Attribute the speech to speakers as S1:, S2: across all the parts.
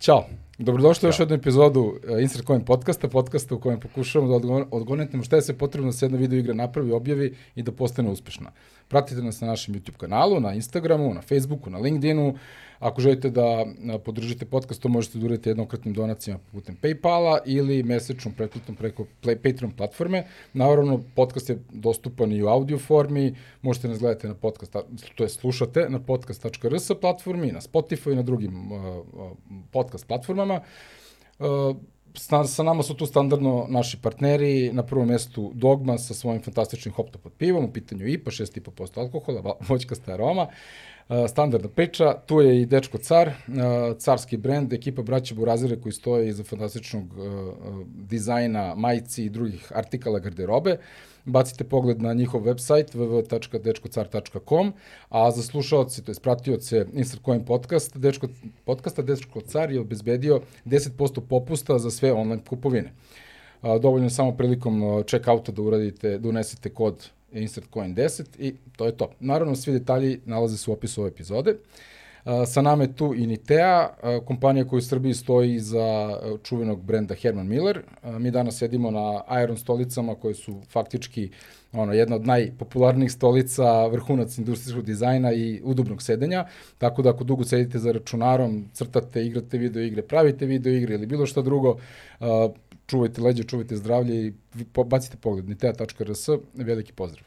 S1: Ćao. Dobrodošli u još jednu epizodu e, Insert Coin podcasta, podcasta u kojem pokušavamo da odgo- odgonetnemo šta je sve potrebno da se jedna video igra napravi, objavi i da postane uspešna. Pratite nas na našem YouTube kanalu, na Instagramu, na Facebooku, na LinkedInu. Ako želite da a, podržite podcast, to možete da uradite jednokratnim donacijama putem Paypala ili mesečnom pretplatom preko Play, Patreon platforme. Naravno, podcast je dostupan i u audio formi. Možete nas gledati na podcast, to je slušate na podcast.rs platformi, na Spotify i na drugim uh, uh, podcast platformama. Uh, sa, sa nama su tu standardno naši partneri, na prvom mestu Dogma sa svojim fantastičnim hopto pod pivom, u pitanju IPA, 6,5% alkohola, va- voćkasta aroma, uh, standardna priča, tu je i Dečko Car, uh, carski brend, ekipa braća Burazire koji stoje iza fantastičnog uh, uh, dizajna, majci i drugih artikala garderobe, bacite pogled na njihov website www.dečkocar.com, a za slušaoce, to je pratioce Insert Coin podcast, Dečko, podcasta Dečko Car je obezbedio 10% popusta za sve online kupovine. A, dovoljno je samo prilikom a, checkouta da uradite, da unesete kod InsertCoin10 i to je to. Naravno, svi detalji nalaze se u opisu ove epizode. A, Sa nama je tu Initea, a, kompanija koja u Srbiji stoji za čuvenog brenda Herman Miller. A, Mi danas sedimo na Iron stolicama koje su faktički ono, jedna od najpopularnijih stolica, vrhunac industrijskog dizajna i udobnog sedenja, tako da ako dugo sedite za računarom, crtate, igrate video igre, pravite video igre ili bilo šta drugo, a, čuvajte leđe, čuvajte zdravlje i vi po- bacite pogled, nitea.rs, veliki pozdrav.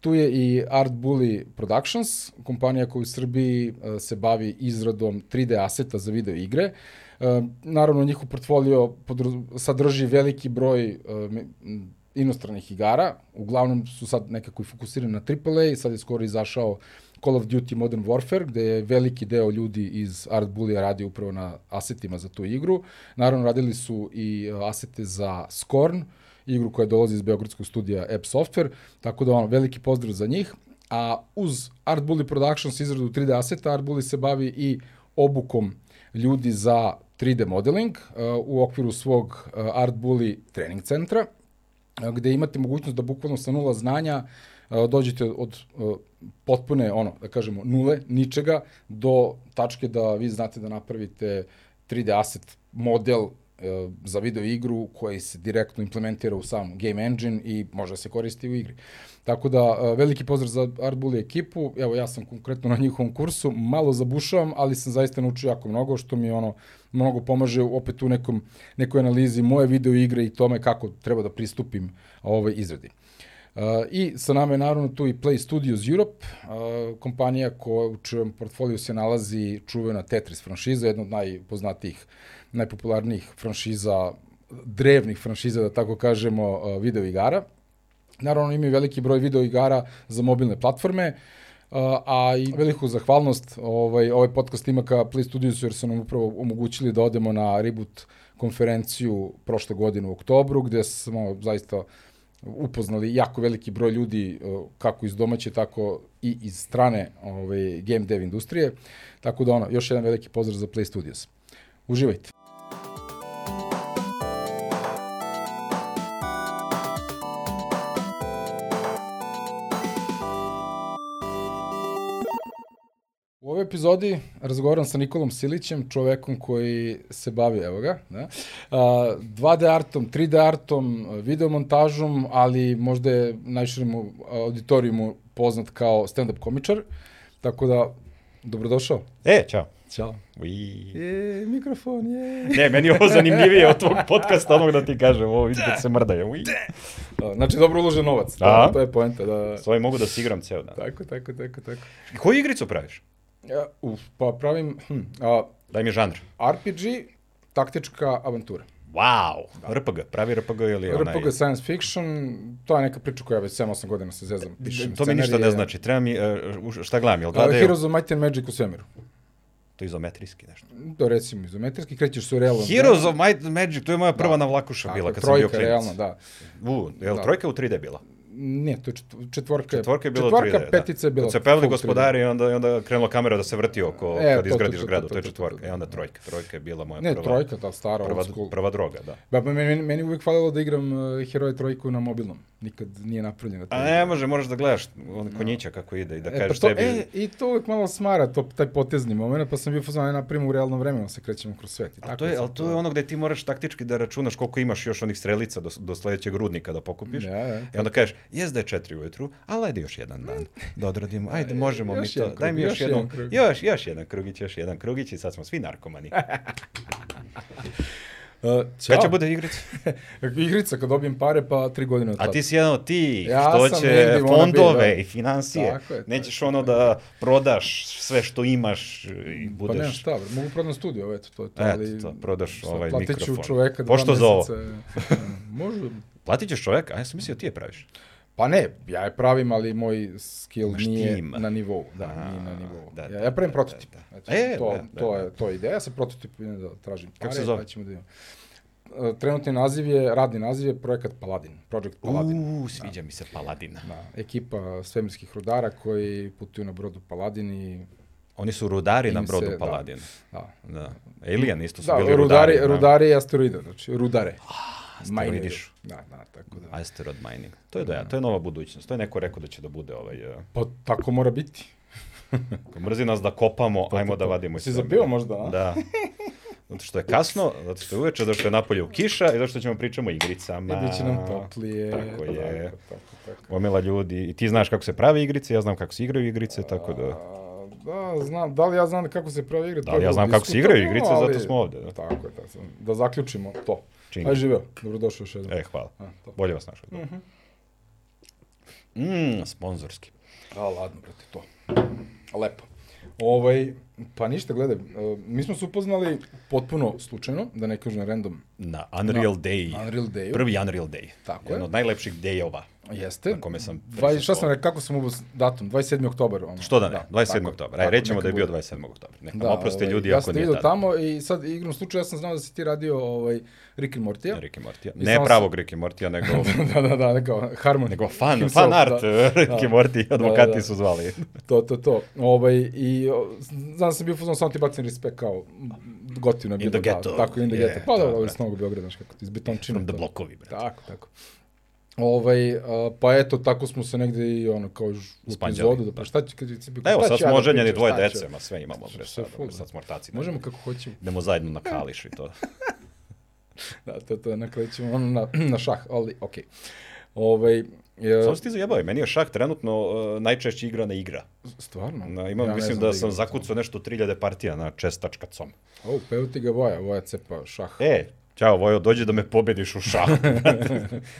S1: Tu je i Art Bully Productions, kompanija koja u Srbiji e, se bavi izradom 3D aseta za video igre. E, Naravno, njihov portfolio podraz- sadrži veliki broj e, me- m, inostranih igara, uglavnom su sad nekako i fokusirani na AAA i sad je skoro izašao Call of Duty Modern Warfare, gde je veliki deo ljudi iz Art Bullija radio upravo na asetima za tu igru. Naravno, radili su i e, asete za Scorn, igru koja dolazi iz beogradskog studija App Software, tako da ono, veliki pozdrav za njih. A uz Art Bully Productions izradu 3D aseta, Art Bully se bavi i obukom ljudi za 3D modeling uh, u okviru svog uh, Art Bully trening centra, uh, gde imate mogućnost da bukvalno sa nula znanja uh, dođete od uh, potpune, ono, da kažemo, nule, ničega, do tačke da vi znate da napravite 3D asset model e, za video igru koji se direktno implementira u sam game engine i može da se koristi u igri. Tako da, e, veliki pozdrav za Artbully ekipu, evo ja sam konkretno na njihovom kursu, malo zabušavam, ali sam zaista naučio jako mnogo, što mi ono mnogo pomaže opet u nekom, nekoj analizi moje video igre i tome kako treba da pristupim ovoj izradi. Uh, I sa nama je naravno tu i Play Studios Europe, uh, kompanija koja u čijem portfoliju se nalazi čuvena Tetris franšiza, jedna od najpoznatijih, najpopularnijih franšiza, drevnih franšiza, da tako kažemo, uh, video igara. Naravno imaju veliki broj video igara za mobilne platforme, uh, a i veliku zahvalnost ovaj, ovaj podcast ima ka Play Studiosu jer su nam upravo omogućili da odemo na Reboot konferenciju prošle godine u oktobru gde smo zaista upoznali jako veliki broj ljudi uh, kako iz domaće tako i iz strane ovaj, game dev industrije. Tako da ono, još jedan veliki pozdrav za Play Studios. Uživajte. U ovoj epizodi razgovaram sa Nikolom Silićem, čovekom koji se bavi, evo ga, da, a, 2D artom, 3D artom, a, videomontažom, ali možda je najširim u- auditorijumu poznat kao stand-up komičar. Tako da, dobrodošao.
S2: E, čao.
S1: Ćao.
S2: Ui.
S1: E, mikrofon, je.
S2: Ne, meni je ovo zanimljivije od tvog podcasta, onog da ti kažem, ovo vidim kad se mrdaje. Ui.
S1: Znači, dobro uložen novac, to,
S2: A?
S1: to je poenta, da, da.
S2: S ovim mogu da se igram ceo dan.
S1: Tako, tako, tako, tako.
S2: Koju igricu praviš?
S1: Ja, uf, pa pravim hm, a,
S2: Daj mi žanr.
S1: RPG, taktička avantura.
S2: Wow. RPG, pravi RPG ili E, onaj...
S1: RPG science fiction, to je neka priča koja već 7-8 godina se zezam. Pišem
S2: Da, To mi ništa ne
S1: scenarije.
S2: znači. Treba mi, e, u- šta gledam, jel
S1: A,
S2: gledaju?
S1: Heroes Da. of Might and Magic u svemiru.
S2: To je izometrijski nešto.
S1: To recimo izometrijski, krećeš se u realnom.
S2: Heroes of Might and Magic, to je moja prva
S1: Da.
S2: navlakuša bila kad sam bio
S1: trojka,
S2: klinac.
S1: realno, da.
S2: U, je li
S1: Da.
S2: trojka u 3D bila?
S1: Ne, to je čet- četvorka.
S2: Četvorka je bila u 3D,
S1: Četvorka,
S2: da.
S1: petica je bila.
S2: Kad se pevali
S1: full 3D.
S2: gospodari, onda, onda krenula kamera da se vrti oko,
S1: E,
S2: kad
S1: to, to,
S2: izgradiš
S1: to, to,
S2: zgradu,
S1: to,
S2: to je
S1: to, to,
S2: četvorka.
S1: to.
S2: E, onda trojka. Trojka je bila moja
S1: Ne,
S2: prva.
S1: trojka, ta stara,
S2: prva,
S1: old school.
S2: prva droga, da.
S1: Ba, ba, meni, meni uvijek falilo da igram uh, Heroje eh, trojku na mobilnom. nikad nije napravljena. ta
S2: A
S1: igra.
S2: ne može, moraš da gledaš on konjića kako ide i da
S1: E,
S2: kažeš
S1: pa to,
S2: tebi...
S1: e, I to uvek malo smara, to, taj potezni moment, pa sam bio fazon, ne napravimo u realnom vremenu, se krećemo kroz svet. I
S2: A to je,
S1: sam
S2: ali to je ono gde ti moraš taktički da računaš koliko imaš još onih strelica do, do sledećeg rudnika da pokupiš.
S1: Da, da.
S2: I onda kažeš, jes da je četiri ujutru, ali ajde još jedan dan da odradimo. Ajde, možemo mi
S1: E, još
S2: to.
S1: jedan
S2: Daj mi
S1: krug, još
S2: još, jednom,
S1: jedan krug. E,
S2: još, još jedan krugić, još jedan krugić i sad smo svi narkomani.
S1: Uh,
S2: Kad će bude igrica?
S1: Igrica, kad dobijem pare, pa tri godine od
S2: A
S1: tada.
S2: ti si jedan od ti
S1: Ja
S2: što
S1: sam
S2: će
S1: negdje moram
S2: fondove
S1: biti, da.
S2: i financije.
S1: Tako je, tako
S2: Nećeš
S1: je,
S2: ono
S1: tako
S2: da prodaš sve što imaš i
S1: Pa nemam
S2: budeš...
S1: šta, bre, mogu prodam studio, eto, to je to,
S2: Eto,
S1: ali...
S2: to, prodaš
S1: sad
S2: ovaj
S1: platit ću
S2: mikrofon.
S1: čoveka dva
S2: Pošto za ovo?
S1: meseca. Može,
S2: Platit ćeš čoveka, a ja sam mislio ti je praviš.
S1: Pa ne, ja je pravim, ali moj skill
S2: Imaš
S1: nije
S2: tim.
S1: na nivou. Da,
S2: A,
S1: nije na nivou.
S2: da,
S1: Da,
S2: da,
S1: ja, ja pravim prototip.
S2: da, da.
S1: Eto,
S2: E,
S1: to,
S2: da,
S1: to,
S2: da,
S1: je, to je ideja, ja sam prototip idem da tražim pare.
S2: se zove?
S1: Pa ćemo da imamo. Trenutni naziv je, radni naziv je projekat Paladin, Project Paladin.
S2: Uuu, sviđa mi se Paladina.
S1: Da, ekipa svemirskih rudara koji putuju na brodu Paladin i...
S2: Oni su rudari na
S1: Im se-
S2: brodu
S1: da.
S2: Paladina.
S1: Da,
S2: Da. Alien isto su
S1: da
S2: bili
S1: rudari,
S2: rudari.
S1: rudari,
S2: da. Ah,
S1: rudari i asteroida, znači rudare.
S2: asteroidišu.
S1: Mineru. Da, da, tako da.
S2: Asteroid mining. To je, da, to je nova budućnost. To je neko rekao da će da bude ovaj... Uh,
S1: Pa tako mora biti.
S2: ako mrzi nas da kopamo, ajmo da vadimo. iz
S1: Pa Si
S2: svemira.
S1: zapio možda, a?
S2: Da. Zato što je kasno, zato što je uveče, zato što je napolju kiša i zato što ćemo pričamo o igricama.
S1: I bit će nam toplije.
S2: Tako je.
S1: Tako, tako, tako.
S2: Gomila ljudi. I ti znaš kako se prave igrice, ja znam kako se igraju igrice, tako da...
S1: A, Da, znam, da li ja znam kako se pravi igre?
S2: Da
S1: to
S2: li
S1: je
S2: ja
S1: bilo
S2: znam kako se igraju igrice,
S1: diskutabilno,
S2: zato smo ovde, da.
S1: Tako je, da, sam- da zaključimo to.
S2: Činga.
S1: Aj živeo, dobrodošao još jednom.
S2: E, hvala.
S1: A, to.
S2: Bolje vas našao. Mm, sponzorski.
S1: A, ladno, brate, to. Lepo. Ovaj, pa ništa, gledaj, e, mi smo se upoznali potpuno slučajno, da ne kažem random,
S2: Na Unreal Day.
S1: Unreal Dayu.
S2: Prvi Unreal Day.
S1: Tako je.
S2: Jedan od najlepših dejova.
S1: Jeste.
S2: Na kome sam
S1: Dvaj, šta sam
S2: prisustvovao.
S1: rekao, kako sam ubao s- datum? 27. oktober. Ono.
S2: Što da ne, 27.
S1: tako,
S2: oktobar. Aj,
S1: tako,
S2: rećemo da je
S1: neka
S2: bio
S1: bude.
S2: 27. oktobar. Neka da, oprosti
S1: ovaj,
S2: ljudi
S1: ja
S2: ako
S1: sam te
S2: nije
S1: vidio
S2: tada.
S1: tamo i sad igrom slučaja ja sam znao da si ti radio ovaj, Rick and Morty. Ja.
S2: Rick i Morty.
S1: I
S2: Ne
S1: samo sam-
S2: pravog Rick i Morty, nego,
S1: da, da, da, kao Harmony.
S2: nego fan,
S1: Himself,
S2: fan art eh,
S1: da.
S2: Rick i Morty, advokati
S1: Da, da.
S2: su zvali. Znači,
S1: To, to, to. Ovaj, I o, znam da sam bio fuzon, samo ti bacim respekt kao m, gotivno. je
S2: In
S1: bilo,
S2: the
S1: da,
S2: ghetto.
S1: Tako, in the
S2: Yeah,
S1: ghetto. Pa
S2: da,
S1: da, ovaj
S2: brate.
S1: s novog Beograda, znaš kako ti izbetončinu.
S2: From the
S1: to.
S2: blokovi, brate.
S1: Tako, tako. Ovaj, a, pa eto, tako smo se negde i ono, kao ž- u
S2: Spanđali,
S1: epizodu, da pa šta će, kad će,
S2: Da, evo, sad
S1: ja
S2: smo
S1: da
S2: oženjeni
S1: pričam,
S2: dvoje
S1: šta ću?
S2: dece, ma sve imamo, bre,
S1: Sve
S2: sad,
S1: full, da.
S2: sad smo ortaci. ne?
S1: Možemo kako hoćemo.
S2: Idemo zajedno na kališ i to.
S1: Da, to, to, na kraju ćemo ono na, na šah, ali okej. Ovaj, je,
S2: Samo si ti zajebao, meni je šah trenutno uh, najčešće igrana igra.
S1: stvarno?
S2: Na, imam,
S1: Ja ne
S2: mislim
S1: znam
S2: da
S1: igram
S2: sam
S1: to.
S2: zakucao nešto 3000 partija na čestačkacom.
S1: O, peo ti ga Voja, Voja cepa šah.
S2: E, Ćao, Vojo, dođi da me pobediš u šahu.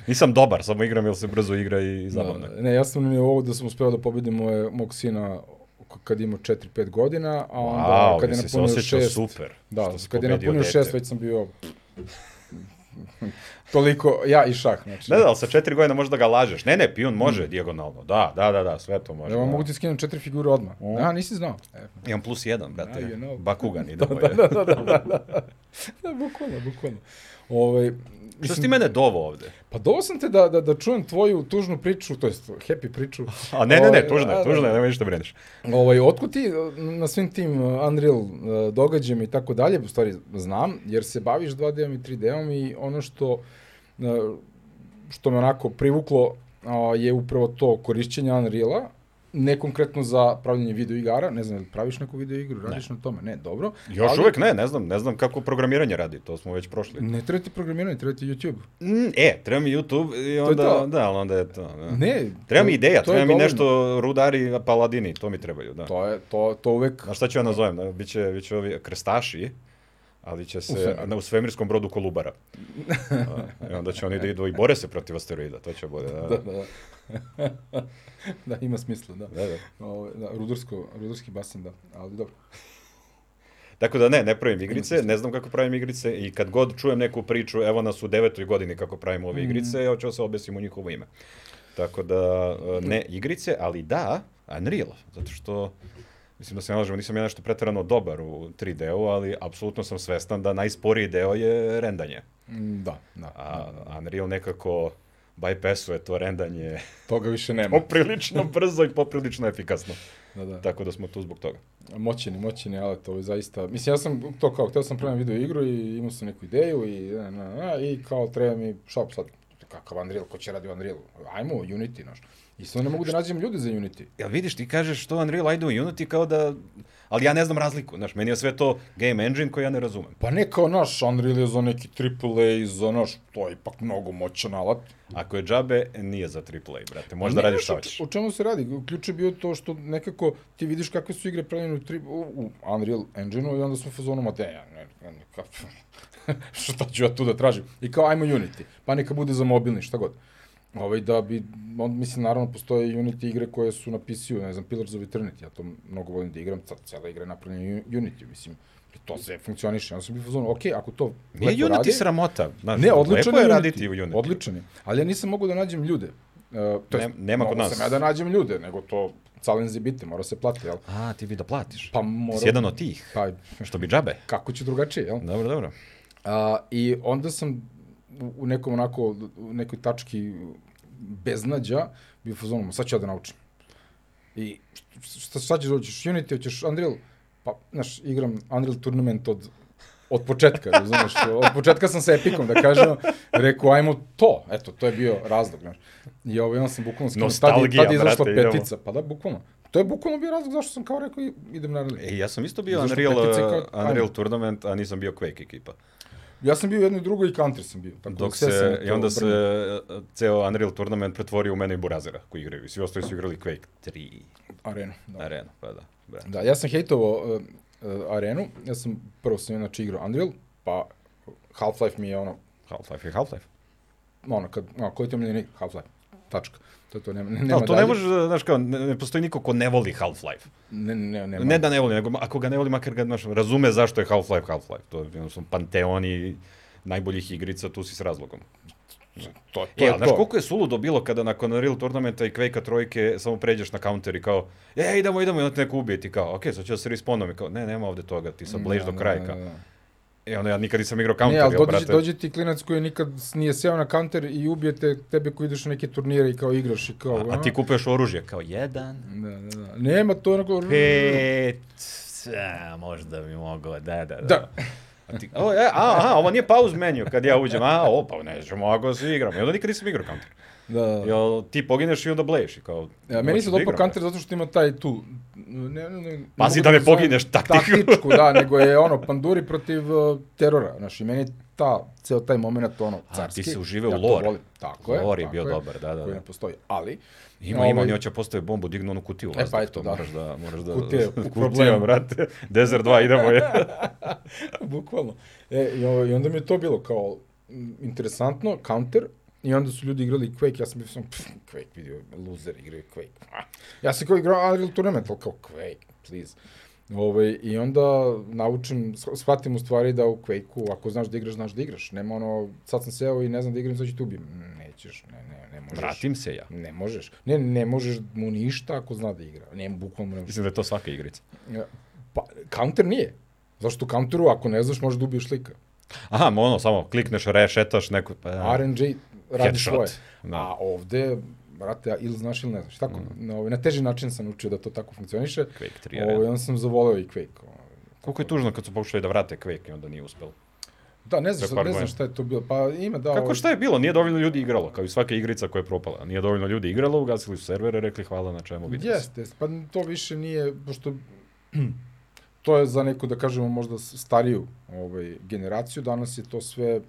S2: Nisam dobar, samo igram jer se brzo igra i, i zabavno. je.
S1: Da, ne, ja sam na nivou da sam uspeo da pobedim moje, mog sina k- kad je imao 4-5 godina, a onda
S2: Wow,
S1: kad je
S2: jesi se
S1: napunio
S2: osjećao
S1: 6,
S2: super
S1: da,
S2: što si
S1: kad je
S2: pobedio
S1: napunio
S2: dete.
S1: 6 već sam bio toliko, ja i šah, znači.
S2: Ne da, ali sa četiri godina možeš da ga lažeš. Ne, ne, pijun može dijagonalno. Da, da, da, da, sve to može.
S1: Mm. Evo,
S2: da.
S1: mogu ti skinem četiri figure odmah. A, nisi znao. E,
S2: Imam plus jedan, brate.
S1: Now Da, you know.
S2: Bakugan idemo. da,
S1: da, da, da, da, da, bukvalno, bukvalno. Ove,
S2: Što si
S1: mislim,
S2: ti mene dovo ovde?
S1: Pa dovao sam te da, da, da čujem tvoju tužnu priču, to jest happy priču.
S2: A ne, ne, ne,
S1: Ovaj,
S2: tužno
S1: a,
S2: je,
S1: da,
S2: tužno je, nemoj ništa brineš.
S1: Ovaj, otkud ti e, na svim tim e, Unreal e, događajima i tako dalje, u stvari znam, jer se baviš 2D-om i 3D-om i ono što, e, što me onako privuklo a, je upravo to korišćenje Unreal-a, ne konkretno za pravljanje video igara, ne znam, je li praviš neku video igru, radiš na tome, ne, dobro.
S2: Još
S1: ali
S2: uvek ne, ne znam, ne znam kako programiranje radi, to smo već prošli.
S1: Ne treba ti programiranje, treba ti YouTube.
S2: Mm, e, treba mi YouTube i onda,
S1: to.
S2: da, ali onda je to. Da.
S1: Ne,
S2: Treba
S1: to-
S2: mi ideja,
S1: to je
S2: treba mi
S1: dovoljno.
S2: nešto rudari, paladini, to mi trebaju, da.
S1: To je, to, to uvek,
S2: A šta ću ja nazovem? Da? Biće, biće ovi krstaši, ali će se
S1: U
S2: u,
S1: svemiru.
S2: na, u svemirskom brodu Kolubara. A, I onda će oni da idu i bore se protiv asteroida, to će bude, da.
S1: da, da, da. da, ima smisla, da.
S2: da, da.
S1: Ovo, da, rudarsko, rudarski basen, da, ali dobro.
S2: Tako da ne, ne pravim igrice, ne znam kako pravim igrice i kad god čujem neku priču, evo nas u devetoj godini kako pravimo ove igrice, ja ću da se obesim u njihovo ime. Tako da, e, ne igrice, ali da, Unreal, zato što, mislim da se ne lažemo, nisam ja nešto pretvarano dobar u 3D-u, ali apsolutno sam svestan da najsporiji deo je rendanje.
S1: Mm, Da, da.
S2: A Unreal nekako bypassuje to rendanje
S1: Toga više nema.
S2: poprilično brzo i poprilično efikasno.
S1: Da, da.
S2: Tako da smo tu zbog toga.
S1: Moćeni, moćeni, ali to je zaista... Mislim, ja sam to kao, hteo sam pravim video igru i imao sam neku ideju i, na, na, na, i kao treba mi, šta sad, kakav Unreal, ko će radi u Unreal? Ajmo, Unity, znaš. I sad ne mogu da nađem ljudi za Unity.
S2: Ja vidiš, ti kažeš što Unreal, ajde u Unity kao da... Ali ja ne znam razliku, znaš, meni je sve to game engine koji ja ne razumem.
S1: Pa ne kao naš Unreal je za neki AAA, za naš, to je ipak mnogo moćan alat.
S2: Ako je džabe, nije za AAA, brate, E, možda
S1: Ne
S2: radiš šta
S1: znaš
S2: hoćeš.
S1: o- O čemu se radi? Ključ je bio to što nekako ti vidiš kakve su igre pravljene u, tri, u, u Unreal Engine-u i onda smo u fazonu, ma te, ja, ne, ne, ne, ka, šta ću ja tu da tražim? I kao, ajmo Unity, pa neka bude za mobilni, šta god. Ovaj, da bi, on, mislim, naravno, postoje Unity igre koje su na PC-u, ne znam, Pillars of Eternity, ja to mnogo volim da igram, sad cijela igra je napravljena u Unity, mislim, to sve funkcioniše. Onda sam bio u fazonu, okej, ako to
S2: Nije
S1: lepo
S2: Unity
S1: radi-
S2: sramota. Znaš,
S1: ne, odličan
S2: lepo je
S1: Unity.
S2: raditi u Unity.
S1: Odličan je. Ali ja nisam mogao da nađem ljude. Uh, to
S2: Ne- nema kod nas.
S1: Sam ja da nađem ljude, nego to calenzi biti, mora se plati, jel?
S2: A, ti bi da platiš.
S1: Pa
S2: Ti
S1: mora...
S2: si jedan od tih.
S1: Pa,
S2: Što bi džabe.
S1: kako će drugačije, jel?
S2: Dobro, dobro.
S1: A, I onda sam u- u nekom onako, u nekoj tački beznađa, bio fazonom, sad ću ja da naučim. I šta, šta ćeš dođeš, Unity, hoćeš Unreal? Pa, znaš, igram Unreal Tournament od od početka, razumeš, od početka sam sa Epicom, da kažem, rekao, ajmo to, eto, to je bio razlog, znaš. I ovaj, onda sam bukvalno skinuo, tad je,
S2: Nostalgija,
S1: tad je izašla
S2: brate, idemo.
S1: petica, pa da, bukvalno. To je bukvalno bio razlog zašto sam kao rekao, i- idem na Unreal.
S2: E, ja sam isto bio
S1: Zašto
S2: Unreal,
S1: petice
S2: uh,
S1: kao-
S2: Unreal
S1: ajmo.
S2: Tournament, a nisam bio Quake ekipa.
S1: Ja sam bio u jednoj drugoj i country sam bio. Tako da
S2: Dok
S1: sve sam
S2: se,
S1: to
S2: i onda se
S1: obrnuo.
S2: uh, ceo Unreal Tournament pretvorio u mene i Burazera koji igraju. I svi ostali su igrali Quake 3
S1: Arenu, da.
S2: arena, pa da. Bra.
S1: Da, ja sam hejtovao uh, uh, arenu, ja sam prvo sam inače igrao Unreal, pa Half-Life mi je ono,
S2: Half-Life je Half-Life.
S1: ono, kad, ono, koji ti je omiljeni igra? Half-Life, tačka. To je to, nema, nema
S2: Da, to
S1: dalje.
S2: ne može, znaš kao, ne, ne postoji niko ko ne voli Half-Life.
S1: Ne, ne, nema.
S2: Ne da ne voli, nego ako ga ne voli, makar ga znaš, razume zašto je Half-Life Half-Life. To je jednostavno panteoni najboljih igrica, tu si s razlogom.
S1: to, to
S2: E,
S1: je
S2: ali znaš
S1: to.
S2: koliko je suludo bilo kada nakon Unreal tournamenta i Quake-a trojke samo pređeš na counter i kao, e, idemo, idemo, i onda te neko ubije ti kao, okej, sad ću da se respawnom i kao, ne, nema ovde toga, ti sad bleš
S1: Da,
S2: do
S1: da,
S2: kraja.
S1: da,
S2: Kao.
S1: da.
S2: E, onda ja nikad nisam igrao
S1: Ne,
S2: counter,
S1: ali
S2: jel,
S1: dođe,
S2: brate?
S1: dođe ti klinac koji nikad s- nije sjeo na counter i ubije te, tebe koji ideš na neke turnire i kao igraš i kao...
S2: A, a ti kupuješ oružje, kao jedan,
S1: Da, da, da. Nema to onako...
S2: pet, a, možda bi mogao, da, da, da.
S1: Da.
S2: A, ti, o, e, a, a, ovo nije pauz menu kad ja uđem, a, o, pa neću, mogu da se igram. I onda nikad nisam igrao counter.
S1: Da, da.
S2: Jel, ti pogineš i onda bleješ i kao...
S1: Ja, E, meni
S2: hoćeš
S1: se
S2: da
S1: dopao
S2: igram,
S1: Counter zato što ima taj tu... Ne, ne, ne,
S2: Pazi
S1: mogu
S2: da ne
S1: nazovem
S2: pogineš taktiku.
S1: Taktičku, da, nego je ono, panduri protiv uh, terora. Znaš, i meni ta, ceo taj moment ono,
S2: A, ti
S1: carski.
S2: se uživeo
S1: ja
S2: u
S1: to
S2: lore.
S1: volim. Tako je.
S2: Lore je
S1: tako
S2: bio dobar, da, da,
S1: Koji
S2: da.
S1: ne postoji. Ali,
S2: Ima, ima, on je hoće postavi bombu, digne onu kutiju.
S1: E,
S2: vazduh,
S1: pa eto,
S2: to
S1: da.
S2: Moraš da, moraš da...
S1: Kutije, u
S2: Kutija,
S1: problemu.
S2: brate. Desert 2, idemo je.
S1: Bukvalno. E, i, ovo, I onda mi je to bilo kao m, interesantno, counter, i onda su ljudi igrali Quake, ja sam bio sam, pff, Quake vidio, loser igraju Quake. Ah. Ja sam kao igrao Unreal Tournament, ali kao Quake, please. Ove, I onda naučim, sh- shvatim u stvari da u Quake-u, ako znaš da igraš, znaš da igraš. Nema ono, sad sam seo i ne znam da igram, sad ću te ubijem. Mm, Nećeš, ne, ne, ne možeš.
S2: Vratim se ja.
S1: Ne možeš. Ne, ne možeš mu ništa ako zna da igra. Ne, bukvalno ne možeš.
S2: Mislim da je to svaka igrica.
S1: Ja, Pa, counter nije. Zašto u counteru, ako ne znaš, možeš da ubiješ lika.
S2: Aha, ma ono, samo klikneš, rešetaš neku... Pa, da.
S1: RNG radi
S2: Headshot,
S1: svoje.
S2: da. Mhm.
S1: A ovde, brate, ja ili znaš ili ne znaš. Tako, na, ovaj, na teži način sam učio da to tako funkcioniše.
S2: Quake 3
S1: Ovo,
S2: arena.
S1: i onda sam zavoleo i Quake. ovaj.
S2: Koliko je tužno kad su pokušali da vrate Quake i onda nije uspelo.
S1: Da, ne znaš, šta,
S2: Kako
S1: ne
S2: argument?
S1: znaš šta je to bilo. Pa ima da...
S2: Kako
S1: ovaj,
S2: šta je bilo? Nije dovoljno ljudi igralo, kao i svaka igrica koja je propala. Nije dovoljno ljudi igralo, ugasili su servere, rekli hvala na čemu vidimo se.
S1: Jeste, pa to više nije, pošto to je za neku, da kažemo, možda s- stariju ovaj, generaciju. Danas je to sve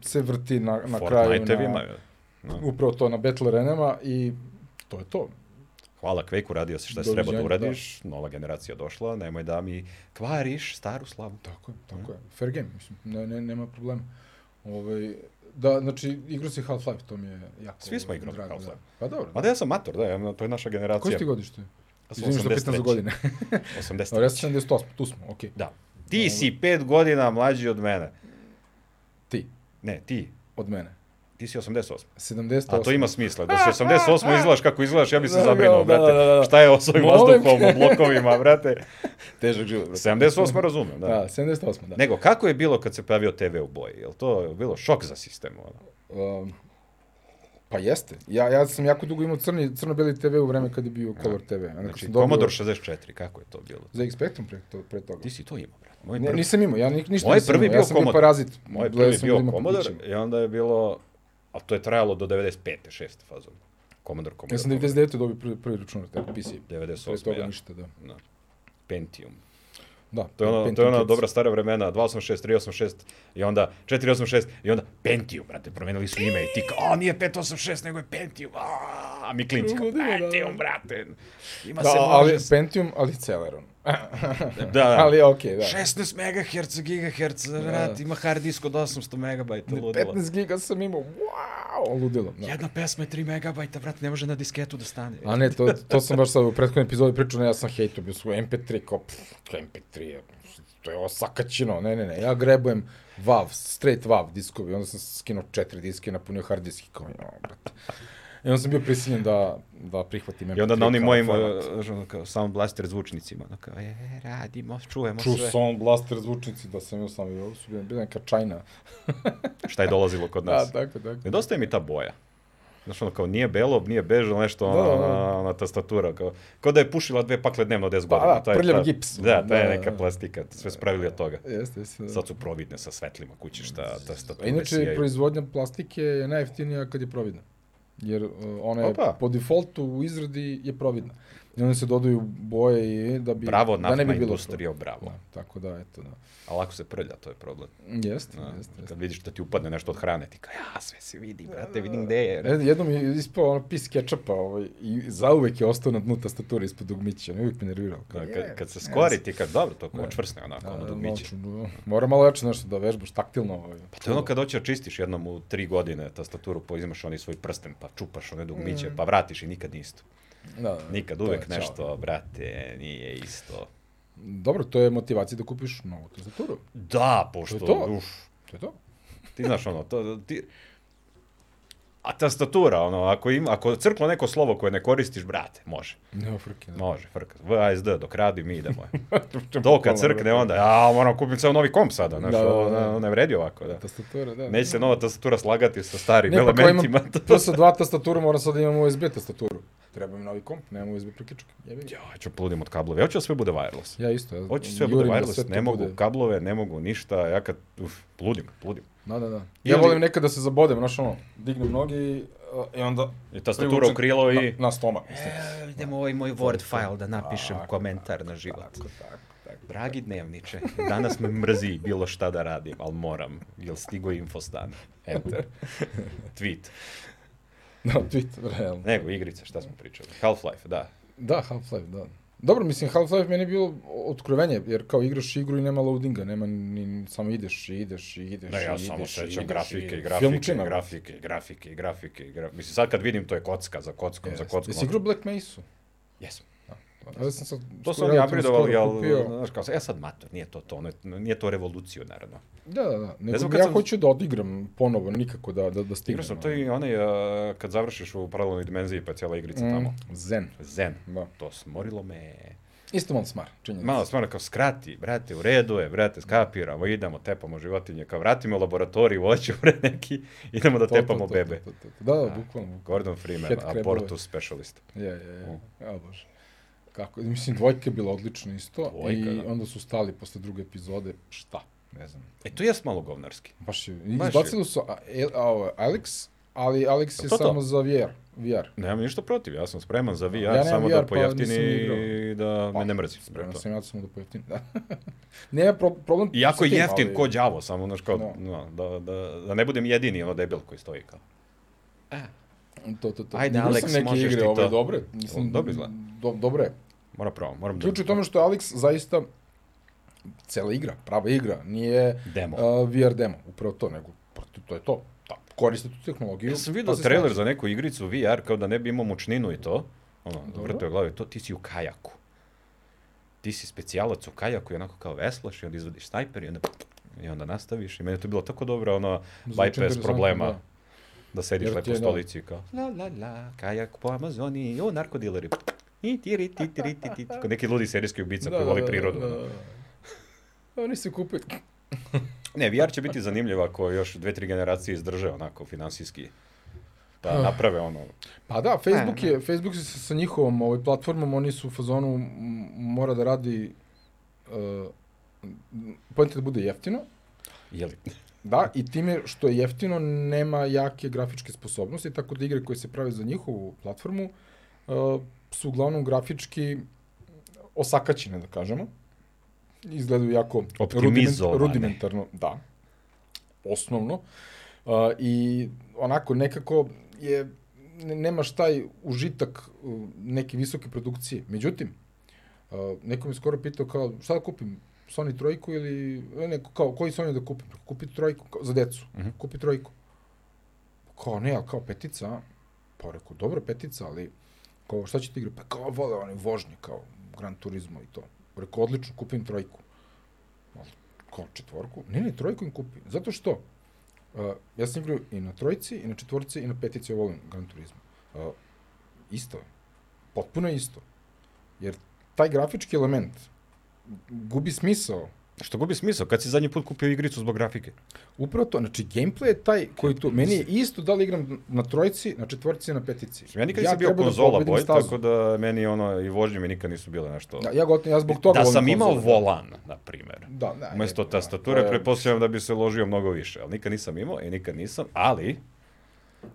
S1: se vrti na, na kraju.
S2: Fortnite-evima, da.
S1: Na,
S2: je. No.
S1: upravo to na Battle Arenama i to je to.
S2: Hvala Quake, uradio si šta se
S1: Doviđenja,
S2: treba da uradiš, nova generacija došla, nemoj da mi kvariš staru slavu.
S1: Tako je, tako je. Fair game, mislim, ne, ne, nema problema. Ovaj, da, znači, igrao si Half-Life, to mi je jako
S2: Svi smo igrali
S1: drago,
S2: Half-Life.
S1: Da. Pa dobro,
S2: Ma
S1: da.
S2: da ja sam mator, da, ja, to je naša generacija.
S1: Koji ste godište?
S2: Ja sam
S1: Izvim što pitam za
S2: 83..
S1: godine.
S2: 80.
S1: Dobro, ja sam 78, tu smo, okej.
S2: Da. Ti si pet godina mlađi od mene.
S1: Ti,
S2: Ne, ti.
S1: od mene.
S2: Ti si 88.
S1: 78.
S2: A to ima smisla. Da si 88 izgledaš kako izgledaš, ja bi se
S1: Da, da, da,
S2: zabrinuo, brate.
S1: da, da.
S2: Šta je osvoj
S1: Molim.
S2: vazduhom u blokovima, brate?
S1: težak život.
S2: 78 razumem,
S1: Da,
S2: da.
S1: 78, da.
S2: Nego, kako je bilo kad se pojavio TV u boji? Jel to bilo šok za sistem? Ono?
S1: Um, pa jeste. Ja, ja sam jako dugo imao crni, crno-beli TV u vreme kad je bio Color TV. Onda kad
S2: Znači,
S1: sam dobio
S2: Commodore 64, kako je to bilo?
S1: Za X Spectrum pre, to, pre toga.
S2: Ti si to imao, brate. Moj
S1: Ne,
S2: prvi-
S1: nisam imao, ja ni, ništa
S2: Moj
S1: nisam
S2: prvi
S1: imao.
S2: bio
S1: Ja sam bio
S2: Commodore.
S1: parazit.
S2: Moj
S1: Gledao
S2: prvi
S1: sam da
S2: bio
S1: ljudima po
S2: Commodore
S1: kućama.
S2: i onda je bilo Ali to je trajalo do 95. 6. fazom. Commodore, Commodore.
S1: Ja sam
S2: Commodore.
S1: 99. dobio prvi, prvi računar, taj PC. Pre
S2: 98.
S1: toga
S2: Ja.
S1: ništa, da.
S2: Da. Pentium.
S1: da
S2: To je ono, to
S1: Pentium
S2: je ono
S1: Kids.
S2: dobra stara vremena, 286, 386 i onda 486 i onda Pentium, brate, promenili su ime i ti kao, a nije 586, nego je Pentium, a, a mi klinci kao,
S1: Ludilo, da.
S2: Pentium, brate, ima
S1: Da,
S2: se
S1: ali
S2: može,
S1: Pentium, ali Celeron.
S2: da, da,
S1: ali Da. je okej, da.
S2: 16 MHz, GHz, brate, ima hard disk od 800 MB, ludilo.
S1: 15 giga sam imao, wow, ludilo. Da.
S2: Jedna pesma je 3 MB, brate, ne može na disketu da stane.
S1: A ne, to, to sam baš sad u prethodnoj epizodi pričao, ne, ja sam hejtio, bio svoj MP3, kao, pff, to je MP3, je, to je osakaćino, ne, ne, ne, ja grebujem VAV, straight VAV diskovi, onda sam skinuo četiri diske i napunio hard disk i kao, jo, brate. I onda sam bio prisiljen da, da prihvatim MP3.
S2: I onda na onim
S1: kao
S2: mojim
S1: format.
S2: uh, ono kao sound blaster zvučnicima, ono kao, je, radimo, čujemo
S1: Čuo
S2: sve.
S1: sound blaster zvučnici da sam imao sam i ovo su bila bila neka čajna.
S2: Šta je dolazilo kod nas?
S1: Da, tako, tako.
S2: Nedostaje mi ta boja. Znaš, ono, kao nije belo, nije beže, ali
S1: Da,
S2: nešto, ona,
S1: da.
S2: ona, ona tastatura, kao, kao da je pušila dve pakle dnevno 10 godina.
S1: da,
S2: taj-
S1: prljav
S2: ta-
S1: gips.
S2: Da, ta je
S1: Da,
S2: neka
S1: da.
S2: plastika, sve spravili od toga.
S1: Jeste, jeste. Da.
S2: Sad su providne sa svetlima kućišta,
S1: A
S2: tastature,
S1: pa Inače,
S2: sjaju.
S1: proizvodnja plastike je najjeftinija kad je providna. Jer uh, ona je
S2: Opa.
S1: po defaultu u izradi je providna. I onda se dodaju boje i da bi
S2: Bravo,
S1: da
S2: naftna
S1: ne bi bilo
S2: industrija, bravo.
S1: to. Da, tako da eto da.
S2: Ali ako se prlja, to je problem.
S1: Jeste,
S2: Da,
S1: jeste. jeste.
S2: kad vidiš da ti upadne nešto od hrane, ti kao, ja, sve se vidi, brate, vidim gde je.
S1: E, jednom je ispao ono pis kečapa ovaj, i zauvek je ostao na dnu tastature ispod dugmića. Ne uvijek me nervirao.
S2: Da,
S1: Kao, je,
S2: kad, kad se skori, ti kad, dobro, to kao
S1: Da.
S2: čvrsne onako,
S1: a,
S2: ono dugmiće.
S1: malo ću- Mora malo jače nešto da vežbaš taktilno. Ovaj,
S2: Pa to je ono kad hoće očistiš jednom u tri godine tastaturu, pa izimaš onaj svoj prsten, pa čupaš one dugmiće, pa vratiš i nikad nije isto.
S1: Da, da, Mm.
S2: Nikad,
S1: to je
S2: uvek
S1: ćao.
S2: nešto, brate, nije isto.
S1: Dobro, to je motivacija da kupiš novu tastaturu.
S2: Da, pošto,
S1: To je to.
S2: uf,
S1: To je to.
S2: ti znaš ono, to, ti... A tastatura, ono, ako, im, ako crklo neko slovo koje ne koristiš, brate, može.
S1: Nema frke. Da.
S2: Može, frka. VSD, dok radi, mi idemo. To kad crkne, onda, ja moram kupim ceo novi komp sada, znaš,
S1: Da, da,
S2: ovo
S1: da.
S2: ne- ne vredi ovako, da.
S1: Tastatura, da.
S2: Neće se nova tastatura slagati sa starim
S1: Ne, pa kao imam
S2: elementima.
S1: plus dva tastatura, moram sad da imam USB tastaturu. Treba mi novi komp, nemam USB priključak. Jebi ga.
S2: Ja ću pludim od kablove, ja hoću da sve bude wireless.
S1: Ja isto, ja
S2: Hoću sve bude
S1: jurim da
S2: wireless,
S1: sve to
S2: ne mogu
S1: bude.
S2: kablove, ne mogu ništa, ja kad, uf, pludim, pludim.
S1: Da, da, da. Ja
S2: Ili-
S1: volim nekad da se zabodem, znaš ono, dignem noge i, a, i onda...
S2: I tastatura u krilo i...
S1: Na, na stomak, mislim.
S2: Idemo ovaj moj Word file da napišem komentar na život.
S1: Tako, tako, tako.
S2: Dragi dnevniče, danas me mrzi bilo šta da radim, ali moram, jel stigo infostan. Enter. Tweet.
S1: Da, tweet, realno.
S2: Nego, igrice, šta smo pričali? Half-Life, da.
S1: Da, Half-Life, da. Dobro, mislim, Half-Life meni je bilo otkrovenje, jer kao igraš igru i nema loadinga, nema ni, samo ideš i ideš i ideš
S2: Ne,
S1: i
S2: Da, ja
S1: ideš.
S2: samo
S1: i ideš
S2: sećam
S1: i
S2: grafike,
S1: ideš.
S2: i grafike,
S1: Filmčina.
S2: grafike, i grafike, i grafike, i grafike. Mislim, sad kad vidim, to je kocka za kockom, za
S1: Jeste.
S2: kockom.
S1: Jesi igrao Black Mesa?
S2: Jesam.
S1: Pa, Ja sam sad
S2: To su
S1: skoro
S2: oni
S1: relativno
S2: upgradeovali,
S1: skoro
S2: ali,
S1: kupio.
S2: znaš, kao, ja sad mator, nije to to, ono je- nije to revoluciju, naravno.
S1: Da, da, da. Nego
S2: znam
S1: znam,
S2: kad
S1: ja
S2: sam-
S1: sam... hoću da odigram ponovo, nikako da, da, da stignem.
S2: Igrao sam to i onaj, uh, kad završiš u paralelnoj dimenziji, pa je cijela igrica tamo.
S1: Mm, zen.
S2: Zen.
S1: Da.
S2: To smorilo me.
S1: Isto malo smar, činjenica.
S2: Malo stvarno kao skrati, brate, u redu je, brate, skapiramo, idemo, tepamo životinje, kao vratimo laboratoriju, oću pre neki, idemo da
S1: To, to,
S2: tepamo
S1: to,
S2: bebe.
S1: to, to, to. Da, da,
S2: Da.
S1: bukvalno. bukvalno.
S2: Gordon Freeman,
S1: Head crabove.
S2: abortus specialist.
S1: Ja, ja, ja. A, bože. Kako, mislim, dvojka je bila odlična isto.
S2: Dvojka,
S1: I
S2: da.
S1: onda su stali posle druge epizode. Šta? Ne znam.
S2: E, tu jes malo govnarski.
S1: Baš je. i
S2: Baš je.
S1: Izbacili su a, El- a, ovo, Alex, ali Alex je
S2: To, to.
S1: samo za VR. VR.
S2: Nemam ništa protiv, ja sam spreman za VR,
S1: Ja nemam
S2: samo
S1: VR,
S2: da
S1: pa
S2: pojeftini
S1: nisam ni Pa,
S2: i da me ne mrzi.
S1: Spremno
S2: To.
S1: sam ja da sam da pojeftim. Da. Nema pro, problem.
S2: Iako
S1: sa
S2: je
S1: tim,
S2: jeftin
S1: ali-
S2: ko đavo, samo znaš kao,
S1: Da.
S2: no. da, da, da ne budem jedini ono debil koji stoji kao.
S1: To, to, to.
S2: Ajde,
S1: Igrao sam
S2: Alex,
S1: neke
S2: možeš
S1: igre,
S2: ti
S1: ove
S2: to.
S1: Dobre. Mislim,
S2: Dobro izgleda.
S1: Do, dobro je.
S2: Moram pravo, moram
S1: Ključ je u tome što je Alex zaista cela igra, prava igra, nije
S2: Demo.
S1: uh, VR demo, upravo to, nego protiv, to je to. Ta, koriste tu tehnologiju. Pa
S2: Ja sam vidio
S1: se
S2: trailer
S1: snađe.
S2: za neku igricu VR kao da ne bi imao mučninu i to. Ono,
S1: Dobro.
S2: vrteo glavi, to ti si u kajaku. Ti si specijalac u kajaku i onako kao veslaš i onda izvadiš snajper i onda i onda nastaviš i meni je to bilo tako dobro, ono,
S1: Zvuči
S2: bypass
S1: Znači, interesantno,
S2: problema. Da.
S1: da.
S2: sediš
S1: Jer
S2: lepo
S1: ti
S2: u
S1: je, da.
S2: stolici i kao la la la, kajak po Amazoni, o narkodileri. I tiri ti tiri ti ti. Kao neki ludi serijski ubica koji voli prirodu. ono.
S1: da. Oni se kupe.
S2: Ne, VR će biti zanimljiv ako još dve, tri generacije izdrže onako finansijski.
S1: Ah.
S2: Da naprave ono,
S1: Pa da, Facebook
S2: Ne,
S1: je, Facebook je sa sa njihovom ovaj, platformom, oni su u fazonu, m, mora e, da radi, uh, pojente da bude jeftino,
S2: jeli,
S1: Da, i time što je jeftino, nema jake grafičke sposobnosti, tako da igre koje se prave za njihovu platformu uh, su uglavnom grafički osakaćene, da kažemo. Izgledaju jako rudiment,
S2: Optimizovane.
S1: rudimentarno, da, osnovno. Uh, I onako nekako je, ne- nemaš taj užitak uh, neke visoke produkcije. Međutim, Uh, neko mi je skoro pitao kao, šta da kupim? Sony trojku ili, e, neko kao, koji Sony da kupim? Kupi trojku, kao, za decu,
S2: Mhm.
S1: kupi trojku. Kao, ne, ali kao petica, a? pa rekao, dobro petica, ali kao, šta će ti igra? Pa kao, vole oni vožnje, kao, Gran Turismo i to. Rekao, odlično, kupim trojku. Ali, Kao, četvorku? Ne, ne, trojku im kupi. Zato što, uh, ja sam igrao i na trojci, i na četvorci, i na petici, ja volim Gran Turismo. Uh, isto je. Potpuno je isto. Jer taj grafički element gubi smisao.
S2: Što gubi smisao, kad si zadnji put kupio igricu zbog grafike?
S1: Upravo to, znači gameplay je taj koji tu, meni je isto da li igram na trojci, na četvorci, na petici.
S2: Ja nikad nisam bio
S1: treba da
S2: konzola
S1: pobedim
S2: boj,
S1: stazu.
S2: tako da meni ono, i vožnje mi nikad nisu bile nešto...
S1: Da, ja, gotovo, ja zbog toga
S2: da
S1: volim
S2: sam imao
S1: konzole, da.
S2: volan, na primjer.
S1: Da, da,
S2: Umesto
S1: je, da,
S2: tastature,
S1: to je-
S2: pretpostavljam da bi se ložio mnogo više, ali nikad nisam imao i nikad nisam, ali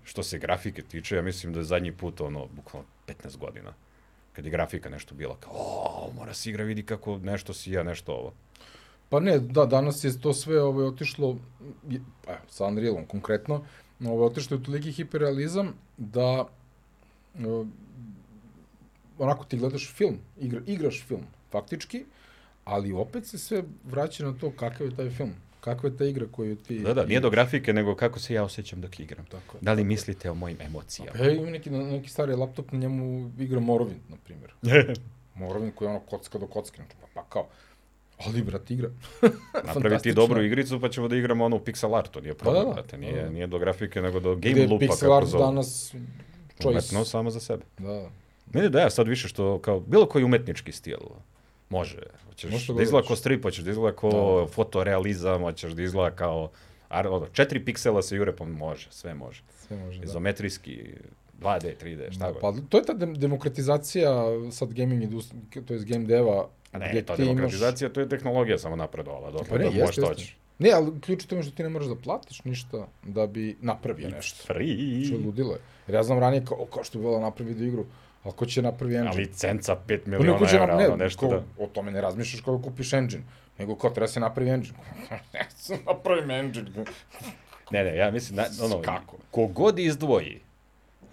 S2: što se grafike tiče, ja mislim da je zadnji put ono, bukvalno 15 godina, kad je grafika nešto bila kao, o, mora se igra, vidi kako nešto sija, nešto ovo.
S1: Pa ne, da, danas je to sve ovaj, otišlo, je- pa, evo, sa Unrealom konkretno, ovaj, otišlo je toliki hiperrealizam da e, onako ti gledaš film, igra, igraš film, faktički, ali opet se sve vraća na to kakav je taj film, kakva je ta igra koju ti...
S2: Da, da, nije do grafike, nego kako se ja osjećam dok igram.
S1: Tako je.
S2: Da li mislite o mojim emocijama?
S1: Pa ja imam neki, neki stari laptop, na njemu igra Morrowind, na primjer. Morrowind koji je ono kocka do kocke, znači, pa, pa kao, ali brat igra.
S2: Napravi ti
S1: Fantastično.
S2: dobru igricu pa ćemo da igramo ono u pixel artu, nije problem,
S1: da, da. Da,
S2: brate, nije,
S1: da.
S2: nije do grafike, nego do
S1: Gde
S2: game
S1: je
S2: loopa,
S1: pixel
S2: kako
S1: art
S2: zove.
S1: danas choice.
S2: Umetno samo za sebe.
S1: Da.
S2: Ne, ne, da ja sad više što kao bilo koji umetnički stil. Može. Hoćeš
S1: Može da
S2: da izgleda
S1: gledaš.
S2: kao strip, hoćeš da izgleda kao fotorealizam, hoćeš da izgleda kao ar, ono, četiri piksela sa jurepom može, sve može.
S1: Sve može, da.
S2: Izometrijski, 2D, 3D, šta
S1: Da,
S2: god.
S1: pa, to je ta dem- demokratizacija sad gaming industri, to jest game deva,
S2: A ne,
S1: gdje
S2: to
S1: ti imaš...
S2: demokratizacija, to je tehnologija samo napredovala, dok
S1: Pa ne,
S2: da
S1: jeste,
S2: možeš to
S1: jeste.
S2: hoćeš.
S1: Ne, ali ključ u tome što ti ne moraš da platiš ništa da bi napravio nešto.
S2: Free.
S1: Što je ludilo je. Jer ja znam ranije kao, o, kao što bi volao napravi video igru, ali ko će napravi engine?
S2: A licenca 5
S1: Pa
S2: miliona
S1: neko će nam-
S2: evra,
S1: ne,
S2: ono, nešto
S1: ko-
S2: da...
S1: O tome ne razmišljaš kako kupiš engine, nego kao treba da se napravi engine. ne sam napravim
S2: Da.
S1: engine.
S2: Ne, ne, ja mislim, na, ono,
S1: Kako?
S2: kogod izdvoji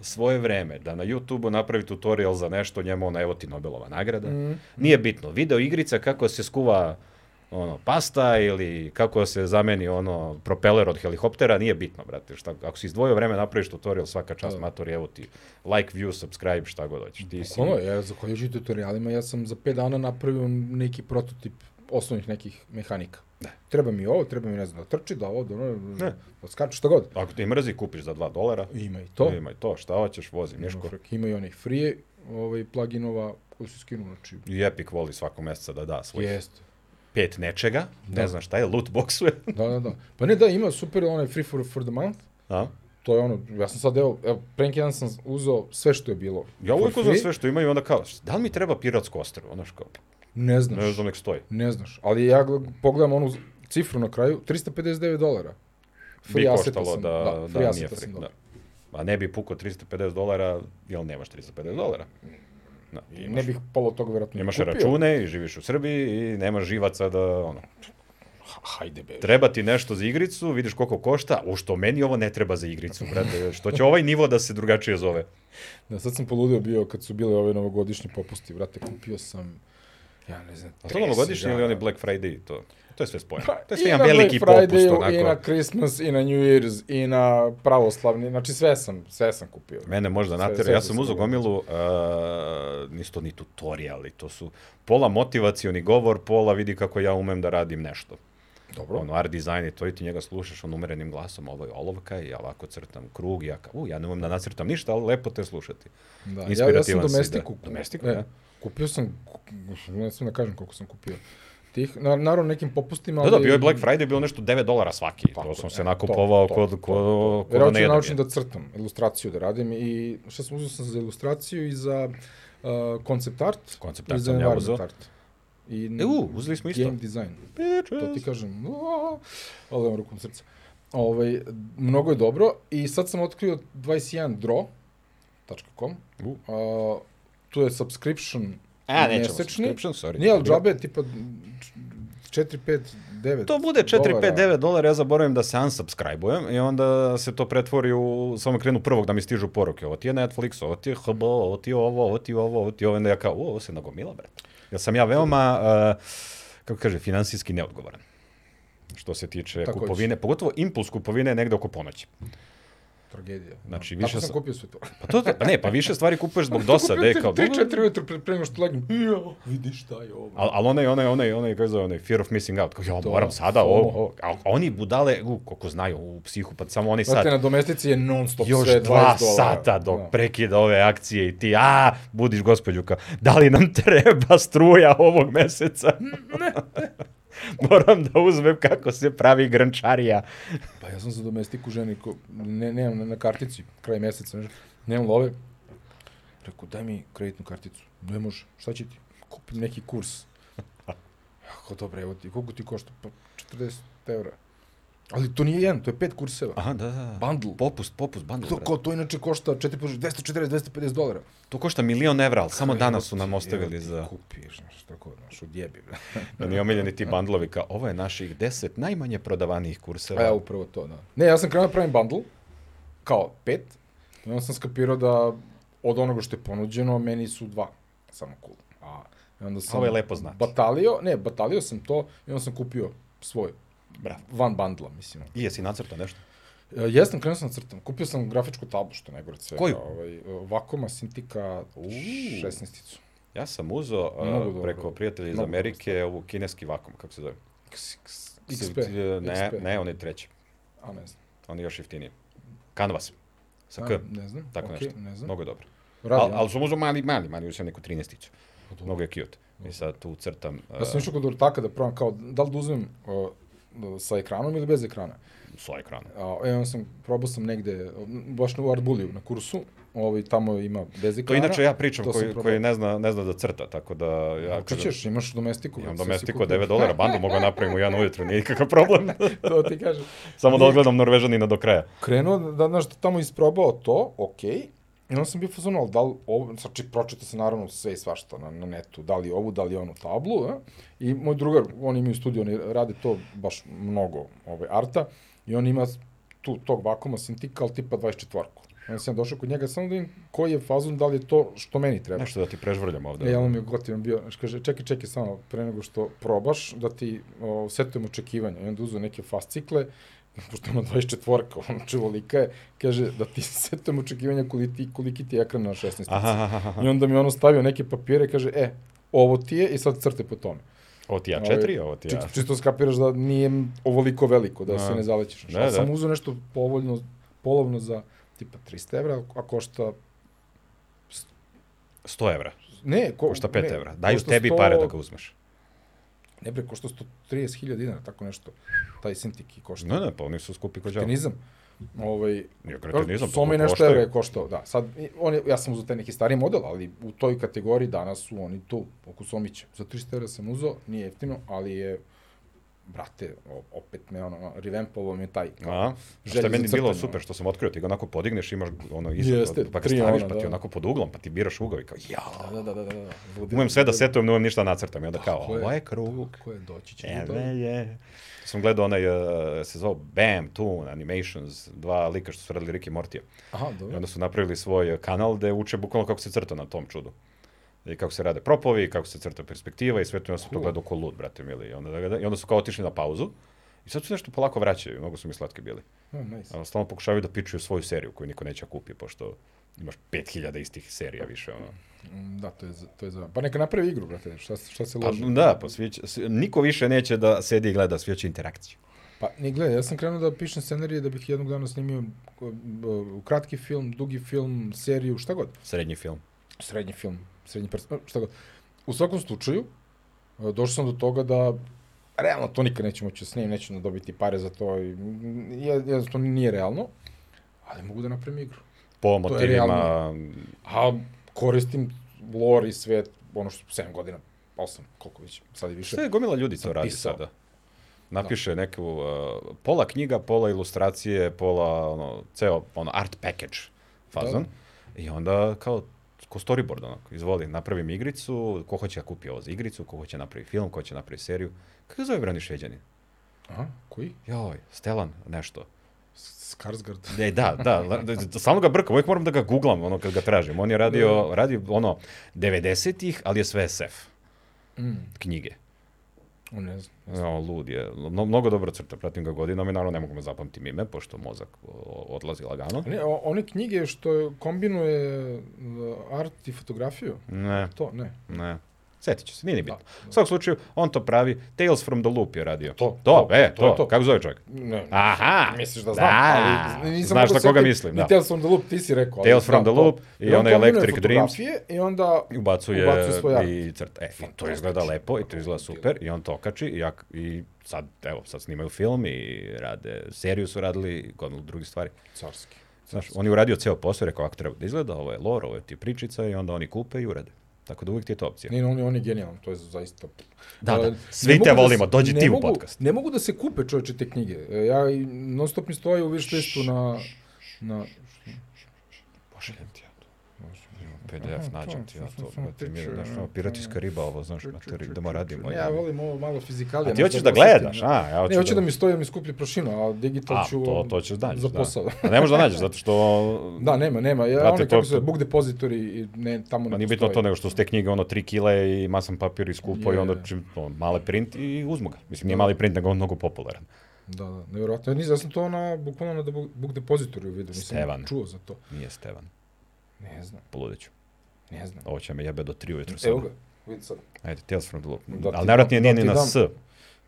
S2: svoje vreme da na YouTube-u napravi tutorial za nešto, njemu ona, evo ti Nobelova nagrada.
S1: Mm.
S2: Nije bitno, video igrica kako se skuva ono, pasta ili kako se zameni ono propeler od helikoptera, nije bitno, brate. Šta, ako si izdvojio vreme, napraviš tutorial svaka čast,
S1: Da.
S2: matori, evo ti like, view, subscribe, šta god hoćeš. Ti si...
S1: Ono, ja zahvaljujući tutorialima, ja sam za 5 dana napravio neki prototip osnovnih nekih mehanika. Da. Treba mi ovo, treba mi ne znam da trči, da ovo, da ono,
S2: Ne.
S1: da skače, šta god.
S2: Ako ti mrzi, kupiš za 2 dolara.
S1: Ima i to.
S2: Ima i to, šta hoćeš, vozi,
S1: Ima
S2: Miško.
S1: frke. Ima i onih free ovaj, pluginova koji su skinu, znači,
S2: I Epic voli svakog mjeseca da da svojih
S1: jeste.
S2: pet nečega, ne
S1: Da.
S2: znam šta je, loot boxuje.
S1: Da, da, da. Pa ne, da, ima super onaj free for, for the month,
S2: A?
S1: To je ono, ja sam sad, evo, evo pre neki dan sam uzeo sve što je bilo.
S2: Ja uvijek
S1: for
S2: uzmem
S1: free.
S2: sve što imaju, onda kao, da li mi treba piratsko ostrvo? Ono što,
S1: Ne znaš.
S2: ne znam, nek stoji.
S1: Ne znaš, ali ja gle- pogledam onu cifru na kraju, 359 dolara.
S2: bi
S1: asseta
S2: koštalo
S1: sam-
S2: da, da,
S1: free
S2: nije
S1: asseta
S2: free.
S1: sam
S2: Da.
S1: dobio.
S2: A ne bi pukao 350 dolara, jel nemaš 350 dolara? Da, ti
S1: I
S2: imaš,
S1: Ne bih polo toga vjerojatno ni
S2: imaš
S1: kupio.
S2: račune i živiš u Srbiji i nemaš živaca da, ono,
S1: Ha- Hajde be.
S2: treba ti nešto za igricu, vidiš koliko košta, u što meni ovo ne treba za igricu, brate, što će ovaj nivo da se drugačije zove.
S1: Da, sad sam poludeo bio kad su bile ove novogodišnje popusti, vrate, kupio sam, ja ne znam,
S2: A to
S1: 30
S2: novogodišnji ili
S1: dana.
S2: oni Black Friday, to, to je sve spojeno. To je sve
S1: da, Pa I
S2: jedan
S1: na
S2: veliki
S1: Black
S2: popust,
S1: Fridayu, I na
S2: onako.
S1: Christmas, i na New Year's, i na pravoslavni, znači sve sam, sve sam kupio.
S2: Mene možda
S1: Sve-
S2: natera,
S1: sve
S2: ja
S1: za
S2: sam uzao
S1: sebe.
S2: gomilu, uh, nisu to ni tutoriali, to su pola motivacioni govor, pola vidi kako ja umem da radim nešto.
S1: Dobro.
S2: Ono, art design i to i ti njega slušaš on umerenim glasom, ovo je olovka i ja ovako crtam krug, i ja kao, u, ja ne umem da nacrtam ništa, ali lepo te slušati.
S1: Da, ja, ja sam
S2: Inspirativan si,
S1: domestiku.
S2: da. Domestiku,
S1: ne,
S2: da.
S1: Kupio sam, ku- ne sam da kažem koliko sam kupio. Tih, na, naravno nekim popustima,
S2: Da,
S1: ali...
S2: da, bio je Black Friday, bilo nešto 9 dolara svaki,
S1: Tako
S2: to
S1: je,
S2: sam se
S1: e,
S2: nakupovao
S1: to,
S2: kod,
S1: to,
S2: kod,
S1: to.
S2: kod, kod
S1: Vjerojatno
S2: ne
S1: ću
S2: jedem
S1: naučim
S2: je.
S1: da crtam, ilustraciju da radim i šta sam uzeo sam za ilustraciju i za koncept art.
S2: Concept
S1: i
S2: art
S1: za
S2: sam ja
S1: environment
S2: uzeo.
S1: art. I
S2: E, u, uzeli smo isto. E,
S1: Game design. To ti kažem, uaa, ali imam rukom srca. Ovaj, mnogo je dobro i sad sam otkrio 21draw.com.
S2: U.
S1: A, tu je subscription
S2: A, nećemo
S1: mesečni.
S2: subscription, sorry.
S1: Nije, ali džabe, tipa 4, 5, 9
S2: To bude 4-5-9 dolara, ja zaboravim da se unsubscribe-ujem i onda se to pretvori u, samo krenu prvog da mi stižu poruke, ovo ti je Netflix, ovo ti je HBO, ovo ti je ovo, ovo ti je ovo, ovo ti je ovo, onda ja kao, "U, ovo se nagomila, brate. Ja sam ja veoma, uh, kako kaže, finansijski neodgovoran što se tiče
S1: Takođe.
S2: kupovine, pogotovo impuls kupovine je negde oko ponoći.
S1: tragedija.
S2: Znači,
S1: Tako
S2: više
S1: sam
S2: sa-
S1: kupio sve to.
S2: Pa to, pa ne, pa više stvari kupuješ zbog "Hm." dosade, kao,
S1: 3-4 ujutru pre, pre nego što legnem. Jo, vidi šta je ovo.
S2: Al, al onaj, onaj, onaj, onaj, kako se zove, onaj, fear of missing out, kao, ja
S1: To,
S2: moram sada,
S1: FOMO.
S2: ovo, ovo. A oni budale, u, koliko znaju u psihu, pa samo oni sad,
S1: Znate, na domestici je non stop
S2: još
S1: sve 20
S2: dva
S1: dolara.
S2: sata dok
S1: Da.
S2: prekida ove akcije i ti, a, budiš gospođu kao, da li nam treba struja ovog meseca? Moram da uzmem kako se pravi grančarija.
S1: Pa ja sam za domestiku ženi, ko, ne, nemam na, na kartici, kraj meseca, ne, nemam love. Rekao, daj mi kreditnu karticu. Ne može, šta će ti? Kupim neki kurs. Ako dobro, evo ti, koliko ti košta? Pa 40 evra. Ali to nije jedan, to je pet kurseva.
S2: Aha, da, da.
S1: Bundle.
S2: Popust, popust, bundle.
S1: To,
S2: brate.
S1: ko, to inače košta 4 puta 240, 250 dolara.
S2: to košta milion evra, ali samo
S1: Evo
S2: danas
S1: ti,
S2: su nam
S1: evo
S2: ostavili
S1: ti
S2: za...
S1: Kupiš, znaš, tako, znaš, odjebi. bre.
S2: Meni je omiljeni ti bandlovi kao, ovo je naših deset najmanje prodavanijih kurseva.
S1: A ja upravo to, da. Ne, ja sam krenuo da pravim bundle, kao pet, i onda sam skapirao da od onoga što je ponuđeno, meni su dva, samo cool. A, i onda sam
S2: Ovo je lepo znači. znati.
S1: Batalio, ne, batalio sam to i onda sam kupio svoj,
S2: Bravo.
S1: van bundla, mislim.
S2: I jesi nacrtao nešto?
S1: E, jesam, krenuo sam da crtam. Kupio sam grafičku tablu, što je najgore od svega.
S2: Koju?
S1: Ovaj, Vakoma Sintika 16-icu.
S2: Ja sam uzeo uh,
S1: Mnogo dobro.
S2: preko prijatelja iz
S1: Mnogo
S2: Amerike ovu kineski vakum, kako se zove?
S1: X- X-
S2: Sil-
S1: XP.
S2: Ne, ne, on je treći.
S1: A, ne znam.
S2: On je još jeftiniji. Canvas. Sa
S1: A,
S2: K.
S1: Ne znam,
S2: Tako
S1: okej,
S2: nešto.
S1: ne znam.
S2: Mnogo je dobro.
S1: da. Radi,
S2: Ali
S1: a?
S2: al sam uzeo mali, mali, mali, uzeo neku 13-iću.
S1: Pa dobro.
S2: Mnogo je cute. I sad tu crtam.
S1: Ja sam
S2: uh,
S1: išao kod ortaka da probam kao, da li da uzmem uh, sa ekranom ili bez ekrana.
S2: sa ekrana.
S1: A, e, onda sam, probao sam negde, m, baš u Arbuliju na kursu, ovaj, tamo ima bez
S2: To
S1: ekrana.
S2: inače ja pričam
S1: to sam
S2: koji,
S1: probao.
S2: koji ne, zna, ne zna da crta, tako da... Ja
S1: Kako ćeš, imaš domestiku.
S2: Imam
S1: brate, sad si
S2: domestiko
S1: kupio.
S2: 9 dolara, bandu mogu da napravim u jedan ujutru, nije nikakav problem.
S1: to ti kažem.
S2: Samo da odgledam Norvežanina do kraja.
S1: Krenuo, da, znaš, tamo isprobao to, okej, I onda sam bio fazon, ali da li ovo, znači pročito sam naravno sve i svašta na, na netu, da li ovu, da li onu tablu, a? i moj drugar, oni imaju studio, oni rade to baš mnogo ovaj, arta, i on ima tu tog vakuma sintika, ali tipa 24. Onda sam ja došao kod njega, samo da im koji je fazon, da li je to što meni treba.
S2: Nešto da ti prežvrljam ovde.
S1: Da. E, on mi je gotivan bio, znači, kaže, čekaj, čekaj samo, pre nego što probaš, da ti o, setujem očekivanja. I onda uzeo neke fascikle, pošto ima 24-ka, ono čuvolika je, kaže, da ti setujem očekivanja koliki ti, koliki ti je ekran na 16.
S2: Aha, aha, aha.
S1: I onda mi je ono stavio neke papire, kaže, e, ovo ti je i sad crte po tome.
S2: Ovo ti ja
S1: Ovaj,
S2: četiri, ovo ti ja...
S1: Čisto, čisto skapiraš da nije ovoliko veliko, da se
S2: Da.
S1: ne zalećeš.
S2: Da,
S1: Da, da.
S2: da.
S1: Sam uzeo nešto povoljno, polovno za tipa 300 evra, a košta
S2: 100 evra,
S1: Ne, ko,
S2: košta 5
S1: ne,
S2: evra. Daju
S1: košta
S2: tebi
S1: 100
S2: pare da ga uzmeš.
S1: Ne bre, košta 130.000 dinara, tako nešto. Taj sintiki košta.
S2: Ne, ne, pa oni su skupi kođava.
S1: Kretinizam. Ovaj,
S2: Nije kretinizam, pa
S1: Soma i
S2: koliko
S1: nešto
S2: koštaju?
S1: evra je koštao, da. Sad, i on je, ja sam uzao taj neki stari model, ali u toj kategoriji danas su oni tu, oko Somića. Za 300 evra sam uzao, nije jeftino, ali je, brate, o- opet me ono, ono revampovao mi je taj.
S2: A, što
S1: Želje
S2: je meni
S1: za
S2: bilo
S1: crtanje,
S2: super
S1: ono.
S2: što sam otkrio, ti ga onako podigneš, imaš ono ispod,
S1: Jeste,
S2: pa ga
S1: tri
S2: staviš,
S1: ona,
S2: pa ti
S1: da.
S2: onako pod uglom, pa ti biraš ugao i kao, ja,
S1: Da, da, da, da, da. da.
S2: umem sve da setujem, ne umem ništa da nacrtam. I onda kao,
S1: Tako je.
S2: ovo je krug, E,
S1: Ko je doći će
S2: Eve
S1: do
S2: je. Sam gledao onaj, uh, se zvao Bam, Toon, Animations, dva lika što su radili Ricky Mortija.
S1: Aha,
S2: I
S1: dobro.
S2: onda su napravili svoj uh, kanal gde uče bukvalno kako se crta na tom čudu. I kako se rade propovi, kako se crta perspektiva i sve to. I onda sam to
S1: Cool.
S2: gledao ko lud, brate mili. I onda, da- I onda su kao otišli na pauzu. I sad su nešto polako vraćaju, mnogo su mi slatke bili.
S1: Oh, nice.
S2: Ali stalno pokušavaju da pičuju svoju seriju koju niko neće da kupi, pošto imaš 5000 istih serija više. Ono.
S1: Mm, Da, to je, za- to je za... Pa neka napravi igru, brate, šta, se- šta se
S2: Pa,
S1: loži.
S2: da, pa svi će, svi- niko više neće da sedi i gleda, svi hoće interakciju.
S1: Pa, ne, gledaj, ja sam krenuo da pišem scenarije da bih jednog dana snimio k- b- kratki film, dugi film, seriju, šta god.
S2: Srednji film.
S1: Srednji film, srednji pers, šta god. U svakom slučaju, e, došao sam do toga da realno to nikad neću moći da snimim, neću da dobiti pare za to, i, mm, je- jednostavno nije realno, ali mogu da napravim igru.
S2: Po
S1: je
S2: motivima
S1: realno. A koristim lore i svet, ono što 7 godina osam, koliko već, sad i više.
S2: Sve je gomila ljudi to radi
S1: Napisao.
S2: sada. Napiše neku, uh, pola knjiga, pola ilustracije, pola, ono, ceo, ono, art package fazon. I onda, kao, ko storyboard, onako, izvoli, napravim igricu, ko hoće da kupi ovo za igricu, ko hoće da napravi film, ko hoće napravi seriju. Kako se zove brani šveđanin?
S1: Aha, koji?
S2: Joj, Stelan, nešto.
S1: Skarsgard.
S2: E, da, da, la- da, da, stalno ga brkam, uvijek moram da ga googlam, ono, kad ga tražim. On je radio,
S1: Da.
S2: radi, ono, 90-ih, ali je sve SF
S1: Mm.
S2: knjige.
S1: O, ne znam. ne znam.
S2: No, lud je. Mno, mnogo dobro crta, pratim ga godinama i naravno ne mogu me zapamtim ime, pošto mozak o, odlazi lagano.
S1: Ne, o- one knjige što kombinuje uh, art i fotografiju,
S2: Ne,
S1: to ne.
S2: ne. Sjetit ću se, nije ni bitno.
S1: Da,
S2: U svakom slučaju, on to pravi, Tales from the Loop je radio.
S1: To,
S2: to,
S1: to,
S2: e,
S1: to je
S2: to,
S1: to.
S2: kako zove čovjek?
S1: Ne, ne.
S2: Aha!
S1: Misliš da znam,
S2: da,
S1: ali nisam
S2: znaš
S1: mogao
S2: na koga
S1: setim,
S2: mislim,
S1: Ni
S2: da.
S1: Tales from the Loop ti si rekao. ali
S2: Tales
S1: znam
S2: from the
S1: to.
S2: Loop i
S1: on
S2: onaj
S1: kombinuje
S2: Electric Dreams.
S1: fotografije I onda
S2: I ubacuje,
S1: Ubacuje svoj art.
S2: i crta. E, i to izgleda lepo i to izgleda super i on to okači i, ja, i sad, evo, sad snimaju film i rade, seriju su radili i gomilu drugih stvari.
S1: carski.
S2: Znaš, on je uradio ceo posao, rekao ako treba da izgleda, ovo je lore, ovo je ti pričica i onda oni kupe i urade. Tako da uvijek ti je to opcija.
S1: Ne, on je, on je genijalan, to je zaista...
S2: Da, da,
S1: E, ne
S2: svi te
S1: mogu se-
S2: volimo, dođi
S1: ne
S2: ti u
S1: mogu-
S2: podcast.
S1: Ne mogu da se kupe čoveče te knjige. E, Ja i non stop mi stoje u wish listu na... na
S2: Pošaljem ti ja to.
S1: Može.
S2: Imam PDF,
S1: Aha,
S2: nađem
S1: to,
S2: ti ja
S1: to,
S2: to.
S1: samo
S2: brate, mi je,
S1: picture,
S2: Znaš,
S1: ono,
S2: ono, piratijska riba ovo, znaš, materi, idemo radimo.
S1: Ne, ja
S2: ja.
S1: volim ovo malo fizikalije.
S2: A ti
S1: znaš,
S2: hoćeš da
S1: posjetim,
S2: gledaš,
S1: da.
S2: a? Ja
S1: Ne, hoću da mi stoji, da mi skuplji prašina, a digital
S2: A,
S1: ću
S2: to, to ćeš da nađeš,
S1: za
S2: da.
S1: posao.
S2: A ne možeš da nađeš, zato što...
S1: Da, nema, nema. Ja,
S2: Brate,
S1: Brate, ono, kako
S2: to-
S1: se, book depository, i ne, tamo ne
S2: Ma nije bitno to nego što su te knjige ono 3 kile i masan papir i skupo i
S1: Je.
S2: onda čim on, male print i uzmu ga. Mislim, nije mali print, nego on mnogo popularan.
S1: Da, da, nevjerojatno. Ja nisam, ja sam to na, bukvalno na book book depository vidio. Nisam
S2: Stevan.
S1: čuo za to.
S2: Nije Stevan,
S1: Ne znam,
S2: poludeću.
S1: ne znam.
S2: Ovo će me jebe do 3 ujutru sada.
S1: Evo ga, vidi sad.
S2: Ajde, Tales from the Loop.
S1: Da ti
S2: Ali najvratnije
S1: dam-
S2: nije
S1: da
S2: ni
S1: ti
S2: na
S1: dam.
S2: S.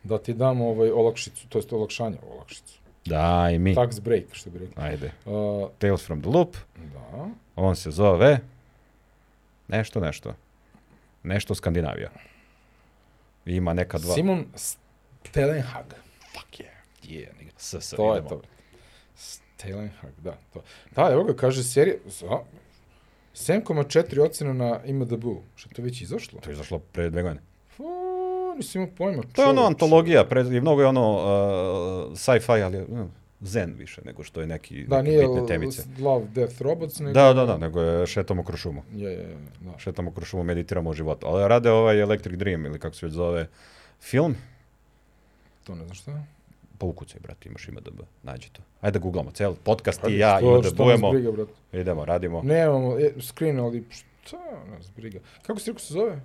S1: Da ti dam ovaj olakšicu, to jest olakšanje, olakšicu.
S2: Da, i mi.
S1: Tax break, što bi rekli.
S2: Ajde.
S1: Uh,
S2: Tales from the Loop,
S1: da,
S2: on se zove nešto, nešto. Nešto Skandinavija. I Ima neka dva.
S1: Simon Stelenhag.
S2: Fuck yeah. Yeah, nigga. S, S,
S1: To je
S2: idemo.
S1: to. Stelenhag, da, to. Da, evo ga, kaže serija, za, 7,4 ocena na IMDb-u, što je to već izašlo?
S2: To je izašlo pre dve godine.
S1: Fu, nisam imao pojma.
S2: To je ono
S1: čoveče.
S2: antologija, pre, i mnogo je ono uh, sci-fi, ali mm, zen više nego što je neki
S1: Da,
S2: neke
S1: nije
S2: bitne temice.
S1: Love, Death, Robots, nego...
S2: Da, da, da, nego je šetamo kroz šumu.
S1: Je, je, je, da.
S2: Šetamo kroz šumu, meditiramo o životu. Ali rade ovaj Electric Dream ili kako se već zove film.
S1: To ne znam šta je.
S2: Pa ukucaj, brate, imaš IMDB, nađi to. Ajde da googlamo, cel podcast i
S1: Ajde,
S2: ja
S1: što- što nas
S2: IMDB-ujemo,
S1: briga, brate.
S2: idemo, radimo.
S1: Nemamo e, screen, ali šta nas briga. Kako se rekao se zove?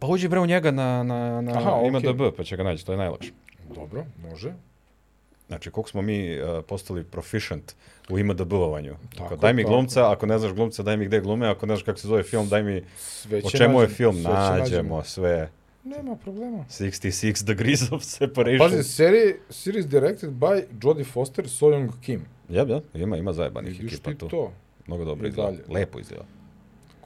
S2: Pa uđi bre u njega na, na, na
S1: Aha, okej.
S2: IMDB, pa će ga naći, to je najlakše.
S1: Dobro, može.
S2: Znači, koliko smo mi uh, postali proficient u IMDB-ovanju.
S1: Tako, pa.
S2: daj mi
S1: tako.
S2: glumca, ako ne znaš glumca, daj mi gde glume, ako ne znaš kako se zove film, daj mi
S1: Sve
S2: o
S1: će
S2: čemu je
S1: nađemo,
S2: film,
S1: sve će
S2: nađemo sve.
S1: Nema problema.
S2: 66 degrees of separation.
S1: Pazi, seri, series directed by Jodie Foster, Sojong Kim.
S2: Jeb, jeb, ima, ima zajebanih
S1: Vidiš
S2: Pa ekipa
S1: ti
S2: tu.
S1: to?
S2: Mnogo dobro
S1: I
S2: izgleda,
S1: dalje.
S2: lepo izgleda.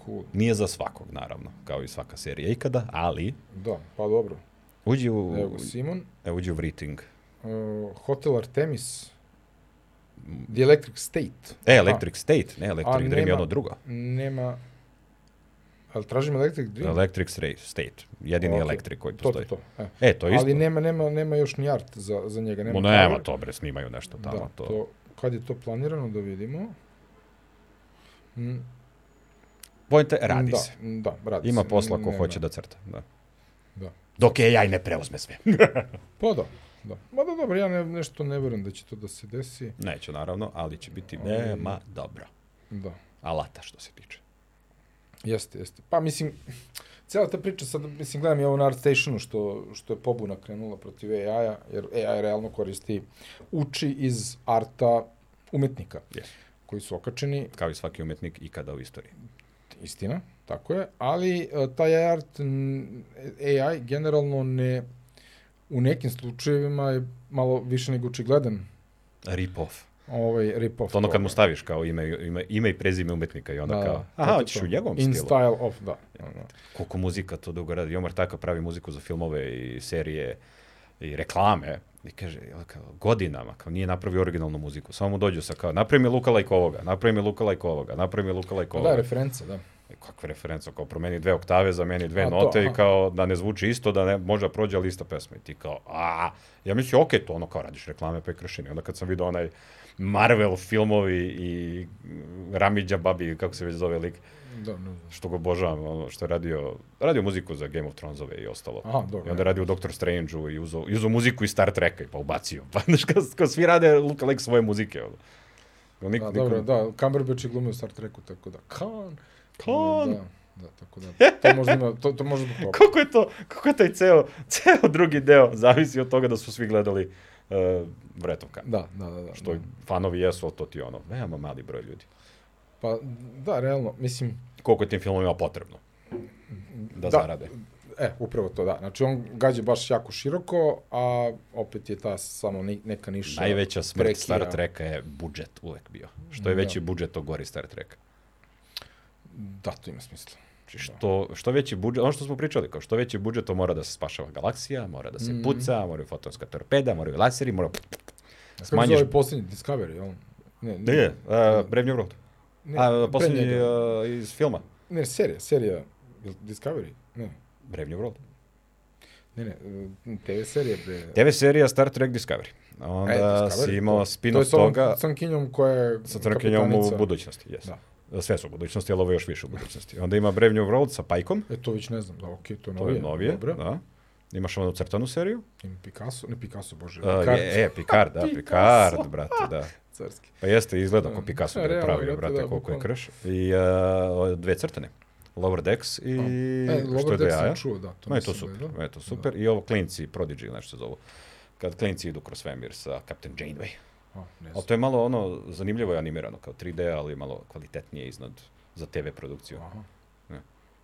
S1: Cool.
S2: Nije za svakog, naravno, kao i svaka serija ikada, ali
S1: Da, pa dobro.
S2: uđi u,
S1: Evo ga, Simon.
S2: e, uđi u rating.
S1: Uh, Hotel Artemis. The Electric State.
S2: E, Electric State, ne Electric Dream je
S1: Pa. nema-
S2: ono drugo.
S1: Nema... Ali tražim Electric Dream?
S2: Electric Stra- State, jedini
S1: Ok,
S2: Electric koji
S1: to, to,
S2: postoji.
S1: to. E.
S2: E, to je isto.
S1: Ali nema, nema, nema još ni art za, za njega. Nema,
S2: Mo, nema
S1: cover.
S2: to, bre, snimaju nešto tamo.
S1: da,
S2: to.
S1: Kad je to planirano da vidimo? Mm,
S2: Pojente, radi
S1: da,
S2: se.
S1: mm, Da, radi
S2: Ima
S1: se.
S2: posla ko
S1: Nema.
S2: hoće da crta. Da.
S1: Da.
S2: Dok je AI ne preuzme sve.
S1: Pa da, da. Ma da, dobro, ja ne, nešto ne verujem da će to da se desi.
S2: Neće, naravno, ali će biti
S1: Ali-
S2: nema dobro.
S1: Da,
S2: Alata, što se tiče.
S1: jeste, jeste. Pa mislim, cijela ta priča sad, mislim, gledam i ovo na ArtStationu što, što je pobuna krenula protiv AI-a, jer AI realno koristi, uči iz arta umetnika
S2: Jeste.
S1: koji su okačeni,
S2: Kao i svaki umetnik ikada u istoriji.
S1: Istina, tako je, ali e, taj art n- AI generalno ne u nekim slučajevima je malo više nego očigledan
S2: Rip-off.
S1: ovaj rip-off.
S2: To ono kad mu
S1: toga.
S2: staviš kao ime, ime, ime i prezime umetnika i onda
S1: Da,
S2: kao,
S1: da,
S2: aha,
S1: to je
S2: hoćeš
S1: to.
S2: u njegovom
S1: In
S2: stilu.
S1: style of, da. ono.
S2: Koliko muzika to dugo radi. Jomar Taka pravi muziku za filmove i serije i reklame. I kaže, jel, kao, godinama, kao nije napravio originalnu muziku. Samo mu dođu sa kao, napravi mi Luka Lajkovoga, napravi mi Luka Lajkovoga, napravi mi Luka
S1: Da,
S2: Lajkovoga.
S1: referenca, da.
S2: kakva referenca, E, kao promeni dve oktave, zameni dve
S1: A, to,
S2: note i
S1: aha.
S2: kao da ne zvuči isto, da ne, možda prođe, ali ista pesma. I ti kao, a ja mislim, okej, to ono kao radiš reklame prekršine. Onda kad sam vidio onaj Marvel filmovi i mm, Ramidja Babi, kako se već zove lik,
S1: Da, ne znam.
S2: što ga obožavam, ono što je radio, radio muziku za Game of Thronesove i ostalo.
S1: Aha, dobro.
S2: I onda je radio u Doctor Strange-u i uzao, i uzao muziku iz Star Treka i pa ubacio. Pa, znaš, kao, kao svi rade Luka Lake svoje muzike, ono. Kao Nik,
S1: Da,
S2: nikom-
S1: dobro, da, Cumberbatch je glumio u Star Treku, tako da, Khan.
S2: Khan!
S1: Da, da, tako da, to možda ima, to, to možda zbog toga.
S2: Kako je to, kako je taj ceo, ceo drugi deo zavisi od toga da su svi gledali uh, Vretovka.
S1: Da, da, da, da.
S2: Što
S1: da.
S2: fanovi jesu, ali to ti je ono, veoma mali broj ljudi.
S1: Pa, da, realno, mislim,
S2: Koliko je tim filmovima potrebno da,
S1: Da.
S2: zarade.
S1: E, upravo to, da. Znači, on gađa baš jako široko, a opet je ta samo ni- neka niša.
S2: Najveća smrt
S1: prekija.
S2: Star Treka je budžet uvek bio. Što je
S1: Da.
S2: veći budžet, to gori Star Treka.
S1: Da, to ima smisla.
S2: Znači,
S1: da.
S2: što, što veći budžet, ono što smo pričali, kao što veći budžet, to mora da se spašava galaksija, mora da se
S1: Mhm.
S2: puca, moraju fotonska torpeda, moraju laseri, mora...
S1: Smanjiš...
S2: Smanjiš...
S1: Kako je posljednji Discovery, jel? Ne,
S2: Ne, ne, uh, Brave New World.
S1: ne,
S2: A,
S1: pre
S2: poslednji
S1: njega.
S2: uh, iz filma.
S1: Ne, serija, serija, jel Discovery? Ne,
S2: Brave New World.
S1: ne, ne, e, TV serije, bre.
S2: TV serija Star Trek Discovery. Onda
S1: E, Discovery,
S2: si imao
S1: to-
S2: spin-off
S1: To je s
S2: toga
S1: ovom crnkinjom koja je
S2: sa crnkinjom u
S1: kapitanica.
S2: budućnosti. Yes.
S1: Da.
S2: Sve su u budućnosti, ali ovo je još više u budućnosti. Onda ima Brave New World sa Pajkom,
S1: E, to već ne znam, da, okej, to je
S2: to
S1: novije.
S2: je novije.
S1: Dobro.
S2: Da. Imaš onu crtanu seriju.
S1: Ima Picasso, ne Picasso, bože,
S2: Uh,
S1: Picard,
S2: je, e, Picard, da,
S1: Picasso.
S2: Picard, brate, da.
S1: carski.
S2: Pa jeste, izgleda kao
S1: Da.
S2: Picasso
S1: E,
S2: da je
S1: realno,
S2: pravio,
S1: brate,
S2: brate,
S1: da,
S2: koliko je
S1: bukvalno.
S2: krš. I uh, dve crtane. Lower Decks i...
S1: E,
S2: što je
S1: Lower
S2: do
S1: Decks
S2: jaja.
S1: sam čuo, da, to
S2: Ma je to
S1: nisam
S2: super,
S1: gledao.
S2: ma je to super. I ovo klinci, Prodigy, nešto se zovu. Kad klinci idu kroz svemir sa Captain Janeway.
S1: A, ne
S2: Ali
S1: znam.
S2: to je malo ono, zanimljivo je animirano, kao 3D, ali malo kvalitetnije iznad za TV produkciju.
S1: Aha,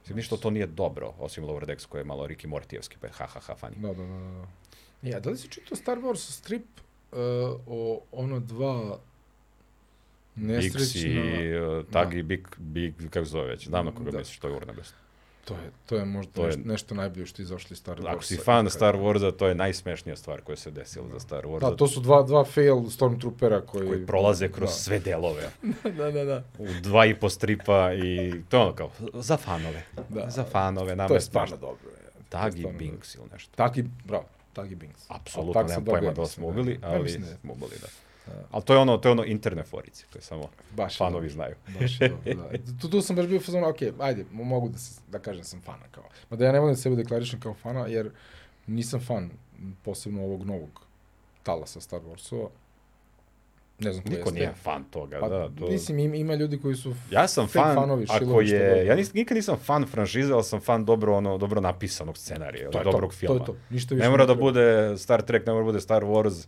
S2: Mislim, ništa to nije dobro, osim Lower Decks koji je malo Ricky Mortijevski, pa je ha ha ha funny.
S1: da, da, da, da, da. Ja, da li si čitao Star Wars strip uh, o ono dva
S2: Biggs i
S1: nesrećna...
S2: uh, Tagi, Big, Big, kako se zove već, znam na koga
S1: Da.
S2: misliš, to je urna best.
S1: To je, to je možda
S2: To je-
S1: nešto, nešto najbolje što je izašlo iz Star така. Warsa.
S2: Ako si fan Star Warsa, to je najsmešnija stvar koja se desila za Star Warsa.
S1: Da, to su dva, dva fail Stormtroopera да. koji...
S2: koji prolaze kroz
S1: Da.
S2: sve delove.
S1: da, da, da.
S2: U dva i po stripa i to je ono kao, za fanove.
S1: Da.
S2: Za fanove. Nama
S1: To je
S2: stvarno
S1: stvarno dobro. je. To je
S2: Tagi
S1: stvarno dobro.
S2: Binks ili nešto.
S1: Tagi, bravo, Tagi Binks.
S2: Apsolutno,
S1: A tak sam
S2: nemam
S1: dobio,
S2: pojma da li
S1: mislim,
S2: smo ubili,
S1: da. Ja
S2: ali
S1: mislim da je.
S2: smo ubili, da.
S1: Da.
S2: Ali to je ono, to je ono interne forice, to je samo
S1: Baš je dobro.
S2: fanovi znaju.
S1: Baš je dobro, da. Tu, tu sam baš bio fazon, ok, ajde, mo- mogu da, se, da kažem da sam fana kao. Mada ja ne volim da sebe deklarišem kao fana, jer nisam fan posebno ovog novog talasa Star Warsova. Ne znam ko
S2: Niko
S1: jeste.
S2: nije fan toga,
S1: Pa,
S2: da. To...
S1: Mislim, im, ima ljudi koji su f-
S2: ja sam
S1: fake
S2: fan,
S1: fanovi,
S2: ako
S1: šilovi, što
S2: je,
S1: god.
S2: ja nis, nikad nisam fan franšize, ali sam fan dobro, ono, dobro napisanog scenarija,
S1: To je to,
S2: dobrog filma.
S1: To je to, ništa više.
S2: Ne mora da
S1: treba.
S2: bude Star Trek, ne mora da bude Star Wars,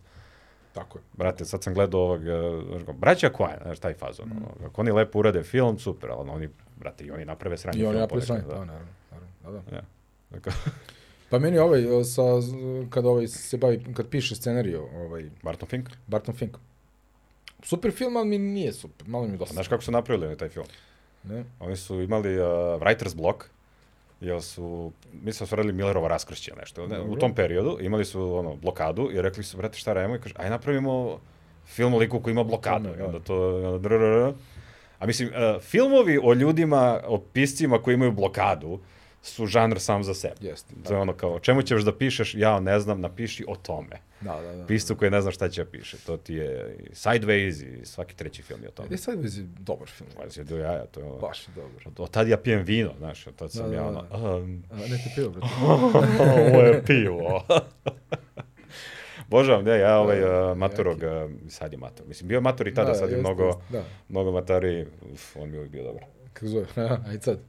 S1: Tako je.
S2: Brate, sad sam gledao ovog, eh, znaš kao, braća Koja, znaš, taj fazon.
S1: Mm.
S2: Ono, ako oni lepo urade film, super, ali oni, brate, i oni naprave sranje
S1: I on je
S2: film
S1: napravio
S2: ponekad,
S1: sranje, da, naravno, naravno, da, da.
S2: Da. Dakle,
S1: Pa meni ovaj, o, sa, z- kad ovaj se bavi, kad piše scenariju, ovaj,
S2: Barton Fink,
S1: Barton Fink. Super film, ali mi nije é super, malo mi je
S2: Pa
S1: dosta.
S2: znaš kako su napravili oni taj film?
S1: Ne?
S2: Oni su imali uh, writer's block, jer su, mislim da su radili Millerova raskršća nešto, ne, u
S1: Dobro.
S2: tom periodu imali su ono, blokadu i rekli su, brate, šta radimo? I kaže, aj napravimo film o liku koji ima blokadu.
S1: Tome,
S2: I
S1: da.
S2: onda to, i onda drrrr. A mislim, uh, filmovi o ljudima, o piscima koji imaju blokadu, su žanr sam za sebe.
S1: Jeste.
S2: To je ono kao, o čemu ćeš da pišeš, ja ne znam, napiši o tome.
S1: Da, da, da.
S2: Piscu koji ne zna šta će da piše. To ti je i Sideways i svaki treći film je o tome.
S1: E, sad je dobar film.
S2: Pazi, do jaja, Pa to je ono.
S1: Baš je dobar.
S2: Od, od tad ja pijem vino, znaš, od tad sam
S1: Da,
S2: ja
S1: da,
S2: ono, um,
S1: A, ne te pivo, brate.
S2: ovo je pivo. Božavam, ne, ja ovaj
S1: Da,
S2: uh, matorog, uh, sad je mator, mislim, bio je mator i tada, sad je
S1: jeste,
S2: mnogo,
S1: jeste, Da,
S2: mnogo matari, uf, on mi je uvijek bio dobar.
S1: kako zove, ajde sad.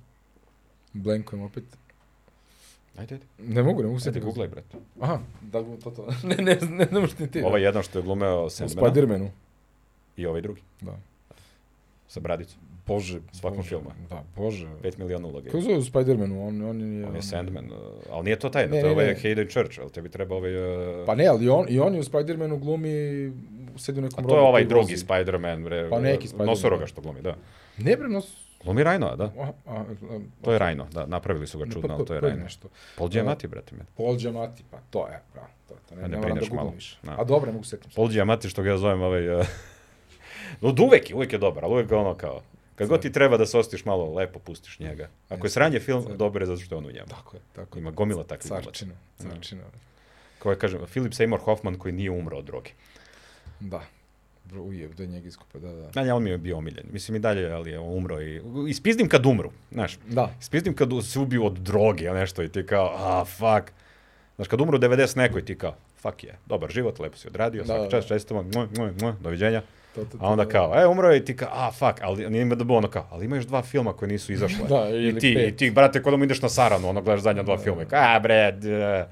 S1: Blankujem opet.
S2: Ajde, ajde,
S1: Ne mogu, ne mogu se.
S2: ajde, googlaj, brate.
S1: Aha, da gu- to to. ne, ne, ne, ne možeš ni ti. da.
S2: Ovaj jedan što je glumeo
S1: U
S2: Sandmana
S1: Spidermanu.
S2: i ovaj drugi,
S1: Da.
S2: sa bradicom,
S1: Bože.
S2: Svakom
S1: bože.
S2: filma.
S1: Da, bože.
S2: 5 miliona uloga.
S1: Kako zove u Spidermanu? On, on je...
S2: On je É Sandman, uh, ali nije to taj,
S1: Ne,
S2: to je
S1: ne,
S2: ovaj
S1: ne.
S2: Hayden Church, ali tebi treba ovaj... Uh,
S1: Pa ne, é ali on, i on je u Spidermanu glumi, sedi u nekom
S2: a to je
S1: robotu i
S2: ovaj
S1: pa vozi.
S2: drugi Spider-Man, bre, eh,
S1: Pa neki Spider-Man,
S2: Nosoroga
S1: da.
S2: što glumi, da.
S1: Ne bre, nos...
S2: Glumi Rajnoa, da.
S1: A, a,
S2: To je Rajno, da, napravili su ga
S1: Ne,
S2: čudno,
S1: pa,
S2: ali to je
S1: pa,
S2: Rajno.
S1: Nešto.
S2: Paul Giamatti, brate mi.
S1: Paul Giamatti, pa to je, bravo. To, to ne,
S2: A ne
S1: ne, moram da
S2: brineš malo.
S1: googlim više.
S2: Da.
S1: A dobro, ne mogu setim se.
S2: eh, Paul Giamatti, što ga ja zovem ovaj... Uh, no, od uvek je, uvek je dobar, ali uvek ga ono kao... Kad god ti treba da se ostiš malo lepo, pustiš njega. Ako je sranje film, dobar je zato što je on u njemu.
S1: Tako je, tako je.
S2: Ima gomila takvih Da. glumaca.
S1: Carčina, carčina.
S2: Kao je, kažem, Philip Seymour Hoffman koji nije umro od droge.
S1: Da. Bro, ujeb, da je njega iskupa, da, da.
S2: Da, ja, on mi je bio omiljen. Mislim i dalje, ali je umro i... Ispizdim kad umru, znaš.
S1: Da.
S2: Ispizdim kad se ubiju od droge ili nešto i ti kao, a, fuck. Znaš, kad umru 90 neko i ti kao, fuck je, dobar život, lepo si odradio,
S1: Da,
S2: da,
S1: da.
S2: svaki čast, čestito, vam, muah, muah, muah, doviđenja.
S1: To, to, to,
S2: A onda
S1: da.
S2: kao, e, umro je i ti kao, a, fuck, ali nije ima da bilo ono kao, ali ima još dva filma koji nisu izašle.
S1: Da, ili
S2: I ti,
S1: pet.
S2: i ti, brate, kod mu ideš na saranu, ono, gledaš zadnja dva filma i kao, a, bre, d-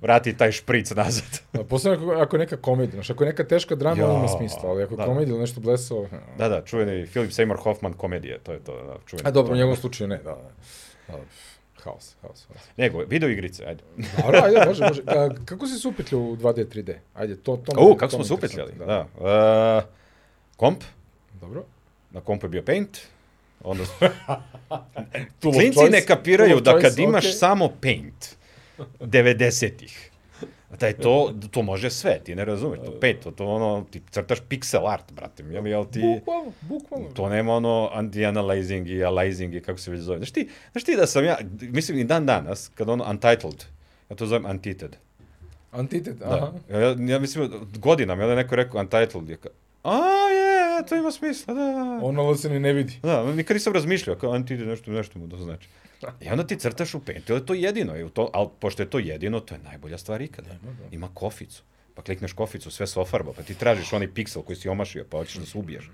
S2: vrati taj špric nazad.
S1: Da, posebno ako, ako je neka komedija, znaš, ako je neka teška drama,
S2: Ja.
S1: ja, ima smisla, ali ako je
S2: Da, da.
S1: komedija ili nešto e, blesao...
S2: da, da, čuveni Philip Seymour Hoffman komedije, to je to, da, čuveni.
S1: A dobro, u
S2: to.
S1: njegovom slučaju ne, da, da. da haos, haos, haos.
S2: Nego, video igrice, ajde.
S1: Dobro, ajde, može, može. Ka, kako si se upetljao u 2D, 3D? Ajde, to... to
S2: U,
S1: me- to
S2: kako smo
S1: me
S2: se upetljali,
S1: interesantno,
S2: da. E, komp,
S1: Dobro.
S2: na kompu je bio Paint, onda smo...
S1: Tool of
S2: Klinci
S1: choice,
S2: ne kapiraju
S1: tool of
S2: da
S1: choice,
S2: kad imaš
S1: okej.
S2: samo Paint 90-ih, da je to, to može sve, ti ne razumeš, to pet, to, to ono, ti crtaš pixel art, brate, jel, jel ti...
S1: Bukvalno, bukvalno.
S2: To nema ono anti-analyzing i aliasing i kako se već zove. Znaš ti, znaš ti da sam ja, mislim i dan danas, kad ono untitled, ja to zovem untitled.
S1: Antitet, aha.
S2: Da. Ja, ja, ja mislim, godinama, jel je neko rekao untitled, ja kao, a je, to ima smisla, da.
S1: Ono ali se ni ne vidi.
S2: Da, nikad nisam razmišljao, kao untitled, nešto, nešto mu to znači. I onda ti crtaš u pentu, ali to je jedino, i u to, ali pošto je to jedino, to je najbolja stvar ikada.
S1: da.
S2: Ima koficu, pa klikneš koficu, sve se ofarba, pa ti tražiš onaj piksel koji si omašio, pa hoćeš da se ubiješ.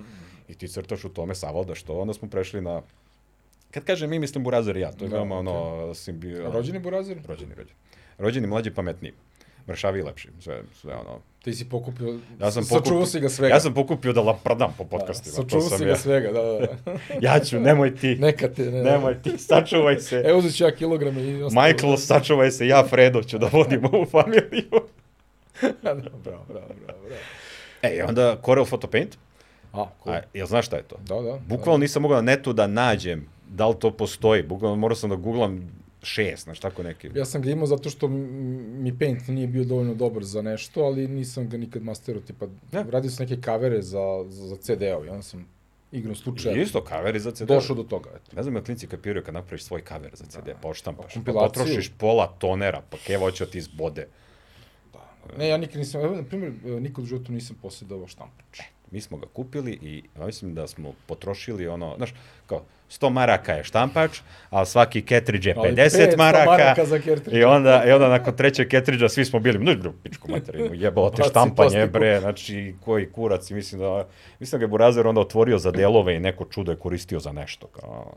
S2: I ti crtaš u tome savalda što, onda smo prešli na... Kad kažem mi, mislim Burazer i ja, to je
S1: Da,
S2: veoma ono...
S1: okej.
S2: Simbi...
S1: Rođeni Burazer?
S2: Rođeni, rođeni. Rođeni, mlađi, pametniji. Mršavi i lepši, sve, sve ono...
S1: Ti si pokupio,
S2: Ja sam
S1: sačuvao
S2: pokupio-
S1: si ga svega.
S2: Ja sam pokupio da lapradam po podcastima. to
S1: sačuvao
S2: sam
S1: si
S2: ja.
S1: ga svega, da, da, da.
S2: Ja ću, nemoj ti.
S1: Neka te, ne,
S2: Nemoj ti, sačuvaj se.
S1: E. Evo uzet ću ja kilograme i ostalo.
S2: Michael, sačuvaj se, ja Fredo ću da vodim ovu familiju.
S1: Da, bravo, bravo, bravo, bravo.
S2: E, i onda Corel Photo Paint.
S1: A, cool.
S2: A, jel znaš šta je to?
S1: Da, da.
S2: Bukvalno nisam mogao na netu da nađem da li to postoji. Bukvalno morao sam da googlam šest, znaš tako neki.
S1: Ja sam ga imao zato što m- mi Paint nije bio dovoljno dobar za nešto, ali nisam ga nikad masterao, tipa,
S2: Ne.
S1: radio sam neke kavere za, za, za CD-ovi, onda sam igrom slučaja
S2: I Isto, kaver za CD.
S1: došao do toga, eto.
S2: Ne znam jel klinci kapiraju kad napraviš svoj kaver za CD, pa odštampaš, pa
S1: Kompilaciju.
S2: potrošiš pola tonera, pa kevo će ti izbode. Pa,
S1: Ne, ja nikad nisam, evo, na primjer, e, nikad u životu nisam posjedao štampač.
S2: Mi smo ga kupili i ja mislim da smo potrošili ono, znaš, kao 100 maraka je štampač, a svaki ketridž je
S1: Ali
S2: 50
S1: 500
S2: maraka.
S1: maraka za ketridž.
S2: I onda, i onda nakon trećeg ketridža svi smo bili, no bro, pičku materinu, jebalo te
S1: Baci
S2: štampanje,
S1: plastiku.
S2: bre, znači koji kurac i mislim da, mislim da ga je Burazer onda otvorio za delove i neko čudo je koristio za nešto, kao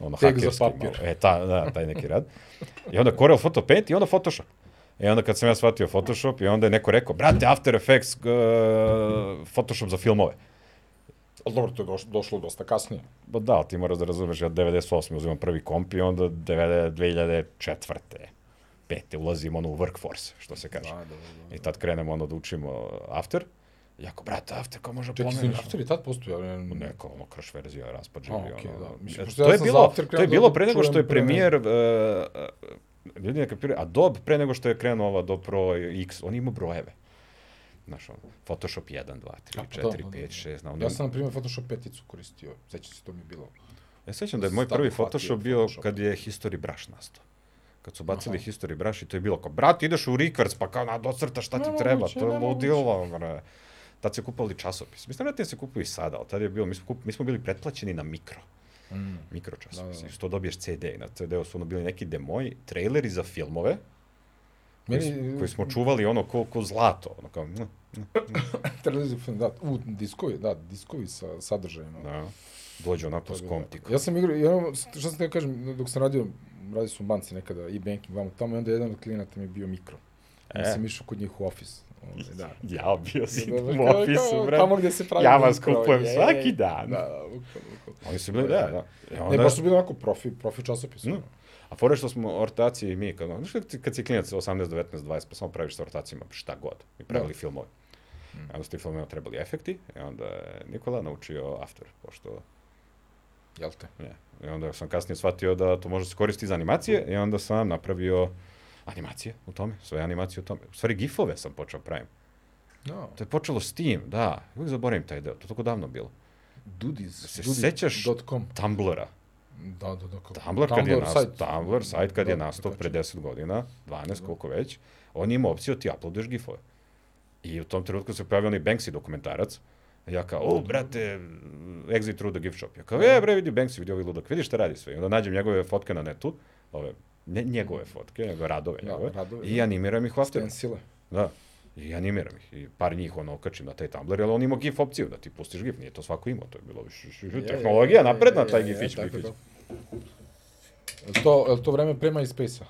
S2: ono
S1: Tek za
S2: hakerski
S1: papir.
S2: malo. E, ta, da, taj neki rad. I onda Corel Photo Paint i onda Photoshop. I onda kad sam ja shvatio Photoshop i onda je neko rekao, brate, After Effects, uh, Photoshop za filmove.
S1: Ali dobro, to je došlo, došlo dosta kasnije.
S2: Ba da, ali ti moraš da razumeš, ja 98. uzimam prvi komp i onda 9 2004. Pete ulazim ono u workforce, što se kaže.
S1: da, da.
S2: I tad krenemo ono da učimo After. Jako, brate, After, kao može
S1: Čekaj,
S2: pomenu?
S1: izvini, After je tad postojao? Ne, ne.
S2: Neka ono crash verzija, raspad
S1: A,
S2: živi.
S1: okej,
S2: ono,
S1: da. Mislim,
S2: E,
S1: pošto
S2: to,
S1: ja
S2: je
S1: sam
S2: bilo,
S1: za After
S2: to je
S1: krenuo
S2: bilo
S1: da
S2: pre nego što je
S1: čujem pre
S2: premijer, e, e, ljudi ne kapiraju, Adobe pre nego što je krenuo ova Adobe Pro X, on ima brojeve. Znaš, ono, Photoshop 1, 2, 3,
S1: A, pa
S2: 4,
S1: da,
S2: 5,
S1: da, da.
S2: 6, znam,
S1: Ja sam, na primjer, Photoshop peticu koristio, sećam se, to mi je bilo.
S2: Ja sećam da je moj
S1: Stav
S2: prvi
S1: hvatio
S2: Photoshop bio
S1: Photoshop.
S2: kad je History Brush nastao. Kad su bacili History Brush i to je bilo kao, brat, ideš u request, pa kao, na, docrtaš šta ti
S1: Nemoguće,
S2: treba, to je
S1: nemoguće.
S2: ludilo, bre. Tad se kupali časopis. Mislim, da se kupuju i sada, ali tad je bilo, mi smo, kup, mi smo bili pretplaćeni na mikro.
S1: Mm.
S2: Mikro
S1: Da,
S2: časopis.
S1: da, da.
S2: Što Znači, dobiješ CD. Na CD-u su ono bili neki demoji, traileri za filmove, koji,
S1: Meni- Da.
S2: s- koji smo čuvali ono ko, ko zlato. Ono kao, mm,
S1: Televizor film, da, u diskovi, da, diskovi sa sadržajima.
S2: da. Dođe onako s
S1: Tako da.
S2: komptikom.
S1: Ja sam igrao, ja, što sam te kažem, dok sam radio, radio sam u banci nekada, i banking, vamo tamo, i onda jedan od klijenata mi je bio mikro.
S2: E.
S1: E. Ja sam išao kod njih u ofis. Ovaj, da.
S2: Ja bio si
S1: Da, da,
S2: u
S1: kao-
S2: ofisu,
S1: kao-
S2: bre.
S1: Tamo gdje se pravi
S2: Ja vas
S1: mikro,
S2: kupujem
S1: jej.
S2: svaki dan.
S1: Da, da, bukvalno, bukvalno.
S2: Oni su bili, da, da. E,
S1: Ne, baš su bili onako profi, profi časopis.
S2: Mm.
S1: Mm.
S2: A fore što smo ortaci i mi, kad, znaš kad, ti- kad si klinac 18, 19, 20, pa samo praviš sa ortacima šta god. Mi pravili
S1: Da.
S2: filmove. Mm. Onda su ti filmove trebali efekti, i onda je Nikola naučio After, pošto
S1: Jel te?
S2: ne. I onda sam kasnije shvatio da to može se koristiti za animacije i onda sam napravio animacije u tome, sve animacije u tome. U stvari gifove sam počeo pravim.
S1: No.
S2: da, To je počelo s tim, da. Uvijek zaboravim taj deo, to je toliko davno bilo.
S1: Dudis.
S2: Se sećaš
S1: Dudis.com.
S2: Tumblr-a?
S1: Da, da, da. Kako.
S2: Tumblr kad je nastao,
S1: sajt. Mhm.
S2: Tumblr sajt kad je
S1: Da,
S2: nastao pre
S1: tačno.
S2: 10 godina, 12 koliko već, on je imao opciju da ti uploaduješ gifove. I u tom trenutku se pojavio onaj Banksy dokumentarac. Ja kao, o, brate, exit through the gift shop. Ja kao,
S1: Mhm.
S2: e, bre, vidi Banksy, vidi ovaj ludak, vidi šta radi sve. I onda nađem njegove fotke na netu, ove, ne njegove fotke, nego radove
S1: Mhm. Da,
S2: njegove,
S1: radove,
S2: i
S1: da.
S2: animiram ih hvastiram.
S1: Stencile.
S2: Da. I animiram ih. I par njih ono okačim na taj Tumblr, jer on ima GIF opciju da ti pustiš GIF. Nije to svako imao, to je bilo š, š, š, tehnologija napredna, taj GIF-ić,
S1: tako
S2: GIF-ić.
S1: je. Jel To, je to vreme pre MySpace-a?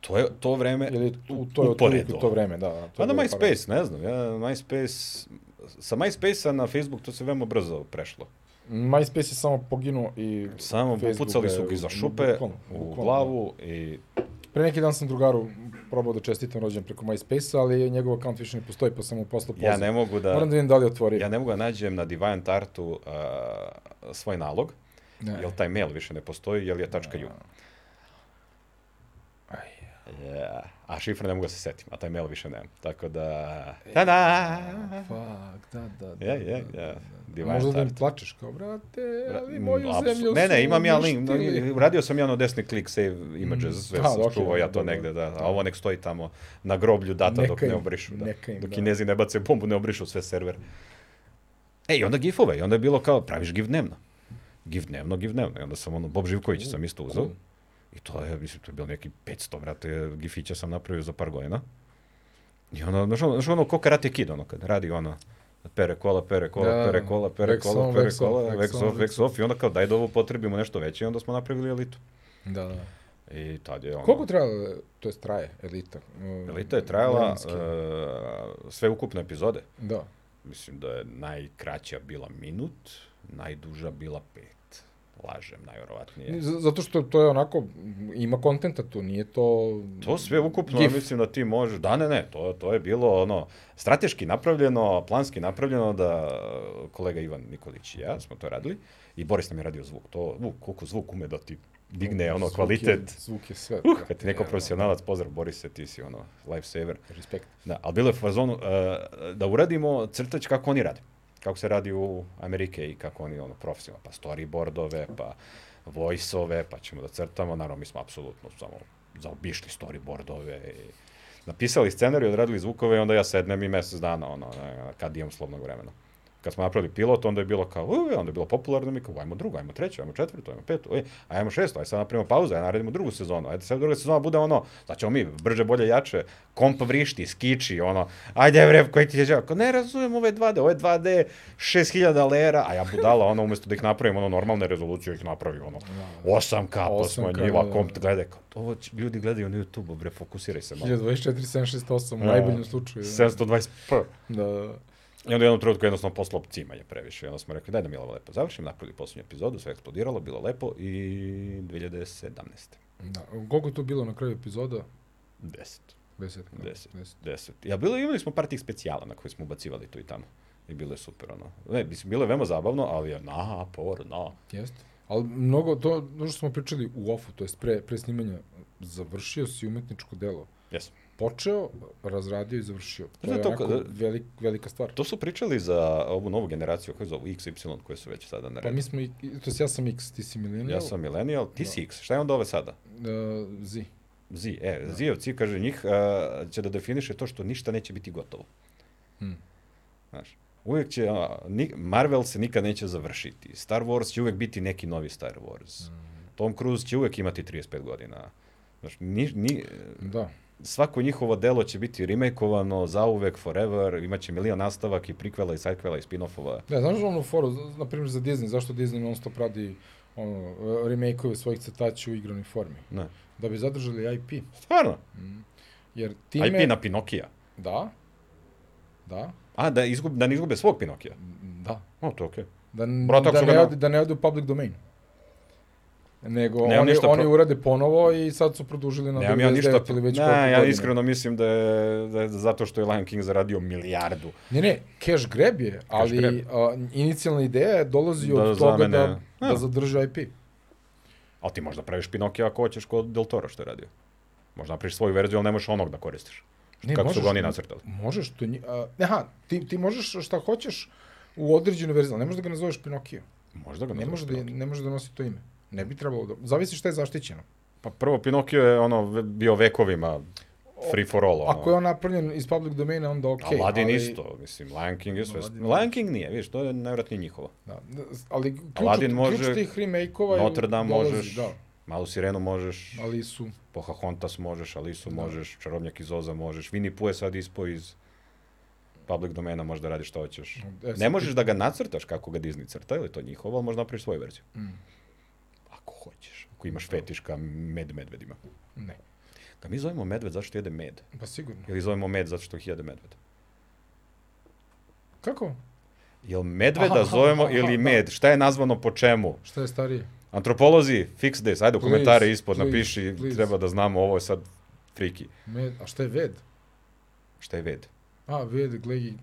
S2: To je to vreme
S1: Ili u, to je otprilike
S2: uporedo.
S1: to vreme, da. da, to
S2: Pa
S1: je
S2: na
S1: bilo
S2: MySpace, ne znam, ja MySpace, sa MySpace-a na Facebook to se veoma brzo prešlo.
S1: par- MySpace je samo poginuo i...
S2: Samo
S1: Facebook
S2: pucali
S1: je
S2: su ga iza
S1: bu-
S2: šupe,
S1: bukvalno,
S2: u
S1: bukvalno, da.
S2: glavu i
S1: Pre neki dan sam drugaru probao da čestitam rođen preko MySpace-a, ali njegov akaunt više ne postoji, pa sam mu poslao poziv.
S2: ja ne mogu da,
S1: Moram da vidim da li je otvorio.
S2: ja ne mogu da nađem na Deviant Artu a, svoj nalog,
S1: Ne.
S2: jer taj mail više ne postoji, jer je tačka .ju.
S1: Aj.
S2: Yeah. A šifra ne mogu da se setim, a taj mail više nemam. Tako da, tada!
S1: Fuck, da, da, da.
S2: Ja, ja, ja.
S1: A Možda
S2: Deviant
S1: da im
S2: Art.
S1: plačeš kao, brate, ali
S2: Mm,
S1: moju
S2: apsu-
S1: zemlju
S2: Ne, ne,
S1: su
S2: imam ja link,
S1: uništili.
S2: uradio sam ja na desni klik save images,
S1: Mm,
S2: sve
S1: aha,
S2: sam
S1: okej,
S2: čuvao ja to
S1: dobro.
S2: negde, da, a ovo nek stoji tamo na groblju data dok
S1: Neka
S2: ne
S1: im-
S2: obrišu, da.
S1: neka im,
S2: dok
S1: da.
S2: kinezi ne bace bombu, ne obrišu sve server. E, i onda gifove, i onda je bilo kao, praviš gif dnevno. Gif dnevno, gif dnevno, i onda sam ono, Bob Živković sam isto uzeo,
S1: cool.
S2: i to je, mislim, to je bilo neki 500, brate, gifića sam napravio za par godina. I onda, znaš ono, znaš ono, ko karate kid, ono, kad radi ono, pere kola, pere kola,
S1: Da,
S2: pere kola, pere
S1: wax
S2: kola,
S1: on,
S2: pere
S1: wax
S2: kola,
S1: off,
S2: wax
S1: wax on,
S2: off,
S1: wax
S2: wax off, i onda kao daj da ovo potrebimo nešto veće i onda smo napravili elitu.
S1: Da, da.
S2: I tad je ono...
S1: Koliko treba, to jest traje, elita? Mm,
S2: Elita je trajala e,
S1: vremenski?
S2: uh, sve ukupne epizode.
S1: Da.
S2: Mislim da je najkraća bila minut, najduža bila pet. Lažem, najverovatnije.
S1: Z- Zato što to je onako, m, ima kontenta tu, nije to...
S2: To sve ukupno,
S1: Mm. Gif.
S2: mislim da ti možeš, da ne, ne, to, to je bilo ono, strateški napravljeno, planski napravljeno da e, kolega Ivan Nikolić i ja smo to radili i Boris nam je radio zvuk, to, vuk, koliko zvuk ume da ti digne ono
S1: Zvuk je-
S2: kvalitet.
S1: Zvuk je sve.
S2: Uh,
S1: brate,
S2: kad ti neko
S1: ono,
S2: profesionalac, pozdrav Borise, ti si ono, lifesaver.
S1: Respekt.
S2: Da, ali bilo je u fazonu uh, da uradimo crtač kako oni rade. Kako se radi u Amerike i kako oni ono profesionalno, pa storyboardove, pa voice-ove, pa ćemo da crtamo. Naravno, mi smo apsolutno samo zaobišli storyboardove i napisali scenarij, odradili zvukove i onda ja sednem i mesec dana, ono, e, kad imam slobnog vremena. Kad smo napravili pilot, onda je bilo kao, "U, e", onda je bilo popularno, mi kao, ajmo drugo, ajmo treću, ajmo četvrtu, ajmo petu, oj, ajmo šestu, ajde sad napravimo pauzu, ajde naredimo drugu sezonu, ajde sad druga sezona bude ono, sad ćemo mi brže, bolje, jače, komp vrišti, skiči, ono, ajde bre, koji ti je žao, ne razumijem ove 2D, ove 2D, 6000 lera, a ja budala, ono, umesto da ih napravim, ono, normalne rezolucije ih napravi, ono, 8K, to
S1: 8K,
S2: smo njiva,
S1: da.
S2: komp gleda, kao, ovo će- ljudi gledaju na YouTube, bre, fokusiraj se malo.
S1: 1024-768, u
S2: Da.
S1: najboljem slučaju. da.
S2: 720p.
S1: Da, da, da.
S2: I onda u jednom trenutku jednostavno poslao cimanje previše. I onda smo rekli, daj da mi ovo lepo završim, napravili poslednju epizodu, sve eksplodiralo, bilo lepo i 2017.
S1: Da. Koliko je to bilo na kraju epizoda?
S2: 10.
S1: Deset. da,
S2: Deset.
S1: Deset.
S2: 10. Ja, bilo, imali smo par tih specijala na koje smo ubacivali tu i tamo. I bilo je super, ono. Ne, mislim, bilo je veoma zabavno, ali je naporno.
S1: Jeste. Ali mnogo, to, to što smo pričali u ofu, to jest pre, pre snimanja, završio si umetničko delo.
S2: Jesam.
S1: Počeo, razradio i završio. To
S2: Znaš
S1: je
S2: to
S1: onako
S2: kada-
S1: velik, velika stvar.
S2: To su pričali za ovu novu generaciju, koju zovu XY, koje su već sada na
S1: Pa
S2: redu.
S1: mi smo, i- i- to jest ja sam X, ti si milenial.
S2: Ja sam millennial, ti
S1: Da.
S2: si X, šta je onda ove sada?
S1: Uh, zi.
S2: Zi, e, Zijevci, kaže, njih a, će da definiše to što ništa neće biti gotovo.
S1: Hmm.
S2: Znaš, uvijek će, a, ni, Marvel se nikad neće završiti. Star Wars će uvijek biti neki novi Star
S1: Mm.
S2: Wars. Tom Cruise će uvijek imati 35 godina. Znaš, ni, ni,
S1: Da.
S2: svako njihovo delo će biti remakeovano zauvek, forever, imaće milion nastavak i prikvela i sidekvela i spin-offova.
S1: Da, znaš ono foru, z- na primjer za Disney, zašto Disney non stop radi ono, e, remake-ove svojih crtaća u igranoj formi?
S2: Ne.
S1: Da bi zadržali IP.
S2: Stvarno,
S1: Jer time...
S2: Time... IP na Pinokija.
S1: Da. Da.
S2: A, da, izgub, da ne izgube svog Pinokija.
S1: Da.
S2: O, to je okej.
S1: Da, n-
S2: Bro, tako
S1: da,
S2: su ga
S1: ne
S2: na-
S1: ode, da ne ode u public domain. Nego
S2: Nemam
S1: oni,
S2: ništa
S1: oni
S2: pro-
S1: urade ponovo i sad su produžili na
S2: Nemam
S1: 99
S2: ja ništa,
S1: ili već koliko
S2: ne, ja
S1: godina.
S2: iskreno mislim da je, da je zato što je Lion King zaradio milijardu.
S1: Ne, ne, cash grab je, ali
S2: grab.
S1: A, incijalna ideja je dolazi
S2: Da
S1: od toga
S2: zamene-
S1: da,
S2: Ja.
S1: da zadrže IP.
S2: Ali ti možda praviš Pinokija ako hoćeš kod Del Toro što je radio. Možda napraviš svoju verziju, ali ne možeš onog da koristiš.
S1: Ne,
S2: Kako su
S1: možeš-
S2: ga oni nacrtali.
S1: Možeš, to nji, a, aha, ti, ti možeš šta hoćeš, u određenu verziju, ali ne možeš da ga nazoveš Pinokio.
S2: Možda ga
S1: Ne
S2: nazoveš
S1: može da,
S2: Pinokio.
S1: ne može da nosi to ime. Ne bi trebalo da... Zavisi šta je zaštićeno.
S2: Pa prvo, Pinokio je ono, ve- bio vekovima free for all. Ono.
S1: Ako je on napravljen iz public domena, onda okej.
S2: Okay, Pa- Aladdin
S1: ali-
S2: isto, mislim, Lion King je sve.
S1: Aladdin-
S2: Lion King nije, vidiš, to je najvratnije njihovo.
S1: Da, da, ali ključ,
S2: Aladdin
S1: ključ
S2: može,
S1: tih remake-ova je-
S2: Notre Dame
S1: dolazi,
S2: možeš,
S1: Da,
S2: Malu sirenu možeš,
S1: ali su...
S2: Pocahontas možeš, Alisu
S1: Da.
S2: možeš, Čarobnjak iz Oza možeš, Winnie Pooh je sad ispao iz public domena, možeš da radiš šta hoćeš.
S1: E,
S2: Ne
S1: sad
S2: možeš da ga nacrtaš kako ga Disney crta, ili to njihovo, ali možda napraviš svoju verziju.
S1: ti- Mm,
S2: Ako hoćeš, ako imaš fetiš ka med medvedima.
S1: ne,
S2: Ga mi zovemo medved zato što jede med,
S1: pa sigurno.
S2: ili zovemo med zato što ih jede medved.
S1: Kako?
S2: Jel medveda zovemo ili med? Šta je nazvano po čemu?
S1: Šta je starije?
S2: Antropolozi, fix this, ajde u
S1: Please,
S2: komentare ispod
S1: please,
S2: napiši,
S1: please.
S2: treba da znamo, ovo je sad friki.
S1: Med, a šta je ved?
S2: Šta je ved?
S1: A, ved, glegi,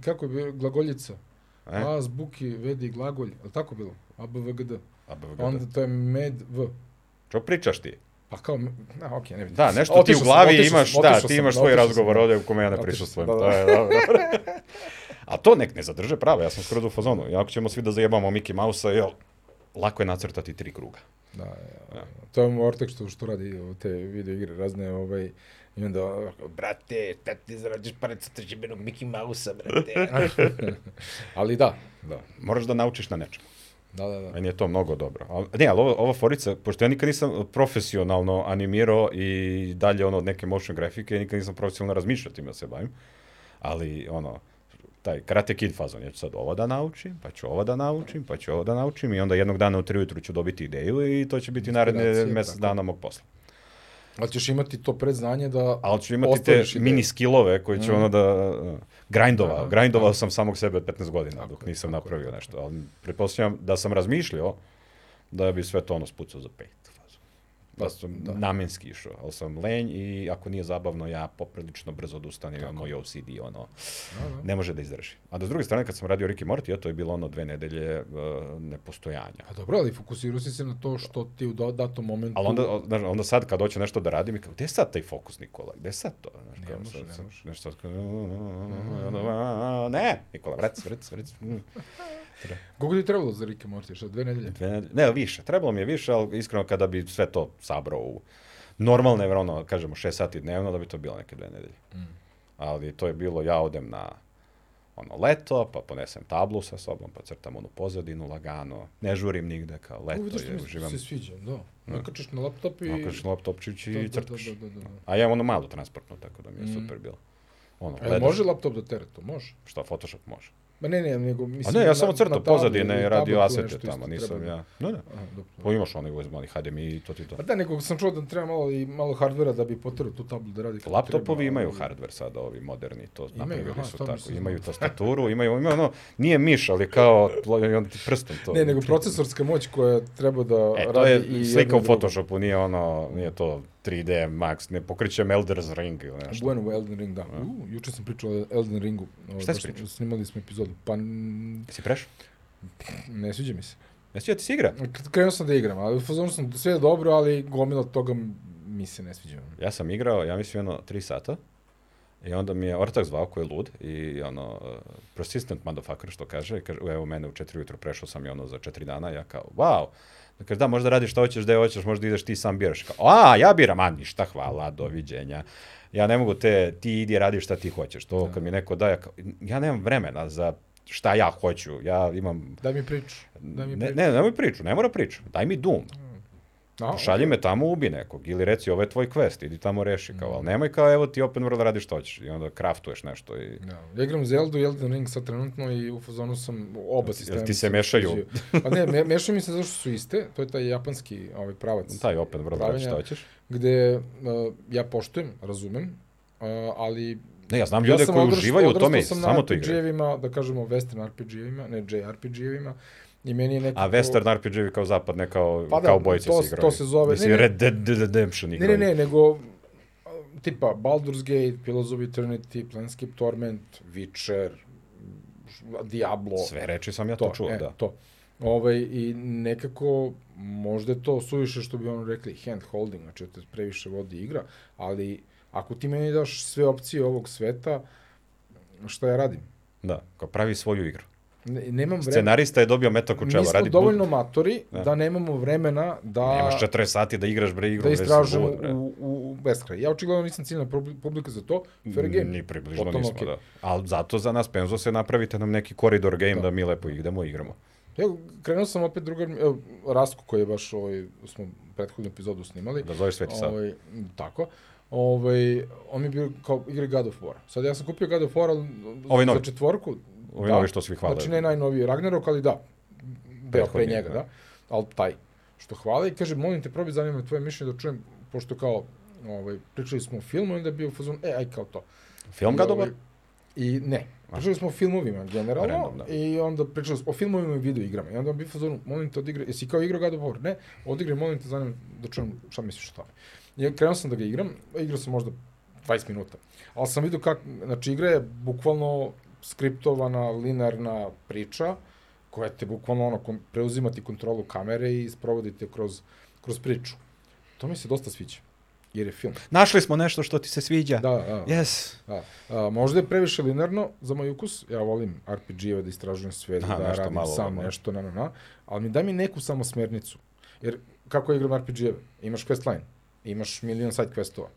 S1: kako je bilo, glagoljica?
S2: E?
S1: A, zbuki, vedi, glagolj, je li tako bilo? A, b, v, g, d. Pa
S2: A, b, v, g,
S1: Onda
S2: d.
S1: to je med, v.
S2: Čo pričaš ti?
S1: Pa kao, na, okej, ne vidim.
S2: Da, nešto
S1: Otišao
S2: ti u
S1: sam,
S2: glavi
S1: otišao
S2: imaš,
S1: sam,
S2: da,
S1: otišao
S2: ti
S1: sam,
S2: imaš svoj
S1: otišao sam,
S2: razgovor
S1: da.
S2: ovdje u kome ja ne
S1: Otišao
S2: prisustujem.
S1: sam, da,
S2: To
S1: da.
S2: je dobro. A to nek ne zadrže pravo, ja sam skroz u fazonu. I Ako ćemo svi da zajebamo Mickey Mouse-a, jel, lako je nacrtati tri kruga.
S1: Da, ja,
S2: Da.
S1: To je Mortek što, što radi o te video igre razne, ovaj, i onda, ovako,
S3: Brate, šta ti zarađaš pare sa tržibenog Mickey Mouse-a, brate?
S1: ali da, da,
S2: Moraš da naučiš na nečemu.
S1: da, da, da.
S2: Meni je to mnogo dobro. A, ne, ali ova, ova forica, pošto ja nikad nisam profesionalno animirao i dalje ono od neke motion grafike, nikad nisam profesionalno razmišljao tim da se bavim, ali ono, taj Karate Kid fazon, ja ću sad ovo da naučim, pa ću ovo da naučim, pa ću ovo da naučim i onda jednog dana u tri ujutru ću dobiti ideju i to će biti naredne
S1: Inspiracija,
S2: mjesec
S1: tako.
S2: dana mog posla.
S1: Ali ćeš imati to predznanje da...
S2: Ali ću imati
S1: Ostaviš
S2: te
S1: ideju.
S2: mini skillove koji ću
S1: Mm.
S2: ono da... uh, Grindovao,
S1: Aha,
S2: grindovao sam samog sebe od 15 godina
S1: Tako
S2: dok
S1: je,
S2: nisam
S1: tako je,
S2: napravio
S1: tako
S2: nešto. Ali pretpostavljam da sam razmišljao da bi sve to ono spucao za pet. fazu. Da sam
S1: da.
S2: namenski išao, ali sam lenj i ako nije zabavno, ja poprilično brzo odustanem, imam moj OCD, ono,
S1: Da, da.
S2: ne može da izdrži. A da s druge strane, kad sam radio Ricky Morty, ja, to je bilo ono dve nedelje uh, nepostojanja.
S1: Pa dobro, ali fokusirao si se na to što ti u da- datom momentu...
S2: Ali onda, o- znaš, onda sad kad hoću nešto da radim, i kao, gde je sad taj fokus Nikola? Gde je sad to? Znaš,
S1: Ne
S2: kao,
S1: može,
S2: sad
S1: ne
S2: sam-
S1: može.
S2: Nešto sad kao, "Mm, i onda, a, mm, ne, Nikola, vrec, vrec, vrec.
S1: Koliko ti je trebalo za Rick and Morty? Šta, dve nedelje?
S2: Dve nedelje- Ne, više, trebalo mi je više, ali iskreno kada bi sve to sabrao u normalne, ono, kažemo, šest sati dnevno, da bi to bilo neke dve nedelje.
S1: Mm.
S2: Ali to je bilo, ja odem na ono leto, pa ponesem tablu sa sobom, pa crtam onu pozadinu lagano, ne žurim nigde, kao leto
S1: Uvidiš što
S2: je,
S1: mi
S2: uživam.
S1: se sviđa, da. Nakačiš na laptop i...
S2: Nakačiš na laptopčić i
S1: Da, da,
S2: crtaš.
S1: Da, da, da, da.
S2: A ja imam ono malo transportno, tako da mi je
S1: Mhm.
S2: super bilo. Ono,
S1: E,
S2: gledaš
S1: može laptop da tere to? Može.
S2: šta Photoshop može.
S1: Ma ne, ne, nego
S2: A
S1: mislim...
S2: ne,
S1: na-
S2: ja samo
S1: na
S2: crtao
S1: tabletu ili
S2: pozadine, radio
S1: tabletu
S2: asete
S1: nešto
S2: tamo,
S1: isto
S2: nisam
S1: treba.
S2: ja. Ne, ne.
S1: Aha, dobro.
S2: Pa imaš onaj USB mali HDMI i to ti to.
S1: Pa da, nego sam čuo da treba malo i malo hardvera da bi potrao tu tablu da radi kako
S2: Laptopovi
S1: treba,
S2: imaju
S1: ali-
S2: hardware sada, ovi moderni, to
S1: Imaju,
S2: napravili
S1: aha,
S2: su
S1: to
S2: tako.
S1: nisam
S2: Imaju
S1: znao.
S2: tastaturu, imaju, imaju ono, nije miš, ali kao, tlo- i onda ti prstom to.
S1: Ne, nego procesorska moć koja treba da
S2: E, to
S1: radi
S2: je
S1: i
S2: slika
S1: jedno i
S2: u
S1: drugo.
S2: Photoshopu, nije ono, nije to 3D Max, ne pokrićem Elder's Ring ili nešto.
S1: Bueno, u Elden Ring, da. U, juče sam pričao o Elden Ringu. Ovo,
S2: Šta si
S1: baš
S2: pričao?
S1: Snimali smo epizodu. Pa n-
S2: Jesi prešao?
S1: ne sviđa mi se.
S2: Jesi ja ti si igra?
S1: Krenuo sam da igram, ali u fazonu sam sve je dobro, ali gomila toga mi se ne sviđa.
S2: Ja sam igrao, ja mislim, jedno tri sata. I onda mi je ortak zvao koji je lud i ono, uh, persistent motherfucker što kaže, i kaže, evo mene u četiri ujutro prešao sam i ono za četiri dana, ja kao, wow. Da kaže, da, možda radiš šta hoćeš, da hoćeš, možda ideš ti sam biraš. Kao, a, ja biram, a ništa, hvala, doviđenja. Ja ne mogu te, ti idi radi šta ti hoćeš. To
S1: Da.
S2: kad mi neko da, ja, kao, ja nemam vremena za šta ja hoću, ja imam,
S1: Daj mi priču. Daj mi
S2: ne,
S1: priču.
S2: ne, nemoj priču, ne mora priču, daj mi Doom.
S1: A,
S2: Šalji me tamo, ubi nekog. Ili reci, ovo je tvoj quest, idi tamo reši. Kao,
S1: Mm.
S2: ali nemoj kao, evo ti open world radiš što hoćeš. I onda kraftuješ nešto. I...
S1: Da, ja igram Zelda i Elden Ring sad trenutno i u fazonu sam oba sistema.
S2: ti
S1: mi
S2: se mešaju?
S1: sviđaju. Pa ne, me, mešaju mi se zato što su iste, to je taj japanski ovaj pravac,
S2: Taj open world radiš što
S1: Pravilno.
S2: hoćeš.
S1: gde uh, ja poštujem, razumem, uh, ali
S2: Ne, ja znam ljude koji uživaju u tome i samo to igraju.
S1: igraju. da kažemo western RPG-evima, ne JRPG-evima, i meni je nekako...
S2: A western RPG-vi kao zapad, ne kao,
S1: Pa da,
S2: kao bojice
S1: to-
S2: se igraju.
S1: to se zove-
S2: Mislim,
S1: ne, ne.
S2: Red Dead Redemption
S1: Ne,
S2: igraju.
S1: ne, ne, nego uh, tipa Baldur's Gate, Pillars of Eternity, Planescape Torment, Witcher, Diablo.
S2: Sve reči sam ja to, čuo,
S1: e,
S2: da.
S1: To. Ovaj, I nekako, možda je to suviše što bi ono rekli hand holding, znači da te previše vodi igra, ali ako ti meni daš sve opcije ovog sveta, šta ja radim?
S2: Da, kao pravi svoju igru.
S1: Ne, nemam vremena.
S2: Scenarista je dobio metak u čelo,
S1: Mi smo
S2: radi
S1: dovoljno
S2: dovoljno...
S1: matori
S2: Da.
S1: da nemamo vremena da...
S2: Nemaš 40 sati da igraš bre igru.
S1: da
S2: bre, sa
S1: istražimo
S2: Bullet, bre.
S1: u, u, u beskraj. Ja očigledno nisam ciljna publi- publika za to. Fair game.
S2: Ni približno
S1: Totalno
S2: nismo,
S1: okej.
S2: da. Ali zato za nas Penzo se napravite nam neki koridor game da, mi lepo idemo i igramo.
S1: Evo, krenuo sam opet drugar, evo, Rasko koji je baš, ovaj, smo prethodnu epizodu snimali.
S2: Da zoveš Sveti Sava.
S1: Ovaj, m, tako. Ovaj, on mi je bio kao igra God of War. Sad ja sam kupio God of War ali,
S2: Ovaj
S1: za
S2: novi.
S1: četvorku.
S2: Ovi novi što svi hvale.
S1: Znači ne najnoviji Ragnarok, ali da, deo pre
S2: Prethodni,
S1: njega,
S2: da.
S1: da. Ali taj što hvale i kaže, molim te, probi zanima me tvoje mišljenje da čujem, pošto kao ovaj, pričali smo o filmu i onda je bio u fazonu, e, aj kao to.
S2: Film
S1: I
S2: ga
S1: ovaj,
S2: dobar?
S1: I ne, pričali smo o filmovima generalno
S2: Random, da.
S1: i onda pričali smo o filmovima i video igrama. I onda bi fazonu, molim te odigraj, jesi kao igrao God of War? Ne, odigraj, molim te, zanima me da čujem šta misliš o tome. I krenuo sam da ga igram, igrao sam možda 20 minuta. Ali sam vidio kako, znači igra je bukvalno skriptovana, linearna priča koja te bukvalno ono, kom, preuzimati kontrolu kamere i sprovodite kroz, kroz priču. To mi se dosta sviđa, jer je film.
S2: Našli smo nešto što ti se sviđa.
S1: Da, da.
S2: Yes.
S1: Da. A, možda je previše linearno za moj ukus, ja volim RPG-eve da istražujem sve, da,
S2: Da,
S1: da
S2: nešto
S1: radim
S2: malo
S1: sam
S2: ovo, da.
S1: nešto, na, na, na, ali mi daj mi neku samo smernicu. Jer kako ja igram RPG-eve? Imaš questline, imaš milion side questova.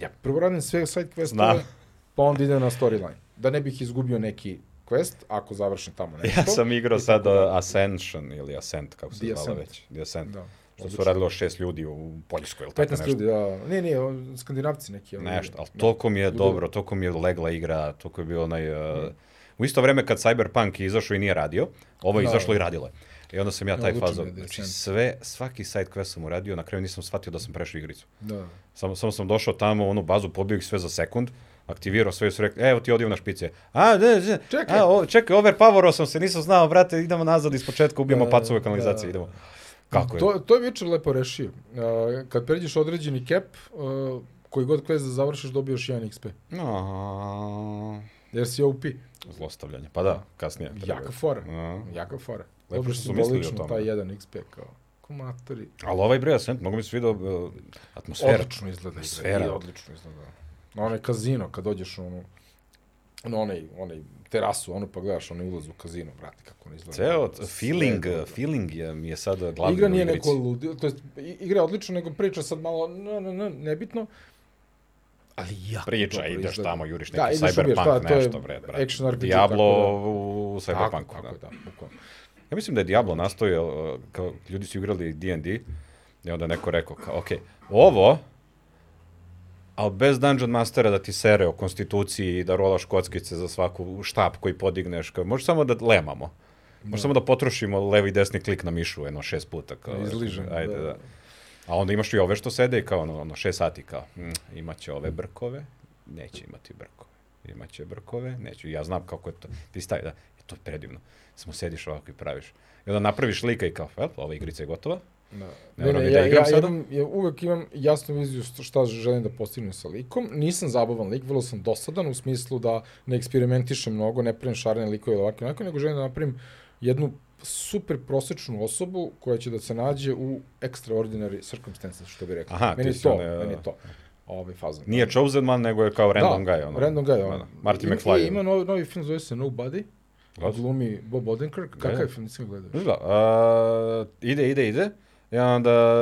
S1: Ja prvo radim sve side questove,
S2: Znam.
S1: pa onda idem na storyline. Da ne bih izgubio neki quest ako završim tamo nešto.
S2: Ja sam igrao
S1: I tako
S2: sad
S1: dalje.
S2: uh, Ascension ili Ascent, kako se
S1: The
S2: zvala
S1: Ascent.
S2: već. The Ascent.
S1: Da,
S2: Što su
S1: odlično.
S2: radilo šest ljudi u Poljskoj ili tako
S1: 15
S2: nešto.
S1: ljudi, da. Nije, nije, o- skandinavci neki. ali-
S2: Nešto, ali toliko mi je
S1: Da.
S2: dobro, toliko mi je legla igra, toliko je bio onaj...
S1: Mm.
S2: Uh, u isto vreme kad Cyberpunk je izašao i nije radio, ovo je
S1: Da.
S2: izašlo i radilo je. I onda sam ja
S1: Ja,
S2: taj
S1: odličan
S2: fazon,
S1: je
S2: znači
S1: Descent.
S2: sve, svaki side quest sam uradio, na kraju nisam shvatio da sam prešao igricu.
S1: Da.
S2: Samo, samo sam došao tamo u onu bazu, pobio ih sve za sekund, aktivirao sve i su rekli, evo ti odjevna špice. A, ne, ne,
S1: Čekaj.
S2: a, o, čekaj, overpowerao sam se, nisam znao, brate, idemo nazad iz početka, ubijemo
S1: Da,
S2: pacove
S1: da.
S2: kanalizacije, idemo. Kako je?
S1: To, to je Witcher lepo rešio. Uh, kad pređeš određeni cap, uh, koji god quest da završiš, dobiješ 1 XP.
S2: No,
S1: Jer si OP.
S2: zlostavljanje, pa da, kasnije.
S1: Jaka fora.
S2: A.
S1: Jaka fora.
S2: što
S1: Dobiješ
S2: su mislili o
S1: simbolično
S2: tome.
S1: taj 1 XP kao komatori.
S2: Ali ovaj bre, Ascent, mnogo mi se vidio uh, atmosfera.
S1: Odlično izgleda.
S2: Sfera.
S1: I odlično izgleda. Na onaj kazino, kad dođeš u onu, na onaj, onaj terasu, ono pa gledaš onaj ulaz u kazino, brate, kako on izgleda.
S2: Ceo
S1: Sve
S2: feeling, uh,
S1: je dobro.
S2: feeling je, mi je sad glavni
S1: igra
S2: u
S1: nije
S2: igrici.
S1: neko ludilo, to jest i- igra je odlična, nego priča sad malo, ne, ne, ne, nebitno. Ali jako
S2: Priča,
S1: dobro
S2: ideš
S1: izgleda.
S2: tamo, juriš
S1: Da,
S2: neki
S1: ideš, ubiješ,
S2: cyberpunk,
S1: da, to je
S2: nešto, bre, brate.
S1: action RPG,
S2: Diablo
S1: tako
S2: u u
S1: Tako,
S2: cyberpunku,
S1: tako,
S2: da.
S1: je, da, bukvalno.
S2: Ja mislim da je Diablo nastojao, uh, kao, ljudi su igrali D&D, i onda neko rekao, kao, okej, ovo, ali bez Dungeon Mastera da ti sere o konstituciji i da rolaš kockice za svaku štap koji podigneš, kao, može samo da lemamo. Može samo da potrošimo levi i desni klik na mišu, jedno šest puta. Kao,
S1: Izližem,
S2: Ajde,
S1: da.
S2: da. A onda imaš i ove što sede i kao ono, ono šest sati kao, mm, imaće ove brkove, neće imati brkove. Imaće brkove, neću. Ja znam kako je to. Ti stavi, da, e, to je predivno. Samo sediš ovako i praviš. I onda napraviš lika i kao, el, ova igrica je gotova.
S1: Da.
S2: Ne
S1: Ne,
S2: moram
S1: ne,
S2: ni da
S1: ja,
S2: igram
S1: ja,
S2: sada.
S1: imam, ja uvek imam jasnu viziju što- šta želim da postignem sa likom. Nisam zabavan lik, vrlo sam dosadan u smislu da ne eksperimentišem mnogo, ne pravim šarene likove ili ovako i onako, nego želim da napravim jednu super prosečnu osobu koja će da se nađe u extraordinary circumstances, što bi rekao.
S2: Aha,
S1: meni
S2: ti
S1: je
S2: si
S1: to,
S2: onaj,
S1: meni
S2: a-
S1: je to. Ovaj fazon.
S2: Nije Chosen Man, nego je kao Random
S1: da,
S2: Guy. Ono.
S1: Random guy, ono.
S2: Da, da. Marty
S1: Ima-
S2: McFly.
S1: i Ima novi, novi film, zove se Nobody.
S2: Gledao sam. Da,
S1: Glumi Bob Odenkirk. Kakav je
S2: Gledao.
S1: film, nisam ga gledao.
S2: Znaš Da, a, ide, ide, ide. I onda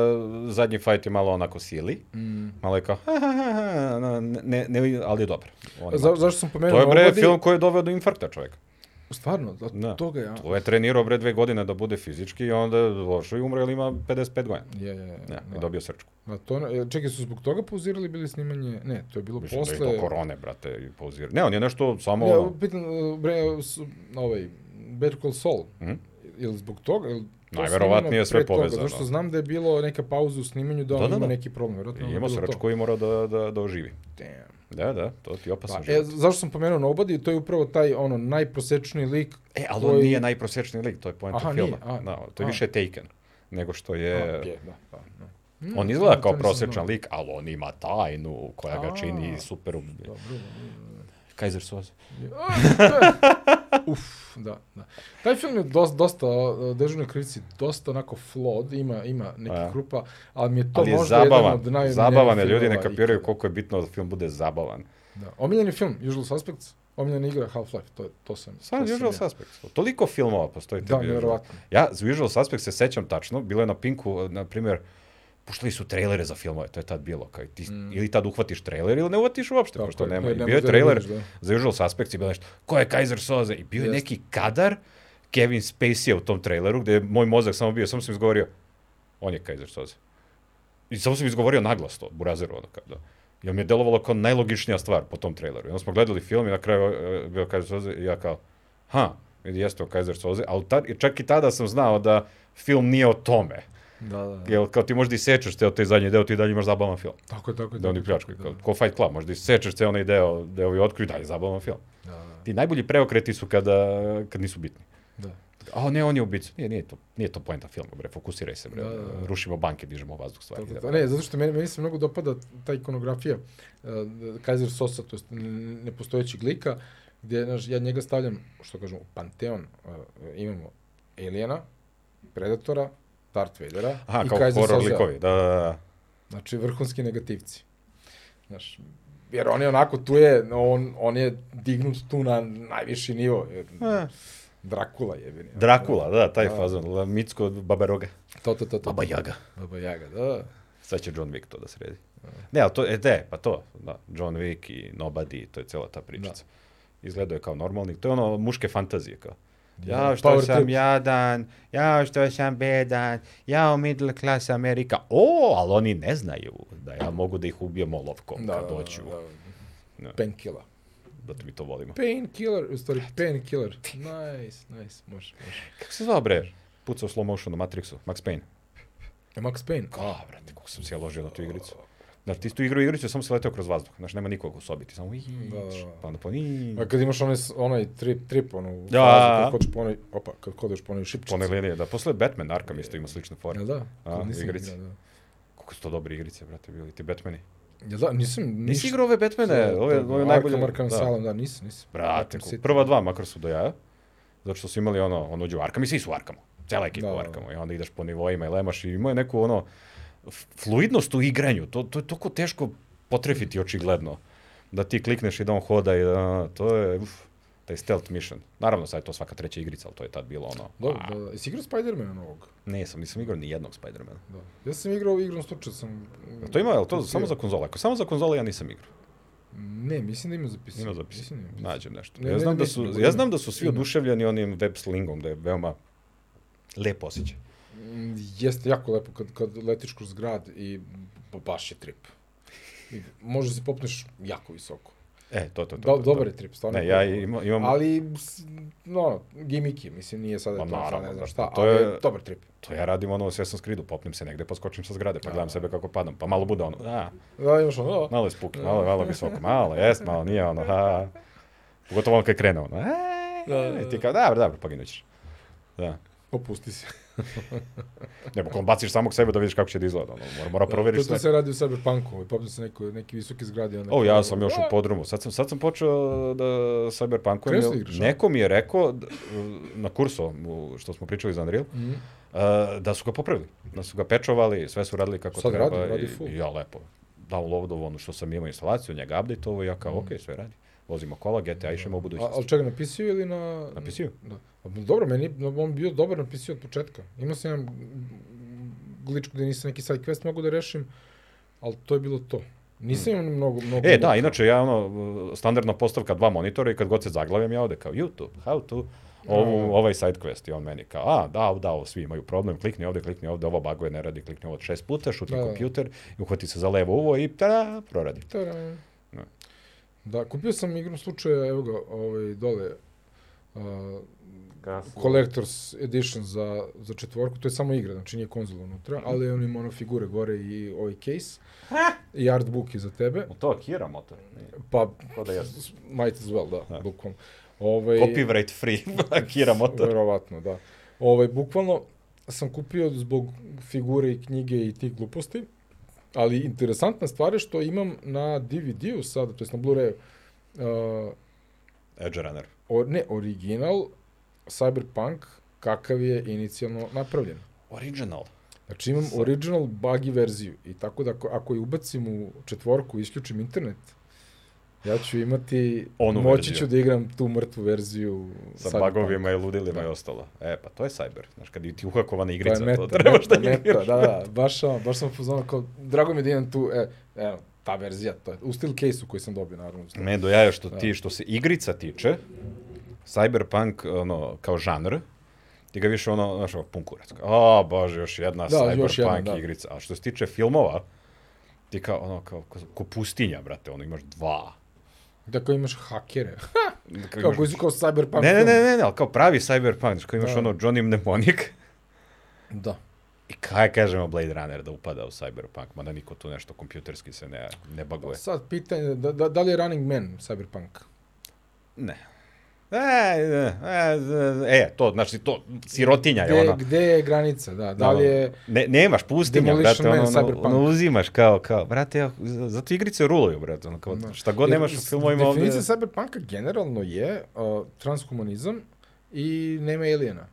S2: zadnji fight je malo onako sili.
S1: Mm.
S2: Malo je kao, ha, ha, ha, ha, no, ne, ne, ali je dobar. On je
S1: Za,
S2: dobar.
S1: zašto sam
S2: to
S1: pomenuo
S2: je bre
S1: Nobody?
S2: film koji je doveo do infarkta čovjeka.
S1: Stvarno, od
S2: Da.
S1: toga ja.
S2: To je trenirao bre dve godine da bude fizički i onda je došao i umro ili ima 55 godina.
S1: Je, je, je.
S2: Ne, i
S1: da.
S2: dobio srčku.
S1: Na to, e, čekaj, su zbog toga pauzirali bili snimanje? Ne, to je bilo
S2: Mislim
S1: posle...
S2: da je to korone, brate, i pauzira. Ne, on je nešto samo...
S1: Ne,
S2: ono,
S1: pitan, e, bre, s- ovaj, Better Call Saul,
S2: Mhm.
S1: je li zbog toga? Jel to
S2: Najverovatnije
S1: snimano
S2: je sve
S1: pre toga?
S2: povezano.
S1: Zato što znam da je bilo neka pauza u snimanju, da on
S2: Da, da,
S1: ima
S2: da.
S1: neki problem. Vjerojatno
S2: Imao srčku i morao da, da, da oživi.
S1: Damn.
S2: Da, da, to ti je opasan
S1: Pa, e,
S2: život.
S1: zašto sam pomenuo Nobody? To je upravo taj ono najprosečniji lik
S2: E, ali on
S1: koji-
S2: nije najprosječniji lik, to je poenta
S1: Aha,
S2: filma.
S1: nije, a,
S2: da, to je
S1: a.
S2: više Taken nego što je...
S1: A, je, da, da, da. Mm,
S2: E. On
S1: to
S2: izgleda kao
S1: nisam znao.
S2: prosječan lik, ali on ima tajnu koja ga
S1: A.
S2: čini super...
S1: Dobro, dobro.
S2: Kaiser Soze.
S1: Uf, da, da. Taj film je dosta, dosta e, dežurne krivici, dosta onako flawed, ima, ima
S2: A.
S1: nekih krupa, ali mi je to
S2: Pa Ali je
S1: možda jedan
S2: zabavan.
S1: od najomiljenijih
S2: Zabavan je, ljudi ne
S1: filmova
S2: kapiraju
S1: ikada.
S2: koliko je bitno da film bude zabavan.
S1: Da. Omiljeni film, Usual Suspects? Omiljena igra Half-Life, to, to sam.
S2: Sad
S1: to sam ja.
S2: Usual Suspects. Toliko filmova postoji
S1: Da,
S2: tebi, Usual.
S1: nevjerovatno.
S2: Ja za Usual Suspects se sećam tačno, bilo je na Pinku, eh, na primjer, puštali su trailere za filmove, to je tad bilo. Kao, i ti, Ili tad uhvatiš trailer ili ne uhvatiš
S1: Mm.
S2: uopšte,
S1: Tako
S2: pošto
S1: je,
S2: nema.
S1: ne,
S2: I
S1: ne
S2: bio je
S1: možeš da
S2: trailer
S1: razumeš,
S2: za Usual Suspects i bilo nešto, ko je Kaiser Soze? I bio je
S1: Jeste.
S2: neki kadar Kevin Spacey u tom traileru, gde je moj mozak samo bio, samo sam izgovorio, on je Kaiser Soze. I samo sam izgovorio naglas to, burazeru, ono kao da. Jer mi je delovalo kao najlogičnija stvar po tom traileru. I onda smo gledali film i na kraju e, bio Kaiser Soze i ja kao, ha, vidi, jeste o Kaiser Soze, ali tad, i čak i tada sam znao da film nije o tome.
S1: Da, da, da.
S2: Jer kao ti možda i sečeš te te zadnji deo, ti dalje imaš zabavan film.
S1: Tako je, tako je.
S2: Da oni
S1: tako je,
S2: pljačkaju,
S1: tako
S2: kao,
S1: je, da.
S2: ko Fight Club, možda i sečeš te onaj deo, deo i otkriju, dalje zabavan film.
S1: Da, da,
S2: Ti najbolji preokreti su kada, kad nisu bitni.
S1: da.
S2: A ne, on je ubica. Nije, nije to, nije to poenta filma, bre, fokusiraj se, bre.
S1: Da, da, da.
S2: Rušimo banke, dižemo u vazduh stvari.
S1: Tako,
S2: idemo.
S1: da. Ne, zato što meni, meni se mnogo dopada ta ikonografija uh, Kaiser Sosa, to jest n- nepostojećeg lika, gdje znaš, ja njega stavljam, što kažem, u panteon. Uh, imamo Aliena, Predatora, Darth Vadera
S2: Aha,
S1: i
S2: kao
S1: Kaiser
S2: horror
S1: Sosa.
S2: likovi, da, da, da.
S1: Znači, vrhunski negativci. Znaš, jer on je onako, tu je, on, on je dignut tu na najviši nivo. Jer,
S2: E.
S1: Drakula je. Bini.
S2: Drakula, da, taj
S1: Da.
S2: fazon, La Mitsko od Baba Roga.
S1: To, to, to, to.
S2: Baba Jaga.
S1: Baba Jaga, da.
S2: Sad će John Wick to da sredi. Ne, ali to, e, de, pa to, da, John Wick i Nobody, to je cela ta pričica.
S1: Da.
S2: Izgledao je kao normalni, to je ono muške fantazije kao. Ja što
S1: Power
S2: sam
S1: trip.
S2: jadan, ja što sam bedan, ja middle class Amerika. O, ali oni ne znaju da ja mogu da ih ubijem olovkom
S1: Да,
S2: kad doću. Da.
S1: da. Painkiller. da.
S2: Zato mi to volimo.
S1: Painkiller, u stvari painkiller. Nice, nice, može, može.
S2: Kako se zvao bre? Pucao slow motion u Matrixu, Max Payne.
S1: E, Max Payne.
S2: Ka, brate, kako sam se ja ložio na tu igricu.
S1: Da,
S2: Znači, ti tu igru igricu, samo si leteo kroz vazduh. Znaš, nema nikog u sobi, ti samo iiić,
S1: Da, da, da.
S2: pa onda po iiić.
S1: A kad imaš onaj, s- onaj trip, trip, onu
S2: Da.
S1: fazu, kad hoćeš po onoj, opa, kad hodeš po onoj šipčici.
S2: One linije, da. Posle Batman Arkham isto ima slične fore.
S1: Jel da?
S2: A,
S1: Kad nisam
S2: igrice.
S1: igrao, da.
S2: Koliko su to dobre igrice, brate, bili ti Batmani.
S1: Jel da, nisam...
S2: Nisi
S1: ništa-
S2: igrao ove Batmane,
S1: Za-
S2: ove,
S1: to-
S2: ove
S1: da, Arkham,
S2: najbolje.
S1: Arkham
S2: da.
S1: Asylum, da, nisam, nisam.
S2: Brate,
S1: Arkham
S2: ko-
S1: City.
S2: prva dva makar su do jaja, zato što su imali ono, ono uđe u Arkam i svi su u Arkamu. Cela ekipa
S1: Da,
S2: u
S1: da.
S2: Arkamu i onda ideš po nivoima i lemaš i ima je neku ono f- fluidnost u igranju, to, to je toliko teško potrefiti očigledno. Da ti klikneš i da on hoda i da, to je, uf, taj stealth mission. Naravno sad je to svaka treća igrica, ali to je tad bilo ono,
S1: Dobro,
S2: a,
S1: da, da. Jesi igrao Spider-Mana novog?
S2: nisam, nisam igrao ni jednog Spider-mana.
S1: Da. Ja sam igrao igrom slučaja, sam...
S2: A to ima, je li to
S1: Kupio.
S2: samo za konzole? Ako samo za konzole ja nisam igrao.
S1: Ne, mislim da ima zapisano.
S2: Ima zapis.
S1: Mislim da ima.
S2: Nađem nešto.
S1: Ne,
S2: ja,
S1: ne,
S2: znam
S1: ne,
S2: da
S1: mislim,
S2: su,
S1: nego
S2: ja
S1: ima.
S2: znam da su svi
S1: Ima.
S2: oduševljeni onim web slingom, da je veoma lep osjećaj.
S1: Mm, Jeste jako lepo kad, kad letiš kroz grad i ba- baš je trip. I može se popneš jako visoko.
S2: E, to, to, to.
S1: Do,
S2: to,
S1: dobar
S2: to.
S1: je trip, stvarno.
S2: Ne,
S1: je
S2: ja
S1: cool.
S2: ima, imam,
S1: Ali, s- no, ono, gimmick je, mislim, nije sada
S2: Ma,
S1: to, sad
S2: Pa naravno,
S1: ne znam
S2: brate,
S1: šta,
S2: to
S1: ali
S2: je-
S1: je dobar trip.
S2: to ja radim ono u Assassin's Creedu, popnem se negde, pa skočim sa zgrade, pa
S1: Da.
S2: gledam sebe kako padam, pa malo bude ono, a,
S1: Da, imaš ono, o,
S2: malo je spuki, malo, malo
S1: Da.
S2: je visoko, malo, jes, malo nije ono, a, pogotovo ono kad krene ono, a,
S1: Da, da,
S2: i ti kao, dobro, dobro, poginućeš. Da.
S1: opusti se.
S2: Ne, bukvalno baciš samog sebe da vidiš kako će da izgleda, ono, mora, mora
S1: To
S2: proveriš sve.
S1: što se radi u Cyberpunku, i popneš se neko, neki visoki zgradi. Onda "Da."
S2: O, ja sam još u podrumu. Sad sam, sad sam počeo da
S1: Krenuo si da
S2: Cyberpunkujem.
S1: igraš, a?
S2: Neko mi je rekao, d- na kursu u- što smo pričali za Unreal,
S1: Mhm.
S2: Uh, da su ga popravili, da su ga pečovali, sve su radili kako
S1: Sad
S2: treba.
S1: radi, radi full.
S2: i, i ja lepo. Downloadovo ono što sam imao instalaciju, njega update-ovo i ja kao, okej, sve radi. Vozimo kola, GTA išemo
S1: Mm.
S2: u
S1: A,
S2: budućnost.
S1: ali čega, na PC-u ili na...
S2: Na PC-u.
S1: Da. A, Dobro, meni je on bio dobar na PC-u od početka. Imao sam jedan glitch gde nisam neki side quest mogu da rešim, ali to je bilo to. Nisam imao mnogo, mnogo...
S2: E, da, inače ja ono, uh, standardna postavka dva monitora i kad god se zaglavim ja ovde kao YouTube, how to, ovu, ovaj side quest i on meni kao, a, da, da, ovo svi imaju problem, klikni ovde, klikni ovde, ovo baguje, ne radi, klikni ovo šest puta, šutni
S1: Da, da.
S2: kompjuter, i uhvati se za levo uvo i tada, proradi.
S1: Tadam.
S2: Da.
S1: Da, kupio sam igrom slučaja, evo ga, ovaj, dole, a, Collector's Edition za, za četvorku, to je samo igra, znači nije konzola unutra,
S2: Hmm.
S1: ali on ima ono figure gore i ovaj case, i artbook je za tebe,
S2: No to Kira motor, nije,
S1: pa
S2: to da jesam.
S1: might as well, da, bukvalno. Ovaj,
S2: Copyright free, pa, Kira motor.
S1: Verovatno, da. Ovaj, bukvalno sam kupio zbog figure i knjige i tih gluposti, ali interesantna stvar je što imam na DVD-u sada, to jest na Blu-rayu, uh,
S2: Edge Runner.
S1: o, ne, original Cyberpunk kakav je inicijalno napravljen.
S2: Original.
S1: Znači imam original buggy verziju i tako da ako, ako je ubacim u četvorku i isključim internet, Ja ću imati,
S2: Onu
S1: moći
S2: verziju.
S1: ću da igram tu mrtvu verziju
S2: Sa
S1: Cyberpunka.
S2: bagovima i ludilima i ostalo. E, pa to je cyber. Znaš, kad je ti uhakovana
S1: To pa, je
S2: igrica, to,
S1: meta,
S2: trebaš
S1: meta,
S2: da igraš.
S1: meta, da, da, baš, ono, baš sam poznao kao, drago mi je da imam tu, e, evo, ta verzija, to je, u steel case-u koji sam dobio, naravno.
S2: Ne, do jaja
S1: Da.
S2: što ti, što se igrica tiče, cyberpunk, ono, kao žanr, ti ga više ono, znaš, ovo, pun kurac. kao, A, bože, još jedna
S1: Da,
S2: cyberpunk
S1: još jedna, da.
S2: igrica. A što se tiče filmova, ti kao, ono, kao, ko, ko pustinja, brate, ono, imaš dva.
S1: Dakle, imaš hakere,
S2: Kao,
S1: kao
S2: imaš-
S1: koji su kao cyberpunk.
S2: ne, ne,
S1: film.
S2: ne, ne, ne, ali kao pravi cyberpunk, znaš, kao imaš
S1: Da.
S2: ono Johnny Mnemonic,
S1: Da.
S2: I kaj kažemo Blade Runner da upada u Cyberpunk, mada niko tu nešto kompjuterski se ne, ne baguje.
S1: Sad, pitanje, da, da, da li je Running Man cyberpunk?
S2: Ne. E, e, e, e, to, znači, to, sirotinja je
S1: Gde,
S2: ona.
S1: gde je granica, da, da li je...
S2: Ne, nemaš pustinja,
S1: Demolition
S2: brate, ono,
S1: Man,
S2: ono,
S1: Cyberpunk.
S2: ono, uzimaš kao, kao, brate, ja, zato igrice ruluju, brate, ono, kao,
S1: Da.
S2: šta god nemaš u
S1: Jer s-
S2: filmovima ovde.
S1: Definicija cyberpunka generalno je uh, transhumanizam i nema aliena,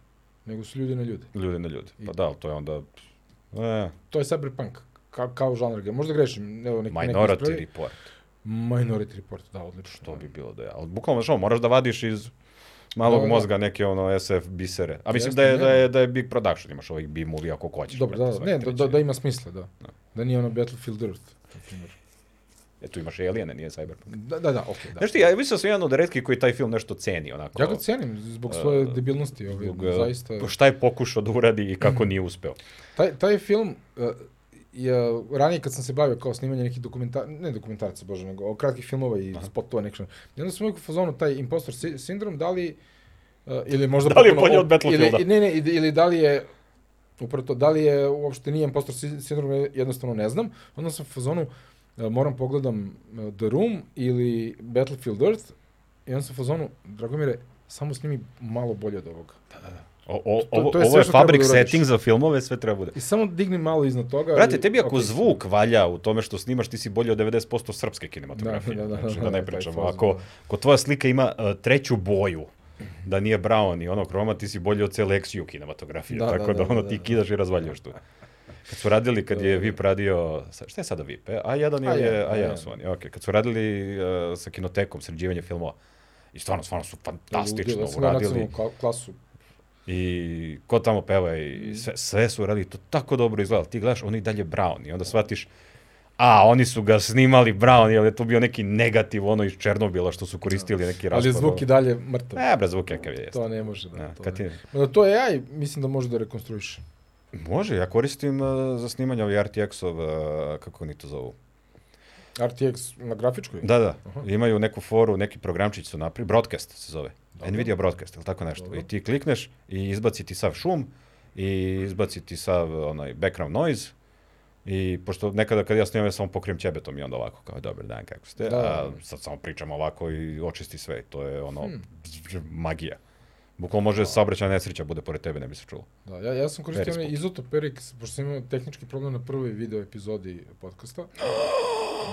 S1: nego su ljudi na ljudi.
S2: Ljudi na ljudi, pa da, ali to je onda, e,
S1: To je cyberpunk, ka, kao žanr. ga- Možda grešim, evo nek, neko
S2: minority
S1: ispravi.
S2: report,
S1: Minority Report, da, odlično.
S2: to bi bilo da je, ali bukvalno, znaš, ono, moraš da vadiš iz malog
S1: Da, da.
S2: mozga neke, ono, SF bisere, a mislim
S1: Jeste,
S2: da je, da
S1: ne.
S2: je, da je big production, imaš ovih B-movie ako hoćeš.
S1: Dobro, da,
S2: brate,
S1: da,
S2: svaki
S1: ne, da, da,
S2: treći.
S1: da ima smisla, da. Da nije ono Battlefield Earth, na primjer.
S2: E, tu imaš Aliene, nije Cyberpunk.
S1: Da, da, da, okej, da.
S2: Znaš ti, ja mislim da sam jedan od redkih koji taj film nešto ceni, onako.
S1: Ja ga cenim zbog svoje debilnosti, ovaj,
S2: E, Zbog, e,
S1: zaista.
S2: Šta je pokušao da uradi i kako nije uspeo.
S1: Taj, taj film, uh, je, ranije kad sam se bavio kao snimanje nekih dokumentar, ne dokumentarca, bože, nego o kratkih filmova i spotova nekšan. I onda smo uvijek u fazonu taj impostor si- sindrom, da li, uh, ili možda...
S2: Da li je
S1: potpuno
S2: bolji od
S1: op-
S2: Battlefielda?
S1: Ili, ne, ne, ili, ili da li je, upravo to, da li je uopšte nije impostor si- sindrom, ja jednostavno ne znam. Onda sam u fazonu, uh, moram pogledam uh, The Room ili Battlefield Earth, i onda sam u fazonu, Dragomire, samo snimi malo bolje od ovoga.
S2: O, o,
S1: to je
S2: ovo,
S1: sve
S2: ovo je
S1: što treba
S2: fabrik
S1: da uradiš.
S2: setting za filmove, sve treba da bude.
S1: I samo digni malo iznad toga.
S2: Brate,
S1: i-
S2: tebi ako
S1: ok.
S2: zvuk valja u tome što snimaš, ti si bolji od 90% srpske kinematografije.
S1: Da, da, da,
S2: znači,
S1: da,
S2: da
S1: da, taj
S2: ne pričamo.
S1: fazon,
S2: Ako,
S1: da.
S2: ako tvoja slika ima e, treću boju, da nije brown i ono kroma, ti si bolji od cele XU kinematografije.
S1: Da,
S2: tako da,
S1: da, da,
S2: ono
S1: da,
S2: ti
S1: da.
S2: kidaš i razvaljuješ tu. Kad su radili, kad je VIP radio, sa- šta je sada VIP? E, A1 ili je,
S1: A1,
S2: A1
S1: A1.
S2: su oni, okej. Kad su radili e, sa kinotekom, sređivanje filmova, I stvarno, stvarno su fantastično
S1: Ludilo, sam ga
S2: uradili.
S1: nacionalnu kla- klasu.
S2: I ko tamo peva
S1: Mhm.
S2: i sve, sve su radili, to tako dobro izgleda. Ti gledaš, oni dalje Brown i onda shvatiš, a, oni su ga snimali Brown, jer je to bio neki negativ ono iz Černobila što su koristili neki raspad.
S1: Da. Ali je zvuk i dalje mrtav.
S2: Ne, bre, zvuk kakav je.
S1: To ne može da.
S2: Ne,
S1: to,
S2: E, kad ti...
S1: ne. Mada to je AI, mislim da može da rekonstruiše.
S2: Može, ja koristim uh, za snimanje ovih RTX-ov, uh, kako oni to zovu.
S1: RTX na grafičkoj?
S2: Da, da,
S1: Aha.
S2: imaju neku foru, neki programčić su napravili, broadcast se zove.
S1: Dobro.
S2: Nvidia broadcast, ili tako nešto.
S1: Dobro.
S2: I ti klikneš i izbaci ti sav šum i izbaci ti sav onaj background noise. I pošto nekada kad ja snimam ja samo pokrijem ćebetom i onda ovako kao dobar dan kako ste,
S1: Da.
S2: a sad samo pričam ovako i očisti sve. I To je ono
S1: Hm.
S2: magija. Bukvalno može saobraćajna nesreća bude pored tebe, ne bi se čulo.
S1: Da, ja, ja sam koristio
S2: Verispot.
S1: onaj izotop Erix, pošto sam imao tehnički problem na prvoj video epizodi podcasta.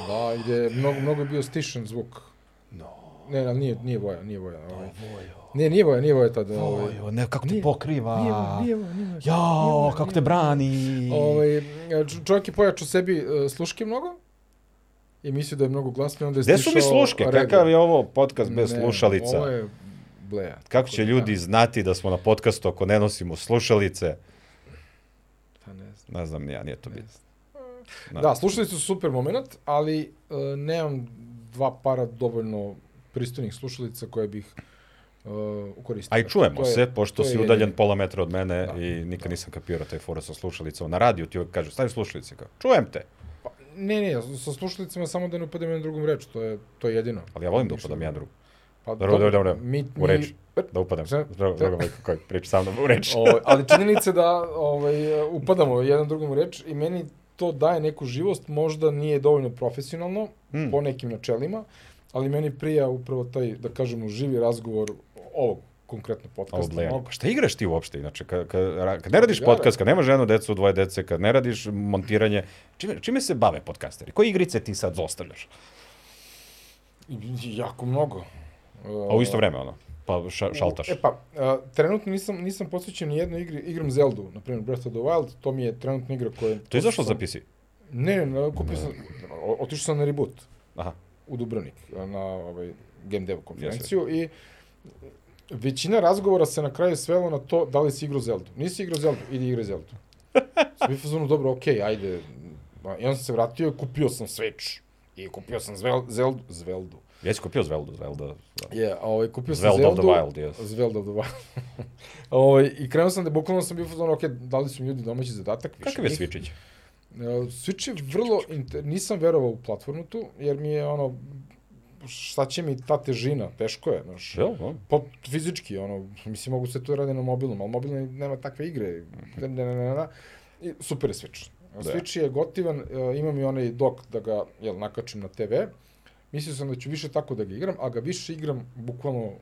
S1: Da, gdje je mnogo, mnogo je bio stišan zvuk.
S2: No.
S1: Ne, ali nije, nije voja, nije voja. Ovaj. Ne, nije voja, nije voja tada. Ovaj.
S2: ne, kako
S1: te Nije-
S2: pokriva.
S1: Nije voja, nije voja, nije voja.
S2: Jao, kako te brani.
S1: Ovaj, čo- čovjek je pojačao sebi e, sluške mnogo i mislio da je mnogo glasno i onda je
S2: Gde su mi
S1: stišao
S2: sluške?
S1: regal.
S2: Kakav je ovo podcast bez
S1: Ne,
S2: slušalica?
S1: Ovo je bleja.
S2: Kako će ljudi znati da smo na podcastu ako ne nosimo slušalice?
S1: Pa ne znam.
S2: Ne znam, ni ja, nije to
S1: Ne
S2: bitno.
S1: znam.
S2: Da.
S1: Da, slušali su super moment, ali e, nemam dva para dovoljno pristojnih slušalica koje bih uh, ukoristio.
S2: A i čujemo
S1: To je-
S2: se,
S1: to
S2: pošto
S1: je
S2: si udaljen
S1: jedini.
S2: pola metra od mene
S1: Da,
S2: i nikad nisam kapirao taj fora sa slušalicom. Na radiju ti uvijek kažu, stavi slušalice. Kao, čujem te,
S1: Pa, ne, ne, sa slušalicama samo da ne upadem na drugom reč, to je, to je jedino.
S2: ali ja volim da
S1: Ništa
S2: upadam
S1: drugo.
S2: jedan drugu.
S1: Pa,
S2: Dobro, dobro, dobro,
S1: Mi,
S2: u reč.
S1: mi-
S2: Da upadam.
S1: Sve-
S2: Drugo, drugo, koji priča sa mnom u reči.
S1: Ovaj, ali činjenica da ovaj, upadamo jedan drugom u reč i meni to daje neku živost, možda nije dovoljno profesionalno
S2: Hmm.
S1: hmm. po nekim načelima, ali meni prija upravo taj, da kažemo, živi razgovor ovog konkretno
S2: Ovo
S1: podcasta.
S2: blejanje.
S1: mog.
S2: Šta igraš ti uopšte inače? Kad, kad, ra- kad ne radiš
S1: Igara.
S2: podcast, kad nemaš ženu, decu, dvoje dece, kad ne radiš montiranje, čime, čime se bave podcasteri? Koje igrice ti sad zostavljaš?
S1: I- i jako mnogo.
S2: A u isto vreme, ono, pa ša, šaltaš.
S1: E pa, a, trenutno nisam, nisam posvećen ni jednoj igri, igram Zeldu, na primjer Breath of the Wild, to mi je trenutna igra koja...
S2: To je izašlo
S1: pa sam-
S2: za PC.
S1: Ne, ne, ne, kupio sam, o- otišao sam na reboot.
S2: Aha.
S1: u Dubrovnik na ovaj, Game Dev konferenciju yes, i većina razgovora se na kraju svelo na to da li si igrao Zeldu. Nisi igrao Zeldu, idi igraj Zeldu. Svi fazonu, dobro, okej, okay, ajde. I onda sam se vratio i kupio sam Switch. I kupio sam Zvel, Zeldu. Zveldu.
S2: Jesi kupio Zveldu, Zelda.
S1: Je, yeah, ovaj, kupio sam
S2: Zelda
S1: Zeldu.
S2: of the Wild, yes.
S1: Zelda of the Wild. ovaj, I krenuo sam da bukvalno sam bio fazonu, okej, okay, dali su mi ljudi domaći zadatak. više
S2: Kakav je
S1: njih.
S2: Switchić?
S1: Switch je vrlo, inter... nisam verovao u platformu tu, jer mi je ono, šta će mi ta težina, teško je, znaš.
S2: Jel, no?
S1: Pa fizički, ono, mislim, mogu se to radi na mobilnom, ali mobilno nema takve igre. Da, Ne, ne, ne, ne, ne. I super je Switch.
S2: Mhm. Da.
S1: Switch je gotivan, e, imam i onaj dok da ga, jel, nakačim na TV. Mislio sam da ću više tako da ga igram, a ga više igram bukvalno u,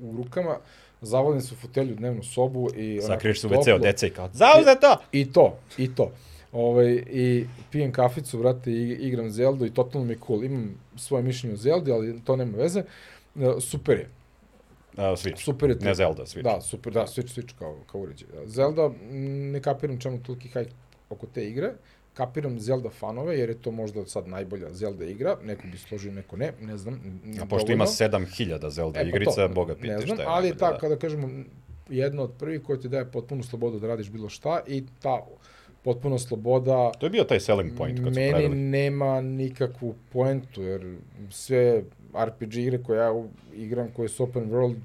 S1: u, u rukama. Zavodim se u fotelju u dnevnu sobu i... onako,
S2: Sakriješ se u
S1: toplo.
S2: WC od dece i kao, zauzeto!
S1: I to, i to. Ovaj, I pijem kaficu, vrate, i igram Zeldu i totalno mi je cool. Imam svoje mišljenje o Zeldi, ali to nema veze. E, Super je.
S2: A, Switch.
S1: Super je. to.
S2: Ne Zelda, Switch.
S1: Da, super, da, Switch, Switch kao, kao uređaj. Zelda, m, ne kapiram čemu toliki hajk oko te igre. Kapiram Zelda fanove, jer je to možda sad najbolja Zelda igra. Neko bi složio, neko ne, ne znam. n- n-
S2: A pošto
S1: dovoljno.
S2: ima 7000 Zelda
S1: E, pa
S2: igrica,
S1: to,
S2: boga
S1: ne
S2: pite
S1: znam,
S2: šta je.
S1: Ali je
S2: najbolje,
S1: ta, da. kada kažemo, jedna od prvih koja ti daje potpunu slobodu da radiš bilo šta i ta potpuna sloboda
S2: To je bio taj selling point kad su
S1: Meni
S2: pravili.
S1: nema nikakvu poentu, jer sve RPG igre koje ja u- igram, koje su open world,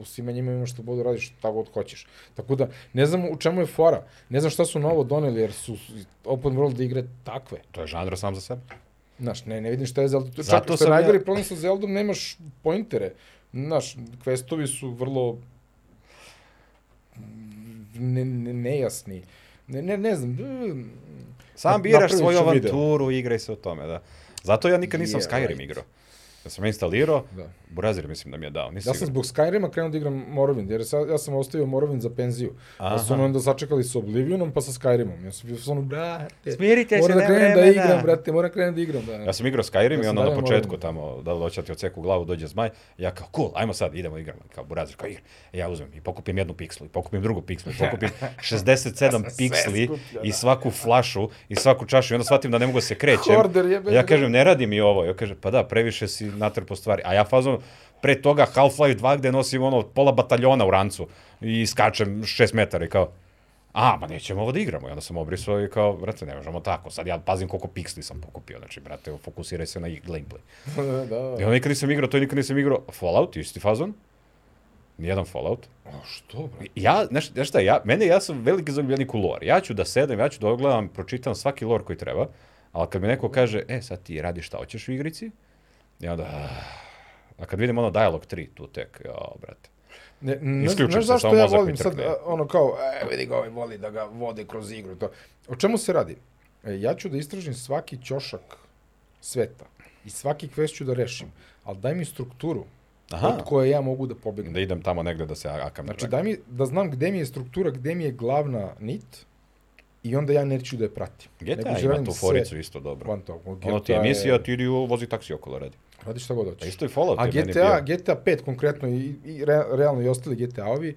S1: u svima njima imaš slobodu, da radiš šta god hoćeš. Tako da, ne znam u čemu je fora, ne znam šta su novo doneli, jer su open world igre takve.
S2: To je žanr sam za sebe.
S1: Znaš, ne, ne vidim šta je Zelda. tu- Čak
S2: Zato
S1: što je
S2: sam ja-
S1: najgori problem sa Zeldom, nemaš pointere. Znaš, questovi su vrlo ne, ne, nejasni. Ne, ne, ne znam.
S2: Sam
S1: Nap-
S2: biraš
S1: napravit
S2: svoju
S1: ću video.
S2: avanturu, igraj se o tome, da. Zato ja nikad nisam
S1: Yeah,
S2: Skyrim
S1: right.
S2: igrao. Ja sam instalirao,
S1: Da.
S2: Burazir mislim da mi je dao, nisam
S1: Ja sam zbog Skyrima krenuo da igram Morrowind, jer sad, ja sam ostavio Morrowind za penziju. Aha. Pa su me onda sačekali sa Oblivionom, pa sa Skyrimom. Ja sam bio ono, brate,
S2: Smirite
S1: moram da krenem da igram, brate, moram da krenem da igram. Da.
S2: Ja sam igrao Skyrim
S1: Ja
S2: i
S1: sam
S2: onda na
S1: dalje
S2: početku
S1: moram.
S2: tamo, da li hoće da ti odseku glavu, dođe zmaj. Ja kao, cool, ajmo sad, idemo igramo. Kao Burazir, kao igra. E, ja uzmem i pokupim jednu pikslu, i pokupim drugu pikslu, i pokupim 67 piksli
S1: skupljao,
S2: i svaku flašu i svaku čašu. I onda shvatim da ne mogu da se krećem.
S1: Hoarder, jebe
S2: ja
S1: ga.
S2: kažem, ne radi mi ovo. Ja kažem, pa da, previše si natrpo stvari. A ja fazom, pre toga Half-Life 2 gde nosim ono pola bataljona u rancu i skačem 6 metara i kao, a, ma nećemo ovo da igramo. I onda sam obrisao i kao, brate, ne možemo tako. Sad ja pazim koliko piksli sam pokupio, znači, brate, fokusiraj se na ig- gameplay.
S1: da, da.
S2: I onda nikad nisam igrao, to i nikad nisam igrao Fallout, isti fazon. Nijedan Fallout.
S1: A što, brate?
S2: Ja, znaš, znaš šta, ja, mene, ja sam veliki zaljubljenik u lore. Ja ću da sedem, ja ću da ogledam, pročitam svaki lore koji treba, ali kad mi neko kaže, e, sad ti radi šta hoćeš u igrici, ja onda, "Ah." a kad vidim ono Dialog 3, tu tek, jo, brate.
S1: Ne, ne,
S2: Isključim
S1: znaš
S2: se,
S1: zašto
S2: samo
S1: ja
S2: mozak mi
S1: volim sad,
S2: trkne.
S1: a, ono kao, e, vidi ga, ovaj voli da ga vode kroz igru. To. O čemu se radi? E, ja ću da istražim svaki ćošak sveta i svaki quest ću da rešim, ali daj mi strukturu
S2: Aha.
S1: od koje ja mogu da pobegnem.
S2: Da idem tamo negde da se a- akam.
S1: Znači, daj mi, da znam gde mi je struktura, gde mi je glavna nit i onda ja neću da je pratim.
S2: GTA
S1: Nego
S2: ima
S1: želim
S2: tu
S1: sve-
S2: foricu isto dobro.
S1: Van tog, ono,
S2: Ono ti je
S1: GTA
S2: emisija, ti idi u- vozi taksi okolo radi.
S1: Radi šta god
S2: Pa
S1: hoćeš.
S2: isto i Fallout
S1: Znači, A
S2: je meni
S1: GTA,
S2: bio.
S1: GTA 5 konkretno i, i re, realno i ostali GTA-ovi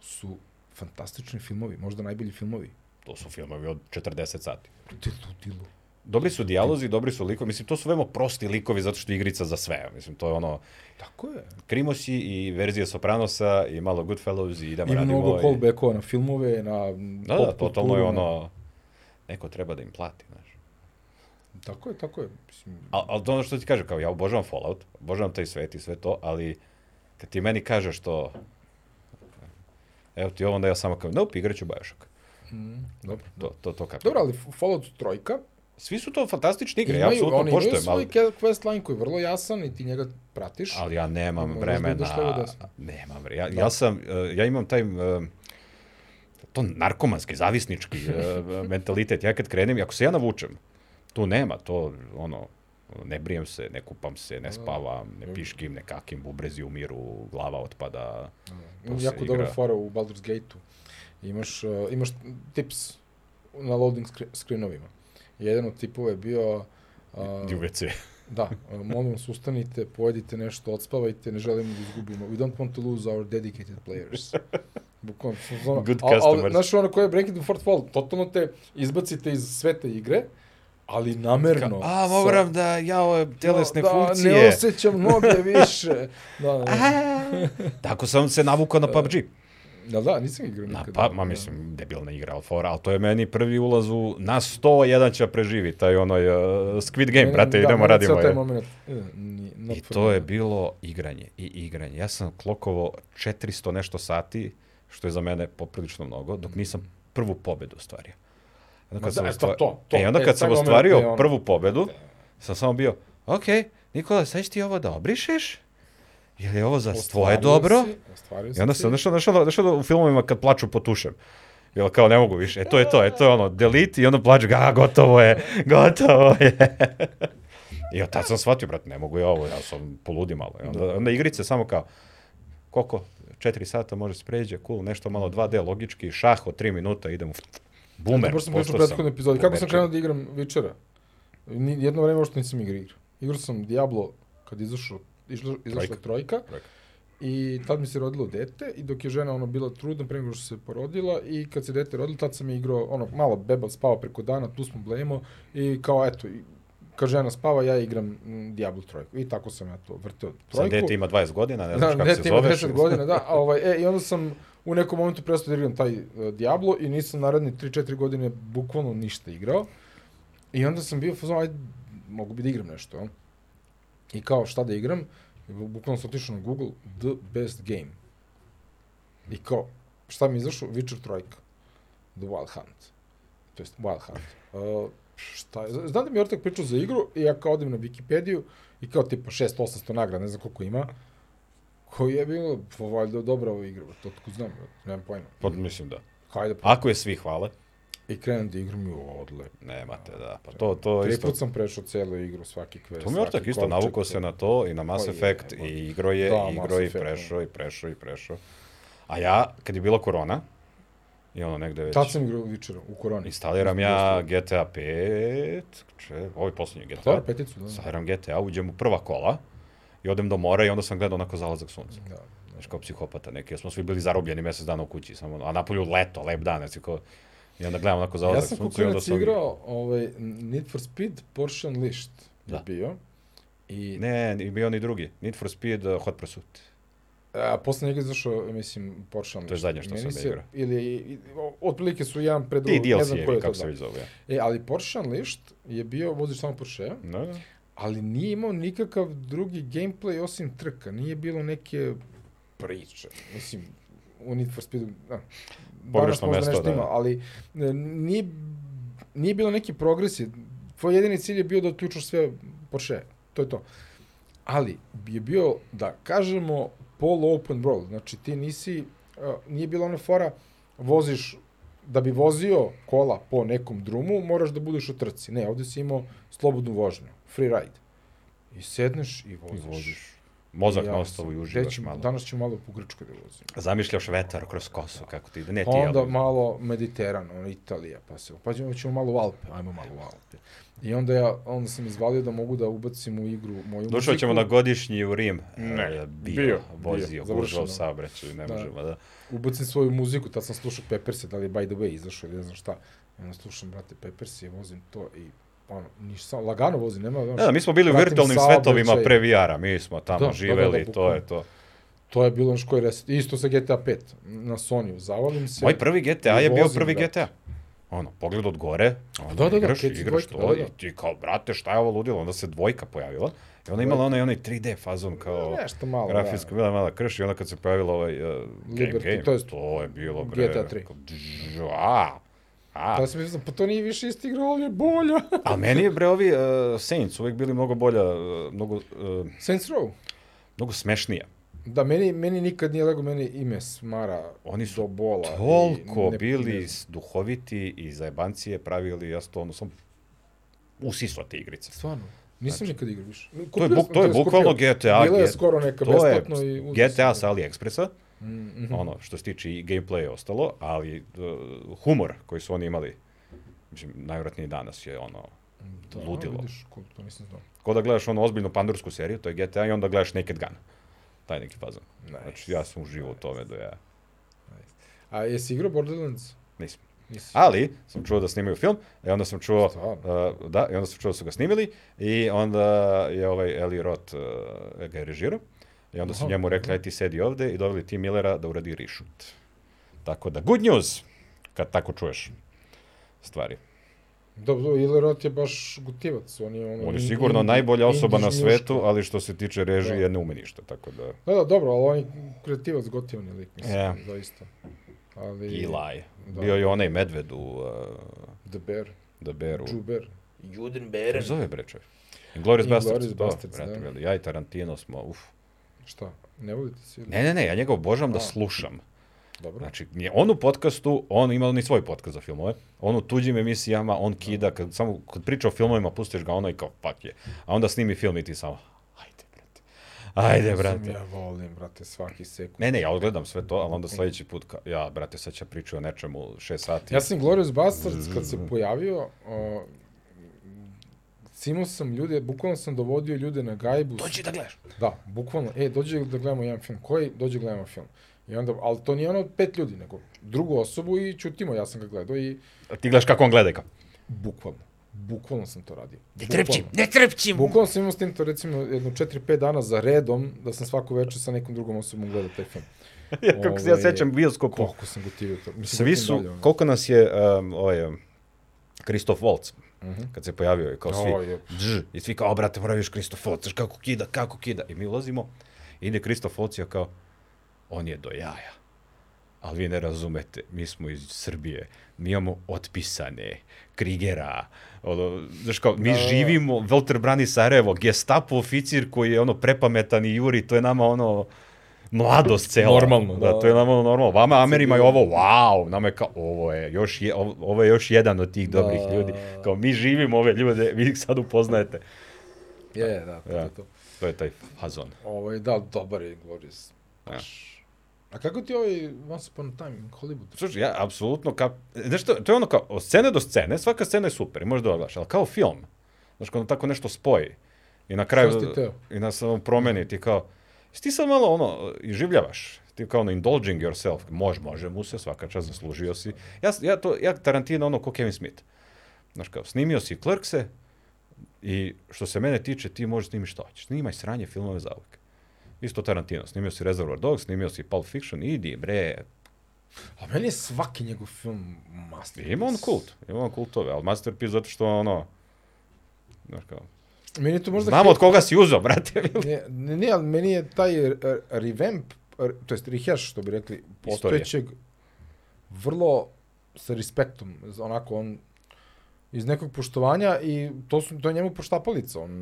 S1: su fantastični filmovi, možda najbolji filmovi.
S2: To su filmovi od 40 sati.
S1: Gde je ludilo?
S2: Dobri su dijalozi, dobri su likovi. Mislim, to su veoma prosti likovi zato što je igrica za sve. Mislim, to je ono,
S1: Tako je.
S2: Krimosi i verzija Sopranosa i malo Goodfellows i idemo
S1: I
S2: radimo.
S1: mnogo
S2: i-
S1: callbackova na filmove, na
S2: Da, da, totalno je ono, neko treba da im plati, znaš.
S1: Tako je, tako je. Mislim,
S2: Al, al to ono što ti kažem, kao ja obožavam Fallout, obožavam taj svet i sve to, ali kad ti meni kažeš to, evo ti ovo, onda ja samo kao, nope, igraću Bioshock.
S1: mm, dobro.
S2: To, to, to kako.
S1: Dobro, ali Fallout trojka,
S2: Svi su to fantastične igre, ja
S1: imaju,
S2: apsolutno
S1: oni imaju
S2: poštujem,
S1: svoj
S2: ali,
S1: quest line koji je vrlo jasan i ti njega pratiš.
S2: ali ja nemam
S1: Možda
S2: vremena.
S1: ideš levo desno. Da.
S2: Nemam vremena. Ja, ja sam, eh, ja imam taj eh, to narkomanski, zavisnički eh, mentalitet. Ja kad krenem, i ako se ja navučem, tu nema, to ono, ne brijem se, ne kupam se, ne spavam, ne piškim, ne kakim, bubrezi umiru, glava otpada. to
S1: Ima
S2: se
S1: jako
S2: igra.
S1: dobra fora u Baldur's Gate-u. Imaš, uh, imaš tips na loading scre- screenovima. Jedan od tipova je bio... Uh,
S2: I u WC.
S1: da, uh, molim vas, ustanite, pojedite nešto, odspavajte, ne želimo da izgubimo. We don't want to lose our dedicated players. Bukvalno, su ono,
S2: Good
S1: al- al-
S2: customers.
S1: Znaš, ono koje je Breaking the Fourth Wall, totalno te izbacite iz sveta igre ali namerno.
S2: A,
S1: sa-
S2: moram da, jao, telesne
S1: da,
S2: funkcije.
S1: Ne osjećam noge više. Da, da.
S2: Tako sam se navukao na PUBG.
S1: Da, da, nisam igrao da.
S2: Na,
S1: nikada.
S2: pa, ma mislim, debilna igra, ali fora, ali to je meni prvi ulaz u, na 100, jedan će preživi, taj onoj uh, Squid Game,
S1: Mene-
S2: brate, idemo,
S1: mene
S2: radimo.
S1: ceo da, taj
S2: je.
S1: moment, da. e, ni- na
S2: I to
S1: prvi-
S2: je bilo igranje i igranje. Ja sam klokovo 400 nešto sati, što je za mene poprilično mnogo, dok nisam prvu pobedu ostvario. Onda
S3: Ma
S2: kad sam
S3: da, eto,
S2: ostvar-
S3: to, to.
S2: E, onda
S1: E,
S2: kad sam
S1: taj moment je
S2: ostvario
S1: ono- Da.
S2: prvu pobedu, sam samo bio, ok, Nikola, sad ćeš ti ovo da obrišeš? Je li ovo za tvoje
S1: Ostvario
S2: dobro?
S1: si, ostvario
S2: I onda
S1: si.
S2: sam našao, našao, našao da u filmovima kad plaču potušem. Jel kao ne mogu više. E to je to, e to je ono, delete i onda plaću, ga, gotovo je, gotovo je. I od tad sam shvatio, brate, ne mogu ja ovo, ja sam poludi malo. I onda, onda igrice samo kao, koliko? Četiri sata može se pređe, cool, nešto malo 2D logički, šah od tri minuta, idem u... Bumer,
S1: Dobro sam pričao u
S2: postao
S1: prethodnoj epizodi. Kako sam
S2: bumerčin.
S1: krenuo da igram Witchera? Ni, jedno vreme uopšte nisam igra igrao. Igrao sam Diablo kad izašao, išla, izašla
S2: Trojka.
S1: trojka. trojka.
S2: Trojka.
S1: I tad mi se rodilo dete i dok je žena ono bila trudna pre nego što se porodila i kad se dete rodilo tad sam igrao ono malo beba spava preko dana, tu smo blemo i kao eto i, kad žena spava ja igram mm, Diablo trojku i tako sam ja to vrteo
S2: Sad
S1: trojku.
S2: dete ima 20 godina, ne znaš
S1: Da,
S2: kako se
S1: dete ima
S2: zoveš.
S1: 10 godina, da. A, ovaj, e, I onda sam u nekom momentu prestao da igram taj uh, Diablo i nisam naredne 3-4 godine bukvalno ništa igrao. I onda sam bio fazon, ajde, mogu bi da igram nešto. jel? I kao, šta da igram? I bu- Bukvalno sam otišao na Google, the best game. I kao, šta mi je izašlo? Witcher trojka. The Wild Hunt. To jest Wild Hunt. Uh, šta je? Znam da mi je Ortak pričao za igru i ja kao odem na Wikipediju i kao tipa 600-800 nagrada, ne znam koliko ima. Koji je bilo, pa valjda dobra ova igra, brate, otkud znam, brate, nemam pojma.
S2: Pa, mislim da.
S1: Hajde, pa.
S2: Ako je svi hvale,
S1: I krenem da igram i ovo odle.
S2: nemate, da. Pa to, to
S1: Tri
S2: isto
S1: put sam prešao celu igru, svaki quest,
S2: To mi je ortak
S1: svaki
S2: isto,
S1: kovčeg,
S2: navukao se na to i na Mass
S1: Pa je,
S2: Effect
S1: jebote.
S2: i igro je,
S1: Da,
S2: i igro
S1: Mass
S2: i
S1: Effect,
S2: prešao i prešao i prešao. A ja, kad je bila korona, i ono negde već,
S1: Tad sam igrao Witchera, u koroni.
S2: instaliram ja GTA 5, če, ovaj poslednji GTA,
S1: Dobro, peticu, da.
S2: instaliram GTA, uđem u prva kola i odem do mora i onda sam gledao onako zalazak sunca.
S1: da.
S2: Znaš, kao psihopata neki, jer smo svi bili zarobljeni mesec dana u kući, samo, a napolju leto, lep dan, znači kao, i onda gledam onako
S1: Ja
S2: zalazak
S1: sam
S2: sunca i onda
S1: kuklinac
S2: sam...
S1: igrao ovaj, Need for Speed Porsche Unleashed
S2: Da.
S1: je bio. I
S2: Ne, i bio ni drugi, Need for Speed, uh, Hot Pursuit.
S1: A posle njega je izašao, mislim, Porsche Unleashed.
S2: zadnje što
S1: Meni
S2: sam
S1: se-
S2: igrao.
S1: Ili, i- o- otprilike su jedan pred
S2: Ti
S1: drugog, ne znam koji
S2: DLC-evi,
S1: je to
S2: kako se
S1: da.
S2: već zove. ja.
S1: E, ali Porsche Unleashed je bio, voziš samo Porsche,
S2: Da, da.
S1: ali nije imao nikakav drugi gameplay osim trka, nije bilo neke priče. Mislim, u Need for Speedu, da. Danas
S2: Pogrešno
S1: možda
S2: mesto,
S1: nešto
S2: da.
S1: ima, ali e, nije, nije bilo neki progresi. Tvoj jedini cilj je bio da uključaš sve Porsche, to je to. Ali je bio, da kažemo, polu open world, znači ti nisi, e, nije bila ona fora, voziš da bi vozio kola po nekom drumu, moraš da budeš u trci. Ne, ovde si imao slobodnu vožnju, free ride. I sedneš i voziš.
S2: I voziš. Mozak ja,
S1: Ja
S2: na ostavu i
S1: sam-
S2: uživaš
S1: gde ću-
S2: malo.
S1: Danas ćemo malo po Grčkoj da vozim.
S2: Zamišljaš vetar kroz kosu, kako ti ide. Ne E, ti,
S1: Pa onda
S2: ali-
S1: malo Mediteran, ono, Italija, pa se, pa ćemo, ćemo malo u Alpe, ajmo malo u Alpe. I onda ja, onda sam izvalio da mogu da ubacim u igru moju
S2: Došao ćemo na
S1: muziku,
S2: godišnji u Rim.
S1: Ne,
S2: E, bio,
S1: bio,
S2: vozio,
S1: bio, završeno.
S2: gužao sabreću, ne
S1: Da.
S2: možemo da.
S1: ubacim svoju muziku, tad sam slušao Pepperse, da li je By the Way izašao ili ne znam šta. I onda slušam, brate, Pepperse i vozim to i ono, niš, samo lagano vozim, nema, znaš,
S2: Da, da, mi smo bili u
S1: pratim
S2: virtualnim
S1: saobraćaj.
S2: svetovima pre VR-a, mi smo
S1: Da,
S2: tamo
S1: da, da,
S2: živeli, to
S1: bukvalno.
S2: je to.
S1: To je bilo naš koji reset. Isto sa GTA 5 na Sony-u. Zavalim se.
S2: Moj prvi GTA je
S1: I
S2: bio
S1: vozim,
S2: prvi
S1: brate.
S2: GTA. Ono, pogled od gore, onda
S1: da, da,
S2: igraš,
S1: Keci
S2: igraš
S1: dvojka,
S2: to
S1: da, da.
S2: i ti kao, brate, šta je ovo ludilo? Onda se dvojka pojavila i ona je imala onaj, onaj 3D fazon kao...
S1: Nešto malo.
S2: grafijska bila mala krš i onda kad se pojavila ovaj uh, Game
S1: Pa, da. Liberty,
S2: Game, to
S1: to
S2: je,
S1: je
S2: bilo bre.
S1: GTA tri.
S2: kao, dž- A,
S1: Da.
S2: a,
S1: Tada sam mislio, pa to nije više isti igra, ali je bolja.
S2: a meni je bre ovi uh, Saints uvek bili mnogo bolja, uh, mnogo, uh,
S1: Saints Row.
S2: mnogo smešnija.
S1: Da, meni, meni nikad nije lego, meni ime smara
S2: Oni su
S1: do bola. i
S2: Toliko
S1: ne-
S2: bili
S1: ne znam.
S2: s- duhoviti i zajebancije pravili, ja to ono sam usisao te igrice.
S1: Stvarno, nisam nikad igrao više.
S2: Znači, To je, buk, to je bukvalno GTA.
S1: da Bila je
S2: G-
S1: skoro neka
S2: to je
S1: besplatno i uzeo sam.
S2: GTA sa AliExpressa,
S1: Mm, mhm.
S2: ono, što se tiče i gameplay i ostalo, ali uh, humor koji su oni imali, mislim, najvratniji danas je ono,
S1: Da,
S2: ludilo.
S1: Vidiš, ko, to nisam znao.
S2: ko da gledaš ono ozbiljnu pandursku seriju, to je GTA, i onda gledaš Naked Gun, taj neki fazon.
S1: Nice.
S2: Znači, ja sam uživao u tome da ja
S1: A jesi igrao Borderlands?
S2: nisam.
S3: Mislim,
S2: Ali sam čuo da snimaju film, i onda sam čuo,
S1: Stvarno?
S2: uh, da, i onda sam čuo da su ga snimili, i onda je ovaj Eli Roth uh, ga je režirao, i onda su
S1: Aha.
S2: njemu rekli, aj ti sedi ovde, i doveli Tim Millera da uradi reshoot. Tako da, good news, kad tako čuješ stvari.
S1: Dobro, Ili Roth je baš gutivac. On je, ono,
S2: On je
S1: in-
S2: sigurno
S1: in-
S2: najbolja osoba na
S1: indižnjuški.
S2: svetu, ali što se tiče režije,
S1: Da.
S2: ne ume ništa, tako da...
S1: Da, da, dobro, ali on je kreativac, gotivan je lik, mislim,
S2: Ja.
S1: zaista. Ali...
S2: Eli.
S1: Da.
S2: Bio je onaj medved u uh,
S1: The Bear,
S2: The Bear. U...
S1: Džuber.
S3: Juden
S2: Kako
S3: Beren.
S2: se Zove brečev. Inglourious Bastards,
S1: Inglourious
S2: to,
S1: Basterds,
S2: brate,
S1: da.
S2: veli. Ja i Tarantino smo, uf.
S1: Šta? Ne volite se? ili-
S2: Ne, ne, ne, ja njega obožavam da
S1: A.
S2: slušam.
S1: Dobro.
S2: Znači, nje- on u podcastu, on ima on i svoj podcast za filmove, on u tuđim emisijama, on
S1: Da.
S2: kida, kad, samo, kad priča o filmovima, pustiš ga ono i kao, fuck je. A onda snimi film i ti samo, ajde, brate. Ajde, brate.
S1: Mislim, Ja volim, brate, svaki sekund.
S2: Ne, ne, ja odgledam sve to, ali onda sledeći put, ka, ja, brate, sad će pričati o nečemu šest sati.
S1: Ja sam Glorious Bastards, kad se pojavio, o, Simo sam ljude, bukvalno sam dovodio ljude na gajbu.
S3: Dođi da gledaš.
S1: Da, bukvalno, e, dođe da gledamo jedan film. Koji? Dođe da gledamo film. I onda, ali to nije ono od pet ljudi, nego drugu osobu i čutimo, ja sam ga gledao i
S2: Ti gledaš kako on gleda i kao,
S1: bukvalno, bukvalno sam to radio.
S2: Da
S3: Ne
S1: Bukvalno.
S3: trepćim, ne trepćim.
S1: Bukvalno sam imao s tim to recimo jedno 4-5 dana za redom da sam svaku večer sa nekom drugom osobom gledao taj film.
S2: Ja, kako se ja
S1: Ovaj,
S2: sećam bioskopu.
S1: Koliko sam gotivio to. Mislim,
S2: Svi su, koliko nas je um, ovaj, um, Kristof Waltz,
S1: Mhm.
S2: kad se pojavio i kao
S1: O,
S2: svi,
S1: je.
S2: dž, i svi kao, "O, brate, moraviš Kristof Waltz, znaš kako kida, kako kida. I mi ulazimo, i ide Kristof Waltz i ja kao, on je do jaja. Ali vi ne razumete, mi smo iz Srbije, mi imamo otpisane, Krigera, ono, znaš kao, mi
S1: Da, da, da.
S2: živimo, Walter Brani Sarajevo, gestapo oficir koji je ono prepametan i juri, to je nama ono, mladost cela.
S1: Normalno,
S2: da.
S1: da.
S2: to je nama ono normalno. Vama Amerima je ovo, wow, nama je kao, ovo je, još je, ovo- ovo je još jedan od tih dobrih
S1: Da.
S2: ljudi. Kao, mi živimo ove ljude, vi ih sad upoznajete.
S1: Je, da, to, to,
S2: Ja.
S1: to.
S2: To je taj fazon.
S1: Ovaj, da, dobar je Glorious. Baš. A kako ti ovaj Once Upon a Time in Hollywood?
S2: Slušaj, ja apsolutno kap... Znaš što, to je ono kao, od scene do scene, svaka scena je super i možeš da oglaš, ali kao film. Znaš, kad ono tako nešto spoji i na kraju...
S1: Što si ti teo?
S2: I na samom promeni ti kao... jesi Ti sad malo ono, i življavaš. Ti kao ono, indulging yourself. Može, može mu se, svaka čast, zaslužio si. Ja, s- ja, to, ja Tarantino ono ko Kevin Smith. Znaš kao, snimio si Clerkse i što se mene tiče, ti možeš snimiti šta hoćeš. Snimaj sranje filmove za uvijek. Isto Tarantino, snimio si Reservoir Dogs, snimio si Pulp Fiction, idi bre,
S1: A meni je svaki njegov film masterpiece.
S2: Ima on kult, ima on kultove, ali Masterpiece zato što ono, znaš kao,
S1: Meni je to možda...
S2: znamo od koga si uzao, brate.
S1: Ne, ne, ne, ali meni je taj e, revamp, e, to jest rehash, što bi rekli, postojećeg, vrlo sa respektom, z- onako on iz nekog poštovanja i to, su, to je njemu poštapalica. On,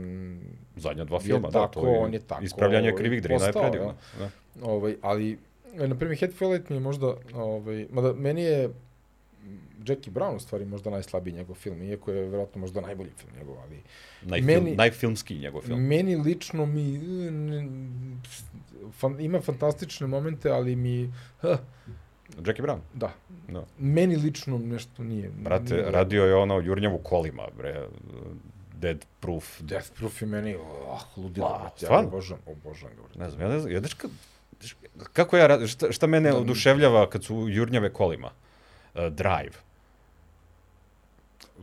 S2: Zadnja dva
S1: Je
S2: filma, da,
S1: tako,
S2: to je,
S1: on je tako
S2: ispravljanje krivih drina je
S1: postao,
S2: predivno. Da.
S1: ovaj, ali, e, na primjer, Hatfield mi je možda, ovaj, mada meni je Jackie Brown u stvari možda najslabiji njegov film, iako je vjerojatno možda najbolji film njegov, ali
S2: Najfilm,
S1: Meni-
S2: Najfilmski njegov film.
S1: Meni lično mi e, n- fan, ima fantastične momente, ali mi h,
S2: Jackie Brown.
S1: da,
S2: Da.
S1: meni lično nešto nije.
S2: Brate,
S1: nije,
S2: radio je ono jurnjavu kolima, bre, Dead Proof, Dead,
S1: Death Proof je meni oh, ludilo,
S2: Ma,
S1: brate, ja
S2: Pa, stvarno?
S1: obožavam, obožavam ga. Brate.
S2: ne znam, ja ne znam, ja, znaš ka- znaš kako ja, ra- šta, šta mene
S1: Da.
S2: oduševljava kad su jurnjave kolima? Uh, drive.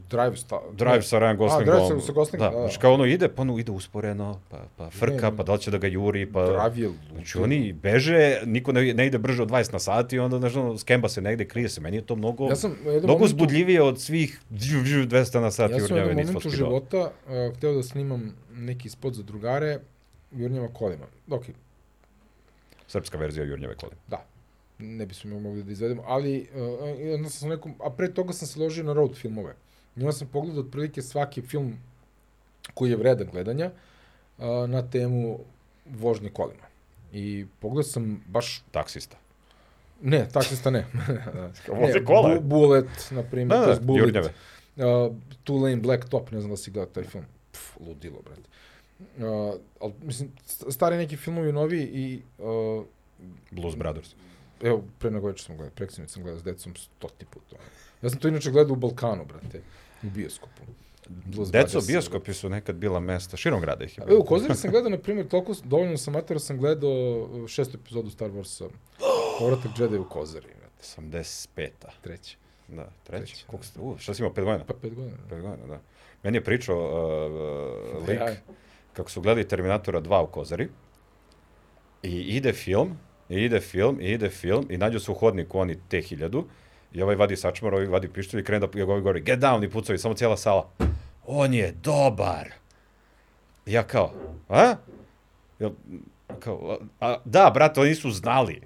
S1: Drive sta,
S2: Da. Drive sa Ryan Goslingom.
S1: Drive sa- sa Goslingom,
S2: da.
S1: da, da.
S2: Znači kao ono ide, pa ono ide usporeno, pa, pa frka,
S1: ne.
S2: pa da li će da ga juri, pa...
S1: Drive je ludilo.
S2: Znači oni beže, niko ne, ne ide brže od 20 na sat i onda znaš, ono, skemba se negde, krije se. Meni je to mnogo,
S1: Ja sam u jednom
S2: mnogo
S1: momentu-
S2: zbudljivije od svih džu, džu, 200 na sat
S1: Ja sam u
S2: jurnjave
S1: jednom
S2: da nismo
S1: momentu
S2: skidao.
S1: života uh, hteo da snimam neki spot za drugare jurnjava kolima. Ok,
S2: Srpska verzija jurnjave kolima.
S1: Da. Ne bismo mogli da izvedemo, ali uh, i onda sam sa nekom, a pre toga sam se ložio na road filmove. I onda sam pogledao otprilike svaki film koji je vredan gledanja uh, na temu vožnje kolima. I pogledao sam baš,
S2: Taksista.
S1: ne, taksista ne.
S2: voze kola.
S1: Bu, bullet, na primjer, da,
S2: Da, da,
S1: to je Bullet.
S2: jurnjave.
S1: Uh, Two Lane Black Top, ne znam da si gledao taj film. Pff, ludilo, brate. Uh, ali, mislim, st- stari neki filmovi, novi i uh,
S2: Blues Brothers.
S1: Evo, pre nego večer sam gledao, preksinoć sam gledao s decom stoti put. ono. Ja sam to inače gledao u Balkanu, brate, u bioskopu. Blues
S2: Deco,
S1: Brothers.
S2: bioskopi su nekad bila mesta, širom grada ih je
S1: Evo,
S2: bilo.
S1: u Kozari sam gledao, na primjer, toliko, dovoljno sam atora, sam gledao uh, šestu epizodu Star Warsa, Povratak Jedi u Kozari, brate,
S2: 85-a.
S1: treći.
S2: Da, treći. Koliko ste, u, šta si imao, pet godina?
S1: Pa pet godina.
S2: Pet godina, da. Meni je pričao uh, uh, lik
S1: Jaj.
S2: kako su gledali Terminatora 2 u Kozari i ide film, i ide film, i ide film i nađu se u hodniku oni te hiljadu i ovaj vadi sačmar, ovaj vadi pištolj i krene da i ovaj govori get down i pucao i samo cijela sala. On je dobar. I ja kao, a? Ja, kao, a, a, da, brate, oni nisu znali.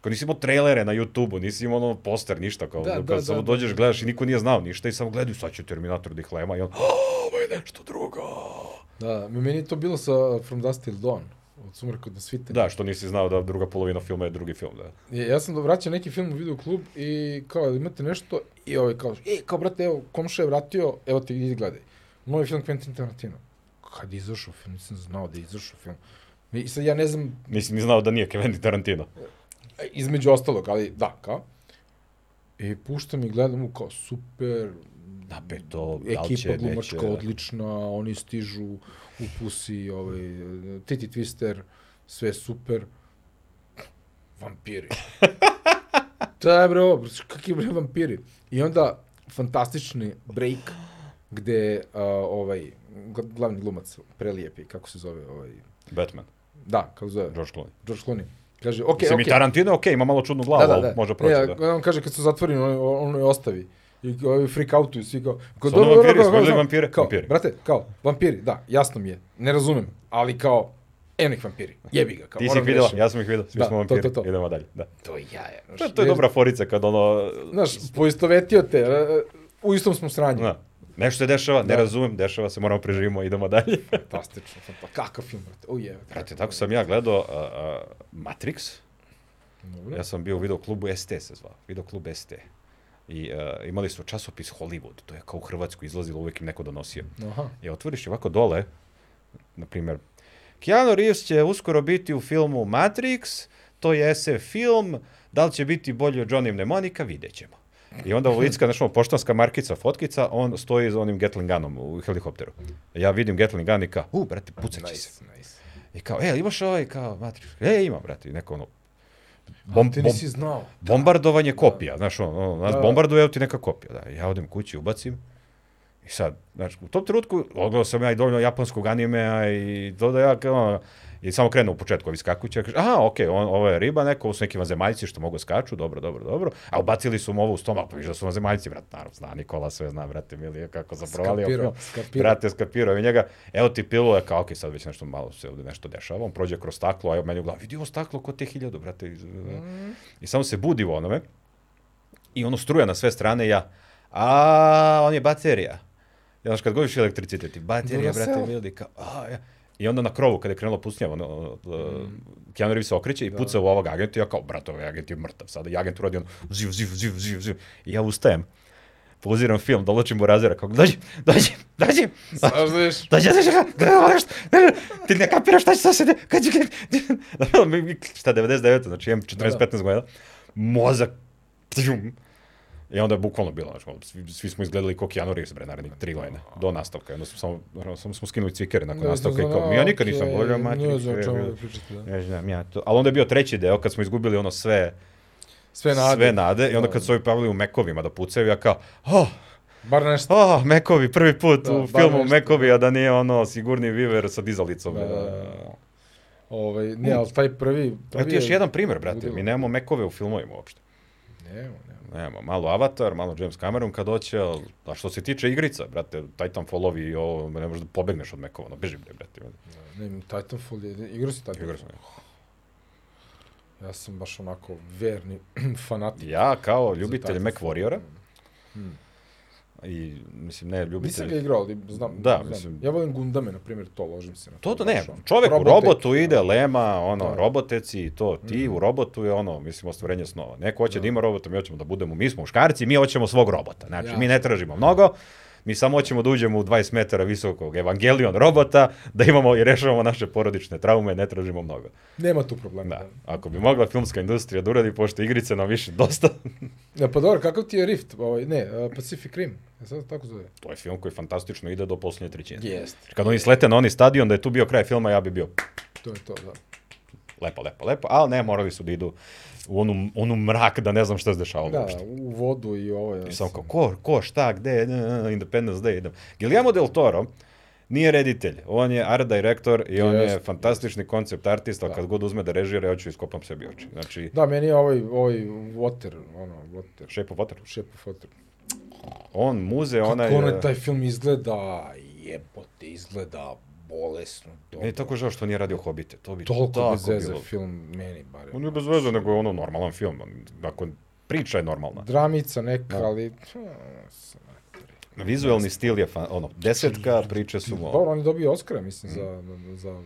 S2: Kao nisi imao trailere na YouTube-u, nisi imao ono poster, ništa. Kao,
S1: Da,
S2: kao
S1: da,
S2: samo
S1: da.
S2: dođeš, gledaš i niko nije znao ništa i samo gledaju, sad će Terminator da ih lema i on, "A, ovo je nešto drugo.
S1: Da, meni je to bilo sa From Dusk Till Dawn, od Sumraka do Svite.
S2: Da, što nisi znao da druga polovina filma je drugi film, da.
S1: Ja, ja sam vraćao neki film u video klub i kao, jel imate nešto? I ovaj kao, e, kao, brate, evo, komša je vratio, evo ti, idi gledaj. Novi film Quentin Tarantino. Kad je izašao film, nisam znao da je izašao film. I sad ja ne znam,
S2: Nisi ni znao da nije Quentin Tarantino.
S1: između ostalog, ali da, kao. I puštam i gledam u kao super,
S2: Napeto, da li će,
S1: ekipa
S2: neće.
S1: glumačka odlična, oni stižu u pusi, ovaj, Titi Twister, sve super. Vampiri. da, bre, ovo, kakvi bre vampiri. I onda fantastični break gde uh, ovaj gl- glavni glumac prelijepi kako se zove ovaj
S2: Batman,
S1: da kako se zove
S2: George Clooney. Okay,
S1: George Clooney kaže okej
S2: Mislim
S1: okej
S2: i Tarantino, okej, ima malo čudnu glavu, da, da, da. može proći, da.
S1: Ne, E, on kaže kad su zatvoreni, on, on je ostavi. I ovi freak outuju svi kao... kao
S2: Su ono
S1: dobro,
S2: vampiri,
S1: dobro,
S2: smo
S1: kao,
S2: videli
S1: kao,
S2: vampire?
S1: Kao,
S2: Vampiri.
S1: Brate, kao, vampiri, da, jasno mi je. Ne razumem, ali kao, evo nek vampiri, jebi ga. Kao,
S2: Ti si
S1: moram
S2: ih videla,
S1: rešim.
S2: ja sam ih videla, svi
S1: Da,
S2: smo
S1: to,
S2: vampiri,
S1: to, to.
S2: idemo dalje. Da.
S3: To je jaja.
S2: To, to je dobra forica kad ono,
S1: Znaš, poistovetio te, e, u istom smo sranju.
S2: na, Da. nešto se dešava, ne
S1: Da.
S2: razumem, dešava se, moramo preživimo, idemo dalje.
S1: Fantastično, fantastično. Kakav film, brate, o jebe.
S2: Brate, tako sam ja gledao a, a, Matrix,
S1: Dobro.
S2: Ja sam bio u videoklubu ST se zvao, videoklub ST. I uh, imali su časopis Hollywood, to je kao u Hrvatsku izlazilo, uvijek im neko donosio.
S1: Aha.
S2: I otvoriš i ovako dole, na primjer, Keanu Reeves će uskoro biti u filmu Matrix, to je SF film, da li će biti bolji od Johnny Mnemonika, vidjet ćemo. I onda u Licka, znaš, ono, poštanska markica, fotkica, on stoji za onim Gatling Gunom u helikopteru. Ja vidim Gatling Gun i kao, u, brate, pucat će se.
S1: Nice, nice.
S2: I kao, e, imaš ovaj, kao, Matrix? E, imam, brate, i neko ono,
S1: Bom,
S2: bom,
S1: ti
S2: bom,
S1: nisi znao.
S2: bombardovanje kopija, znaš, ono, ono nas
S1: Da.
S2: bombarduje, evo ti neka kopija, da, ja odem kući, ubacim, i sad, znaš, u tom trenutku, odgledao sam ja i dovoljno japanskog animea i to da ja, kao, ono, i samo krenu u početku, ovi skakući, ja kažem, aha, okej, on, ovo je riba neka, ovo su neki vanzemaljci što mogu da skaču, dobro, dobro, dobro, a ubacili su mu ovo u stomak, pa viš da su vanzemaljci, brat, naravno, zna Nikola sve, zna, brate, Milija, kako sam provalio.
S1: Skapirao,
S2: film.
S1: skapirao.
S2: Brate, skapirao i njega, evo ti pilule, kao, okej, sad već nešto malo se ovde nešto dešava, on prođe kroz staklo, a evo meni u glavi, vidi ovo staklo, ko te hiljadu, brate, iz- I samo se budi u onome i ono struja na sve strane i ja, a on je baterija. Ja, znaš, kad govoriš elektricitet, i baterija,
S1: Duracell.
S2: brate, vidi, kao, a, ja. I onda na krovu, kada je krenulo pucnjava, ono, uh, Keanu Reeves se okreće i puca u ovog agenta i ja kao, brate, ovaj agent je mrtav sada. I agent uradi ono, ziv, ziv, ziv, ziv, ziv. I ja ustajem, pauziram film, določim mu razera, kao, dođi, dođi, dođi.
S1: Znaš da ješ?
S2: Dođi, dođi, dođi, dođi, dođi, ti ne kapiraš šta će sad se, de- kad će, kad- Mi- mi- šta, 99, znači imam
S1: Da,
S2: 14-15 godina, mozak, tjum, I onda je bukvalno bilo, znači, ono, svi, svi smo izgledali kao Keanu Reeves, bre, narednih tri godine, do nastavka. I Onda smo samo, naravno, samo smo skinuli cvikere nakon nastavka i kao, ja nikad nisam volio Matrix.
S1: Ne znam o
S2: je,
S1: čemu
S2: je,
S1: da pričate. Da.
S2: Ne znam, ja to. Ali onda je bio treći deo, kad smo izgubili ono sve,
S1: Sve nade.
S2: sve nade, i onda
S1: Da.
S2: kad su ovi pravili u mekovima da pucaju, ja kao, oh,
S1: Bar nešto.
S2: Oh, Mekovi, prvi put
S1: Da,
S2: u
S1: bar
S2: filmu
S1: nešto.
S2: Mekovi, a da nije ono sigurni viver sa dizalicom.
S1: Da,
S2: Da,
S1: da,
S2: da,
S1: da. Ovaj, ne, ali taj prvi... prvi
S2: Evo ti
S1: je-
S2: još jedan primjer, brate.
S1: Ludilo.
S2: Mi nemamo Mekove u filmovima uopšte.
S1: Nemo, nemo.
S2: Nemamo. Malo Avatar, malo James Cameron kad hoće, ali, a što se tiče igrica, brate, Titanfallovi i ovo, ne možeš da pobegneš od Mekova, no beži bre, brate.
S1: Ne, ne, Titanfall Pa je, igrao si Titanfall.
S2: Igra sam.
S1: Ja sam baš onako verni fanatik.
S2: Ja kao ljubitelj
S1: Titanfall.
S2: Mac Warriora,
S1: Hmm.
S2: i mislim ne
S1: Nisam
S2: ljubitelj...
S1: ga igrao, ali znam.
S2: Da,
S1: znam.
S2: mislim-
S1: Ja volim Gundame, na primjer, to ložim se na
S2: To da
S1: da
S2: ne, čovek u robotu ide, lema, ono,
S1: Da.
S2: roboteci i to, ti u robotu je ono, mislim, ostvarenje snova. Neko hoće Mhm. da, ima robota, mi hoćemo da budemo, mi smo muškarci, mi hoćemo svog robota. Znači, mi ne tražimo mnogo, mi samo hoćemo da uđemo u 20 metara visokog evangelion robota, da imamo i rešavamo naše porodične traume, ne tražimo mnogo.
S1: Nema tu problema.
S2: Da, ako bi mogla filmska industrija da uradi, pošto igrice nam više dosta,
S1: Ne, pa dobro, kakav ti je Rift? Ovaj, ne, a, Pacific Rim. Ja sad tako zove.
S2: to je film koji fantastično ide do posljednje trećine.
S1: Jest.
S2: Kad oni slete na oni stadion, da je tu bio kraj filma, ja bi bio
S1: To je to, da.
S2: lepa, lepa, lepa, ali ne, morali su da idu u onu, onu mrak da ne znam šta se dešavalo
S1: Da,
S2: uopšte.
S1: u vodu i ovo je.
S2: I samo kao, ko, ko, šta, gde, ne, ne, ne, Independence Day, idem. Guillermo del Toro nije reditelj, on je art director i on je
S1: Jeste.
S2: fantastični koncept artista, da. kad god uzme da režira, ja ću iskopam sebi oči. Znači,
S1: Da, meni je ovaj, ovaj water, ono, water,
S2: Shape of Water.
S1: shape of water.
S2: On, muze, e, ona
S1: Kako onaj
S2: je...
S1: taj film izgleda,
S3: Jebote, izgleda bolesno.
S2: Meni je tako žao što nije radio Hobbite, to bi
S1: toliko
S2: tako
S1: bez veze
S2: bilo.
S1: film, meni barem.
S2: On je bez veze, nego je ono normalan film. on- Nakon, priča je normalna.
S1: Dramica neka,
S2: Da.
S1: ali... Da.
S2: Vizualni stil je fan, ono,
S1: Znači,
S2: desetka, priče su
S1: pa
S2: ono.
S1: Dobro, on je dobio Oscara, mislim, za,
S2: Mm.
S1: za...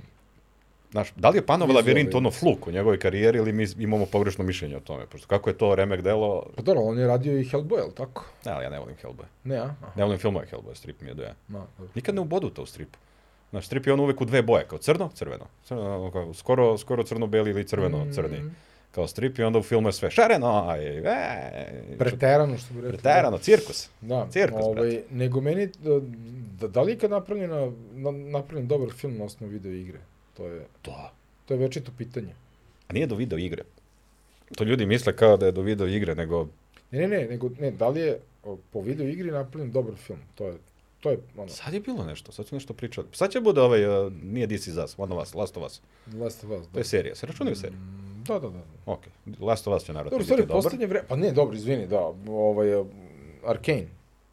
S2: Znaš, da li je Panov
S1: Vizualni.
S2: labirint ono fluk u njegovoj karijeri ili mi imamo pogrešno mišljenje o tome? Pošto kako je to remek delo,
S1: Pa dobro, on je radio i Hellboy, ali tako?
S2: ne, ali ja ne volim Hellboy.
S1: Ne, a? Aha,
S2: Ne volim filmove Hellboy, strip mi je doja.
S1: ma, dobro.
S2: Nikad ne ubodu to u stripu. Znaš, strip je on uvek u dve boje, kao crno, crveno. crveno ono kao, skoro, skoro crno-beli ili
S1: Mm.
S2: crveno-crni. Kao strip i onda u filmu je sve šareno, aj, e,
S1: Preterano, što bi rekli.
S2: preterano, cirkus.
S1: Da,
S2: Cirkus,
S1: ovaj, nego meni, da, da, da li je ikad napravljena, na, napravljen dobar film na osnovu video igre? To je,
S2: Da.
S1: to je večito pitanje.
S2: A nije do video igre. To ljudi misle kao da je do video igre, nego
S1: Ne, ne, ne, nego, ne, da li je o, po video igri napravljen dobar film? To je, to je, ono,
S2: sad je bilo nešto, sad su nešto pričali. Sad će bude ovaj, uh, nije This is Us, One of Us, Last of Us.
S1: Last of Us.
S2: To
S1: Da.
S2: je serija, se računaju serije.
S1: Mm, Da, da, da.
S2: Ok, Last of Us će naravno
S1: Dobro,
S2: biti
S1: stvari,
S2: da dobar.
S1: poslednje vreme, pa ne, dobro, izvini, da, ovaj, Arkane.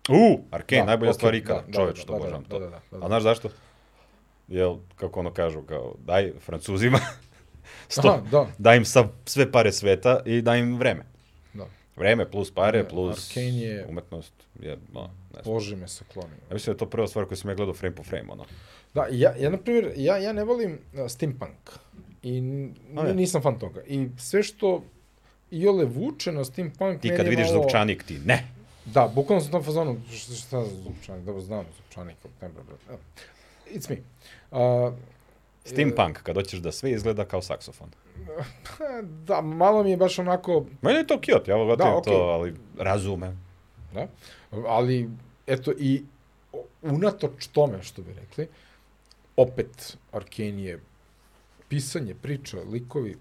S2: U, Arkane,
S1: Da,
S2: najbolja
S1: ok,
S2: stvar ikada,
S1: da, da,
S2: čoveč,
S1: da,
S2: što
S1: da,
S2: obožavam
S1: da,
S2: to.
S1: da, da, da, da.
S2: A znaš zašto? Jel, kako ono kažu, kao, daj Francuzima, sto,
S1: Aha, da,
S2: daj im sav, sve pare sveta i daj im vreme.
S1: da.
S2: Vreme plus pare,
S1: Ne,
S2: plus
S1: Arkane je-
S2: umetnost, je, no, ne znam.
S1: Bože me sakloni.
S2: Ja mislim da je to prva stvar koju sam ja gledao frame po frame, ono.
S1: Da, i ja, ja na primjer, ja, ja ne volim uh, steampunk. I n-
S2: A ne.
S1: nisam fan toga. I sve što Iole vuče na steampunk...
S2: Ti
S1: meni
S2: kad
S1: je
S2: vidiš
S1: malo...
S2: zupčanik, ti ne.
S1: Da, bukvalno sam u tom fazonu, šta, šta za zupčanik, dobro znam zupčanik, ali ne bro, bro. Evo. It's me. Uh,
S2: Steampunk, kad hoćeš da sve izgleda kao saksofon.
S1: pa, da, malo mi je baš onako,
S2: Meni je to cute, ja volim
S1: Da,
S2: to,
S1: okej.
S2: ali razumem.
S1: da, ali, eto, i o- unatoč tome, što bi rekli, opet Arkane je pisanje, priča, likovi,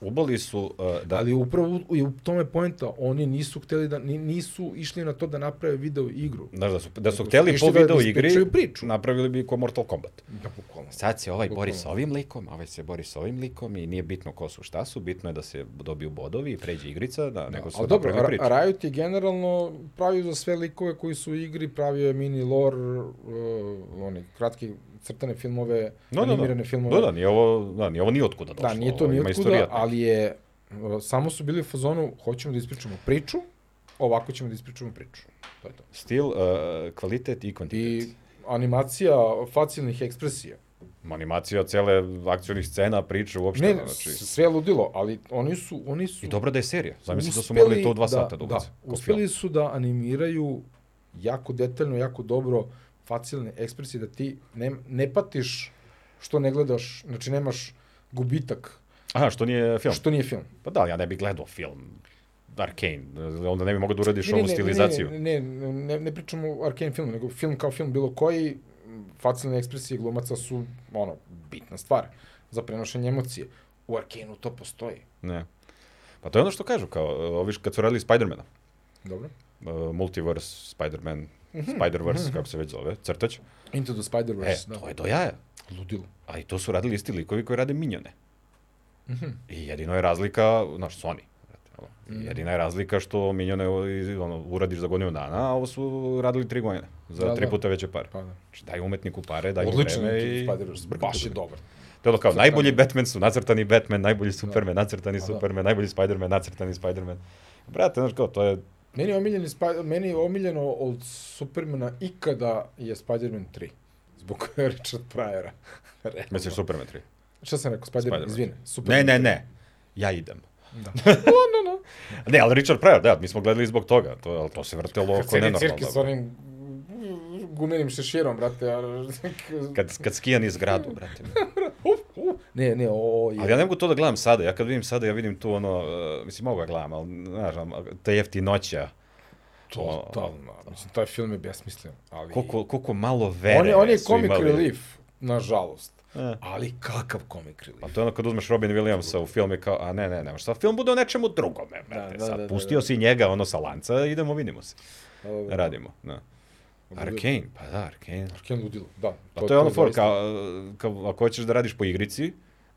S2: Ubali su, uh, da,
S1: Da. Ali upravo u- je u tome je poenta, oni nisu hteli da ni, nisu išli na to da naprave video igru.
S2: znaš, da su, da su
S1: Nego
S2: hteli
S1: išli
S2: po
S1: da
S2: video
S1: ispričaju
S2: igri,
S1: priču.
S2: napravili bi ko Mortal Kombat.
S1: Da, bukvalno.
S2: Sad se ovaj bori
S1: Bukvalno.
S2: sa ovim likom, ovaj se bori sa ovim likom i nije bitno ko su šta su, bitno je da se dobiju bodovi i pređe igrica, da, nego su
S1: Ali dobro,
S2: napravili priču.
S1: Ra- Riot je generalno pravio za sve likove koji su u igri, pravio je mini lore, uh, oni kratke crtane filmove, no,
S2: No, da,
S1: animirane
S2: da.
S1: filmove.
S2: Da, da, nije ovo, da, nije ovo ni otkuda došlo.
S1: da, nije to
S2: ovo
S1: ni
S2: ima
S1: otkuda,
S2: istorijat neki.
S1: ali je, uh, samo su bili u fazonu, hoćemo da ispričamo priču, ovako ćemo da ispričamo priču. To je to.
S2: Stil, uh, kvalitet i kvantitet.
S1: I animacija facijalnih ekspresija.
S2: Animacija cele akcionih scena, priče, uopšte,
S1: Ne,
S2: da, znači...
S1: s- sve je ludilo, ali oni su, oni su...
S2: I dobro da je serija. Zamisli da su morali to u dva sata da ubace.
S1: Da, uspeli su da animiraju jako detaljno, jako dobro facijalne ekspresije, da ti ne, ne patiš što ne gledaš, znači nemaš gubitak,
S2: Aha, što nije film.
S1: što nije film.
S2: Pa da, ali ja ne bih gledao film Arkane. Onda ne bi mogao da uradiš ovu stilizaciju.
S1: Ne, ne, ne, ne, ne pričamo o Arkane filmu, nego film kao film bilo koji, m, facijalne ekspresije glumaca su, ono, bitna stvar za prenošenje emocije. U Arkanu to postoji.
S2: Ne. Pa to je ono što kažu, kao, oviš kad su radili Spidermana.
S1: Dobro.
S2: uh, Multiverse, Spider-Man,
S1: Mhm.
S2: Spider-Verse, kako se već zove, crtač.
S1: Into the
S2: E,
S1: Spider-Verse,
S2: to
S1: da.
S2: je do jaja.
S1: Ludilo.
S2: A i to su radili isti likovi koji rade Minjone.
S1: Mhm.
S2: I jedino je razlika, znaš, Sony. brate, ono. I Jedina je razlika što Minjone ono, uradiš za godinu dana, a ovo su radili tri godine. Za
S1: Da,
S2: tri
S1: da.
S2: puta veće pare.
S1: Pa da.
S2: Znači, daj umetniku pare, daj mu
S1: Odličan
S2: vreme
S1: je
S2: i...
S1: Spider-Verse,
S2: brkamo
S1: baš je
S2: se.
S1: dobar.
S2: To je ono kao,
S1: Crtani.
S2: najbolji Batman su nacrtani Batman, najbolji Superman, nacrtani
S1: da.
S2: Superman, najbolji Spider-Man, nacrtani Spider-Man. Brate, znaš kao, to je
S1: Meni je, omiljeni, Spi- meni je omiljeno od Supermana ikada je Spider-Man 3. Zbog Richard Pryora. Realno.
S2: Misliš Superman 3?
S1: Šta sam rekao? Spider-Man,
S2: Spider-Man.
S1: izvini.
S2: Ne,
S1: Superman
S2: ne,
S1: 3.
S2: ne. Ja idem.
S1: Da.
S2: Ne, ali Richard Pryor, da, mi smo gledali zbog toga. To, ali to se vrtelo
S1: Kad
S2: oko
S1: sedi cirki s
S2: nenormalno.
S1: onim gumenim šeširom, brate. ja-
S2: Kad, kad skijan iz gradu,
S1: Mm.
S2: brate.
S1: ne, ne, o, o, je.
S2: Ali ja ne mogu to da gledam sada. Ja kad vidim sada, ja vidim tu ono, uh, mislim, mogu ga gledam, ali, znaš, ono, te jeftinoća.
S1: Totalno. Mislim, taj film je besmislen. Ali...
S2: Koliko, koliko malo vere
S1: on je, on je
S2: su
S1: comic
S2: imali.
S1: relief. nažalost.
S2: E.
S1: Ali kakav comic relief.
S2: Pa to je ono kad uzmeš Robin Williamsa u film i kao, a ne, ne, ne, šta film bude o nečemu drugome, brate.
S1: da,
S2: Sad
S1: da, da,
S2: pustio si njega, ono, sa lanca, idemo, vidimo se. Radimo, da. Arkane, pa da, Arkane.
S1: Arkane ludilo, da.
S2: Pa to, je ono for,
S1: zaista-
S2: kao, kao, ako hoćeš da radiš po igrici,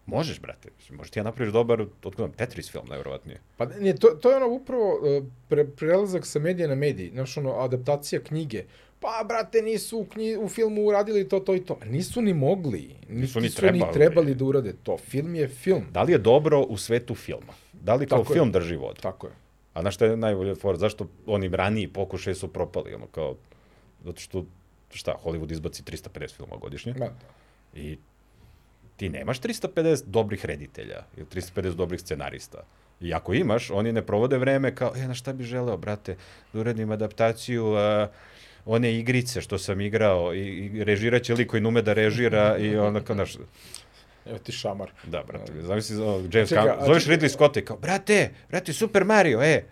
S2: možeš, brate. Možeš ti ja napraviš dobar, otkud nam, Tetris film, najverovatnije.
S1: Pa ne, to, to je ono upravo e, pre, prelazak sa medija na mediji, znaš ono, adaptacija knjige. Pa, brate, nisu u, knji, u filmu uradili to, to i to. A Nisu ni mogli, nisu ni trebali, ni trebali da urade to. Film je film.
S2: Da li je dobro u svetu filma? Da li kao
S1: Tako je.
S2: film drži vodu?
S1: Tako je.
S2: A znaš šta je najbolje for? Zašto oni raniji pokušaj su propali? Ono kao, zato što, šta, Hollywood izbaci 350 filmova godišnje
S1: Da.
S2: i ti nemaš 350 dobrih reditelja ili 350 dobrih scenarista. I ako imaš, oni ne provode vreme kao, e, na šta bi želeo, brate, da uradim adaptaciju uh, one igrice što sam igrao i, i režirat će lik koji ne ume da režira i onda kao, znaš,
S1: Evo ti šamar.
S2: Da, brate, zamisli za ovog James
S1: Čekaj,
S2: Cameron,
S1: a
S2: zoveš
S1: čekaj-
S2: Ridley Scotta i kao, brate, brate, Super Mario, e,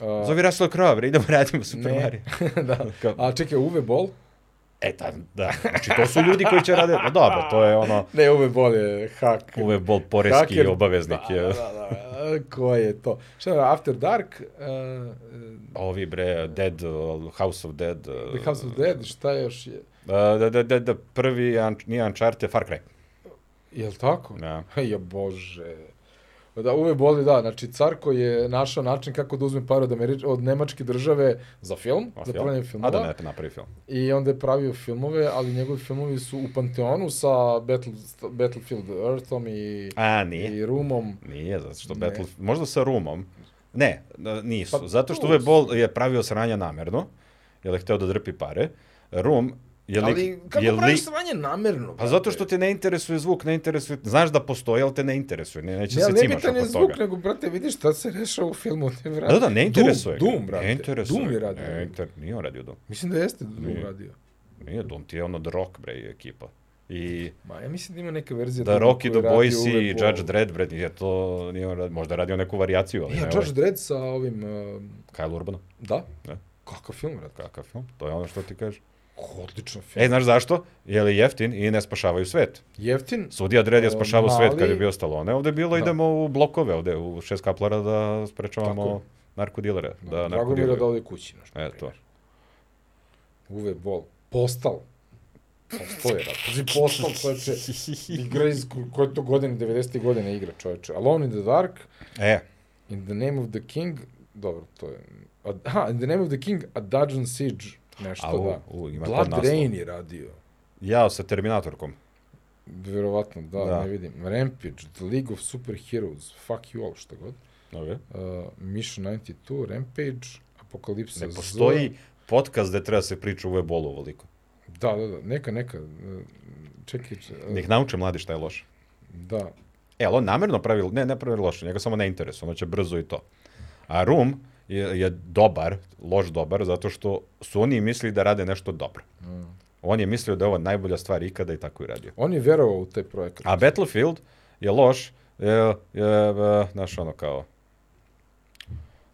S1: A,
S2: zovi Russell Crowe, bre, idemo radimo Super
S1: Ne.
S2: Mario.
S1: da.
S2: Kao-
S1: A čekaj, Uwe Boll?
S2: E, ta, da, znači to su ljudi koji će raditi, no dobro, to je ono,
S1: Ne, Uwe Boll je hak.
S2: uve bol poreski
S1: Hacker.
S2: obaveznik
S1: Da,
S2: je.
S3: Да,
S1: da, da. E, Ko je to? Šta je After Dark? Uh,
S2: Ovi bre, Dead, uh, House of Dead. uh,
S1: The House of Dead, šta još je?
S2: uh, Da, da, da, da, prvi, un, nije Uncharted, Far Cry.
S1: Jel tako?
S2: Da.
S1: Ja bože. Da, uve boli, da, znači Carko je našao način kako da uzme pare od, Američ, od nemačke države za film,
S2: A
S1: za
S2: film?
S1: pravljanje
S2: A
S1: filmova,
S2: da ne, napravi film.
S1: i onda je pravio filmove, ali njegovi filmovi su u Panteonu sa Battle, Battlefield Earthom i,
S2: A, nije.
S1: i Rumom.
S2: Nije, zato što
S1: Ne.
S2: Battle... Možda sa Rumom. Ne, da, nisu.
S1: Pa
S2: zato što
S1: tu
S2: Uwe
S1: su.
S2: Boll je pravio sranja namerno, jer je hteo da drpi pare. Rum je lik...
S1: ali kako
S2: je
S1: praviš
S2: lik-
S1: sranje namerno?
S2: Pa zato što te ne interesuje zvuk, ne interesuje... Znaš da postoji, ali te ne interesuje. Ne, neće
S1: će ne,
S2: se
S1: ali ne
S2: cimaš
S1: bitan je
S2: oko
S1: zvuk,
S2: toga.
S1: nego, brate, vidiš šta se rešava u filmu. Ne,
S2: Da, da, ne interesuje. ga.
S1: Doom, Doom, brate.
S2: Ne interesuje.
S1: Doom je radio.
S2: Ne, inter... Nije on radio Doom.
S1: Mislim da jeste Doom
S2: Nije.
S1: radio.
S2: Nije Doom, ti je ono The Rock, bre, i ekipa. I
S1: Ma, ja mislim da ima neka verzija
S2: The Rock i The
S1: koju radi
S2: Boys
S1: Uwe
S2: i
S1: Boll.
S2: Judge Dredd, bre, nije to... Nije on radio, možda je radio neku variaciju, ali
S1: Ja,
S2: ne
S1: Judge
S2: ovaj.
S1: Dredd sa ovim... Uh,
S2: Kyle Urban,
S1: da?
S2: Da.
S1: Kakav film, vrat?
S2: kakav film? To je ono što ti kažeš.
S1: Odličan film.
S2: E, znaš zašto? Jer je jeftin i ne spašavaju svet.
S1: Jeftin?
S2: Sudija Dredd je
S1: O,
S2: spašavao svet kad je
S1: mali-
S2: bio Stallone. Ovde je bilo,
S1: Da.
S2: idemo u blokove, ovde u šest kaplara da sprečavamo
S1: Tako
S2: narkodilere.
S1: Drago mi
S2: Da,
S1: je da
S2: narkodilere.
S1: ode kući. Naš,
S2: E, to.
S1: Uwe Boll. Postal. Postoje, vrat. Znači, Postal čoveče. Igra iz ko- koje to godine, 90. godine igra čoveče. Alone in the Dark,
S2: E,
S1: In the Name of the King, dobro, to je... A, aha, In the Name of the King, A Dungeon Siege, nešto
S2: a u,
S1: da.
S2: u, ima kod
S1: Blood
S2: naslov.
S1: Rain je radio.
S2: Jao, sa Terminatorkom.
S1: Verovatno, da,
S2: Da.
S1: da, ne vidim. Rampage, The League of Superheroes, Fuck You All, šta god.
S2: Okay.
S1: Uh, Mission 92, Rampage, Apokalipsa
S2: Ne
S1: Z.
S2: postoji podcast gde treba se priča u ebolu ovoliko.
S1: Da, da, da, neka, neka. uh, Čekaj, če- uh,
S2: Da ih nauče mladi šta je loše.
S1: da.
S2: E, ali on namerno pravi, ne, ne pravi loše, njega samo ne interesuje, ono će brzo i to. A Room je, je dobar, loš dobar, zato što su oni mislili da rade nešto dobro.
S1: Mm.
S2: On je mislio da je ovo najbolja stvar ikada i tako i radio.
S1: On je verovao u taj projekat.
S2: A Battlefield je loš, je, je, e, znaš, ono kao,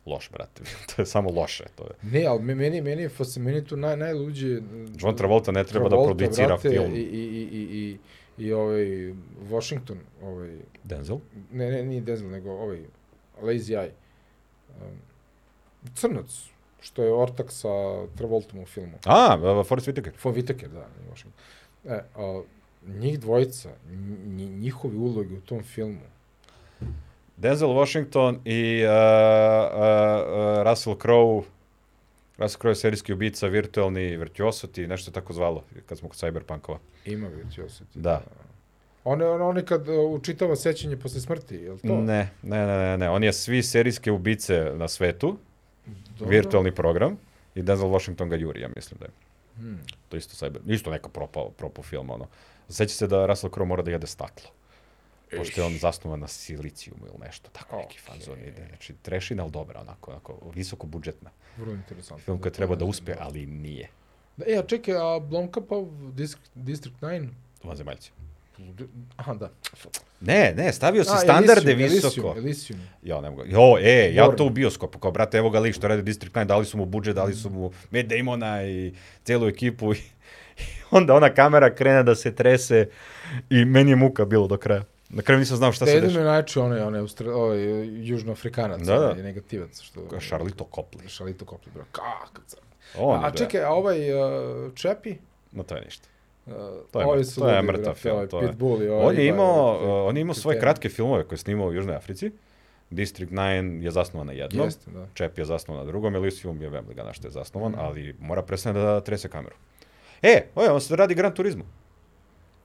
S2: loš, brate, to je samo loše, to je.
S1: Ne, ali me- meni, meni, je fas, meni je tu naj, najluđe... uh,
S2: John Travolta ne treba
S1: Travolta,
S2: da producira
S1: brate,
S2: film.
S1: I, i, i, i, i, i ovaj Washington, ovaj,
S2: Denzel?
S1: ne, ne, nije Denzel, nego ovaj Lazy Eye. Um, crnac, što je ortak sa Travoltom u filmu.
S2: A, e, Forrest Whitaker.
S1: Von Whittaker, da, nije Washington. E, a, njih dvojica, nji, njihovi uloge u tom filmu,
S2: Denzel Washington i uh, uh, uh, Russell Crowe. Russell Crowe je serijski ubica, virtualni virtuosity, nešto je tako zvalo, kad smo kod Cyberpunkova.
S1: ima već osjeti.
S2: Da.
S1: On, je- on, on je kad uh, učitava sećanje posle smrti, je li to?
S2: Ne, ne, ne, ne, ne, on je svi serijske ubice na svetu,
S1: Dobro.
S2: virtualni program, i Denzel Washington ga juri, ja mislim da je.
S1: Hmm.
S2: To je isto cyber, isto neka propao, propao film, ono. Seća se da Russell Crowe mora da jede staklo. Pošto je on zasnovan na silicijumu ili nešto, tako neki fazon ide. Znači, trešina, ali dobra, onako, onako, visoko budžetna.
S1: Vrlo interesantno.
S2: Film koji
S1: To
S2: treba
S1: ne
S2: da
S1: znam,
S2: uspe, ali nije.
S1: Da, e, a čekaj, a Blomkampov, District, District 9?
S2: Vanzemaljci.
S1: Aha, da.
S2: Ne, ne, stavio si
S1: A,
S2: standarde
S1: Elysium,
S2: visoko.
S1: Elysium, Elysium.
S2: Ja, ne mogu. Jo, e, ja
S1: Born.
S2: to u bioskopu, kao brate, evo ga lik što radi District 9, dali su mu budžet, dali su mu Matt Damona i celu ekipu i, Onda ona kamera krene da se trese i meni je muka bilo do kraja. Na kraju nisam znao šta se
S1: Aiden
S2: dešava.
S1: United, onaj, onaj, Austra- ovaj, južnoafrikanac,
S2: Da, da.
S1: onaj negativac, što...
S2: Charlito Copley.
S1: Šalito kopli, bro. Kakav crn.
S2: On,
S1: A čekaj, a ovaj uh, Čepi?
S2: No to je ništa.
S1: Uh,
S2: To je,
S1: ovi
S2: mrt-
S1: su
S2: to je
S1: ludi,
S2: mrtav
S1: brate,
S2: film.
S1: Ovaj
S2: To je.
S1: Pitbull i ovaj...
S2: On je imao,
S1: Ivan,
S2: uh, on je imao svoje
S1: Titanic.
S2: kratke filmove koje je snimao u Južnoj Africi. District 9 je zasnovan na jednom.
S1: Jeste, da.
S2: Čep je zasnovan na drugom, Elysium je vem ga na što je zasnovan,
S1: Mhm.
S2: ali mora prestane da trese kameru. E, oj, on se radi Gran Turismo.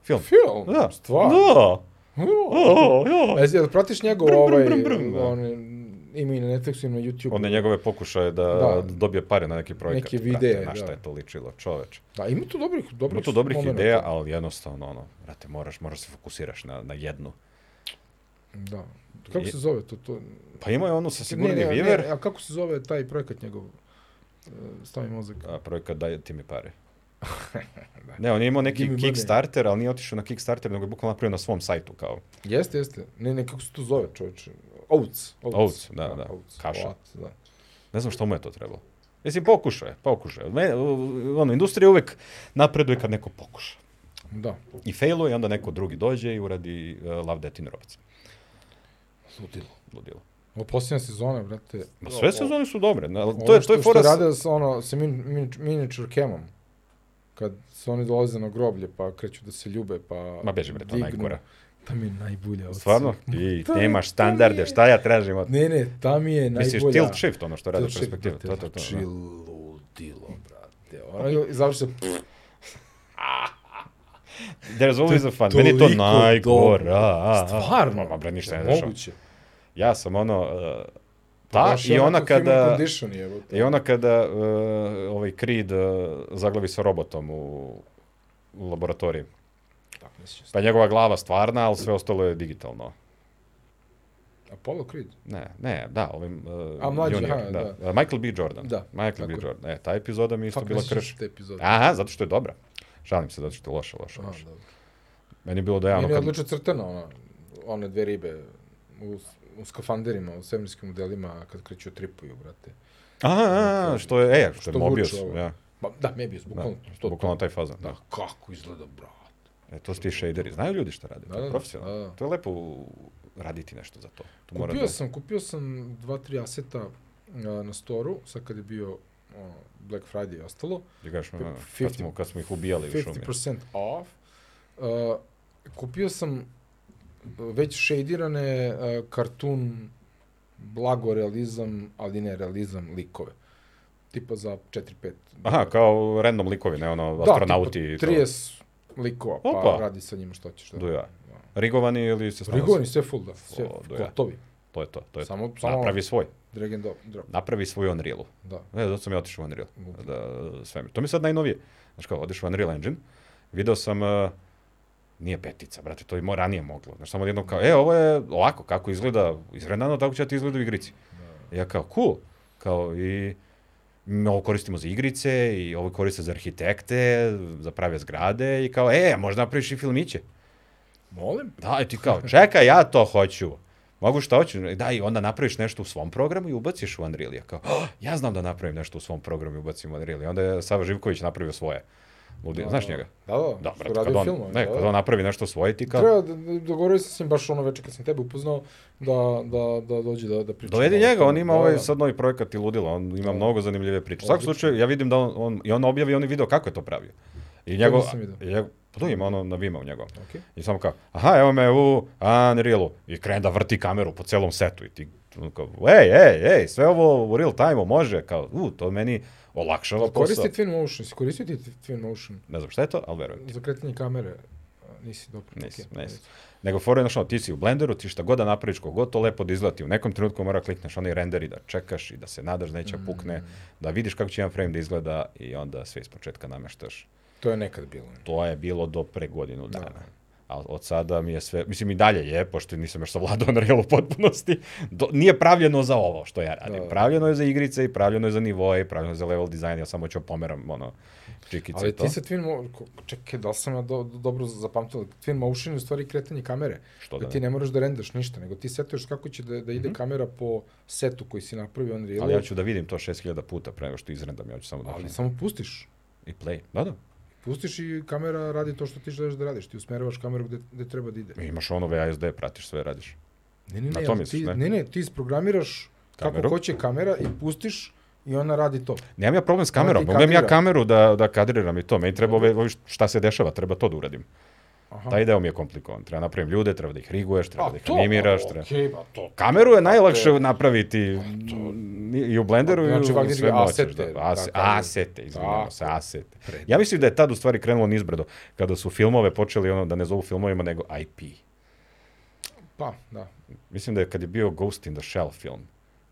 S2: Film.
S1: Film,
S2: Da.
S1: stvarno.
S2: Da.
S1: Da.
S2: O, jo.
S1: E, jel pratiš njegov
S2: Brum, brum,
S1: ovaj...
S2: brum, brum, da.
S1: on, ima i na Netflixu, i na YouTubeu.
S2: Onda njegove pokušaje da,
S1: Da.
S2: dobije pare na neki projekat.
S1: Neki
S2: brate,
S1: videe,
S2: Na šta
S1: da.
S2: je to ličilo, čoveč.
S1: Da, ima tu dobrih, dobrih,
S2: Ima tu dobrih
S1: momenata.
S2: ideja, ali jednostavno, ono, brate, moraš, moraš se fokusiraš na, na jednu.
S1: Da. Kako
S2: I-
S1: se zove to? to...
S2: Pa imao je ono sa Sigurni
S1: ne, ne,
S2: Viver,
S1: Ne, a kako se zove taj projekat njegov? E, Stavi mozak.
S2: a projekat daje ti mi pare.
S1: Da.
S2: Ne, on je imao
S1: Give me
S2: neki
S1: money.
S2: Kickstarter, ali nije otišao na Kickstarter, nego je bukvalno napravio na svom sajtu, kao.
S1: Jeste, jeste. Ne, ne, kako se to zove, čovječe? Oats.
S2: Oats, da, da.
S1: Oats.
S2: Kaša.
S1: Oats, da.
S2: Ne znam što mu je to trebalo. Mislim, pokušao je, pokušao je. Me- u- Ono, industrija uvek napreduje kad neko pokuša.
S1: Da.
S2: I failuje, i onda neko drugi dođe i uradi uh, lav detin robac.
S1: Ludilo.
S2: Ludilo.
S1: Ovo posljednja sezona, brate.
S2: Ma sve sezone su dobre, ne, ali
S1: Ono
S2: to je, to
S1: što-
S2: je fora...
S1: Što
S2: sa-
S1: rade sa, ono, sa min, min, miniature camom. Kad se oni dolaze na groblje, pa kreću da se ljube, pa...
S2: Ma beži bre, to
S1: dignu.
S2: je najgora.
S1: Tam je najbolja od
S2: Stvarno?
S1: svih.
S2: I
S1: to je-
S2: nemaš
S1: to
S2: standarde,
S1: je-
S2: šta ja tražim od...
S1: Ne, ne, tam je najbolja...
S2: Misliš, tilt shift, ono što radi
S1: Tilt shift, да,
S2: perspektiva.
S1: brate,
S2: To, to, to,
S1: znači,
S2: da.
S1: ludilo, brate. Ono, i završi se...
S2: There's always a fun.
S1: To je
S2: Meni je to
S1: toliko dobro.
S2: najgora. a, a.
S1: Stvarno,
S2: Ma, bre, Pa ništa ne dešava.
S1: moguće.
S2: Ja sam ono... Uh,
S1: Pa
S2: ta
S1: baš je
S2: i ona
S1: onako human
S2: kada...
S1: Condition, jebote.
S2: I ona kada uh, ovaj Creed uh, zaglavi sa robotom u, u laboratoriji.
S1: Tako mi se čini.
S2: Pa je njegova glava stvarna, ali sve ostalo je digitalno. Pa-
S1: Apollo Creed.
S2: Ne, ne, da, ovim... Uh,
S1: A, mlađi,
S2: junior,
S1: aha,
S2: da.
S1: da.
S2: Uh, Michael B. Jordan.
S1: Da, tako
S2: Michael B.
S1: je.
S2: Jordan. E, ta epizoda mi je isto
S1: Fuck,
S2: bila
S1: mi se
S2: krš. Da,
S1: sjećaš Te epizode.
S2: Aha, zato što je dobra. Šalim se, zato što je loša, loša,
S1: Aha,
S2: loša.
S1: dobro.
S2: Meni je bilo da ja ono
S1: Meni je
S2: kad...
S1: odlično crtana ona, one dve ribe u, u skafanderima, u svemirskim modelima, kad kreću tripuju, brate.
S2: Aha, aha, što je, e, što
S1: Što
S2: je Mobius.
S1: vuče ovo.
S2: Ja,
S1: Ba, da, Mebius,
S2: da,
S1: bukvalno. to,
S2: bukvalno taj fazan, da.
S1: Da, kako izgleda, brate.
S2: E, to su ti shaderi. Znaju ljudi šta rade,
S1: Da,
S2: to je
S1: da,
S2: profesionalno.
S1: da, da.
S2: To je lepo u- raditi nešto za to. to mora
S1: Kupio
S2: da...
S1: sam, kupio sam dva, tri aseta a, na storu, sad kad je bio ono, Black Friday i ostalo,
S2: Ti Da kažeš, ono, kad,
S1: 50
S2: smo, kad smo ih ubijali u šumi.
S1: 50% off. Uh, kupio sam već šejdirane uh, kartun blago realizam, ali ne realizam likove. Tipa za 4-5.
S2: Aha, kao random likovi, ne ono,
S1: Da,
S2: astronauti i
S1: tipa
S2: to.
S1: 30 likova, pa
S2: Opa.
S1: radi sa njima što ćeš. Da.
S2: Do ja. Rigovani ili se stanosi?
S1: Rigoni, sve full, da. Sve
S2: O, do ja.
S1: gotovi.
S2: To je to, to je to.
S1: Samo, samo
S2: Napravi svoj.
S1: drag and drop. drop.
S2: Napravi svoj Unrealu.
S1: Da.
S2: Ne, zato sam ja otišao u Unreal.
S1: Lupo.
S2: Da, svemir. To mi je sad najnovije. Znaš kao, odeš u Unreal Engine, video sam, uh, nije petica, brate, to je mo, ranije moglo. Znaš, samo jednom kao, e, ovo je ovako, kako izgleda izrenano, tako će ti izgleda u igrici. Ja kao, cool. Kao i m, ovo koristimo za igrice i ovo koriste za arhitekte, za prave zgrade i kao, e, možda napraviš i filmiće.
S1: Molim?
S2: Da, i ti kao, čekaj, ja to hoću. Mogu šta hoću. Da, i onda napraviš nešto u svom programu i ubaciš u Unreal. Ja kao, "Ah, ja znam da napravim nešto u svom programu i ubacim u Unreal. I onda je Sava Živković napravio svoje. Ludi,
S1: Da,
S2: znaš
S1: da.
S2: njega?
S1: Da, da.
S2: Da,
S1: što
S2: brate,
S1: radi
S2: kad on,
S1: filmove,
S2: ne,
S1: da,
S2: kad
S1: da.
S2: on napravi nešto svoje, ti kao,
S1: Treba, da, da- dogovorio sam s njim baš ono večer kad sam tebe upoznao da, da, da dođe da, da priča.
S2: dovedi
S1: malo o
S2: njega,
S1: tome.
S2: on ima
S1: Da,
S2: ovaj
S1: da.
S2: sad novi projekat i ludilo, on ima
S1: Da.
S2: mnogo zanimljive priče. U svakom
S1: Odlično.
S2: slučaju, ja vidim da on, on i on objavi onaj video kako je to pravio. I njegov,
S1: nisam vidio.
S2: i njegov, pa to ima ono na Vima u njegovom.
S1: Okej.
S2: I samo kao, aha, evo me u Unrealu. I krene da vrti kameru po celom setu. I ti, ono kao, ej, ej, ej, sve ovo u real time-u može. Kao, u, to meni olakšava posao.
S1: Koristi Twinmotion, si koristio ti Twinmotion
S2: Ne znam šta je to, ali verujem ti.
S1: za kretanje kamere? A, Nisi dobro.
S2: Nisam,
S1: okej.
S2: nisam. Nego fora je, znaš, ono, ti si u Blenderu, ti šta god da napraviš, kogod to lepo da izlati. U nekom trenutku mora klikneš onaj render i da čekaš i da se nadaš da neće pukne,
S1: Mm.
S2: da vidiš kako će jedan frame da izgleda i onda sve iz početka nameštaš.
S1: To je nekad bilo.
S2: To je bilo do pre godinu
S1: Da.
S2: dana. A od sada mi je sve, mislim i dalje je, pošto nisam još savladao Unreal u potpunosti, do, nije pravljeno za ovo što ja radim.
S1: Da.
S2: Pravljeno je za igrice i pravljeno je za nivoe i pravljeno je za level dizajn, ja samo ću pomeram ono, čikice i
S1: Ali
S2: to.
S1: ti sa Twinmotion, čekaj, da li sam ja do, do- dobro zapamtila, Twinmotion je u stvari kretanje kamere.
S2: Što da
S1: Da ti
S2: ne?
S1: ne moraš da rendeš ništa, nego ti setuješ kako će da, da ide kamera po setu koji si napravio Unreal.
S2: Ali ja ću da vidim to 6000 puta pre nego što izrendam, ja ću samo da
S1: ali samo pustiš.
S2: i play. Da, da.
S1: Pustiš i kamera radi to što ti želiš da radiš. Ti usmeravaš kameru gde, gde treba da ide.
S2: Imaš onove ASD, pratiš sve, radiš.
S1: Ne, ne,
S2: Na
S1: ne,
S2: to
S1: ali
S2: misliš,
S1: ti,
S2: ne?
S1: ne, ne, ti isprogramiraš
S2: Kameru?
S1: kako hoće kamera i pustiš i ona radi to.
S2: Nemam ja problem s kamerom,
S1: Da, ti
S2: mogu ja
S1: kadrira.
S2: kameru da, da kadriram i to, meni treba ove, ove šta se dešava, treba to da uradim.
S1: Aha.
S2: Taj deo mi je komplikovan, treba napravim ljude, treba da ih riguješ, treba da ih
S1: to,
S2: animiraš,
S1: Pa. pa,
S2: treba...
S1: Okej, pa to.
S2: Kameru je najlakše napraviti ni- i u Blenderu
S1: Znači,
S2: i u
S1: Wagner
S2: sve
S1: je
S2: moćeš.
S1: asete,
S2: Da,
S1: da
S2: ase,
S1: kažem.
S2: asete, izvinjamo
S1: Tako.
S2: se, asete. Ja mislim da je tad u stvari krenulo nizbrdo, kada su filmove počeli ono da ne zovu filmovima nego IP.
S1: Pa, da.
S2: Mislim da je kad je bio Ghost in the Shell film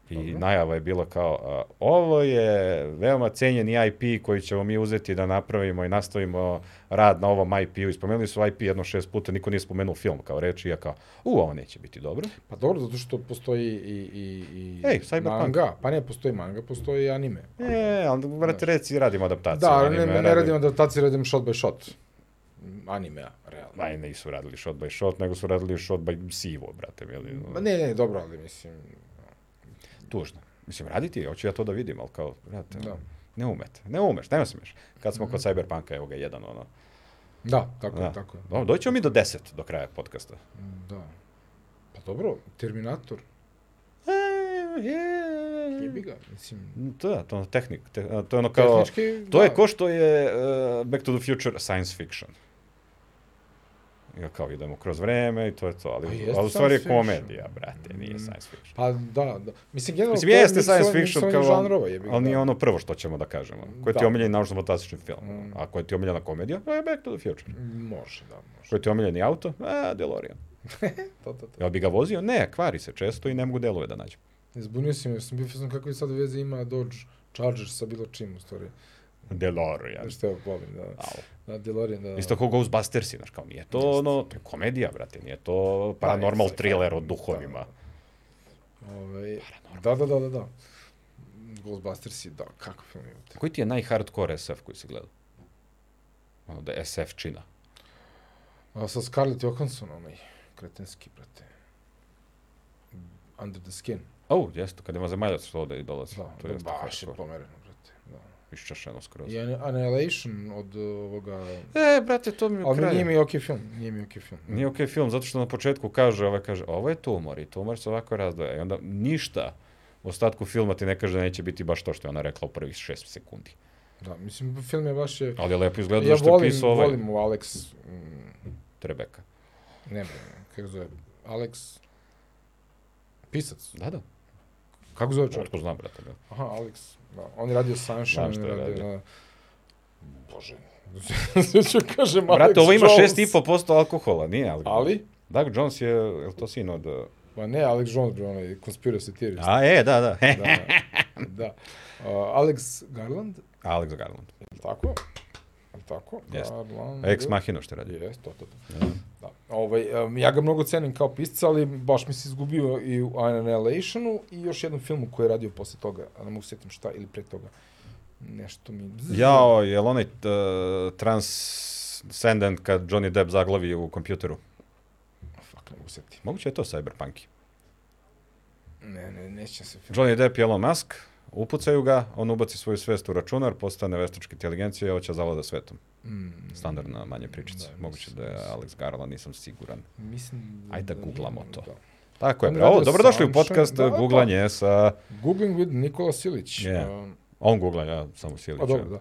S2: i najava je bila kao a, ovo je veoma cenjeni IP koji ćemo mi uzeti da napravimo i nastavimo rad na ovom IP-u. Ispomenuli su IP jedno šest puta, niko nije spomenuo film kao reč i ja kao, u, ovo neće biti dobro.
S1: Pa dobro, zato što postoji i, i, i
S2: Ej, Cyberpunk.
S1: manga. Pa ne, postoji manga, postoji i anime.
S2: E, ali, brate, reci, radimo adaptaciju.
S1: Da, ali ne,
S2: anime,
S1: ne radim adaptacije, radim shot by shot. Animea, realno.
S2: Ma, i nisu radili shot by shot, nego su radili shot by sivo, brate. Jeli,
S1: Ma ne, ne, dobro, ali mislim,
S2: Tužno. Mislim, raditi, hoću ja to da vidim, ali kao, brate,
S1: Da. Mhm.
S2: ne umete, ne umeš, ne smeš. Kad smo kod Cyberpunka, evo ga, jedan, ono,
S1: da, tako,
S2: Da.
S1: da. tako. je.
S2: Dobro, doći ćemo mi do 10 do kraja podcasta.
S1: Da. Pa dobro, Terminator,
S2: E, je.
S1: jebi ga, mislim,
S2: To je, to je tehnik, te, a, to je ono kao,
S1: Tehnički,
S2: to
S1: da.
S2: je ko što je uh, Back to the Future science fiction. Ja kao idemo kroz vreme i to je to, ali,
S1: Pa
S2: ali
S1: jeste
S2: u stvari je
S1: science fiction.
S2: komedija, brate, nije science fiction.
S1: pa da, da. Mislim, generalno,
S2: Mislim,
S1: to je
S2: jeste science
S1: miksovanje-
S2: fiction kao,
S1: miksovanje žanrova, jebi ga,
S2: ali nije
S1: da.
S2: ono prvo što ćemo da kažemo. Koji ti je
S1: Da. Mm.
S2: omiljen naučno-fantastični film, a koji ti je omiljena komedija, to je Back to the Future.
S1: Može, da, može. Da,
S2: Koji ti je omiljeni auto, a, DeLorean.
S1: To, to, to.
S2: Jel bi ga vozio? Ne, kvari se često i ne mogu delove da nađem.
S1: Zbunio si me, jer sam bio fazon kako je sad veze ima Dodge Charger sa bilo čim, u stvari.
S2: DeLorean.
S1: Znaš što ja volim, da.
S2: Au.
S1: Da, DeLorean, da.
S2: Isto kao Ghostbusters, znaš, kao nije to ono, to je komedija, brate, nije to paranormal
S1: Pa, je,
S2: thriller o
S1: da.
S2: duhovima.
S1: Ove, da, da, da, da, da. Ghostbusters je, da, kakav film imate.
S2: Koji ti je najhardcore SF koji si gledao? Ono da je SF čina.
S1: A sa Scarlett Johansson, onaj, kretenski, brate. Under the skin.
S2: O, oh, jeste, kad ima zemaljac što ode i dolazi.
S1: Da,
S2: to
S1: da,
S2: je
S1: baš je
S2: hardcore.
S1: pomereno, brate. Da.
S2: Iščašeno skroz.
S1: I An- Annihilation od uh, ovoga...
S2: E, brate, to mi je
S1: Ali nije
S2: kraj.
S1: mi okej film, nije mi okej film. da.
S2: Nije okej film, zato što na početku kaže, ovaj kaže, ovo je tumor i tumor se ovako razdvaja. I onda ništa u ostatku filma ti ne kaže da neće biti baš to što je ona rekla u prvih šest sekundi.
S1: Da, mislim, film je baš je...
S2: Ali je lepo izgledao
S1: Ja
S2: što je
S1: volim,
S2: pisao ovaj
S1: volim u Alex... mm,
S2: Trebeka.
S1: Ne, bre, kako zove? Alex... Pisac.
S2: Da, da,
S1: Kako zove čovjek?
S2: otko znam, brate. Da.
S1: Aha, Alex. Da. On je radio Sunshine.
S2: Znam šta
S1: on
S2: je
S1: je radio.
S2: radio.
S1: Da. Bože. Sve ću kažem Alex
S2: Brate, ovo ima
S1: Jones.
S2: 6,5% alkohola, nije alkohol.
S1: Ali?
S2: Doug Jones je, je li to sin od... uh,
S1: Pa ne, Alex Jones, bre, onaj conspiracy theorist.
S2: A, e, da, da.
S1: Da, da. Uh, Alex Garland,
S2: Alex Garland.
S1: je li tako? Je li tako?
S2: Jeste.
S1: Garland.
S2: Ex Machina što je radio.
S1: Jes, to, to, to. Da. Ovaj, um, ja ga mnogo cenim kao pisca, ali baš mi se izgubio i u Annihilationu i još jednom filmu koji je radio posle toga, a ne mogu se sjetim šta, ili pre toga. Nešto mi...
S2: Jao, je li onaj uh, Transcendent kad Johnny Depp zaglavi u kompjuteru?
S1: Fuck, ne mogu se sjetim.
S2: Moguće je to Cyberpunk.
S1: Ne, ne, nećem se film.
S2: Johnny Depp i Elon Musk, upucaju ga, on ubaci svoju svest u računar, postane veštačka inteligencija i hoće zavlada svetom.
S1: Mm,
S2: Standardna manje pričica.
S1: Da,
S2: Moguće da je Alex Garland, nisam siguran.
S1: Mislim...
S2: Ajde da googlamo
S1: da.
S2: to. Tako je,
S1: On
S2: bre. Ovo,
S1: radio
S2: dobrodošli u
S1: Sunshine,
S2: podcast
S1: da,
S2: da,
S1: pa.
S2: Googlanje sa...
S1: Googling with Nikola Silić.
S2: Je.
S1: Um,
S2: On googla, ja samo
S1: pa
S2: Silića.
S1: dobro, da.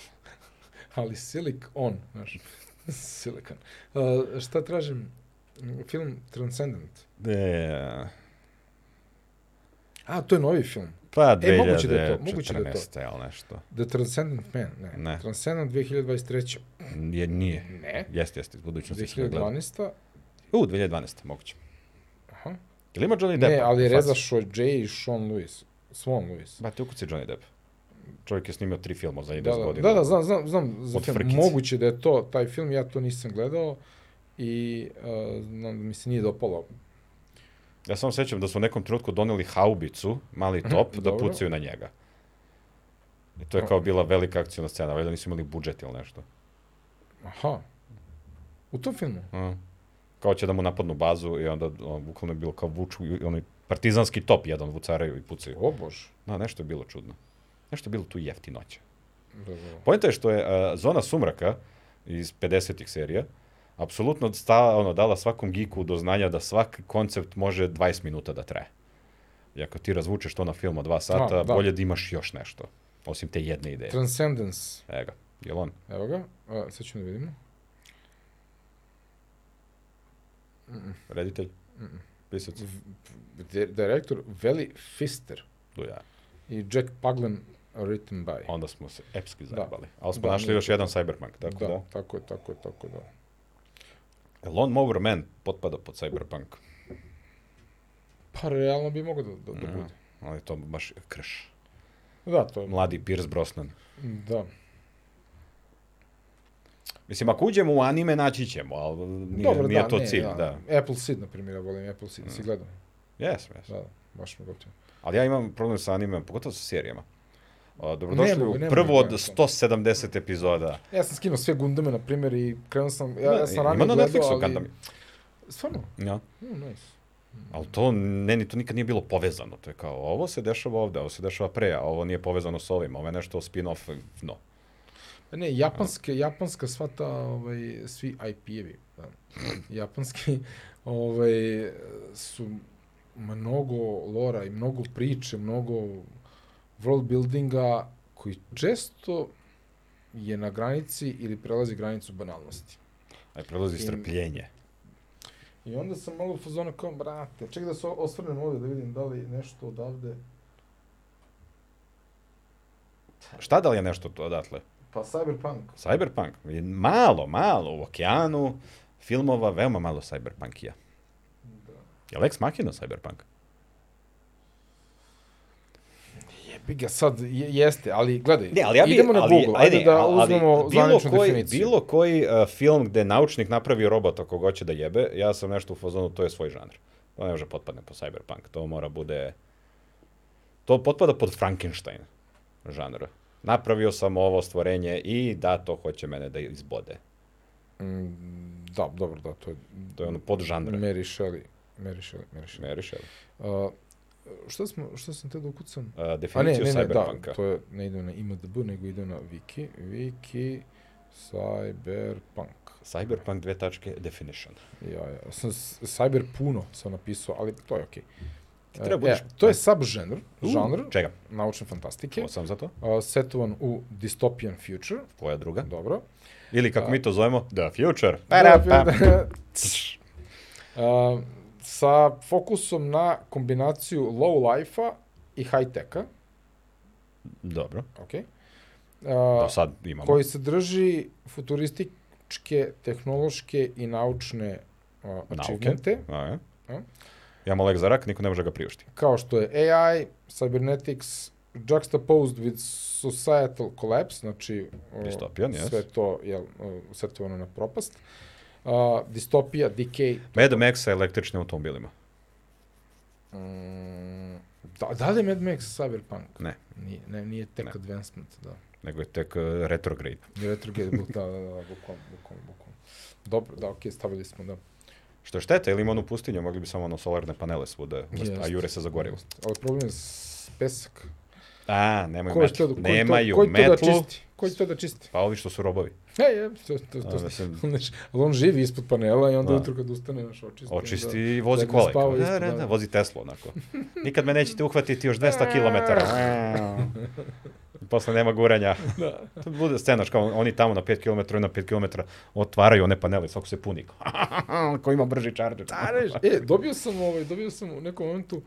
S1: ali Silik on, znaš. Silikon. Uh, šta tražim? Film Transcendent.
S2: E,
S1: A, to je novi film.
S2: pa
S1: E, moguće da je to,
S2: 2014.
S1: moguće da je to.
S2: ali nešto.
S1: The Transcendent Man, ne.
S2: Ne.
S1: ne. Transcendent 2023.
S2: Je, nije.
S1: Ne.
S2: Jeste, jeste, iz budućnosti ću da gledam.
S1: 2012.
S2: U, 2012. moguće.
S1: Aha.
S2: Ili ima Johnny Depp?
S1: Ne, ali Reza Šođe i Sean Lewis. Swan Lewis.
S2: Ba, ti ukuci Johnny Depp. Čovjek je snimio tri filma za 11
S1: Da, da,
S2: godina.
S1: da, da, znam, znam, znam za
S2: Od
S1: film.
S2: Frkice.
S1: Moguće da je to taj film, ja to nisam gledao i uh, znam da mi se nije dopalo.
S2: Ja samo sećam da su u nekom trenutku doneli haubicu, mali top, da
S1: Mhm, dobro.
S2: pucaju na njega. I to je kao bila velika akcijna scena, valjda nisu imali budžet ili nešto.
S1: Aha. U tom filmu?
S2: Mm. Kao će da mu napadnu bazu i onda on, bukvalno je bilo kao vuču i onaj partizanski top jedan vucaraju i pucaju.
S1: O bož.
S2: Da, nešto je bilo čudno. Nešto je bilo tu jeftinoće.
S1: Razumem.
S2: Poenta je što je a, Zona sumraka iz 50-ih serija apsolutno sta, ono, dala svakom geeku do znanja da svaki koncept može 20 minuta da traje. I ako ti razvučeš to na film od 2 sata,
S1: Da, da.
S2: bolje da imaš još nešto. Osim te jedne ideje.
S1: Transcendence.
S2: Evo ga, jel on?
S1: Evo ga, a, sad ćemo da vidimo.
S2: Reditelj? Pisac?
S1: Di- Direktor Veli Fister
S2: Do ja.
S1: i Jack Paglen written by.
S2: Onda smo se epski
S1: Da.
S2: zajebali. Ali smo
S1: Da,
S2: našli
S1: nije
S2: još
S1: to.
S2: jedan Cyberpunk, tako
S1: Да,
S2: da.
S1: Tako je, tako je, tako da.
S2: Lon Mower Man potpada pod Cyberpunk.
S1: Pa realno bi mogao da, da, da
S2: Ja.
S1: bude.
S2: Ali to baš krš.
S1: Da, to je,
S2: Mladi Pierce Brosnan.
S1: da.
S2: Mislim, ako uđemo u anime, naći ćemo, ali nije,
S1: Dobro,
S2: nije
S1: da,
S2: to
S1: ne,
S2: cilj,
S1: da.
S2: da.
S1: да, Apple Seed, na primjer, ja volim Apple Seed, да si gledao.
S2: Jes, jes.
S1: Da, da, baš mi je gotivo.
S2: Ali ja imam problem sa anime, pogotovo sa serijama. A, Dobrodošli
S1: Ne mogu,
S2: u
S1: ne mogu
S2: prvu od
S1: gledati to.
S2: 170 epizoda.
S1: Ja sam skinuo sve Gundame, na primjer, i krenuo sam, ja,
S2: Da,
S1: ja sam
S2: ima
S1: ranije
S2: na
S1: gledao,
S2: Netflixu
S1: ali...
S2: Gundam.
S1: Stvarno?
S2: Ja.
S1: Mm, nice.
S2: Ali to, meni to nikad nije bilo povezano. To je kao, ovo se dešava ovde, ovo se dešava pre, a ovo nije povezano s ovim, ovo je nešto spin-off, no.
S1: Pa Ne, japanske, japanska sva ta, ovaj, svi IP-evi, da. japanski, ovaj, su mnogo lora i mnogo priče, mnogo world buildinga koji često je na granici ili prelazi granicu banalnosti.
S2: Aj, E, prelazi
S1: I-
S2: strpljenje.
S1: I onda sam malo u fazonu kao, brate, čekaj da se o- osvrnem ovde da vidim da li nešto odavde,
S2: Šta da li je nešto to odatle?
S1: pa Cyberpunk.
S2: Cyberpunk. je Malo, malo u okeanu filmova, veoma malo cyberpunkija.
S1: Da.
S2: Je Lex Machina cyberpunk?
S1: Jebi ga sad, je, jeste, ali gledaj,
S2: Ne, ali ja bi,
S1: idemo na
S2: ali,
S1: Google, ajde,
S2: ne,
S1: da
S2: ali
S1: uzmemo zvaničnu
S2: koji,
S1: definiciju.
S2: Bilo koji uh, film gde naučnik napravi robota koga hoće da jebe, ja sam nešto u fazonu, to je svoj žanr. To ne može potpadne po cyberpunk, to mora bude... To potpada pod Frankenstein žanr. Napravio sam ovo stvorenje i da, to hoće mene da izbode.
S1: Mm, da, dobro, da, to je...
S2: To je ono pod žanr.
S1: Mary Shelley. Mary Shelley, Mary Shelley.
S2: Meriš, jel? E,
S1: Uh, šta, smo, šta sam te da ukucam?
S2: Uh,
S1: A ne,
S2: definiciju
S1: ne, ne,
S2: cyberpunka.
S1: da, to je, ne idem na IMDB, nego idem na Wiki. Wiki, Cyberpunk.
S2: Cyberpunk dve tačke definition.
S1: Ja, ja sam s- cyber puno sam napisao, ali to je okej.
S2: Ti treba
S1: E,
S2: budeš-
S1: e, to je subžanr, žanr
S2: Čega?
S1: naučne fantastike,
S2: Ovo sam za to?
S1: uh, setovan u dystopian future,
S2: Koja druga?
S1: dobro.
S2: Ili kako
S1: A-
S2: mi to zovemo, The Future.
S1: Da,
S2: Tš.
S1: Uh, sa fokusom na kombinaciju low life-a i high-tech-a,
S2: Dobro,
S1: okay?
S2: do
S1: uh,
S2: sad imamo.
S1: koji se drži futurističke, tehnološke i naučne uh, achievemente,
S2: A, je.
S1: A?
S2: Ja molek za rak, niko ne može ga priušti.
S1: kao što je AI, cybernetics, juxtaposed with societal collapse, znači uh,
S2: Distopian, yes.
S1: sve to je uh, setovano na propast, uh, distopija, decay,
S2: Mad Max sa električnim automobilima.
S1: Mm, Da, da li je Mad Max Cyberpunk?
S2: Ne.
S1: Nije, ne, nije Tech
S2: Ne.
S1: Advancement, da.
S2: Nego je tek uh, retrograde.
S1: Nije Retrograde, buk, da, da, da, bukom, bukom, bukom. Dobro, da, okej, stavili smo, da.
S2: Što je šteta, ili ima onu pustinju, mogli bi samo ono solarne panele svuda,
S1: Jest.
S2: Da, a jure se zagorio.
S1: Jeste. Ali problem je s- pesak.
S2: A, nemaju
S1: Ko je to, ko je
S2: metlu.
S1: to,
S2: Nemaju
S1: ko je to da
S2: metlu.
S1: čisti? Ko će to da čisti?
S2: Pa ovi što su robovi.
S1: E, je, to, to,
S2: A,
S1: to,
S2: da se-
S1: znaš, ali on živi ispod panela i onda
S2: Da.
S1: ujutro kad ustane, naš očisti. da.
S2: Očisti
S1: onda-
S2: i vozi
S1: legne
S2: kolek.
S1: spava
S2: Da,
S1: ispod,
S2: da, da,
S1: da.
S2: vozi Tesla onako. Nikad me nećete uhvatiti još 200 km. Posle nema guranja. Da. To bude scenaš kao oni tamo na 5 km, na 5 km otvaraju one panele, svako se puni. Ko ima brži charger.
S1: Znaš, e, dobio sam, ovaj, dobio sam u nekom momentu uh,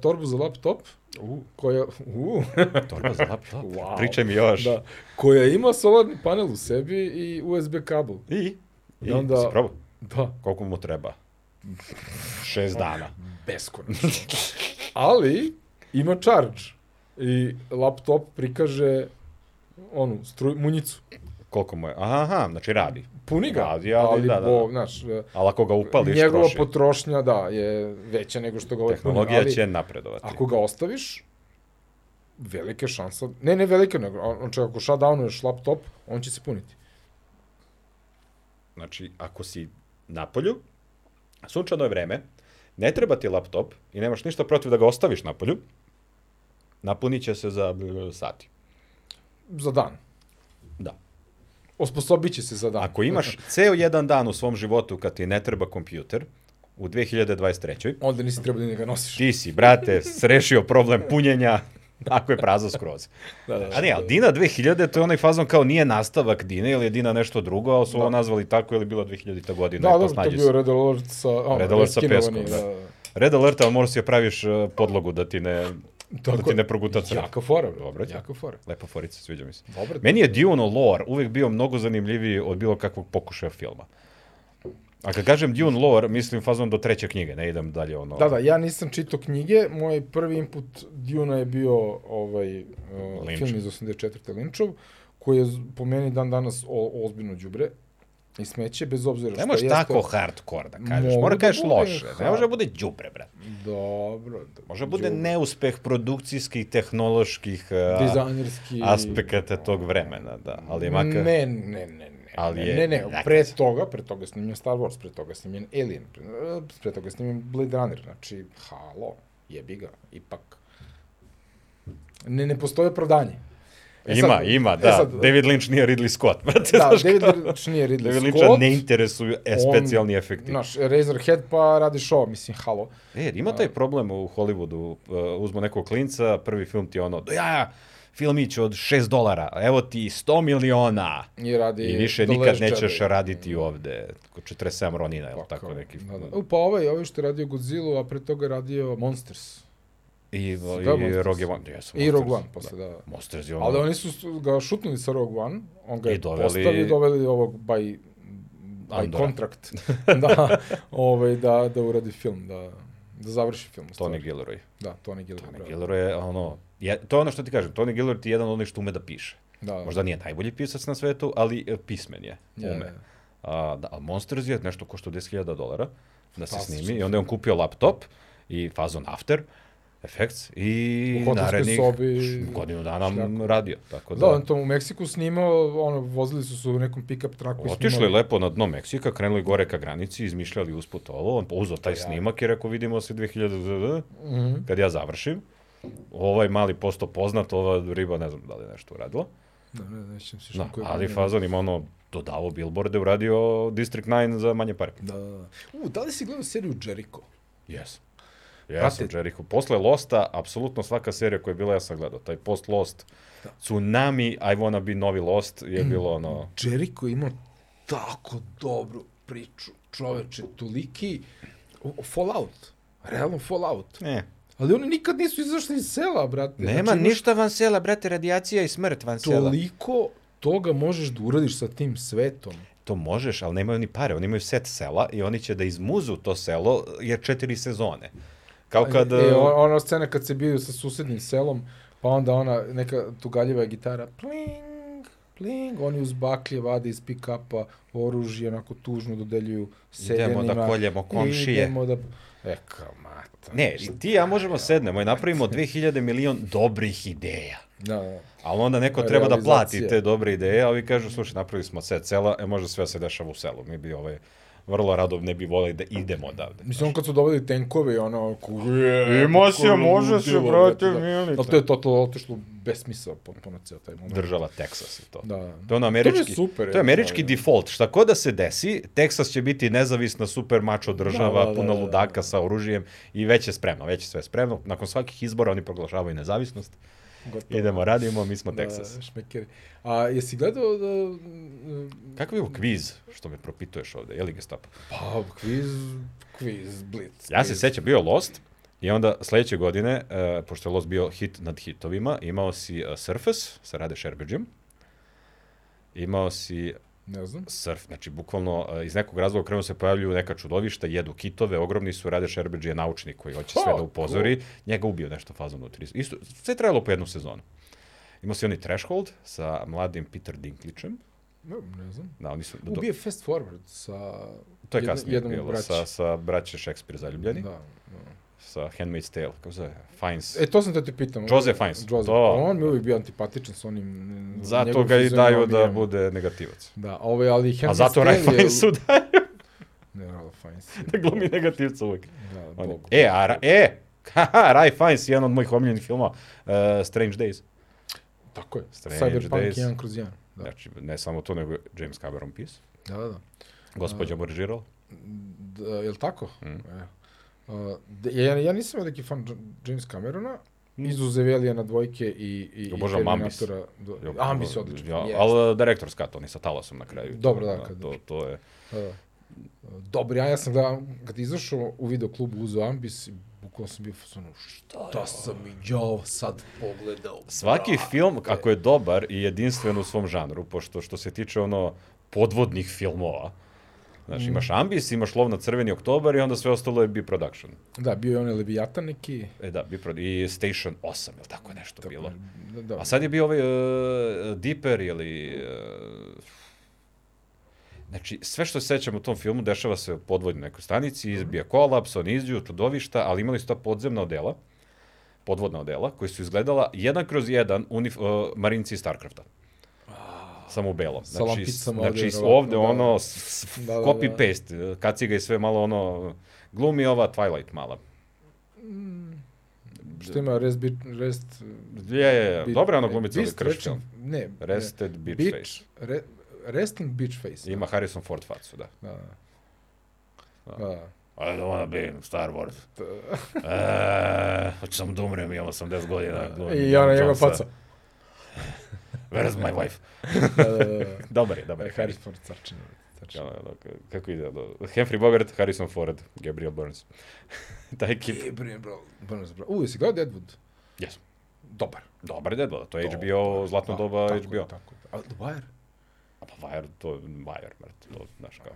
S1: torbu za laptop,
S2: U,
S1: koja, uh,
S2: torba za laptop.
S1: Wow.
S2: Pričaj mi još.
S1: da, koja ima solarni panel u sebi i USB kabel.
S2: I? I,
S1: I onda-
S2: si probao?
S1: Da,
S2: Koliko mu treba? Šest dana.
S1: beskonačno. Ali ima charge i laptop prikaže onu struj, munjicu.
S2: Koliko mu je? Aha, aha znači radi.
S1: Puni ga,
S2: Radi,
S1: ali,
S2: ali
S1: ali
S2: da,
S1: da,
S2: da,
S1: bo,
S2: da.
S1: znaš, e,
S2: Ali ako ga upališ,
S1: njegova
S2: troši.
S1: potrošnja, da, je veća nego što ga ovaj puni.
S2: Tehnologija
S1: ali
S2: će napredovati.
S1: Ako ga ostaviš, velika je šansa, ne, ne velika, nego, a- znači ako shutdownuješ laptop, on će se puniti.
S2: Znači, ako si na polju, sunčano je vreme, ne treba ti laptop i nemaš ništa protiv da ga ostaviš na polju, napunit će se za e, sati.
S1: Za dan.
S2: Da.
S1: Osposobit će se za dan.
S2: Ako imaš ceo jedan dan u svom životu kad ti ne treba kompjuter, u 2023.
S1: Onda nisi trebao ni da ga nosiš.
S2: Ti si, brate, rešio problem punjenja, ako je prazno skroz.
S1: Da, da,
S2: A ne, ali Dina 2000, to je onaj fazon kao nije nastavak Dine, ili je Dina nešto drugo, ali su ovo nazvali tako, ili je bila 2000. godina,
S1: Da,
S2: da,
S1: dobro,
S2: pa
S1: to je
S2: snađi
S1: bio
S2: se.
S1: Red Alert sa... ono,
S2: Red Alert sa
S1: Reskinovo
S2: peskom,
S1: nije,
S2: da. Red alert, ali moraš si je praviš eh, podlogu da ti ne, da
S1: Tako
S2: ti
S1: je.
S2: ne proguta crna.
S1: Jaka fora, bro.
S2: Dobro,
S1: jaka fora.
S2: Lepa forica, sviđa mi se.
S1: Dobro.
S2: Meni je Dune lore uvek bio mnogo zanimljiviji od bilo kakvog pokušaja filma. A kad kažem Dune lore, mislim fazon do treće knjige, ne idem dalje ono...
S1: Da, da, ja nisam čitao knjige, moj prvi input Duna je bio ovaj, uh,
S2: Lynch.
S1: film iz 84. Linčov, koji je z- po meni dan danas o, ozbiljno đubre i smeće, bez obzira što
S2: Ne možeš
S1: da, jeste.
S2: tako hardcore da kažeš.
S1: Mogu
S2: Mora
S1: da
S2: kažeš
S1: bude
S2: loše. Ne
S1: hard.
S2: može da bude đubre, brate.
S1: Dobro. da-
S2: Može da bude
S1: đubre.
S2: neuspeh produkcijskih, tehnoloških a,
S1: Dizajnerski...
S2: aspekata tog vremena, da. Ali je makar...
S1: Ne, ne, ne, ne.
S2: Ali
S1: ne,
S2: je
S1: ne, ne,
S2: nakaze.
S1: pre toga, pre toga je snimljen Star Wars, pre toga je snimljen Alien, pre, eh, pre toga je snimljen Blade Runner, znači, halo, jebi ga, ipak. Ne, ne postoje opravdanje. E
S2: ima,
S1: sad-
S2: ima,
S1: e
S2: da.
S1: sad-
S2: David Lynch nije Ridley Scott, brate.
S1: Da,
S2: znaš
S1: David
S2: kao.
S1: Lynch nije Ridley
S2: David
S1: Scott.
S2: Lyncha Da ne interesuju e,
S1: on-
S2: specijalni efekti.
S1: Znaš, Razorhead pa radiš ovo, mislim, halo.
S2: E, ima
S1: da.
S2: taj problem u Hollywoodu. e, Uzmu nekog klinca, prvi film ti je ono, ja, filmić od 6 dolara, evo ti 100 miliona.
S1: I radi...
S2: I više
S1: The
S2: nikad
S1: Last
S2: nećeš
S1: Jedi.
S2: raditi ovde. 47 Ronina, je li tako neki?
S1: Da, da. Pa ovaj, ovaj što je radio Godzilla, a pre toga je radio Monsters.
S2: I,
S1: Da,
S2: i
S1: Monsters.
S2: Rogue One. Jesu,
S1: I Rogue One,
S2: Monsters,
S1: posle, da. da.
S2: Monsters je ono...
S1: Ali oni su su ga šutnuli sa Rogue One, on ga
S2: I
S1: je
S2: doveli-
S1: postavio i doveli ovog by, by
S2: Andora.
S1: contract da, ovaj, da, da uradi film, da, da završi film. u
S2: Tony
S1: stvari.
S2: Gilroy.
S1: Da, Tony Gilroy.
S2: Tony
S1: bravo.
S2: Gilroy je ono... Je, to je ono što ti kažem, Tony Gilroy ti je jedan od onih što ume da piše.
S1: Da,
S2: Možda nije najbolji pisac na svetu, ali e, pismen je,
S1: je,
S2: ume. A, da, a Monsters je nešto košta 10.000 dolara da se
S1: Fantastično.
S2: snimi i onda je on kupio laptop i fazon After Effects i
S1: U hotelskoj
S2: narednih
S1: sobi-
S2: godinu dana
S1: Šljaku.
S2: radio. Tako
S1: Da,
S2: da,
S1: on to u Meksiku snimao, ono, vozili su se u nekom pick-up traku. i
S2: Otišli
S1: snimali.
S2: lepo na dno Meksika, krenuli gore ka granici, izmišljali usput ovo, on uzeo taj snimak i rekao vidimo se 2000
S1: Mhm.
S2: kad ja završim. Ovaj mali posto poznat, ova riba ne znam da li je nešto uradila.
S1: Da, ne, nećem se
S2: Da,
S1: što koji-
S2: ali fazon ima ono dodavo billboarde, uradio District 9 za manje pare.
S1: Da, da, da. U, da li si gledao seriju Jericho?
S2: Yes. Ja sam
S1: Brate-
S2: Jericho. Posle Losta, apsolutno svaka serija koja je bila, ja sam gledao. Taj post Lost,
S1: Da.
S2: Tsunami, I wanna be novi Lost, je bilo ono...
S1: Jericho ima tako dobru priču, čoveče, toliki o- o Fallout, realno Fallout.
S2: Ne,
S1: Ali oni nikad nisu izašli iz sela, brate. Znači, imaš
S2: van sela, brate, radijacija i smrt van
S1: Toliko toga možeš da uradiš sa tim svetom.
S2: To možeš, ali nemaju ni pare. Oni imaju set sela i oni će da izmuzu to selo jer četiri sezone. Kao Pa kad...
S1: E, o- ona scena kad se biju sa susednim selom, pa onda ona neka tugaljiva je gitara, pling, pling, oni uz baklje vade iz pick-upa oružje, onako tužno dodeljuju seljenima.
S2: Idemo da koljemo komšije.
S1: Idemo da... E, kao mata.
S2: Ne, i ti i ja možemo sednemo i napravimo 2000 milion dobrih ideja.
S1: Da, da.
S2: Ali onda neko treba da plati
S1: Realizacija.
S2: te dobre ideje, a ovi kažu, slušaj, napravili smo set sela, e može sve da se dešava u selu. Mi bi ovaj, vrlo rado ne bi volili da idemo odavde.
S1: Mislim, on kad su doveli tenkove i ono...
S2: Emocija, može se, brate,
S1: milite. da. Ali to je totalno otišlo u besmisao potpuno ceo taj moment.
S2: Znači, Država Texas i to.
S1: Da.
S2: To je ono američki, to je
S1: super,
S2: to je
S1: je,
S2: američki
S1: da, da.
S2: default. Šta god da se desi, Texas će biti nezavisna super mačo država,
S1: Da, da,
S2: puna
S1: da, da,
S2: ludaka sa oružjem i već je spremno, već je sve spremno. Nakon svakih izbora oni proglašavaju nezavisnost.
S1: Gotovo.
S2: Idemo, radimo, mi smo
S1: Da,
S2: Texas.
S1: šmekeri. A jesi gledao da... mm,
S2: Kakav je ovo kviz što me propituješ ovde? Je li gestapo?
S1: Pa, kviz, kviz, blitz.
S2: Ja se
S1: kviz.
S2: sećam, bio je Lost i onda sledeće godine, e, pošto je Lost bio hit nad hitovima, imao si e, Surface sa Rade Šerbeđem, imao si
S1: Ne znam.
S2: surf, znači bukvalno e, iz nekog razloga krenuo se pojavljuju neka čudovišta, jedu kitove, ogromni su, Rade Šerbeđ je naučnik koji hoće sve
S1: Ha,
S2: da upozori, njega ubio nešto fazom u tri. Isto, sve je trajalo po jednu sezonu. Imao si oni Threshold sa mladim Peter Dinklitchem,
S1: Ne, ne znam.
S2: da, oni su, do,
S1: Ubije Fast Forward sa...
S2: to je
S1: jedno-
S2: kasnije
S1: jednom od
S2: bilo,
S1: braće.
S2: sa, sa braće Šekspira zaljubljeni,
S1: Da. da.
S2: sa Handmaid's Tale, kako se zove, Fines.
S1: E, to sam te te pitao.
S2: Joseph Fiennes,
S1: Joseph.
S2: to.
S1: On mi je uvijek bio antipatičan s onim... mm,
S2: Zato
S1: njegovom
S2: ga i daju da
S1: fizionomijom.
S2: bude negativac.
S1: Da, ovaj, ali... Handmaid's
S2: A zato
S1: Tale je-
S2: Rajfajn su daju
S1: Ne, Ralph Fiennes. je-
S2: da glumi negativca uvek.
S1: Da,
S2: On je-
S1: Bog.
S2: E, a, Ra- e, haha, Raj Fiennes je jedan od mojih omiljenih filma, uh, Strange eh, Days.
S1: Tako je.
S2: Strange
S1: Cyberpunk
S2: Days.
S1: 1 kroz 1. Da.
S2: Znači, ne samo to, nego je James Cameron pis.
S1: da, da, da.
S2: Gospodja mu režirala.
S1: da je li tako? Mm. E. A, da, ja, ja nisam veliki fan Dž- James Camerona, izuzev Elijana dvojke i, i,
S2: Obožavam
S1: i
S2: Ambis.
S1: Terminatora. Do,
S2: Ja,
S1: Ambis je odličan.
S2: Ja,
S1: jeste.
S2: ali eh, direktor skat, on je sa talasom na kraju.
S1: Dobro, da,
S2: Tako
S1: kad-
S2: To, to je...
S1: Da. Dobro, ja, ja sam gledao, kad je izašao u videoklubu uzeo Ambis, i bukvalno sam bio fasonu, šta da sam i ja sad pogledao.
S2: Svaki film, ako je dobar i jedinstven u svom žanru, pošto što se tiče ono podvodnih filmova, Znaš,
S1: Mm.
S2: imaš Ambis, imaš Lov na crveni oktobar i onda sve ostalo je B-Production.
S1: Da, bio je onaj Leviatan neki.
S2: E da, B-Pro... i Station 8, ili tako je nešto tako bilo.
S1: Da, da.
S2: A sad je bio ovaj uh, Deeper ili... Uh, znači, sve što se sećam u tom filmu dešava se u podvodnoj nekoj stanici,
S1: Mhm.
S2: izbija kolaps, oni izđu, čudovišta, ali imali su ta podzemna odela, podvodna odela, koji su izgledala jedan kroz jedan unif, uh, marinci iz Starcrafta. Samo u belom.
S1: Sa
S2: Znači, s-
S1: lampicama
S2: znači
S1: ovdje,
S2: s-
S1: verovatno,
S2: ovde
S1: da.
S2: ono, s- s-
S1: Da, da, da.
S2: copy-paste, kaciga i sve malo ono, glumi ova Twilight mala.
S1: Mm, Što ima Rest, Bit, Rest...
S2: Je, je, je,
S1: Bit-
S2: dobra ona glumica,
S1: Beast,
S2: kršćan.
S1: Rest- Ne, ne.
S2: Rested Beach,
S1: Beach-
S2: Face.
S1: Re, resting Beach Face.
S2: Ima Harrison Ford facu, da.
S1: Da, da. da.
S2: I don't wanna be in Star Wars. да Eee, hoću samo da umrem, imam 80 godina. glumim
S1: I ona njegova
S2: John Jonesa.
S1: faca.
S2: Where's my wife?
S1: Da, da, da. da.
S2: Dobar je, dobar je.
S1: Harris Ford Sarčin.
S2: Ja, ono, k- kako ide? ono, Henry Bogart, Harrison Ford, Gabriel Burns. Taj kip.
S1: Gabriel bro. Burns, bro. U, jesi gledao Deadwood?
S2: Jesam.
S1: Dobar.
S2: Dobar je debla, to je
S1: Dobar.
S2: HBO, zlatno
S1: Da,
S2: doba
S1: tako je,
S2: HBO.
S1: Tako, je. A The Wire?
S2: A pa Wire, to je Wire, mrt, to, znaš kao.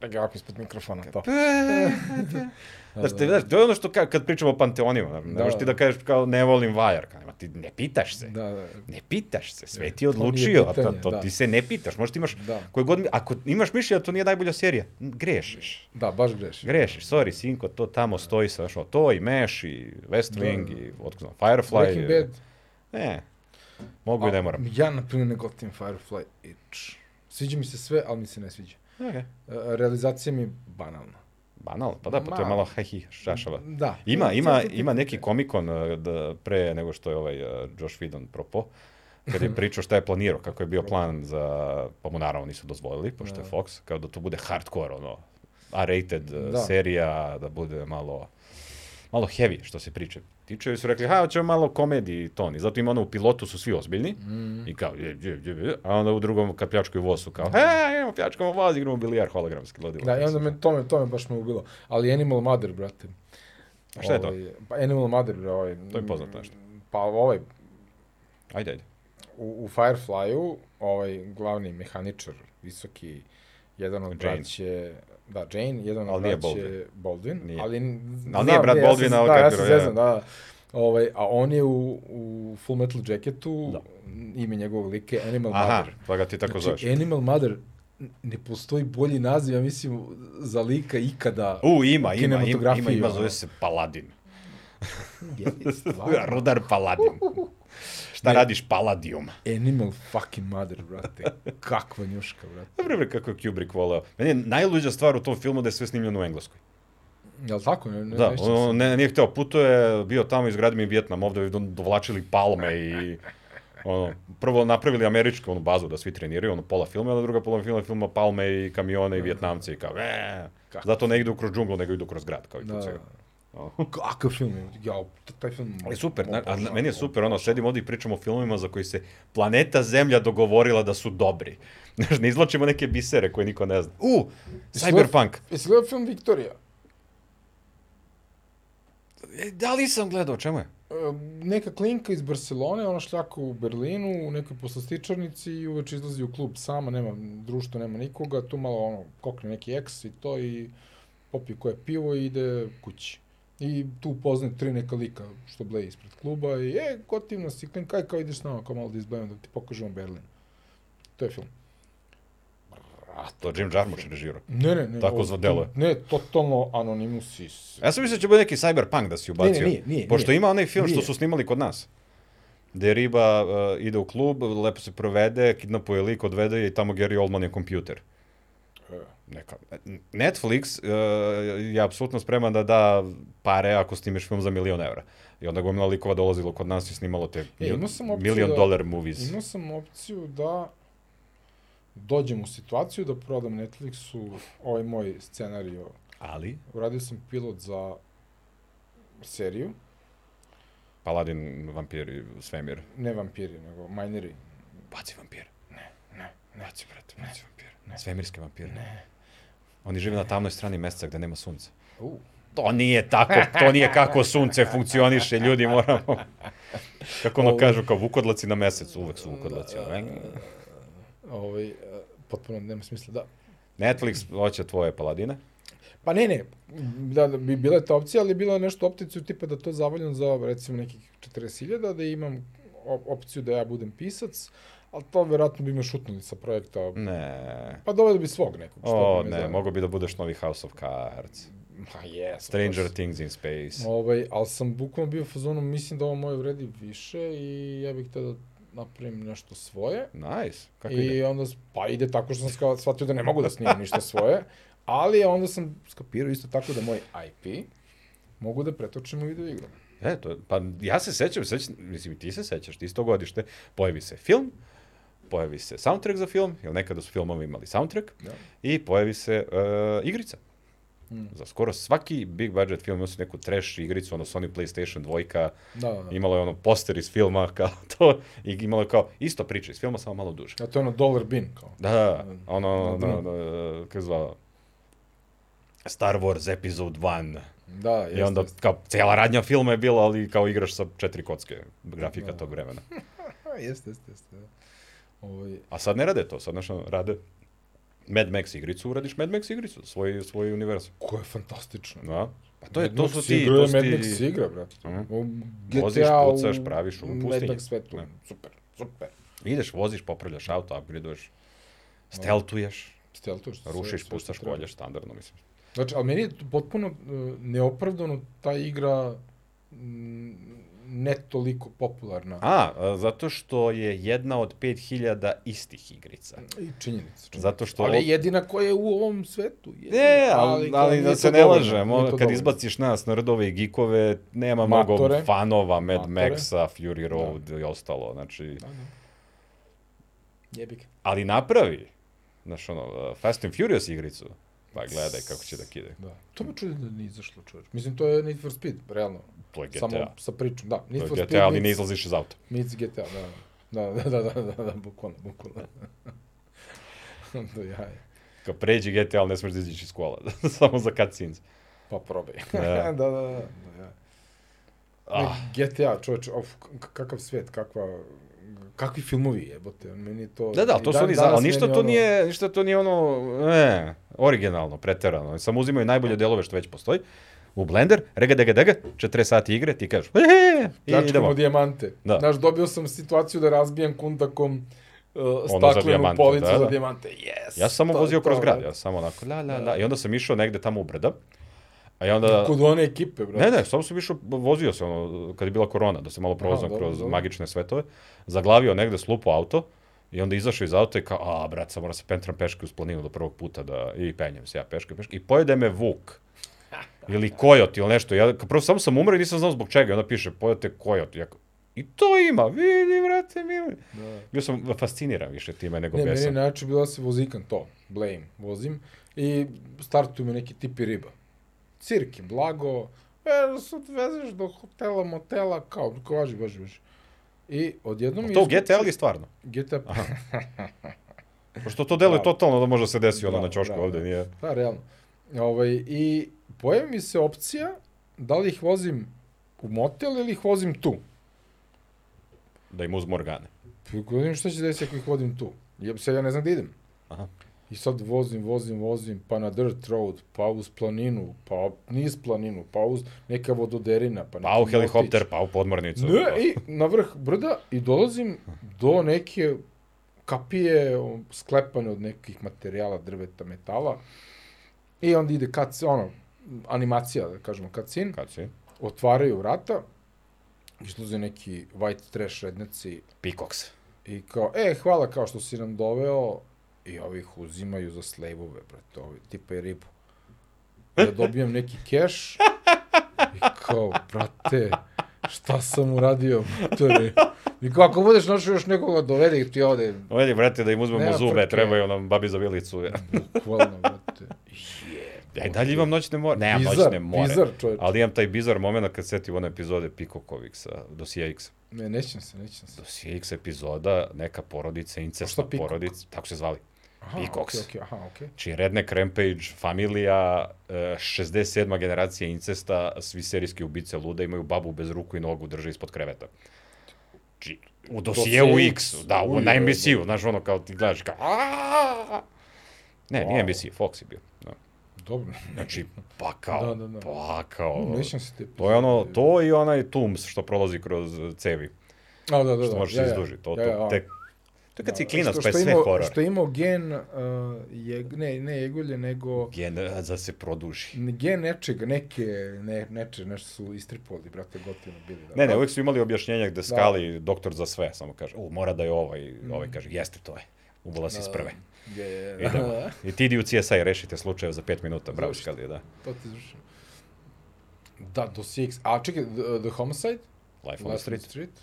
S1: Da ga ovako ispod mikrofona. To.
S2: Znaš, te, znaš, to je ono što ka, kad pričamo o panteonima, znaš, ne
S1: Pa, Da.
S2: možeš ti da kažeš kao ne volim Wire, kao, ma ti ne pitaš se.
S1: Da, da.
S2: Ne pitaš se, sve ti je
S1: to nije
S2: odlučio, a to,
S1: pitanje,
S2: to
S1: da.
S2: ti se ne pitaš. Možda ti imaš,
S1: Da.
S2: koji god, mi- ako imaš mišljenje da to nije najbolja serija, m, grešiš.
S1: Da, baš greši.
S2: Grešiš, sorry, sinko, to tamo stoji sa, znaš, ono, to i Mesh i West
S1: Da,
S2: Wing
S1: da.
S2: i, otko znam, Firefly.
S1: Breaking
S2: e,
S1: Bad.
S2: Ne, mogu i ne moram.
S1: Ja, na primjer, ne gotim Firefly Itch. Sviđa mi se sve, ali mi se ne sviđa.
S2: Okay.
S1: E, Realizacija mi je banalna.
S2: Banalno, pa da, pa to
S1: Ma-
S2: je malo hehi, šašava.
S1: Da.
S2: Ima, ima,
S1: Zato ti-
S2: ima neki komikon uh, da, pre nego što je ovaj uh, Josh Whedon propo, kad je pričao šta je planirao, kako je bio plan za, pa mu naravno nisu dozvolili, pošto je
S1: Da.
S2: Fox, kao da to bude hardcore, ono, R-rated uh,
S1: Da.
S2: serija, da bude malo, malo heavy što se priče tiče. I su rekli, ha, hoćemo malo komediji ton. I zato ima ono, u pilotu su svi ozbiljni.
S1: Mm.
S2: I kao, je, je, je, je, a onda u drugom, kad pljačkaju voz su kao, he, imamo pljačkamo voz, igramo bilijar hologramski. ludilo."
S1: Da, i onda me, to me, to me baš me ubilo. Ali Animal Mother, brate.
S2: A šta je to?
S1: Ovaj, pa Animal Mother, bre, ovaj...
S2: To je poznato nešto.
S1: Pa ovaj,
S2: Ajde, ajde.
S1: u, u Fireflyu, ovaj glavni mehaničar, visoki, jedan od
S2: Jane.
S1: braće, da, Jane, jedan od
S2: Ali nije
S1: braće Baldwin, Baldwin
S2: Nije.
S1: ali,
S2: Ali nije brat Baldwina, ali
S1: ali da, ja
S2: kako
S1: se
S2: je, da.
S1: zezam, da, da. Ovaj, a on je u, u Full Metal Jacketu,
S2: Da.
S1: ime njegovog like, Animal
S2: Aha,
S1: Mother.
S2: pa ga ti tako zoveš.
S1: znači, Animal Mother, n- ne postoji bolji naziv, ja mislim, za lika ikada.
S2: U, ima, ima, ima, ima,
S1: kinematografiji,
S2: ima,
S1: ono.
S2: zove se Paladin.
S1: Je, stvarno.
S2: Rudar Paladin. Šta
S1: Ne.
S2: radiš Paladijum?
S1: Animal fucking Mother, brate. Kakva njuška, brate.
S2: Dobro, bre, kako je Kubrick voleo. Meni je najluđa stvar u tom filmu da je sve snimljeno u Engleskoj.
S1: Jel tako? Ne, ne,
S2: Da,
S1: ne sjećam se.
S2: on ne, nije hteo putuje, bio tamo, izgradio mi Vjetnam, ovde bi do- dovlačili palme i ono, prvo napravili američku onu bazu da svi treniraju, ono pola filma, a onda druga pola filma filma palme i kamione i Vjetnamce i kao, eee.
S1: Kako?
S2: Zato ne idu kroz džunglu, nego idu kroz grad, kao i
S1: Da.
S2: pucaju. Ono.
S1: Kakav film je? Ja, t- taj film...
S2: Ali super, na, a, na-
S1: obožavam.
S2: meni je super, ono, sedimo ovdje i pričamo o filmovima za koji se planeta Zemlja dogovorila da su dobri. Znaš, ne izlačimo neke bisere koje niko ne zna. U, Cyberpunk.
S1: Jesi gledao film Viktorija?
S2: E, da li sam gledao, o čemu je?
S1: E, Neka klinka iz Barcelone, ona šljaka u Berlinu, u nekoj poslastičarnici i uveč izlazi u klub sama, nema društva, nema nikoga, tu malo ono, kokne neki eks i to i popije koje pivo i ide kući. I tu upoznaje tri neka lika što bleje ispred kluba i e, gotivna si klinka, aj kao ideš s nama, kao malo da izblejamo da ti pokažemo Berlin. To je film.
S2: A, to Jim Jarmusch režirao.
S1: Ne, ne, ne.
S2: Tako
S1: ovo-
S2: zadelo.
S1: Ne, totalno Anonymous i s-
S2: Ja sam mislio da će bude neki Cyberpunk da si ubacio.
S1: Ne, ne, nije, nije,
S2: Pošto
S1: nije.
S2: ima onaj film što
S1: Nije.
S2: su snimali kod nas. Gde riba uh, ide u klub, lepo se provede, kidnapuje lik, odvede je i tamo Gary Oldman je kompjuter.
S1: E.
S2: neka, Netflix uh, je apsolutno spreman da da pare ako snimiš film za milion evra. I onda gomila likova dolazilo kod nas i snimalo te
S1: E, imao sam opciju
S2: milion
S1: da-
S2: dolar movies.
S1: Imao sam opciju da dođem u situaciju da prodam Netflixu ovaj moj scenarij o
S2: Ali?
S1: Uradio sam pilot za seriju,
S2: Paladin, vampir i svemir.
S1: ne vampiri, nego mineri.
S2: Baci vampir. Ne, ne. Baci, brate, baci vampir. Svemirske vampire. Ne. Oni žive na tamnoj strani meseca gde nema sunca.
S1: U.
S2: To nije tako, to nije kako sunce funkcioniše, ljudi moramo... Kako ono kažu, kao vukodlaci na mesecu, uvek su vukodlaci. ovaj.
S1: Ovaj, e, potpuno nema smisla, da.
S2: Netflix hoće tvoje paladine.
S1: Pa ne, ne, da, da bi bila je ta opcija, ali je bila nešto opticiju tipa da to zavoljam za recimo nekih 40.000, da imam op- opciju da ja budem pisac, ali to verovatno bi me šutnuli sa projekta.
S2: Ne.
S1: Pa doveli bi svog nekog.
S2: O,
S1: bi me
S2: ne,
S1: zanimalo.
S2: mogo bi da budeš novi House of Cards.
S1: Ma jes.
S2: Stranger Things in Space.
S1: Ovaj, ali sam bukvalno bio u fazonu, mislim da ovo moje vredi više i ja bih htio da napravim nešto svoje.
S2: Nice, kako
S1: I
S2: ide?
S1: onda, s- pa ide tako što sam ska- shvatio da ne mogu da snimam ništa svoje, ali onda sam skapirao isto tako da moj IP mogu da pretočim u video igru.
S2: E, to, je- pa ja se sećam, sećam, mislim i ti se sećaš, ti si to godište, pojavi se film, pojavi se soundtrack za film, jer nekada su filmovi imali soundtrack,
S1: Da.
S2: i pojavi se uh, igrica.
S1: Mm.
S2: Za skoro svaki big budget film imao si neku trash igricu, ono Sony PlayStation 2,
S1: Da, da, da.
S2: imalo je ono poster iz filma, kao to, i imalo je kao isto priča iz filma, samo malo duže.
S1: A to je ono dollar bin, kao.
S2: Da, da, da, ono,
S1: Da,
S2: da,
S1: da.
S2: da, kako se zvao, Star Wars Episode 1.
S1: Da, jeste.
S2: I onda
S1: jeste.
S2: kao cela radnja filma je bila, ali kao igraš sa četiri kocke grafika
S1: Da.
S2: tog vremena.
S1: A, jeste, jeste, jeste. da. Ovaj,
S2: A sad ne rade to, sad znaš, ono, rade Mad Max igricu, uradiš Mad Max igricu, svoj, svoj univerzum.
S1: ko je fantastično.
S2: Da. Pa to je,
S1: Mad
S2: to
S1: Max
S2: su ti,
S1: igra je
S2: to su
S1: Mad
S2: ti...
S1: Max igra, brate.
S2: Mhm.
S1: U
S2: Voziš,
S1: GTA u
S2: pucaš, praviš u
S1: Mad
S2: pustinji.
S1: Max svetu.
S2: Da.
S1: Super, super.
S2: Ideš, voziš, popravljaš auto, upgradeuješ, steltuješ,
S1: Stel to što se- Da. sve
S2: rušiš,
S1: što
S2: pustaš,
S1: treba.
S2: koljaš, standardno, mislim.
S1: Znači, ali meni je to potpuno e, neopravdano ta igra m, ne toliko popularna.
S2: A, a, zato što je jedna od 5000 istih igrica.
S1: I činjenica. činjenica.
S2: Zato što...
S1: Mm. Ali je jedina koja je u ovom svetu. jedina.
S2: Ne, ali,
S1: kao
S2: ali
S1: nije
S2: da
S1: to
S2: se ne
S1: dovoljno,
S2: lažemo,
S1: nije to
S2: kad
S1: dovoljno.
S2: izbaciš nas nerdove i gikove, nema
S1: Matore.
S2: mnogo fanova Mad
S1: Matore.
S2: Maxa, Fury Road i ostalo, znači...
S1: Da, da. Jebik.
S2: Ali napravi, znaš ono, uh, Fast and Furious igricu, pa gledaj kako će da kide.
S1: Da. To me čudi da nije izašlo čovječ. Mislim, to je Need for Speed, realno.
S2: To je GTA.
S1: Samo sa pričom, da. Need
S2: to
S1: for
S2: je
S1: Speed,
S2: GTA, ali ne
S1: meets,
S2: izlaziš iz auta.
S1: meets GTA, da. Da, da, da, da, da, da, bukvalno, bukvalno. Do jaja.
S2: Kad pređi GTA, ali ne smeš da izađeš iz kola, samo za cutscenes.
S1: Pa probaj. da,
S2: Da.
S1: da, da. da, da.
S2: Ah,
S1: Ne, GTA, čoveč, of, k- kakav svet, kakva, kakvi filmovi jebote, meni je to...
S2: Da, da, ali
S1: i
S2: to su
S1: dan-
S2: oni, za-
S1: danas
S2: ali ništa
S1: meni
S2: to
S1: ono-
S2: nije, ništa to nije ono, ne, originalno, preterano. Samo uzimaju
S1: Da.
S2: najbolje delove što već postoji, u blender, rega, dega, dega, 40 sati igre, ti kažeš, eee, i
S1: Pljačkamo
S2: idemo.
S1: dijamante. Da.
S2: Da.
S1: Znaš, dobio sam situaciju da razbijem kundakom uh,
S2: za
S1: staklenu
S2: dijamante,
S1: policu
S2: da,
S1: za
S2: da.
S1: dijamante. Yes!
S2: Ja sam samo
S1: to je
S2: vozio
S1: to, da.
S2: kroz grad,
S1: brate.
S2: ja sam samo onako, la, la, la, i onda sam išao negde tamo u brda, a ja onda...
S1: Kod one ekipe, brate.
S2: Ne, ne, samo sam išao, vozio se ono, kad je bila korona, da se malo provozam
S1: dobro,
S2: kroz
S1: dobro.
S2: magične svetove, zaglavio negde slupo auto i onda izašao iz auta i kao, a, brat, sad moram se pentram peške uz planinu do prvog puta da, i penjem se ja peške, peške, i pojede me vuk. Ili kojot ili nešto. Ja, kao prvo samo sam umro i nisam znao zbog čega. I onda piše, pojete kojot. Ja, kao, I to ima, vidi, brate, mi.
S1: Da.
S2: Bio sam fasciniran više time nego
S1: Ne, meni je
S2: besan.
S1: najjače bilo da se vozikam to, blame, vozim, i startuju me neki tipi riba. Cirki, blago, e, sad vezeš do hotela, motela, kao, kao važi, važi, važi. I odjednom...
S2: To u
S1: iskuci-
S2: GTA li je stvarno?
S1: GTA,
S2: Pošto to deluje
S1: Bravo.
S2: totalno da može da se desi ono
S1: Bravo,
S2: na ćošku
S1: bravo,
S2: ovde,
S1: da.
S2: nije.
S1: Da, realno. Ovaj, I pojavi mi se opcija da li ih vozim u motel ili ih vozim tu.
S2: Da im uzmu organe.
S1: Govorim šta će desiti ako ih vodim tu. Ja, sad ja ne znam gde idem.
S2: Aha.
S1: I sad vozim, vozim, vozim, pa na dirt road, pa uz planinu, pa op- niz planinu, pa uz neka vododerina, pa neki
S2: Pa u
S1: motić.
S2: helikopter, pa u podmornicu.
S1: Ne, i na vrh brda i dolazim do neke kapije o, sklepane od nekih materijala, drveta, metala. I onda ide kad ono, animacija, da kažemo, cutscene.
S2: Kad si?
S1: Otvaraju vrata, izlaze neki white trash redneci
S2: Pikoks.
S1: i kao, e, hvala kao što si nam doveo I ovih uzimaju za slejvove, brate, ovi, tipa i ribu. Ja dobijem neki keš i kao, brate, šta sam uradio, brate. I kao, ako budeš našao još nekoga, dovedi ti ovde,
S2: Ovdje, brate, da im uzmemo
S1: Nema
S2: zube,
S1: frke.
S2: trebaju nam babi za vilicu.
S1: bukvalno, brate.
S2: Ja i dalje imam noćne more. Nemam noćne
S1: Bizar,
S2: more.
S1: bizar, čovječ.
S2: Ali imam taj bizar moment kad setim one epizode Pikokovih sa Dosija X.
S1: Ne, nećem se, nećem se.
S2: Dosija X epizoda, neka porodica, incestna
S1: šta Peacock?
S2: porodica, tako se zvali.
S1: Aha,
S2: I koks.
S1: okej, okej, aha, okej.
S2: Znači, Redneck Rampage, familija, e, 67. generacija incesta, svi serijski ubice luda imaju babu bez ruku i nogu, drže ispod kreveta. Znači, u dosijeu
S1: Dosije
S2: X,
S1: X,
S2: da, u,
S1: uj,
S2: na
S1: jebote.
S2: NBC-u, znaš, ono kao ti gledaš, kao, "Aaaa!" Ne, nije
S1: Wow.
S2: NBC, Fox je bio. Da.
S1: Dobro.
S2: Znači, pakao,
S1: Da, da, da.
S2: pakao.
S1: Ne Nećem se te
S2: To je ono, to i onaj Tums što prolazi kroz e, cevi,
S1: A, da, da, da.
S2: što možeš
S1: ja, ja.
S2: izdužiti. To, to,
S1: Ja, ja, a.
S2: tek, to je kad si
S1: Da,
S2: klinac,
S1: što-
S2: pa je
S1: što
S2: sve
S1: imao-
S2: horor.
S1: Što je imao gen, uh, jeg, ne, ne jegulje, nego
S2: Gen, e, da se produži.
S1: gen nečega, neke, ne, neče, nešto su istripovali, brate, gotivno bili. Da,
S2: Ne, ne, uvijek su imali objašnjenja gde skali doktor za sve, samo kaže, u, mora da je ovaj,
S1: Mm.
S2: ovaj kaže, jeste to je, ubala
S1: Da.
S2: si iz prve.
S1: Je, je, je,
S2: Idemo.
S1: da.
S2: I ti idi u CSI, rešite slučajeve za 5 minuta, bravo, skali, da.
S1: to ti zrušim. Da, do CX. A čekaj, The, the Homicide?
S2: Life on the street.
S1: street.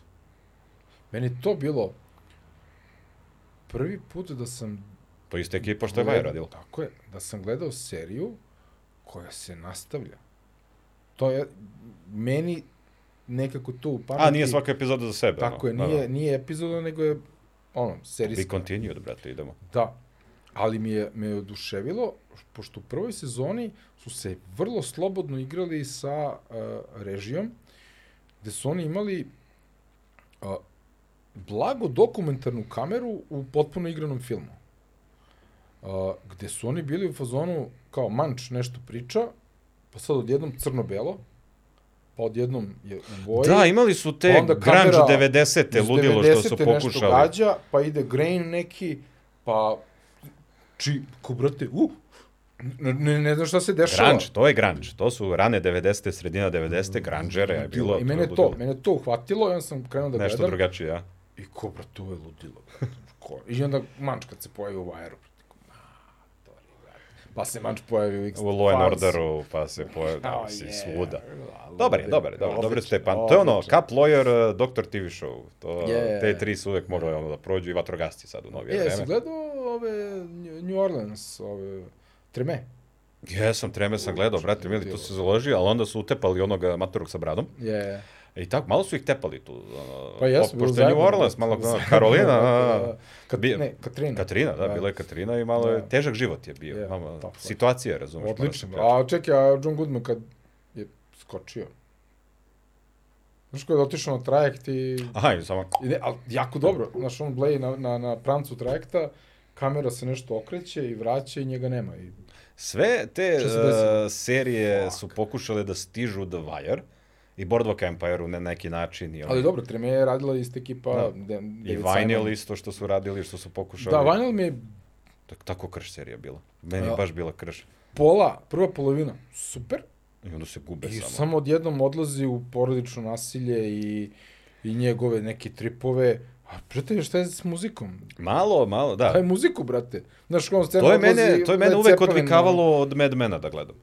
S1: Meni je to bilo prvi put da sam
S2: To je isto ekipa što je Vaja radila.
S1: Tako je, da sam gledao seriju koja se nastavlja. To je, meni nekako to u pameti...
S2: A, nije svaka da, epizoda za sebe.
S1: Tako je,
S2: ono,
S1: nije, nije epizoda, nego je ono,
S2: Da, da. Be
S1: serijska.
S2: continued, brate, idemo.
S1: Da. Ali mi je, me je oduševilo, pošto u prvoj sezoni su se vrlo slobodno igrali sa uh, režijom, gde su oni imali uh, blago dokumentarnu kameru u potpuno igranom filmu. Uh, gde su oni bili u fazonu kao manč nešto priča, pa sad odjednom crno-belo, pa odjednom je u boji.
S2: Da, imali su te
S1: Pa onda
S2: grunge
S1: kamera
S2: 90-te
S1: Iz
S2: ludilo što su
S1: 90-te nešto
S2: pokušali.
S1: Gađa, pa ide grain neki, pa... Či, ko brate, uh, ne, ne, ne znam šta se dešava.
S2: Grunge, to je grunge. To su rane 90-te, sredina 90-te, grungeere je bilo.
S1: I mene je
S2: ludilo.
S1: to, mene je to uhvatilo, i onda sam krenuo da
S2: Nešto
S1: gledam.
S2: drugačije, ja.
S1: I ko brate, ovo je ludilo. brate, Ko? I onda manč kad se pojavi u Vajeru. Pa se manč pojavi u X.
S2: U Law and Orderu, pa se pojavio, si svuda. Dobar je, dobar je, dobar, dobro ste pan. To je ono, Cup Lawyer, uh, Dr. TV show. To,
S1: Je.
S2: Te tri su uvek morali ono da prođu i vatrogasci sad u novije
S1: Je, E, jesi
S2: vreme.
S1: gledao ove New Orleans, ove Treme?
S2: Jesam, treme sam gledao, brate, mili, tu se založio, ali onda su utepali onoga maturog sa bradom. E,
S1: Je. Yeah.
S2: I tako, malo su ih tepali tu. Ono,
S1: Pa jesu, bilo
S2: pošto je New
S1: zajebano,
S2: Orleans,
S1: brate,
S2: malo
S1: bilo
S2: ono,
S1: zajebano,
S2: Karolina,
S1: brate,
S2: a, a,
S1: da. Kat,
S2: Bi-
S1: ne, Katrina.
S2: Katrina, da,
S1: Da.
S2: bila je Katrina i malo je,
S1: Da.
S2: težak život je bio.
S1: Je,
S2: Mama,
S1: tough life.
S2: situacija, razumeš. mora se
S1: Odlično.
S2: pratiti.
S1: A čekaj, a John Goodman kad je skočio? Znaš kada je otišao na trajekt i...
S2: Aha, i samo,
S1: i ne, ali jako dobro. Znaš, on bleji na, na, na prancu trajekta, kamera se nešto okreće i vraća i njega nema. I,
S2: sve te
S1: Šta se
S2: uh,
S1: desilo?
S2: serije su pokušale da stižu The Wire i Boardwalk Empire na neki način. I,
S1: ali
S2: oni-
S1: dobro, Treme je radila isto ekipa.
S2: Da.
S1: Da. De,
S2: I
S1: David
S2: Vinyl
S1: Simon.
S2: isto što su radili, što su pokušali.
S1: Da, Vinyl mi je
S2: Tak- Tako krš serija bila. Meni je
S1: Da.
S2: baš bila krš.
S1: pola, prva polovina, super.
S2: I onda se gube
S1: I
S2: samo.
S1: samo odjednom odlazi u porodično nasilje i, i njegove neke tripove. A brate, šta je s muzikom?
S2: Malo, malo, da.
S1: Daj muziku, brate. Znaš, on scena
S2: To je
S1: odlazi
S2: mene, to je mene
S1: Led
S2: uvek
S1: Zeppelin,
S2: odvikavalo od Mad Mena da gledam.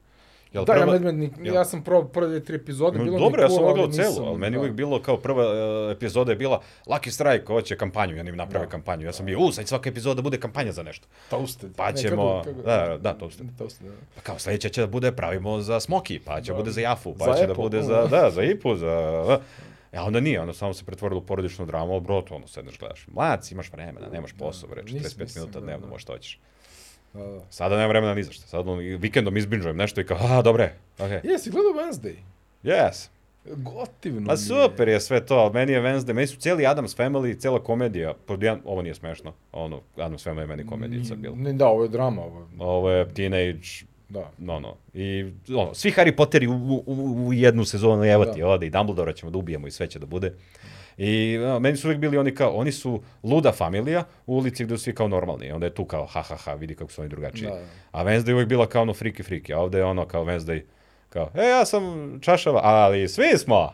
S2: Jel
S1: Da, ja,
S2: prva-
S1: Mad Men, ni-
S2: jel-
S1: ja sam probao prve tri epizode,
S2: No,
S1: bilo
S2: Dobro,
S1: mi je
S2: ja
S1: cool,
S2: sam
S1: ali
S2: ogledao
S1: nisam,
S2: celu, ali meni
S1: da.
S2: je uvijek bilo kao prva e, epizoda je bila Lucky Strike, hoće kampanju, i oni im naprave
S1: Da.
S2: kampanju. Ja sam bio, u, sad svaka epizoda bude kampanja za nešto.
S1: Toasted.
S2: Pa ćemo- da, da, Toasted.
S1: Toasted, da.
S2: Pa kao sledeća će da bude pravimo za Smoki, pa će da.
S1: Da.
S2: bude za Jafu, pa
S1: Za
S2: će da
S1: Apple,
S2: bude
S1: ono.
S2: za, da, za Ipu, za... da. E, a onda nije, ono samo se pretvorilo u porodičnu dramu, ali bro, to ono sedneš gledaš. Mlac, imaš vremena, nemaš posao, bre,
S1: nisam,
S2: 45
S1: nisam,
S2: minuta
S1: da,
S2: dnevno,
S1: da.
S2: možeš to hoćeš.
S1: Da, da.
S2: Sada nemam vremena ni za što. Sad ono, i vikendom izbinžujem nešto i kao, a, dobre, okej.
S1: Jesi gledao Wednesday?
S2: Yes.
S1: Gotivno
S2: Ma
S1: mi je.
S2: Pa super je sve to, ali meni je Wednesday, meni su cijeli Adams Family, cijela komedija, pod jedan, ovo nije smešno, ono, Adams Family je meni komedijica
S1: Ni-
S2: bila.
S1: Ne, da, ovo je drama, ovo, je-
S2: Ovo je teenage,
S1: da.
S2: no, no, i ono, svi Harry Potteri u, u, u jednu sezonu, evo ti,
S1: Da.
S2: ovde i Dumbledore ćemo da ubijemo i sve će da bude. I a, meni su uvijek bili oni kao, oni su luda familija u ulici gde su svi kao normalni, onda je tu kao, ha, ha, ha, vidi kako su oni drugačiji.
S1: Da, da.
S2: A Wednesday je uvijek bila kao ono friki friki, a ovde je ono kao Wednesday, kao, e, ja sam čašava, ali svi smo,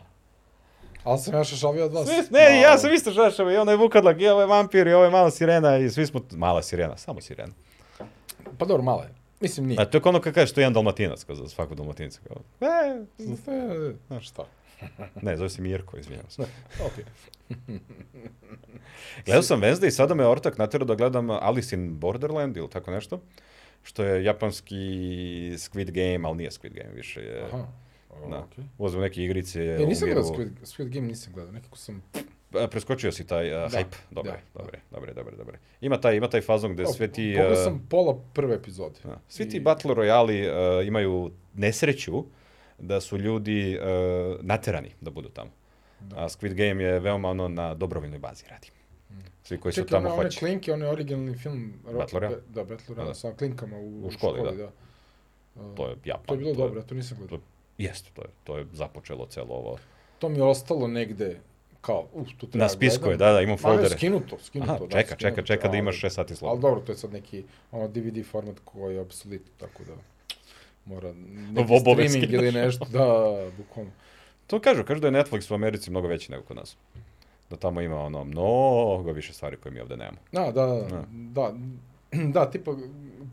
S1: Ali sam ja šašavio od vas.
S2: Svi, ne, ja sam isto šašao, i onaj Vukadlak, i ovaj vampir, i ovaj mala sirena, i svi smo, mala sirena, samo sirena.
S1: Pa dobro, malo je. Mislim, nije.
S2: A to je kao ono kad kažeš, to je jedan dalmatinac, kao za svakog dalmatinca. Kao, e,
S1: Pa, Znaš Šta?
S2: ne, zove se Mirko, izvinjavam se.
S1: Ok.
S2: Gledao sam Wednesday i sada me ortak natjerao da gledam Alice in Borderland ili tako nešto, što je japanski Squid Game, ali nije Squid Game više. Je,
S1: Aha.
S2: da.
S1: okej.
S2: Uzme neke igrice.
S1: E, nisam
S2: umiru.
S1: gledao Squid, Squid Game, nisam gledao. Nekako sam...
S2: A, Preskočio si taj uh,
S1: Da,
S2: hype. Dobre,
S1: da.
S2: dobre, dobre, dobre, dobre. Ima taj, ima taj fazon gde sve ti...
S1: Pogledao
S2: uh,
S1: sam pola prve epizode.
S2: Da. Svi ti
S1: I-
S2: Battle Royali uh, imaju nesreću da su ljudi uh, naterani da budu tamo.
S1: Da. Mm.
S2: A Squid Game je veoma ono na dobrovoljnoj bazi radi. Svi koji su
S1: Čekaj,
S2: tamo
S1: one, one
S2: hoće.
S1: klinke, onaj originalni film... Ro-
S2: Battle Royale?
S1: Be- Da, Battle
S2: Da, da.
S1: Royale, sa klinkama u,
S2: U školi, da.
S1: Uh,
S2: To je Japan.
S1: To je bilo
S2: to
S1: dobro, ja to nisam gledao.
S2: Jeste, to je, to je započelo celo ovo.
S1: To mi je ostalo negde kao, uf, tu treba
S2: Na spisku je,
S1: gledam.
S2: da, da, imam
S1: Ma, ne,
S2: foldere.
S1: skinuto, skinuto.
S2: Aha,
S1: da,
S2: čeka, čeka,
S1: skinuto,
S2: čeka da
S1: ali-
S2: imaš 6 sati
S1: Ali
S2: slova.
S1: dobro, to je sad neki ono DVD format koji je obsolit, tako da mora neki
S2: Vobove
S1: streaming ili nešto, da, bukvalno.
S2: To kažu, kažu da je Netflix u Americi mnogo veći nego kod nas. Da tamo ima ono mnogo više stvari koje mi ovde nemamo.
S1: Da, da, da,
S2: Da.
S1: da, da, tipa,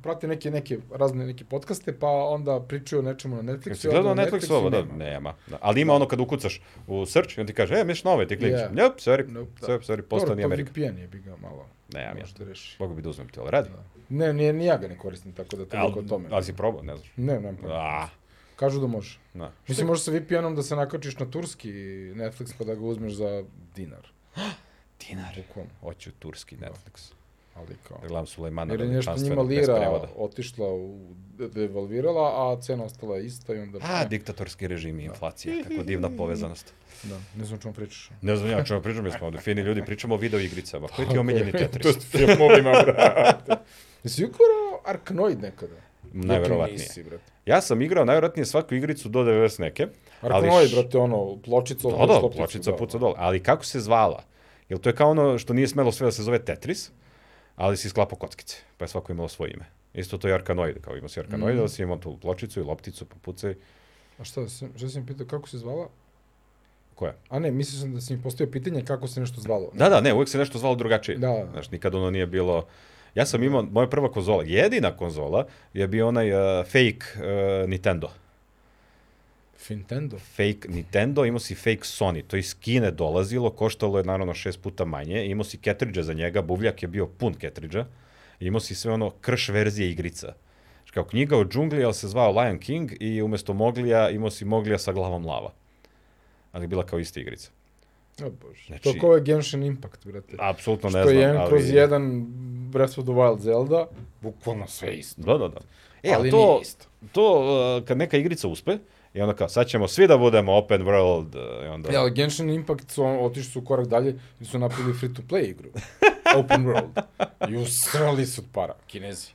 S1: prate neke, neke, razne neke podcaste, pa onda pričaju o nečemu na Netflixu.
S2: Kad si
S1: i onda
S2: gledao
S1: na
S2: Netflix
S1: Netflixu
S2: ovo, da,
S1: nema.
S2: nema. Da. Ali ima ono kad ukucaš u search i on ti kaže, e, miš nove, ti klikneš.
S1: Yeah.
S2: Nope, sorry,
S1: Nope, da.
S2: sorry, sorry,
S1: Dobro,
S2: postao nije
S1: to
S2: Amerika.
S1: VPN je bi ga malo,
S2: Nemam ja.
S1: možete reši.
S2: Mogu bi da uzmem ti, ali radi.
S1: Ne, nije, ni ja ga ne koristim, tako da toliko o
S2: Ali,
S1: tome.
S2: ali si probao, ne znaš.
S1: Ne, ne, pa.
S2: A,
S1: Kažu da može.
S2: na.
S1: Mislim, može sa VPN-om da se nakačiš na turski Netflix pa da ga uzmeš za dinar,
S2: Dinar.
S1: bukvalno,
S2: Hoću turski Netflix.
S1: ali kao...
S2: Da gledam Sulejmana
S1: Da. Jer je nešto njima
S2: veličanstvenog, bez
S1: lira
S2: prevoda.
S1: otišla, u, devalvirala, a cena ostala je ista i onda...
S2: A, diktatorski režim i inflacija, kako divna povezanost.
S1: da, ne znam o čemu pričaš.
S2: Ne znam ja o čemu pričam, mi smo ovde fini ljudi, pričamo o video igricama. Koji ti je omiljeni
S1: To
S2: Tetris?
S1: s filmovima, brate. Jesi ukorao Arkanoid nekada?
S2: Najverovatnije.
S1: Neki Nisi, brate.
S2: Ja sam igrao najvjerojatnije svaku igricu do 90 neke. ali
S1: Arkanoid,
S2: š-
S1: brate, ono, pločica...
S2: Da,
S1: od
S2: da,
S1: stopnicu,
S2: pločica
S1: da,
S2: puca dole. Ali kako se zvala? Jel to je kao ono što nije smelo sve da se zove Tetris, ali si sklapao kockice, pa je svako imalo svoje ime. Isto to je Arkanoid, kao imao si Arkanoid,
S1: Mhm.
S2: ali si imao tu pločicu i lopticu, pa pucaj.
S1: A šta, sam- šta sam pitao, kako se zvala?
S2: Koja?
S1: A ne, mislio sam da si mi postavio pitanje kako se nešto zvalo.
S2: Da, da, ne, uvek se nešto zvalo drugačije.
S1: Da.
S2: Znaš, nikad ono nije bilo... Ja sam imao, moja prva konzola, jedina konzola, je bio onaj uh, fake uh, Nintendo.
S1: Fintendo.
S2: fake Nintendo, imao si fake Sony, to iz Kine dolazilo, koštalo je naravno šest puta manje, imao si ketridža za njega, buvljak je bio pun ketridža, imao si sve ono krš verzije igrica. Znaš, Kao knjiga o džungli, ali se zvao Lion King i umesto Moglija imao si Moglija sa glavom lava. Ali je bila kao ista igrica.
S1: O bože.
S2: Znači-
S1: To kao je Genshin Impact, brate.
S2: Apsolutno ne
S1: Što je
S2: znam,
S1: jedan
S2: ali...
S1: kroz jedan Breath of the Wild Zelda, bukvalno sve isto.
S2: Da, da, da. E,
S1: Ali
S2: ali to,
S1: nije isto.
S2: to uh, kad neka igrica uspe, i onda kao, sad ćemo svi da budemo open world, uh, i onda...
S1: Ja, E, ali Genshin Impact su on- otišli su korak dalje i su napravili free to play igru. Open world. I usrali su od para, kinezi.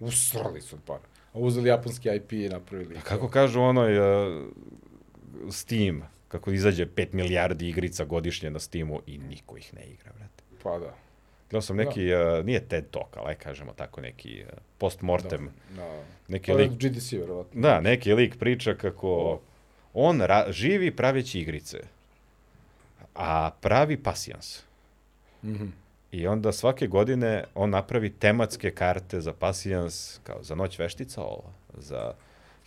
S1: Usrali su od para. A uzeli japanski IP i napravili.
S2: Kako kažu onoj uh, Steam, kako izađe 5 milijardi igrica godišnje na Steamu i niko ih ne igra, brate.
S1: Pa da.
S2: Gledao sam neki, uh, nije TED Talk, ali aj kažemo tako neki uh,
S1: Da.
S2: post-mortem,
S1: Na,
S2: neki
S1: to je
S2: lik,
S1: GDC, verovatno.
S2: da, neki lik priča kako on ra živi praveći igrice, a pravi pasijans.
S1: Mhm.
S2: I onda svake godine on napravi tematske karte za pasijans, kao za noć veštica, o, za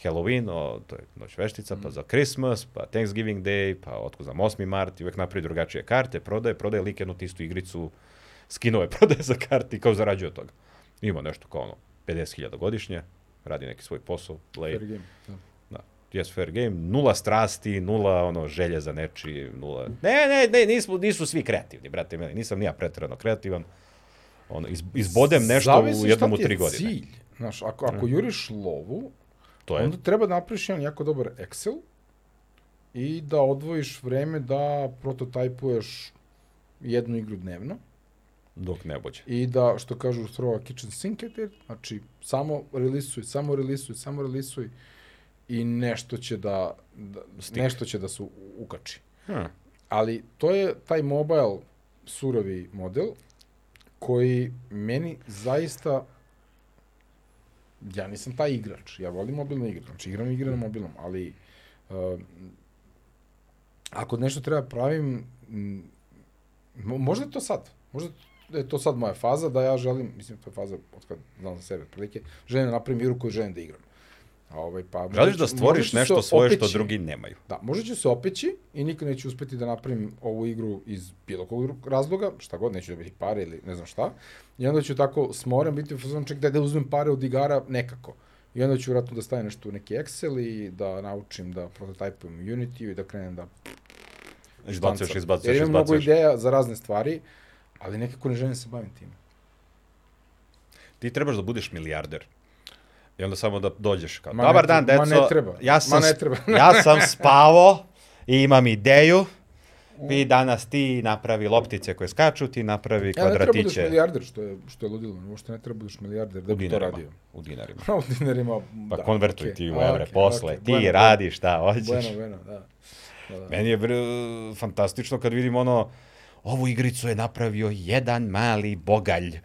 S2: Halloween, o, to je noć veštica, pa za Christmas, pa Thanksgiving Day, pa otko znam 8. mart i uvek napravi drugačije karte, prodaje, prodaje lik jednu tistu igricu, skinove prodaje za karte i kao zarađuje od toga. Ima nešto kao ono, 50.000 godišnje, radi neki svoj posao, play,
S1: Fair game. Da.
S2: da. Yes, fair game, nula strasti, nula ono želje za nečiji, nula... Ne, ne, ne, nismo, nisu svi kreativni, brate, meni, nisam ni ja preterano kreativan. Ono, iz, izbodem nešto
S1: Zavisi
S2: u
S1: šta
S2: jednom u
S1: ti je
S2: tri godine. Mhm.
S1: Cilj. Znaš, ako, ako juriš lovu,
S2: To je.
S1: onda treba da napraviš jedan jako dobar Excel i da odvojiš vreme da prototajpuješ jednu igru dnevno.
S2: Dok ne bođe.
S1: I da, što kažu, throw a kitchen sink at it, znači samo relisuj, samo relisuj, samo relisuj i nešto će da, da
S2: Stigne.
S1: nešto će da se u- ukači.
S2: Hmm.
S1: Ali to je taj mobile surovi model koji meni zaista ja nisam taj igrač, ja volim mobilne igre, znači igram igre na mobilnom, ali uh, ako nešto treba pravim, m, mo- možda je to sad, možda da je to sad moja faza, da ja želim, mislim, to je faza od kad znam za sebe, prilike, želim da napravim igru koju želim da igram. A ovaj, pa, možda
S2: Želiš
S1: ću-
S2: da
S1: možda ću
S2: stvoriš
S1: se
S2: nešto svoje što
S1: opeći.
S2: drugi nemaju.
S1: Da, možda ću se opeći i nikad neću uspeti da napravim ovu igru iz bilo kog drugog razloga, šta god, neću dobiti pare ili ne znam šta. I onda ću tako smoren biti u fazonu ček da, da uzmem pare od igara nekako. I onda ću vratno da stavim nešto u neki Excel i da naučim da prototajpujem u Unity i da krenem da
S2: Izbacuješ,
S1: štancam.
S2: izbacuješ,
S1: Jer imam mnogo
S2: izbacuješ.
S1: ideja za razne stvari, ali nekako ne želim da se bavim time.
S2: Ti trebaš da budeš milijarder. I onda samo da dođeš kao,
S1: Ma ne
S2: dobar
S1: tre-
S2: dan,
S1: ma
S2: deco,
S1: ne treba. Ma
S2: ja sam,
S1: ne
S2: sp-
S1: treba."
S2: ja sam spavo i imam ideju, vi danas ti napravi loptice koje skaču, ti napravi
S1: Ja ne treba da budeš
S2: kvadratiće
S1: milijarder, što je, što je ludilo. Uopšte ne treba budeš milijarder da
S2: u
S1: bi to
S2: dinarima.
S1: radio.
S2: U dinarima.
S1: U dinarima,
S2: Pa
S1: da,
S2: konvertuj
S1: okej.
S2: ti u
S1: A,
S2: evre
S1: okej,
S2: posle,
S1: okej,
S2: ti
S1: bueno, bueno.
S2: radi šta hoćeš.
S1: Bueno, bueno, da. da, da.
S2: Meni je bre, fantastično kad vidim ono, ovu igricu je napravio jedan mali bogalj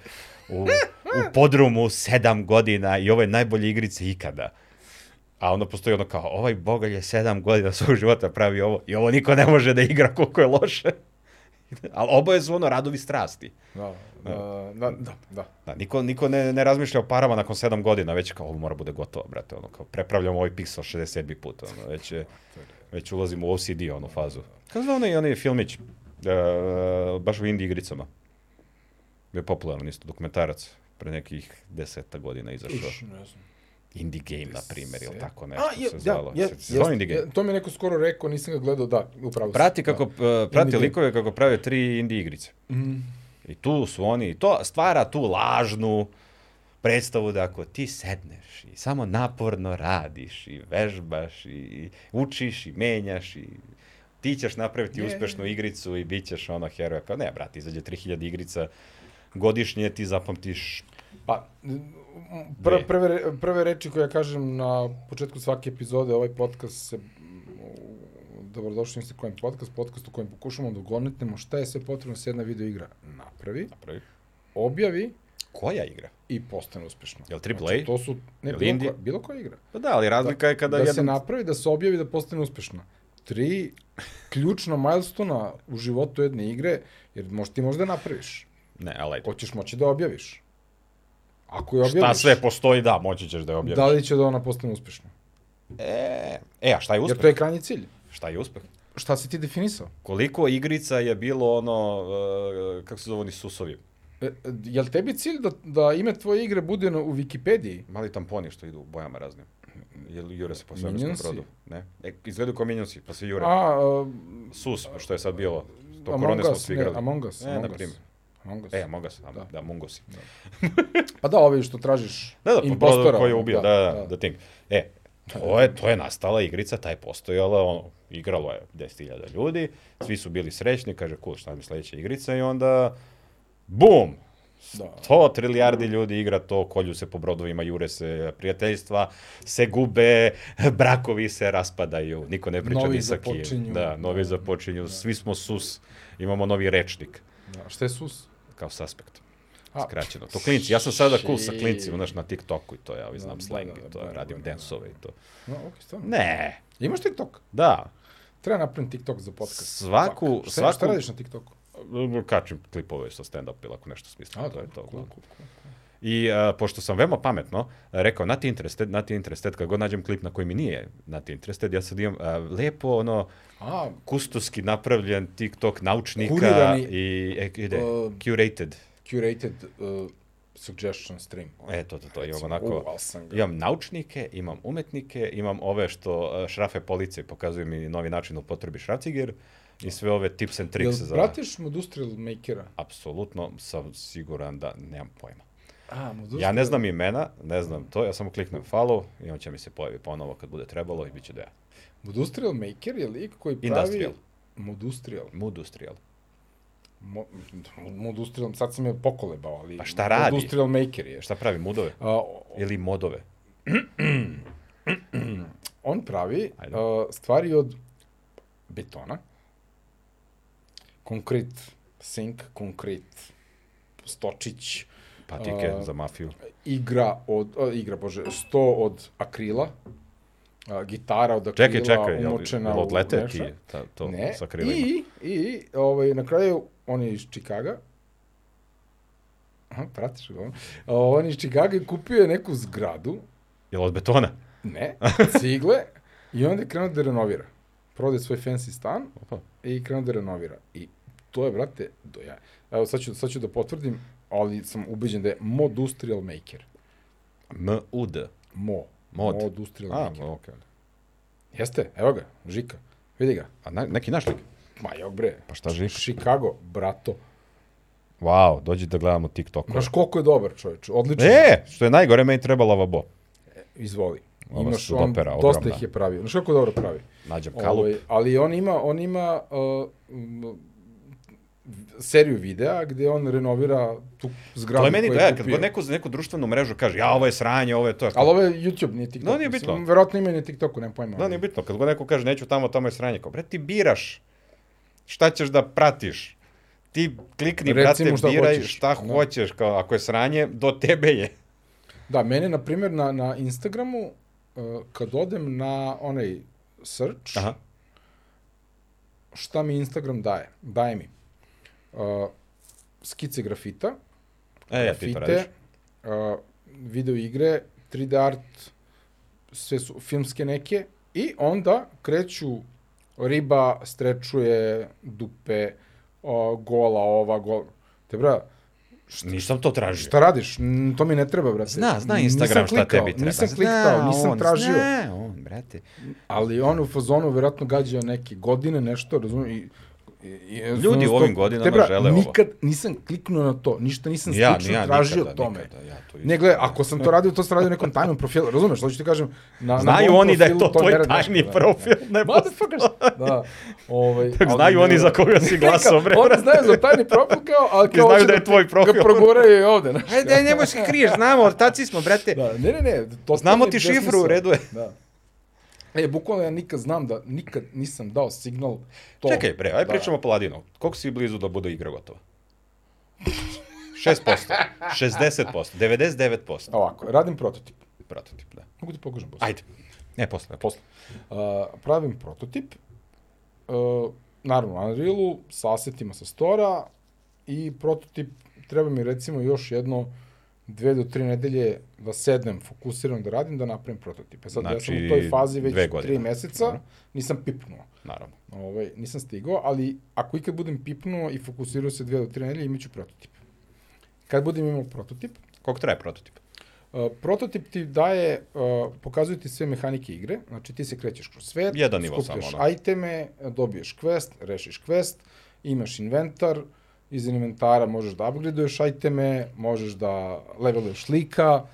S2: u, u podrumu sedam godina i ovo je najbolje igrice ikada. A onda postoji ono kao, ovaj bogalj je sedam godina svog života pravi ovo i ovo niko ne može da igra koliko je loše. Ali oboje su ono radovi strasti.
S1: Da, da, da, da, da.
S2: Da, niko, niko ne, ne razmišlja o parama nakon sedam godina, već kao ovo mora bude gotovo, brate, ono kao prepravljamo ovaj piksel 67. put, ono, već, je, već ulazimo u OCD onu fazu. Kako zna onaj, onaj filmić, e, baš u indie igricama, bio je popularan isto dokumentarac, pre nekih deseta godina izašao.
S1: Iš, ne znam.
S2: Indie game, na primjer, ili tako da, nešto
S1: A, je,
S2: se
S1: ja,
S2: zvalo.
S1: je,
S2: se, se zvao indie game.
S1: je, to mi je neko skoro rekao, nisam ga gledao, da, upravo sam.
S2: Prati kako, e, prati
S1: Indie game.
S2: likove kako prave tri indie igrice.
S1: Da. Mm.
S2: I tu su oni, i to stvara tu lažnu predstavu da ako ti sedneš i samo naporno radiš i vežbaš i, i učiš i menjaš i ti ćeš napraviti
S1: Je, je,
S2: uspešnu igricu i bit ćeš ono heroj. Pa ne, brate, izađe 3000 igrica godišnje, ti zapamtiš
S1: Pa, pr
S2: Dve.
S1: prve, re- prve reči koje ja kažem na početku svake epizode, ovaj podcast se mm, dobrodošli u Instagram podcast, podcast u kojem pokušamo da ugonetnemo šta je sve potrebno da se jedna video igra napravi,
S2: napravi.
S1: objavi
S2: Koja igra?
S1: i postane uspešno.
S2: Jel AAA?
S1: Znači, to su, ne,
S2: Jel
S1: bilo,
S2: indie?
S1: koja, bilo koja igra.
S2: Pa da, ali razlika je kada
S1: da se
S2: jedan...
S1: napravi, da se objavi, da postane uspešna. Tri ključna milestona u životu jedne igre, jer možda ti možda napraviš.
S2: Ne, ali ajde.
S1: Hoćeš moći da objaviš. Ako je
S2: Šta
S1: objaviš,
S2: sve postoji, da, moći ćeš da je objaviš.
S1: da li će da ona postane uspešna?
S2: E, e, a šta je
S1: Jer
S2: uspeh?
S1: to je krajnji cilj.
S2: Šta je uspeh?
S1: Šta si ti definisao?
S2: Koliko igrica je bilo ono, e, kako se zove oni susovi?
S1: E, e, jel tebi cilj da, da ime tvoje igre bude na, u Wikipediji?
S2: Mali tamponi što idu u bojama raznim. Jel jure se po svemirskom
S1: Minionsi?
S2: brodu? Ne. E, izgledaju kao minionsi, pa se jure.
S1: A, e,
S2: Sus, pa što je sad bilo. To
S1: Among
S2: korone smo
S1: Us,
S2: svi
S1: ne,
S2: igrali.
S1: Among Us.
S2: E,
S1: Among
S2: na
S1: Us.
S2: primjer.
S1: Among Us.
S2: E, Among Us, da,
S1: Da.
S2: da Mongosi.
S1: Pa da, ovi što tražiš
S2: Da, da, po brodu
S1: impostora.
S2: koji je ubio, da, da, da, Thing. E, to je, to je nastala igrica, ta je postojala, ono, igralo je 10.000 ljudi, svi su bili srećni, kaže, cool, šta nam je sledeća igrica i onda, bum,
S1: da.
S2: To trilijardi ljudi igra to, kolju se po brodovima, jure se prijateljstva, se gube, brakovi se raspadaju, niko ne priča
S1: Novi
S2: ni sa kim.
S1: započinju.
S2: Da, novi započinju, svi smo sus, imamo novi rečnik,
S1: da. Šta je sus?
S2: kao suspekt.
S1: A,
S2: Skraćeno. To klinci, ja sam sada cool sa
S1: ši.
S2: klincima, znaš, na TikToku i to, ja ovaj
S1: Da,
S2: znam
S1: da,
S2: slang
S1: da,
S2: i
S1: da,
S2: to,
S1: da,
S2: radim
S1: da, da.
S2: densove i to.
S1: No, ok, stvarno.
S2: Ne,
S1: Imaš TikTok?
S2: da,
S1: Treba napravim TikTok za podcast.
S2: Svaku-
S1: Fuck. šta,
S2: svaku-
S1: Šta radiš na TikToku?
S2: kačim klipove sa stand-up ili ako nešto smislim, to je to. da.
S1: Cool,
S2: uglavnom.
S1: cool, cool.
S2: I uh, pošto sam veoma pametno a, rekao, not interested, not interested, kad god nađem klip na koji mi nije not interested, ja sad imam uh, lepo ono
S1: A,
S2: kustoski napravljen TikTok naučnika
S1: Kurirani,
S2: i e, ide,
S1: uh,
S2: curated.
S1: curated uh, suggestion stream.
S2: E, to, to, to, imam
S1: Recimo,
S2: onako,
S1: uvao sam ga.
S2: imam naučnike, imam umetnike, imam ove što uh, šrafe police i pokazuju mi novi način da upotrebi šrafciger i sve ove tips and tricks
S1: Jel
S2: za...
S1: pratiš Industrial Makera?
S2: Apsolutno sam siguran da nemam pojma.
S1: A, Industrial...
S2: Ja ne znam imena, ne znam to, ja samo kliknem follow i on će mi se pojavi ponovo kad bude trebalo i bit će da ja.
S1: Industrial Maker je lik koji pravi...
S2: Industrial.
S1: Modustrial.
S2: Modustrial.
S1: Mo, modustrial, sad sam je pokolebao, ali...
S2: Pa šta radi?
S1: Industrial Maker je. Šta?
S2: E, Šta pravi, mudove?
S1: A, o-
S2: Ili modove?
S1: on pravi
S2: Ajde.
S1: a, stvari od betona, konkret, sink, konkret, stočić, uh,
S2: Patike
S1: A,
S2: za mafiju.
S1: igra od, o, igra bože, sto od akrila, a, gitara od akrila
S2: Čekaj, čekaj, jel,
S1: umočena
S2: jel
S1: u
S2: odlete
S1: nešto.
S2: ti ta, to
S1: ne.
S2: sa krilima?
S1: I, i ovaj, na kraju, on je iz Čikaga, Aha, pratiš ga ono. O, On je iz Čikaga i kupio je neku zgradu,
S2: Jel od betona?
S1: ne, cigle, i onda je krenuo da renovira. Prode svoj fancy stan
S2: Opa.
S1: i krenuo da renovira. I to je, brate, do ja. Evo, sad ću, sad ću da potvrdim, ali sam ubeđen da je mod industrial maker.
S2: M-U-D.
S1: Mo.
S2: Mod.
S1: Mod industrial
S2: A,
S1: maker.
S2: okej.
S1: Jeste, evo ga, Žika. Vidi ga.
S2: A na, neki naš lik?
S1: Ma jok bre.
S2: Pa šta živiš?
S1: Chicago, brato.
S2: Wow, dođi da gledamo TikTok.
S1: Znaš koliko je dobar čovječ, odličan.
S2: E, što je najgore, meni treba lavabo.
S1: Izvoli.
S2: Ova
S1: Imaš
S2: su
S1: on,
S2: dopera
S1: dosta
S2: ogromna.
S1: ih je pravio. Znaš kako dobro pravi?
S2: Nađem kalup.
S1: Ovaj, ali on ima, on ima uh, m, seriju videa gde on renovira tu zgradu
S2: To je meni,
S1: koju
S2: da, kad god neko za neku društvenu mrežu kaže, ja, ovo je sranje, ovo je to.
S1: Ali ovo je YouTube, nije TikTok.
S2: Da, nije
S1: mislim.
S2: bitno.
S1: Verovatno ima i na TikToku, nemam pojma.
S2: Da, nije bitno, kad god neko kaže neću tamo, tamo je sranje, kao, bre, ti biraš šta ćeš da pratiš. Ti klikni,
S1: Reci mu
S2: brate,
S1: šta
S2: biraj
S1: hoćeš.
S2: šta
S1: Da.
S2: hoćeš, kao, ako je sranje, do tebe je.
S1: Da, mene, na primjer, na, na Instagramu, uh, kad odem na onaj search,
S2: Aha.
S1: šta mi Instagram daje? Daje mi uh, skice grafita,
S2: E, ja ti to radiš.
S1: grafite, uh, video igre, 3D art, sve su filmske neke i onda kreću riba, strečuje, dupe, o, gola, ova, gola. Te bra,
S2: Nisam to tražio.
S1: šta radiš? N- To mi ne treba, brate.
S2: Zna, zna
S1: Nisam
S2: Instagram šta
S1: klikao,
S2: tebi treba.
S1: Nisam
S2: Zna
S1: klikao,
S2: on,
S1: nisam tražio.
S2: Zna on, brate.
S1: Ali on u fazonu verovatno gađao neke godine, nešto, razumem, i i- i-
S2: Ljudi u ovim godinama
S1: Te, bra,
S2: žele ovo.
S1: nikad nisam kliknuo na to, ništa nisam
S2: Ja,
S1: slično
S2: ja,
S1: tražio
S2: nikada,
S1: tome.
S2: nikada, ja to isto.
S1: Ne, gle, ako sam to radio, to sam radio u nekom tajnom profilu, razumeš, hoću ti kažem. Na,
S2: Znaju
S1: mom
S2: oni da je
S1: profilu
S2: to tvoj
S1: ne radi
S2: tajni
S1: ništa, da.
S2: profil, ne
S1: Motherfuckers! Da, ovaj, ali
S2: Znaju
S1: ne-
S2: oni za koga si glasao, bre.
S1: Oni znaju za tajni profil kao, ali
S2: I
S1: kao
S2: znaju
S1: hoće
S2: da je
S1: ti-
S2: tvoj profil.
S1: Ga proguraju i ovde, znaš.
S2: Ajde, nemoj se kriješ, znamo, ortaci smo, brate.
S1: Da, ne, ne, ne. To
S2: Znamo ti šifru, u redu je.
S1: Da. E, bukvalno ja nikad znam da nikad nisam dao signal to.
S2: Čekaj, bre, aj
S1: da.
S2: pričamo o Paladinu. Koliko si blizu da bude igra gotova? 6%, 60%, 99%.
S1: Ovako, radim prototip.
S2: Prototip, da.
S1: Mogu ti pokažem posle.
S2: Ajde. Ne, posle,
S1: Posle.
S2: posle.
S1: A, pravim prototip, uh, naravno u Unrealu, sa asetima sa stora i prototip treba mi recimo još jedno dve do tri nedelje da sednem fokusirano da radim, da napravim prototipe. Sad znači, ja sam
S2: Znači,
S1: u toj fazi već
S2: dve godine.
S1: tri meseca,
S2: Dobro.
S1: nisam pipnuo.
S2: Naravno.
S1: Ovaj, nisam stigao, ali ako ikad budem pipnuo i fokusirao se dve do tri nedelje, imaću prototip. Kad budem imao prototip,
S2: Koliko traje prototip?
S1: Uh, prototip ti daje, uh, pokazuje ti sve mehanike igre, znači ti se krećeš kroz svet,
S2: Jedan nivo
S1: skupljaš
S2: samo, da. ono.
S1: iteme, dobiješ quest, rešiš quest, imaš inventar, iz inventara možeš da upgradeuješ iteme, možeš da leveluješ lika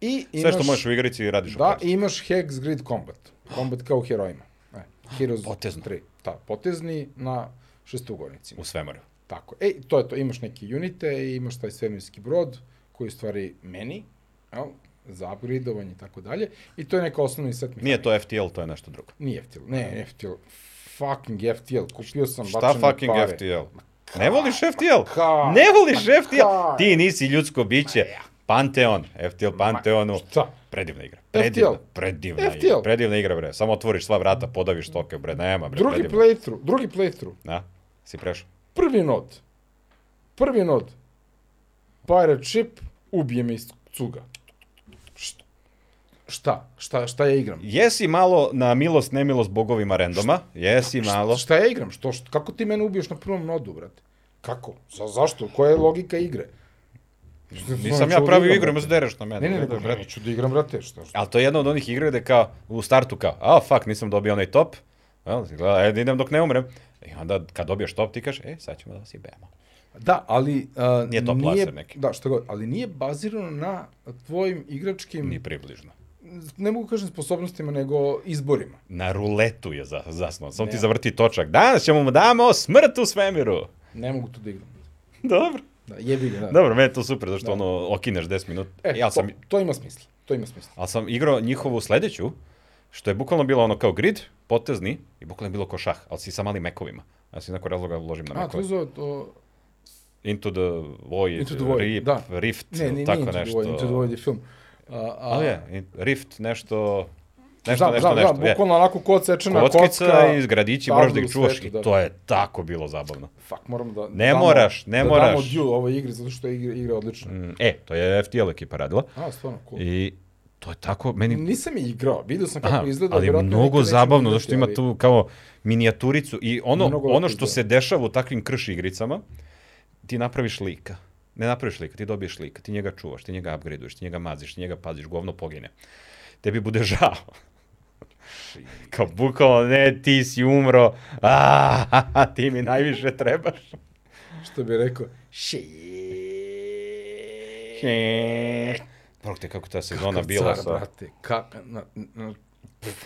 S1: i imaš,
S2: Sve što možeš u igrici radiš u
S1: da,
S2: prototip.
S1: i imaš Hex Grid Combat, combat kao u herojima. E, Heroes
S2: potezno.
S1: 3, ta, potezni na šestougonicima.
S2: U svemaru.
S1: Tako. E, to je to. Imaš neke unite i imaš taj svemirski brod koji je u stvari meni, jel, za upgradeovanje i tako dalje. I to je neka osnovni set mehanika.
S2: Nije to FTL, to je nešto drugo.
S1: Nije FTL. Ne, FTL. Fucking FTL. Kupio sam
S2: Šta
S1: bačene
S2: fucking
S1: pare.
S2: FTL? Ne voliš FTL?
S1: Ka-
S2: Ne voliš
S1: Ma
S2: FTL?
S1: ka-
S2: Ti nisi ljudsko biće. Panteon, FTL Panteonu.
S1: Šta?
S2: Predivna igra. Predivna,
S1: FTL.
S2: predivna igra.
S1: FTL.
S2: Predivna igra, bre. Samo otvoriš sva vrata, podaviš toke, bre. Nema, bre.
S1: Drugi
S2: predivna.
S1: playthrough. Drugi playthrough.
S2: Na, Da, si prešao.
S1: Prvi nod. Prvi nod. Pirate ship. Ubije me iz cuga. Šta? Šta? Šta, šta ja igram?
S2: Jesi malo na milost, nemilost bogovima randoma. Jesi malo.
S1: Šta ja igram? Što, što, kako ti mene ubiješ na prvom nodu, brate? Kako? Za, zašto? Koja je logika igre?
S2: Nisam
S1: Neću
S2: ja
S1: da
S2: pravio
S1: igram,
S2: igru,
S1: brate.
S2: ima se dereš na mene.
S1: Ne, ne, ne,
S2: Da,
S1: ne,
S2: brate.
S1: neću da igram, brate, šta? šta?
S2: Ali to je jedna od onih igra gde kao u startu kao, a fuck, nisam dobio onaj top. Well, ajde "E, da idem dok ne umrem. I onda kad dobiješ top ti kažeš, e, sad ćemo da si bemo.
S1: Da, ali... Uh,
S2: Nije to placer neki.
S1: Da, šta god, ali nije bazirano na tvojim igračkim,
S2: Ni približno.
S1: ne mogu kažem sposobnostima, nego izborima.
S2: Na ruletu je za, zasnovan. Samo ti
S1: Ne.
S2: zavrti točak. Danas ćemo mu damo smrt u svemiru.
S1: Ne mogu to da igram.
S2: Dobro.
S1: Da, jebi ga, da.
S2: Dobro, meni je to super, zašto ono, okineš 10 minuta.
S1: E,
S2: ja sam,
S1: to, to ima smisla, to ima smisla.
S2: ali sam igrao njihovu sledeću, što je bukvalno bilo ono kao grid, potezni, i bukvalno je bilo kao šah, ali si sa malim mekovima. Ja si nekog razloga uložim na
S1: A, to
S2: mekove.
S1: je zove, to...
S2: Into the Void,
S1: Into the Void,
S2: Rip,
S1: da.
S2: Rift,
S1: Ne, ne, nije
S2: tako
S1: Into the
S2: nešto.
S1: Void, Into the Void je film. A, a,
S2: Ali je, in- Rift nešto, Nešto,
S1: znam,
S2: nešto,
S1: znam,
S2: nešto.
S1: znam,
S2: je.
S1: bukvalno onako ko odsečena
S2: Kockica
S1: kocka.
S2: iz gradići, moraš da
S1: tablu
S2: ih
S1: u
S2: čuvaš
S1: svetu,
S2: i
S1: da.
S2: to je tako bilo zabavno.
S1: Fuck, moramo da...
S2: Ne moraš, ne
S1: Da damo
S2: moraš.
S1: dju ovoj igri, zato što je igra, igra odlična.
S2: Mm, E, to je FTL ekipa radila.
S1: A, stvarno, cool.
S2: I to je tako, meni...
S1: Nisam je igrao, vidio sam kako
S2: Aha,
S1: izgleda.
S2: ali je
S1: vjerojatno
S2: mnogo
S1: nikad neću
S2: zabavno, zato
S1: igrati,
S2: što ima
S1: ali-
S2: tu kao minijaturicu i ono,
S1: Mnogo
S2: ono
S1: lepih,
S2: što
S1: da.
S2: se dešava u takvim krš igricama, ti napraviš lika. Ne napraviš lika, ti dobiješ lika, ti njega čuvaš, ti njega upgradeuješ, ti njega maziš, ti njega paziš, govno pogine. Tebi bude žao. Kao bukvalno, ne, ti si umro, a, ti mi najviše trebaš.
S1: Što bi rekao,
S2: Prvo te kako ta sezona
S1: kakav
S2: bila
S1: car,
S2: sa...
S1: brate, kap, na, na,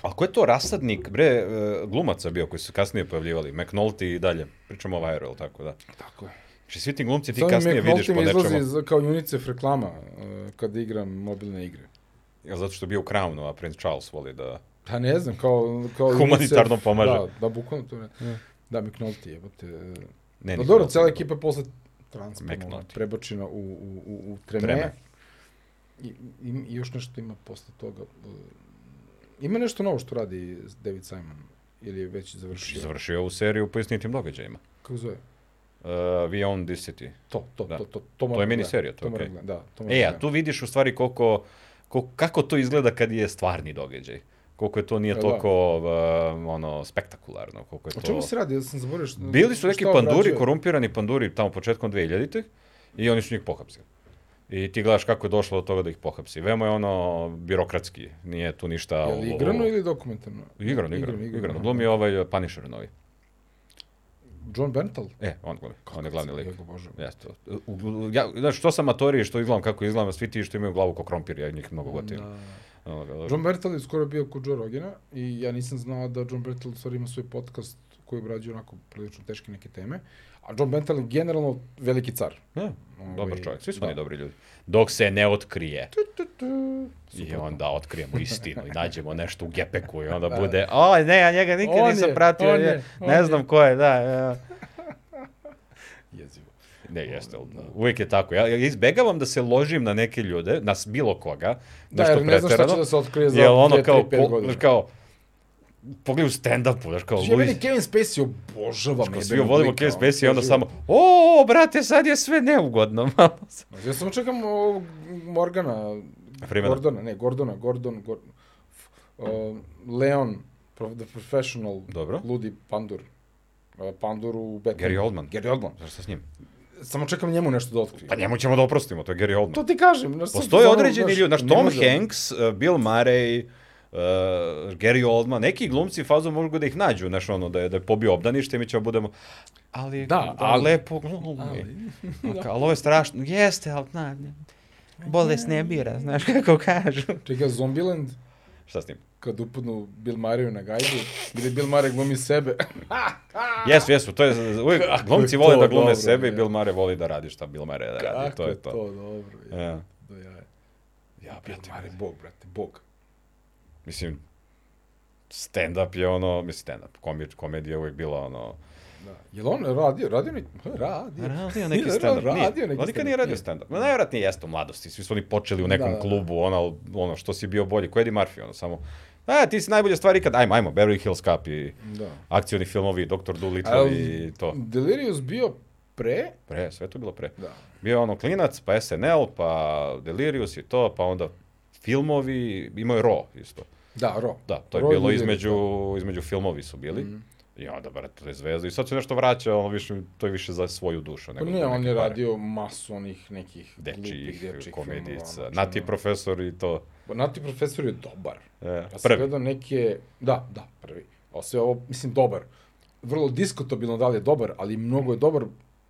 S2: Ali ko je to rasadnik, bre, e, glumaca bio koji su kasnije pojavljivali? McNulty i dalje. Pričamo o Viral, tako da.
S1: tako je.
S2: Znači, svi ti glumci ti
S1: Sad mi
S2: kasnije
S1: McNulty
S2: vidiš po
S1: mi izlazi
S2: nečemu.
S1: za- kao UNICEF reklama uh, kad igram mobilne igre.
S2: Ja, zato što je bio u Crownu, a Prince Charles voli da...
S1: Pa ne znam, kao... kao
S2: Humanitarno
S1: UNICEF,
S2: pomaže.
S1: Da, da, bukvalno to ne. Da, McNulty, jebote.
S2: Ne,
S1: Ne,
S2: ni
S1: da, dobro,
S2: Crowns,
S1: cela
S2: nego-
S1: ekipa je posle transponovana,
S2: McNulty.
S1: prebačena u, u, u, u treme.
S2: Treme.
S1: I, i, I još nešto ima posle toga. e, Ima nešto novo što radi David Simon ili je već završio.
S2: Završio je ovu seriju po istinitim događajima.
S1: Kako zove?
S2: Uh, We Own This City.
S1: To, to,
S2: Da.
S1: to, to, to, moram
S2: To je
S1: da
S2: miniserija,
S1: gledam,
S2: to je
S1: moram
S2: okej.
S1: da gledam, Da, to moram
S2: E,
S1: da
S2: a
S1: gledam.
S2: tu vidiš u stvari koliko, koliko, kako to izgleda kad je stvarni događaj. Koliko je to nije
S1: Da.
S2: toliko uh, ono, spektakularno. Koliko je to...
S1: O čemu se radi? Ja sam zaboravio što...
S2: Bili su neki
S1: šta
S2: panduri,
S1: obrađuje.
S2: korumpirani panduri tamo početkom 2000-ih i oni su njih pohapsili. I ti gledaš kako je došlo do toga da ih pohapsi. Veoma je ono birokratski, nije tu ništa...
S1: Je
S2: o-
S1: li
S2: o-
S1: igrano ili dokumentarno?
S2: Igrano, igrano, igrano. Glumi
S1: aha.
S2: ovaj e, Punisher novi.
S1: John Bental?
S2: E, on glumi, on je glavni lik.
S1: Kako bože.
S2: Jeste. U- u- Ja, znaš, što sam amatoriji, što izgledam, kako izgledam, svi ti što imaju glavu ko krompir, ja njih mnogo
S1: Da.
S2: gotivim.
S1: John Bertal je skoro bio kod Joe Rogena i ja nisam znao da John Bertal u stvari ima svoj podcast koji obrađuje onako prilično teške neke teme. A John Bertal je generalno veliki car.
S2: Ja, da, dobar
S1: Ovaj,
S2: čovjek, svi su
S1: da.
S2: oni dobri ljudi. Dok se ne otkrije.
S1: Tu, tu.
S2: I onda otkrijemo istinu i nađemo nešto u gepeku i onda bude, oj ne, ja njega nikad
S1: Da. On
S2: nisam
S1: je,
S2: pratio,
S1: on
S2: je,
S1: je, on
S2: ne
S1: je."
S2: znam ko je, da. Ja.
S1: Jezivo.
S2: Ne, jeste, ali da, uvijek je tako. Ja, ja izbegavam da se ložim na neke ljude, na s- bilo koga,
S1: Da,
S2: nešto
S1: jer ne znam šta će
S2: preterano,
S1: da se otkrije za
S2: jer ono
S1: 2, 3,
S2: kao,
S1: 5
S2: po,
S1: godina.
S2: znaš, kao, pogledaj u stand-upu, znaš kao,
S1: Ja
S2: Louis,
S1: meni Kevin Spacey obožavam.
S2: kao svi
S1: jebenog
S2: volimo
S1: lika,
S2: Kevin
S1: ono,
S2: Spacey i onda
S1: jezivo.
S2: samo, o, brate, sad je sve neugodno, malo sam.
S1: Ja samo čekam ovog Morgana,
S2: Freemana.
S1: Gordona, ne, Gordona, Gordon, Gor, f- o, Leon, pro, The Professional,
S2: Dobro.
S1: ludi pandur. E, Pandur u Batmanu.
S2: Gary Oldman.
S1: Gary Oldman.
S2: Znaš šta s njim?
S1: Samo čekam njemu nešto da otkrije.
S2: Pa njemu ćemo da oprostimo, to je Gary Oldman.
S1: To ti kažem. Znaš, da- sad
S2: Postoje
S1: ono,
S2: određeni ljudi, znaš,
S1: ne
S2: Tom
S1: može-
S2: Hanks, uh, Bill Murray, uh, Gary Oldman, neki glumci fazu mogu da ih nađu, znaš, ono, da je, da je pobio obdanište i mi ćemo budemo, ali,
S1: Da,
S2: ali,
S1: ali-
S2: lepo glumi. Ali, ali ovo je strašno, jeste, ali, na, ne, bolest ne bira, znaš kako kažu.
S1: Čekaj, Zombieland,
S2: Šta s njim?
S1: kad upadnu Bill Murrayu na gajdu, gdje Bill Murray glumi sebe.
S2: Jesu, jesu, to je, uvijek,
S1: Kako
S2: glumci
S1: je
S2: vole
S1: to
S2: da glume
S1: dobro,
S2: sebe i
S1: je.
S2: Bill Murray voli da radi šta Bill Murray da radi, to je to. E.
S1: to dobro. Je,
S2: Ja.
S1: Do jaja.
S2: Ja,
S1: Bill
S2: brate,
S1: Murray, bog, brate, bog.
S2: mislim, stand-up je ono, mislim, stand-up, komedi, komedija je uvijek bila ono,
S1: Da. Jel on radio? Radio neki? pa Radio.
S2: Radio neki
S1: Nije,
S2: stand-up, nije.
S1: Radio neki
S2: Vladika nije
S1: stand-up,
S2: radio stand-up. Ma najvjerojatnije jeste u mladosti, svi su oni počeli u nekom
S1: Da, da.
S2: klubu, ono, ono, što si bio bolji, ko je Eddie Murphy, ono, samo, a, ti si najbolje stvari ikad, ajmo, ajmo, Beverly Hills Cup i
S1: Da.
S2: akcioni filmovi, Dr. Dolittle
S1: Al-
S2: i to.
S1: Delirious bio pre,
S2: Pre, sve je to bilo pre.
S1: da.
S2: Bio je ono klinac, pa SNL, pa Delirious i to, pa onda filmovi, imao je Raw isto.
S1: Da, Ro. Mm.
S2: Da, to je
S1: Raw i
S2: bilo
S1: Delirious, da. Mhm.
S2: između, između filmovi su bili. I onda, brate, to je zvezda. I sad se nešto vraća, ono, više, to je više za svoju dušu.
S1: Pa
S2: nego
S1: nije,
S2: za
S1: on
S2: neke
S1: je
S2: pare.
S1: radio masu onih nekih glupih
S2: dečijih
S1: dečjih
S2: komedijica.
S1: filmova, znači,
S2: Nati
S1: ono.
S2: profesor i to.
S1: Pa Nati profesor je dobar.
S2: E,
S1: Ja sam
S2: prvi.
S1: gledao neke, da, da, prvi. A sve ovo, mislim, dobar. Vrlo diskotabilno da li je dobar, ali mnogo je dobar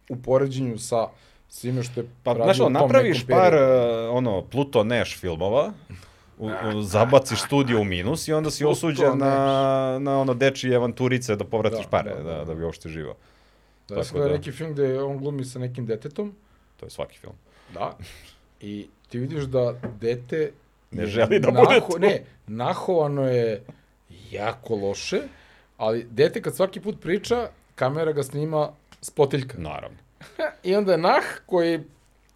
S1: u poređenju sa svime što je
S2: Pa,
S1: radio
S2: znaš,
S1: u
S2: ono,
S1: tom
S2: napraviš
S1: nekom
S2: par,
S1: periodu.
S2: e, ono, Pluto Nash filmova, u, u, zabaciš studio u minus i onda si
S1: Pluto
S2: osuđen na,
S1: Nash.
S2: na ono dečije avanturice da povratiš
S1: Da,
S2: pare, da,
S1: da,
S2: da,
S1: da.
S2: bi uopšte živao.
S1: Da, ja sam
S2: tako
S1: gledao
S2: da.
S1: neki film gde on glumi sa nekim detetom,
S2: To je svaki film.
S1: Da. I ti vidiš da dete
S2: Ne
S1: je
S2: želi da bude tu.
S1: Ne, nahovano je jako loše, ali dete kad svaki put priča, kamera ga snima s potiljka.
S2: Naravno.
S1: I onda je nah koji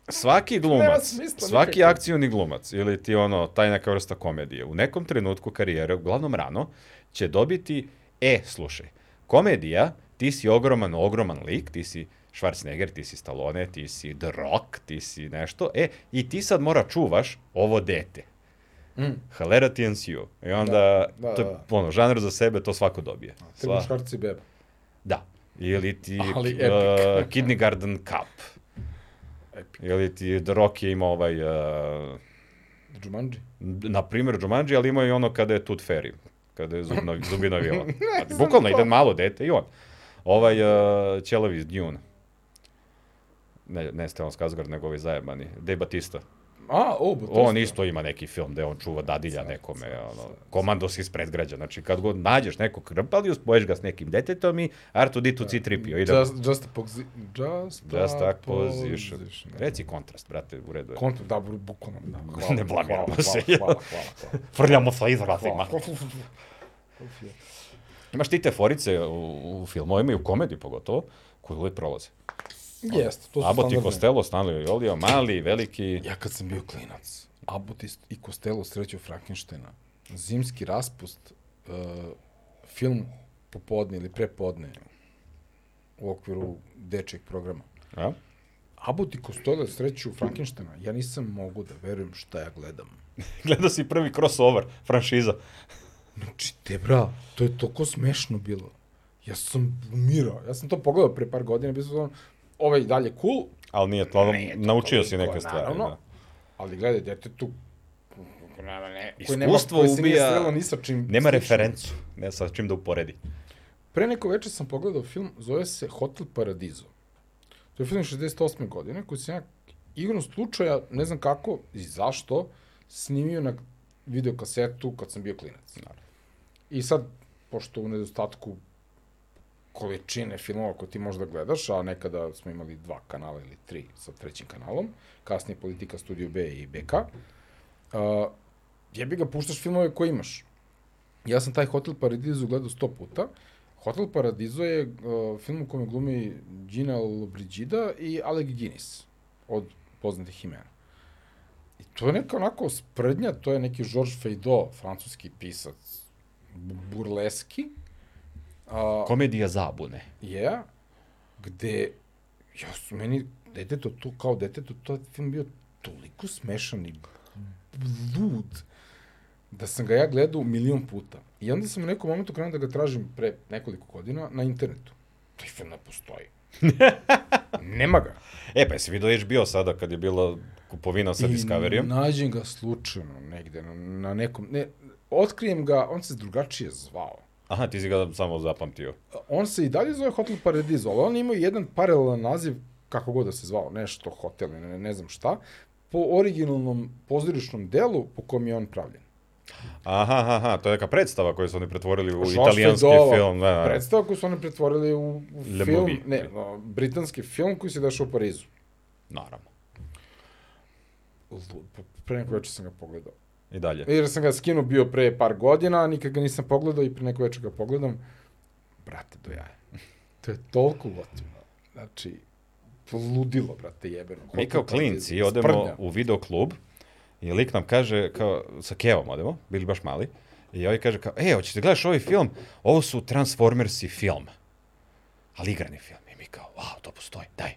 S2: svaki
S1: Nema
S2: glumac,
S1: smisla
S2: svaki
S1: nikakvog.
S2: akcioni glumac ili ti ono, taj neka vrsta komedije, u nekom trenutku karijere, uglavnom rano, će dobiti, e, slušaj, komedija, ti si ogroman, ogroman lik, ti si Schwarzenegger, ti si Stallone, ti si The Rock, ti si nešto, e, i ti sad mora čuvaš ovo dete.
S3: Mm.
S2: Hilarity ensues. I onda, da,
S1: da,
S2: da, to je,
S1: da.
S2: ono, žanr za sebe, to svako dobije.
S1: Treba muškarci i beba.
S2: Da. Ili ti
S1: Ali
S2: Ali uh,
S1: epic.
S2: Kindergarten Cup.
S1: Epic.
S2: Ili ti The Rock je imao ovaj... Uh,
S1: Jumanji.
S2: na primjer Jumanji, ali imao je ono kada je Tooth Fairy, kada je zubna, zubina vila. Znači, Bukvalno ide malo dete i on. Ovaj uh, ćelavi iz Dune. Ne, ne Stellan Skarsgård, nego ovaj zajebani. De Batista.
S1: A, o, bo, to
S2: On
S1: ste.
S2: isto ima neki film gde on čuva dadilja
S1: Sad,
S2: nekome,
S1: sad,
S2: ono,
S1: sad,
S2: komandos iz predgrađa. Znači, kad god nađeš nekog krpaliju, spojiš ga s nekim detetom i R2D2 C3PO. Idemo.
S1: Just, just, a posi- just,
S2: Just
S1: a
S2: that position.
S1: position.
S2: Da, Reci kontrast, brate, u redu je.
S1: Kontra, da, bu- bukvalno, da.
S2: Ne blamiramo
S1: hvala,
S2: se. Pa
S1: Hvala, hvala, hvala.
S2: Frljamo sa izrazima.
S1: hvala. Uf, je.
S2: Imaš ti te forice u, u filmovima i u komediji pogotovo, koje uvijek prolaze.
S1: Jeste, to su
S2: Abbott i
S1: standardne.
S2: Costello, Stanley i Olio, mali, veliki,
S1: Ja kad sam bio klinac, Abbott i- i Costello sreću Frankensteina, zimski raspust, uh, film popodne ili prepodne u okviru dečijeg programa.
S2: a?
S1: Abbott i Costello sreću Frankensteina. Ja nisam mogu da verujem šta ja gledam.
S2: Gledao si prvi crossover, franšiza.
S1: Znači, te bra, to je toliko smešno bilo. Ja sam umirao. Ja sam to pogledao pre par godina, bio sam ovaj i dalje cool,
S2: Ali nije to, ono, naučio si
S3: toliko,
S2: neke stvari.
S1: naravno.
S2: Da.
S1: ali gledaj, dete tu
S3: Naravno, ne.
S1: koji nema,
S2: Iskustvo
S1: koji se nije
S2: ubija-
S1: srelo ni sa čim.
S2: Nema
S1: sličnim.
S2: referencu, ne sa čim da uporedi.
S1: Pre neko večer sam pogledao film, zove se Hotel Paradiso. To je film iz 68. godine koji sam ja igrom slučaja, ne znam kako i zašto, snimio na videokasetu kad sam bio klinac. I sad, pošto u nedostatku količine filmova koje ti možda gledaš, a nekada smo imali dva kanala ili tri sa trećim kanalom, kasnije Politika Studio B i BK, uh, jebi ga, puštaš filmove koje imaš. Ja sam taj Hotel Paradiso gledao sto puta. Hotel Paradiso je uh, film u kome glumi Gina Lobrigida i Alec Guinness od poznatih imena. I to je neka onako sprednja, to je neki Georges Feydeau, francuski pisac, bu- burleski. A,
S2: Komedija zabune.
S1: je, gde, ja su meni, deteto tu, kao deteto, to je film bio toliko smešan i lud, da sam ga ja gledao milion puta. I onda sam u nekom momentu krenuo da ga tražim pre nekoliko godina na internetu. Taj film ne postoji. Nema ga.
S2: E, pa jesi vidio HBO sada kad je bila kupovina sa Discoveryjem?
S1: I nađem ga slučajno negde, na, na nekom, ne, otkrijem ga, on se drugačije zvao.
S2: Aha, ti si ga samo zapamtio.
S1: on se i dalje zove Hotel Paradiso, ali on ima jedan paralelan naziv, kako god da se zvao, nešto hotel, ne, ne znam šta, po originalnom pozorišnom delu po kom je on pravljen.
S2: Aha, aha, aha, to je neka predstava koju su oni pretvorili u
S1: Georges
S2: italijanski
S1: Feydeau,
S2: film. Da, da.
S1: Predstava koju su oni pretvorili u, u
S2: Le
S1: film,
S2: Movie.
S1: ne, no, britanski film koji se dešao u Parizu.
S2: Naravno.
S1: Lu- p- Pre neko večer sam ga pogledao.
S2: I dalje.
S1: Jer sam ga skinuo bio pre par godina, a nikad ga nisam pogledao i pre neko večer ga pogledam. Brate, do jaja. To je toliko gotivno. Znači, ludilo, brate, jebeno.
S2: Mi kao
S1: Hotel Paradiso,
S2: klinci odemo
S1: sprdnja.
S2: u videoklub i lik nam kaže, kao, sa Kevom odemo, bili baš mali, i ovaj kaže kao, e, hoćete gledaš ovaj film? Ovo su Transformersi film. Ali igrani film. I mi kao, wow, to postoji, daj.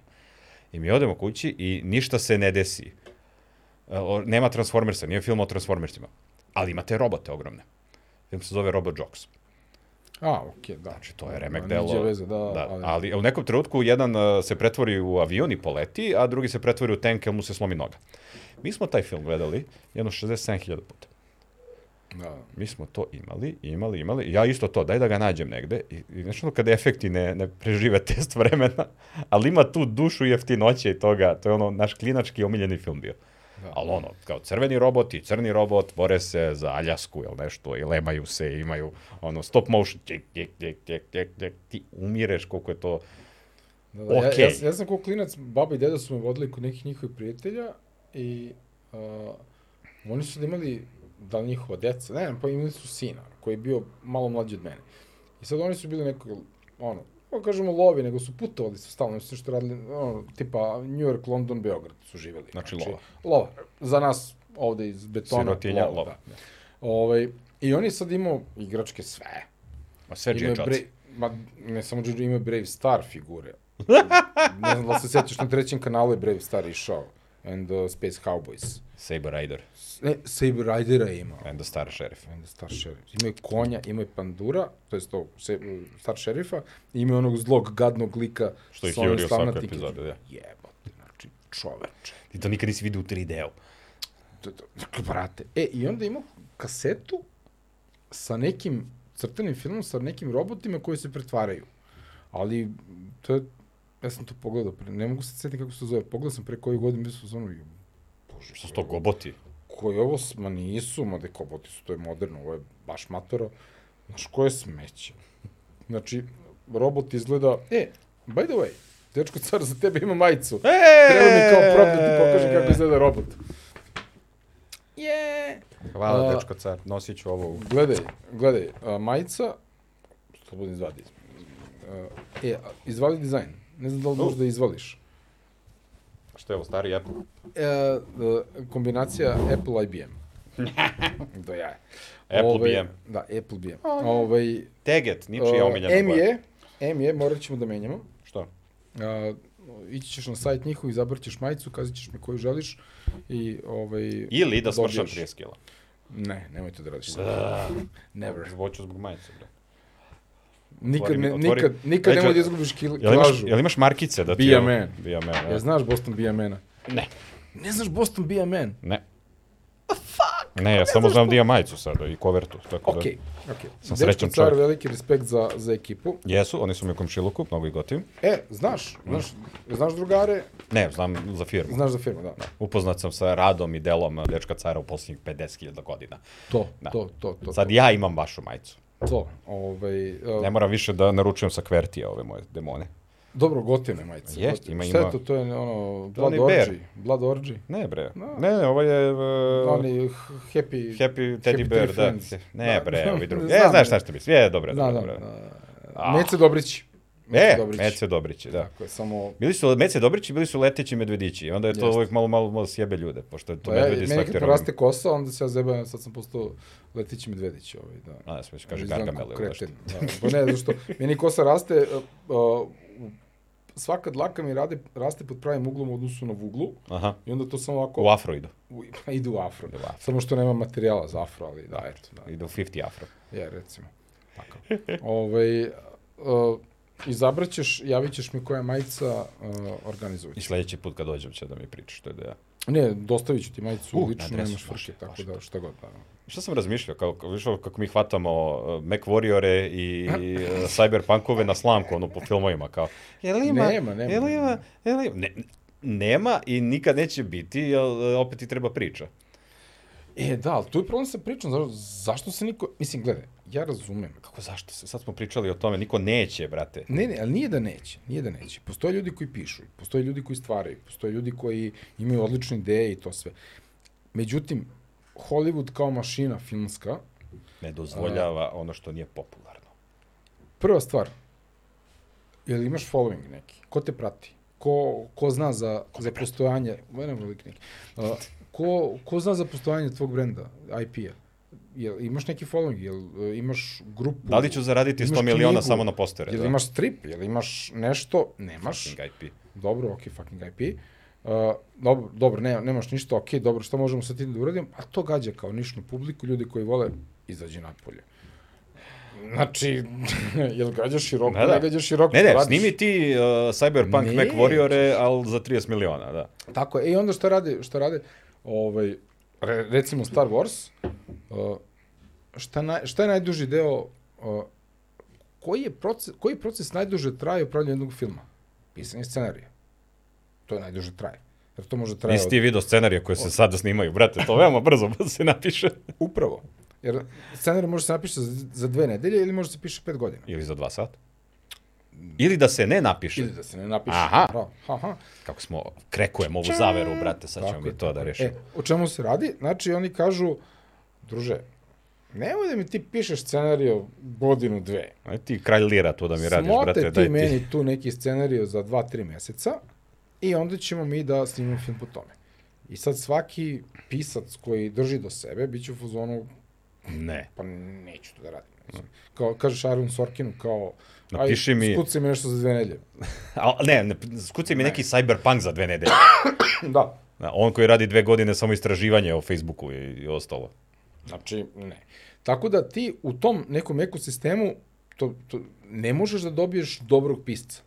S2: I mi odemo kući i ništa se ne desi. E, o- Nema Transformersa, nije film o Transformersima. Ali imate robote ogromne. Film se zove Robot Jocks.
S1: A, okej, okay, da.
S2: Znači, to je remek
S1: Ma,
S2: delo.
S1: niđe veze, da,
S2: da
S1: ali-
S2: ali... u nekom trenutku jedan uh, se pretvori u avion i poleti, a drugi se pretvori u tank jer mu se slomi noga. Mi smo taj film gledali jedno 67.000 puta.
S1: Da.
S2: Mi smo to imali, imali, imali. Ja isto to, daj da ga nađem negde. I, i znaš ono kada efekti ne, ne prežive test vremena, ali ima tu dušu i jeftinoće i toga. To je ono naš klinački omiljeni film bio.
S1: Da.
S2: Ali ono, kao crveni robot i crni robot bore se za Aljasku ili nešto i lemaju se i imaju ono stop motion, tjek, tjek, tjek, tjek, tjek, tjek, ti umireš koliko je to
S1: da, da. Ja,
S2: Okej.
S1: ja, ja, sam kao klinac, baba i deda su me vodili kod nekih njihovih prijatelja i uh, oni su da imali, da li njihova deca, ne, znam, pa imali su sina koji je bio malo mlađi od mene. I sad oni su bili neko, ono, kako kažemo lovi, nego su putovali su stalno, sve što radili, ono, tipa New York, London, Beograd su živeli.
S2: Znači, lova.
S1: Lova. Za nas ovde iz betona.
S2: Sirotinja,
S1: lov,
S2: lova.
S1: Da. Ovaj, I on je sad imao igračke sve.
S2: Ma sve
S1: Imao je
S2: džečac.
S1: Bra- Ma, ne samo Džedžu, ima Brave Star figure. ne znam da li se sjećaš, na trećem kanalu je Brave Star išao. And uh, Space Cowboys.
S2: Saber Rider
S1: S- Ne, Saber Ridera je imao.
S2: and the Star Sheriff.
S1: Onda Star Sheriff. Imaju konja, imaju pandura, to je to, se, Star Sherifa, i imaju onog zlog, gadnog lika.
S2: Što ih
S1: sa onim
S2: juri u svakoj
S1: slavnatim
S2: epizodi,
S1: kičmom.
S2: da.
S1: Jebote, znači, čoveče.
S2: Ti to nikad nisi vidio u 3D-u.
S1: To, to, dakle, brate. E, i onda imao kasetu sa nekim crtenim filmom, sa nekim robotima koji se pretvaraju. Ali, to je, ja sam to pogledao pre, ne mogu se sjetiti kako se to zove, pogledao sam pre koju godinu, mislim sam ono, ju, bože,
S2: Što su to goboti?
S1: koji ovo, s- ma nisu, ma de koboti su, to je moderno, ovo je baš matoro. Znaš, koje smeće? Znači, robot izgleda, e, by the way, dečko car za tebe ima majicu. Treba mi kao prop da ti pokažem kako izgleda robot.
S3: Je.
S1: A-
S2: Hvala, dečko car, nosit ću ovo u...
S1: Gledaj, gledaj, a, majica, slobodno izvadi. A, E, a, izvali dizajn. Ne znam da li možeš da izvališ.
S2: Što je ovo, stari Apple?
S1: E, a, kombinacija Apple IBM. Do jaja.
S2: Apple
S1: Ovaj,
S2: BM.
S1: Da, Apple BM. Ovaj,
S2: Teget, ničija
S1: Uh,
S2: omiljena
S1: M je, M je, morat ćemo da menjamo.
S2: Što?
S1: Uh, ići ćeš na sajt njihov, izabrat ćeš majicu, kazat ćeš mi koju želiš i ovaj...
S2: Ili da smršam
S1: dobiješ.
S2: 30 kila.
S1: Ne, nemoj to da radiš sad.
S2: Da.
S1: Never.
S2: Zvoću zbog majice, bre.
S1: Nikad,
S2: Otvori mi-
S1: ne,
S2: otvori-
S1: nikad, nikad
S2: Neđo,
S1: nemoj da izgubiš kil,
S2: Jel imaš,
S1: kilažu.
S2: jel imaš markice da ti...
S1: Be a
S2: ovo-
S1: man.
S2: Be a man,
S1: Jel
S2: ja.
S1: znaš Boston Be a Man-a?
S2: Ne.
S1: Ne znaš Boston Be a Man?
S2: Ne. Fuck! Ne, ja samo znam da imam majicu sada i kovertu, tako da...
S1: Okej, okej.
S2: Sam
S1: Dečko
S2: srećan
S1: car,
S2: čovjek.
S1: veliki respekt za, za ekipu.
S2: Jesu, oni su mi u komšiluku, mnogo i gotivim.
S1: E, znaš,
S2: Mm.
S1: znaš, znaš drugare,
S2: Ne, znam za firmu.
S1: znaš za firmu, da.
S2: Upoznat sam sa radom i delom Dečka cara u posljednjih 50.000 godina.
S1: To,
S2: Da.
S1: to, to, to,
S2: Sad ja imam vašu majicu.
S1: to. Ovaj, uh,
S2: Ne moram više da naručujem sa kvertija ove moje demone.
S1: Dobro, gotivne majice.
S2: Jest,
S1: gotivne.
S2: ima-
S1: Šta je
S2: ima-
S1: to, to je ono, Blood
S2: onaj
S1: Orgy.
S2: bear.
S1: Blood Orgy.
S2: Ne bre,
S1: No.
S2: ne, ne, ovo je...
S1: Uh,
S2: Uh,
S1: Oni h- happy...
S2: Happy Teddy
S1: Happy Tree
S2: Bear, da.
S1: Friends.
S2: Ne
S1: Da.
S2: bre, ovi drugi.
S1: Znam,
S2: E, znaš
S1: da.
S2: šta što mislim, je, dobro,
S1: Da, da.
S2: dobro. dobro.
S1: da.
S2: Ah.
S1: Mece Dobrić.
S2: E,
S1: Dobrić.
S2: Mece Dobrići, da.
S1: Tako je, samo...
S2: Bili su Mece Dobrići, bili su leteći medvedići. i Onda je to
S1: Jeste.
S2: uvijek malo, malo, malo sjebe ljude, pošto je to
S1: Da, ja,
S2: medvedi
S1: meni kad
S2: slektirom.
S1: poraste kosa, onda se ja zebam, sad sam postao Letić Medvedić. Ovaj, da.
S2: A, ja sam već kaže
S1: Izgledam
S2: Gargamel.
S1: ko
S2: ili nešto.
S1: kreten, Da, pa ne, zašto, meni kosa raste, uh, uh, u- svaka dlaka mi rade, raste pod pravim uglom u odnosu na vuglu,
S2: Aha,
S1: i onda to samo ovako
S2: u afro idu.
S1: u, ide u afro.
S2: Ide u afro.
S1: Samo što nema materijala za afro, ali da, eto. Da.
S2: Idu u 50 afro.
S1: Ja, recimo. Tako. Ovaj, uh, izabraćeš, javit ćeš mi koja je majica, uh, organizujući.
S2: I sledeći put kad dođem će da mi pričaš, to je da ja.
S1: Ne, dostavit ću ti majicu,
S2: U,
S1: uh,
S2: na
S1: lično
S2: adresu,
S1: nemaš
S2: može,
S1: frke, tako
S2: može,
S1: da šta god. Da.
S2: Šta sam razmišljao, kao, kao, viš, ovo kako mi hvatamo uh, Mac Warriore i uh, Cyberpunkove na slamku, ono, po filmovima, kao. Jel
S1: ima- Nema, nema, jel ima- nema.
S2: jel ima, ne, nema i nikad neće biti, jer uh, opet ti treba priča.
S1: E, da, ali tu je problem sa pričom, zašto, zašto se niko... Mislim, gledaj, ja razumem.
S2: Kako, zašto se? Sad smo pričali o tome, niko neće, brate.
S1: Ne, ne, ali nije da neće, nije da neće. Postoje ljudi koji pišu, postoje ljudi koji stvaraju, postoje ljudi koji imaju odlične ideje i to sve. Međutim, Hollywood kao mašina filmska,
S2: Ne dozvoljava ono što nije popularno.
S1: Prva stvar, jel imaš following neki? Ko te prati? Ko, ko zna za, za postojanje, ma ne velik neki, uh, ko, ko zna za postojanje tvog brenda, IP-a? Jel imaš neki following, jel uh, imaš grupu?
S2: Da li ću zaraditi
S1: imaš
S2: 100 miliona
S1: knjigu,
S2: samo na postere?
S1: Jel
S2: da?
S1: imaš strip, jel imaš nešto, nemaš,
S2: Fucking IP.
S1: dobro, ok, fucking IP, Uh, dobro, dobro ne, nemaš ništa, ok, dobro, šta možemo sa tim da uradimo, a to gađa kao nišnu publiku, ljudi koji vole, izađi napolje. Znači, jel gađaš široko,
S2: Da,
S1: ne,
S2: da.
S1: da. ne gađaš široko,
S2: Ne, ne,
S1: radiš.
S2: snimi ti uh, Cyberpunk
S1: Nećeš.
S2: Mac Warriore, ali za 30 miliona, da.
S1: Tako je, E, i onda šta rade, šta rade, ovaj, re, recimo Star Wars, uh, šta, naj, šta je najduži deo, uh, koji, je proces, koji proces najduže traje u pravljenju jednog filma? Pisanje scenarija. To je najduže traje. Jer to može traje
S2: Nisi ti video scenarije koje se sada snimaju, brate, to veoma brzo se napiše.
S1: Upravo. Jer scenarij može se napiše za, za dve nedelje ili može se piše pet godina.
S2: Ili za dva sata. Ili da se ne napiše.
S1: Ili da se ne napiše.
S2: Aha.
S1: Bravo. Aha.
S2: Kako smo, krekujemo ovu zaveru, brate, sad ćemo
S1: Tako je,
S2: mi to da
S1: E,
S2: rešimo.
S1: o čemu se radi? Znači, oni kažu, druže, Nemoj da mi ti pišeš scenariju godinu, dve.
S2: Aj ti kralj lira to da mi radiš,
S1: Smote
S2: brate.
S1: ti
S2: daj
S1: meni tu neki scenariju za dva, tri meseca i onda ćemo mi da snimimo film po tome. I sad svaki pisac koji drži do sebe bit će u fazonu,
S2: Ne.
S1: pa neću to da radim. Mislim, Kao, kažeš Aaron Sorkinu, kao,
S2: Napiši mi-
S1: skuci mi nešto za dve nedelje.
S2: A, ne, ne, skuci mi neki cyberpunk za dve nedelje.
S1: da,
S2: Na, On koji radi dve godine samo istraživanje o Facebooku i, i ostalo.
S1: Znači, ne. Tako da ti u tom nekom ekosistemu to, to, ne možeš da dobiješ dobrog pisca.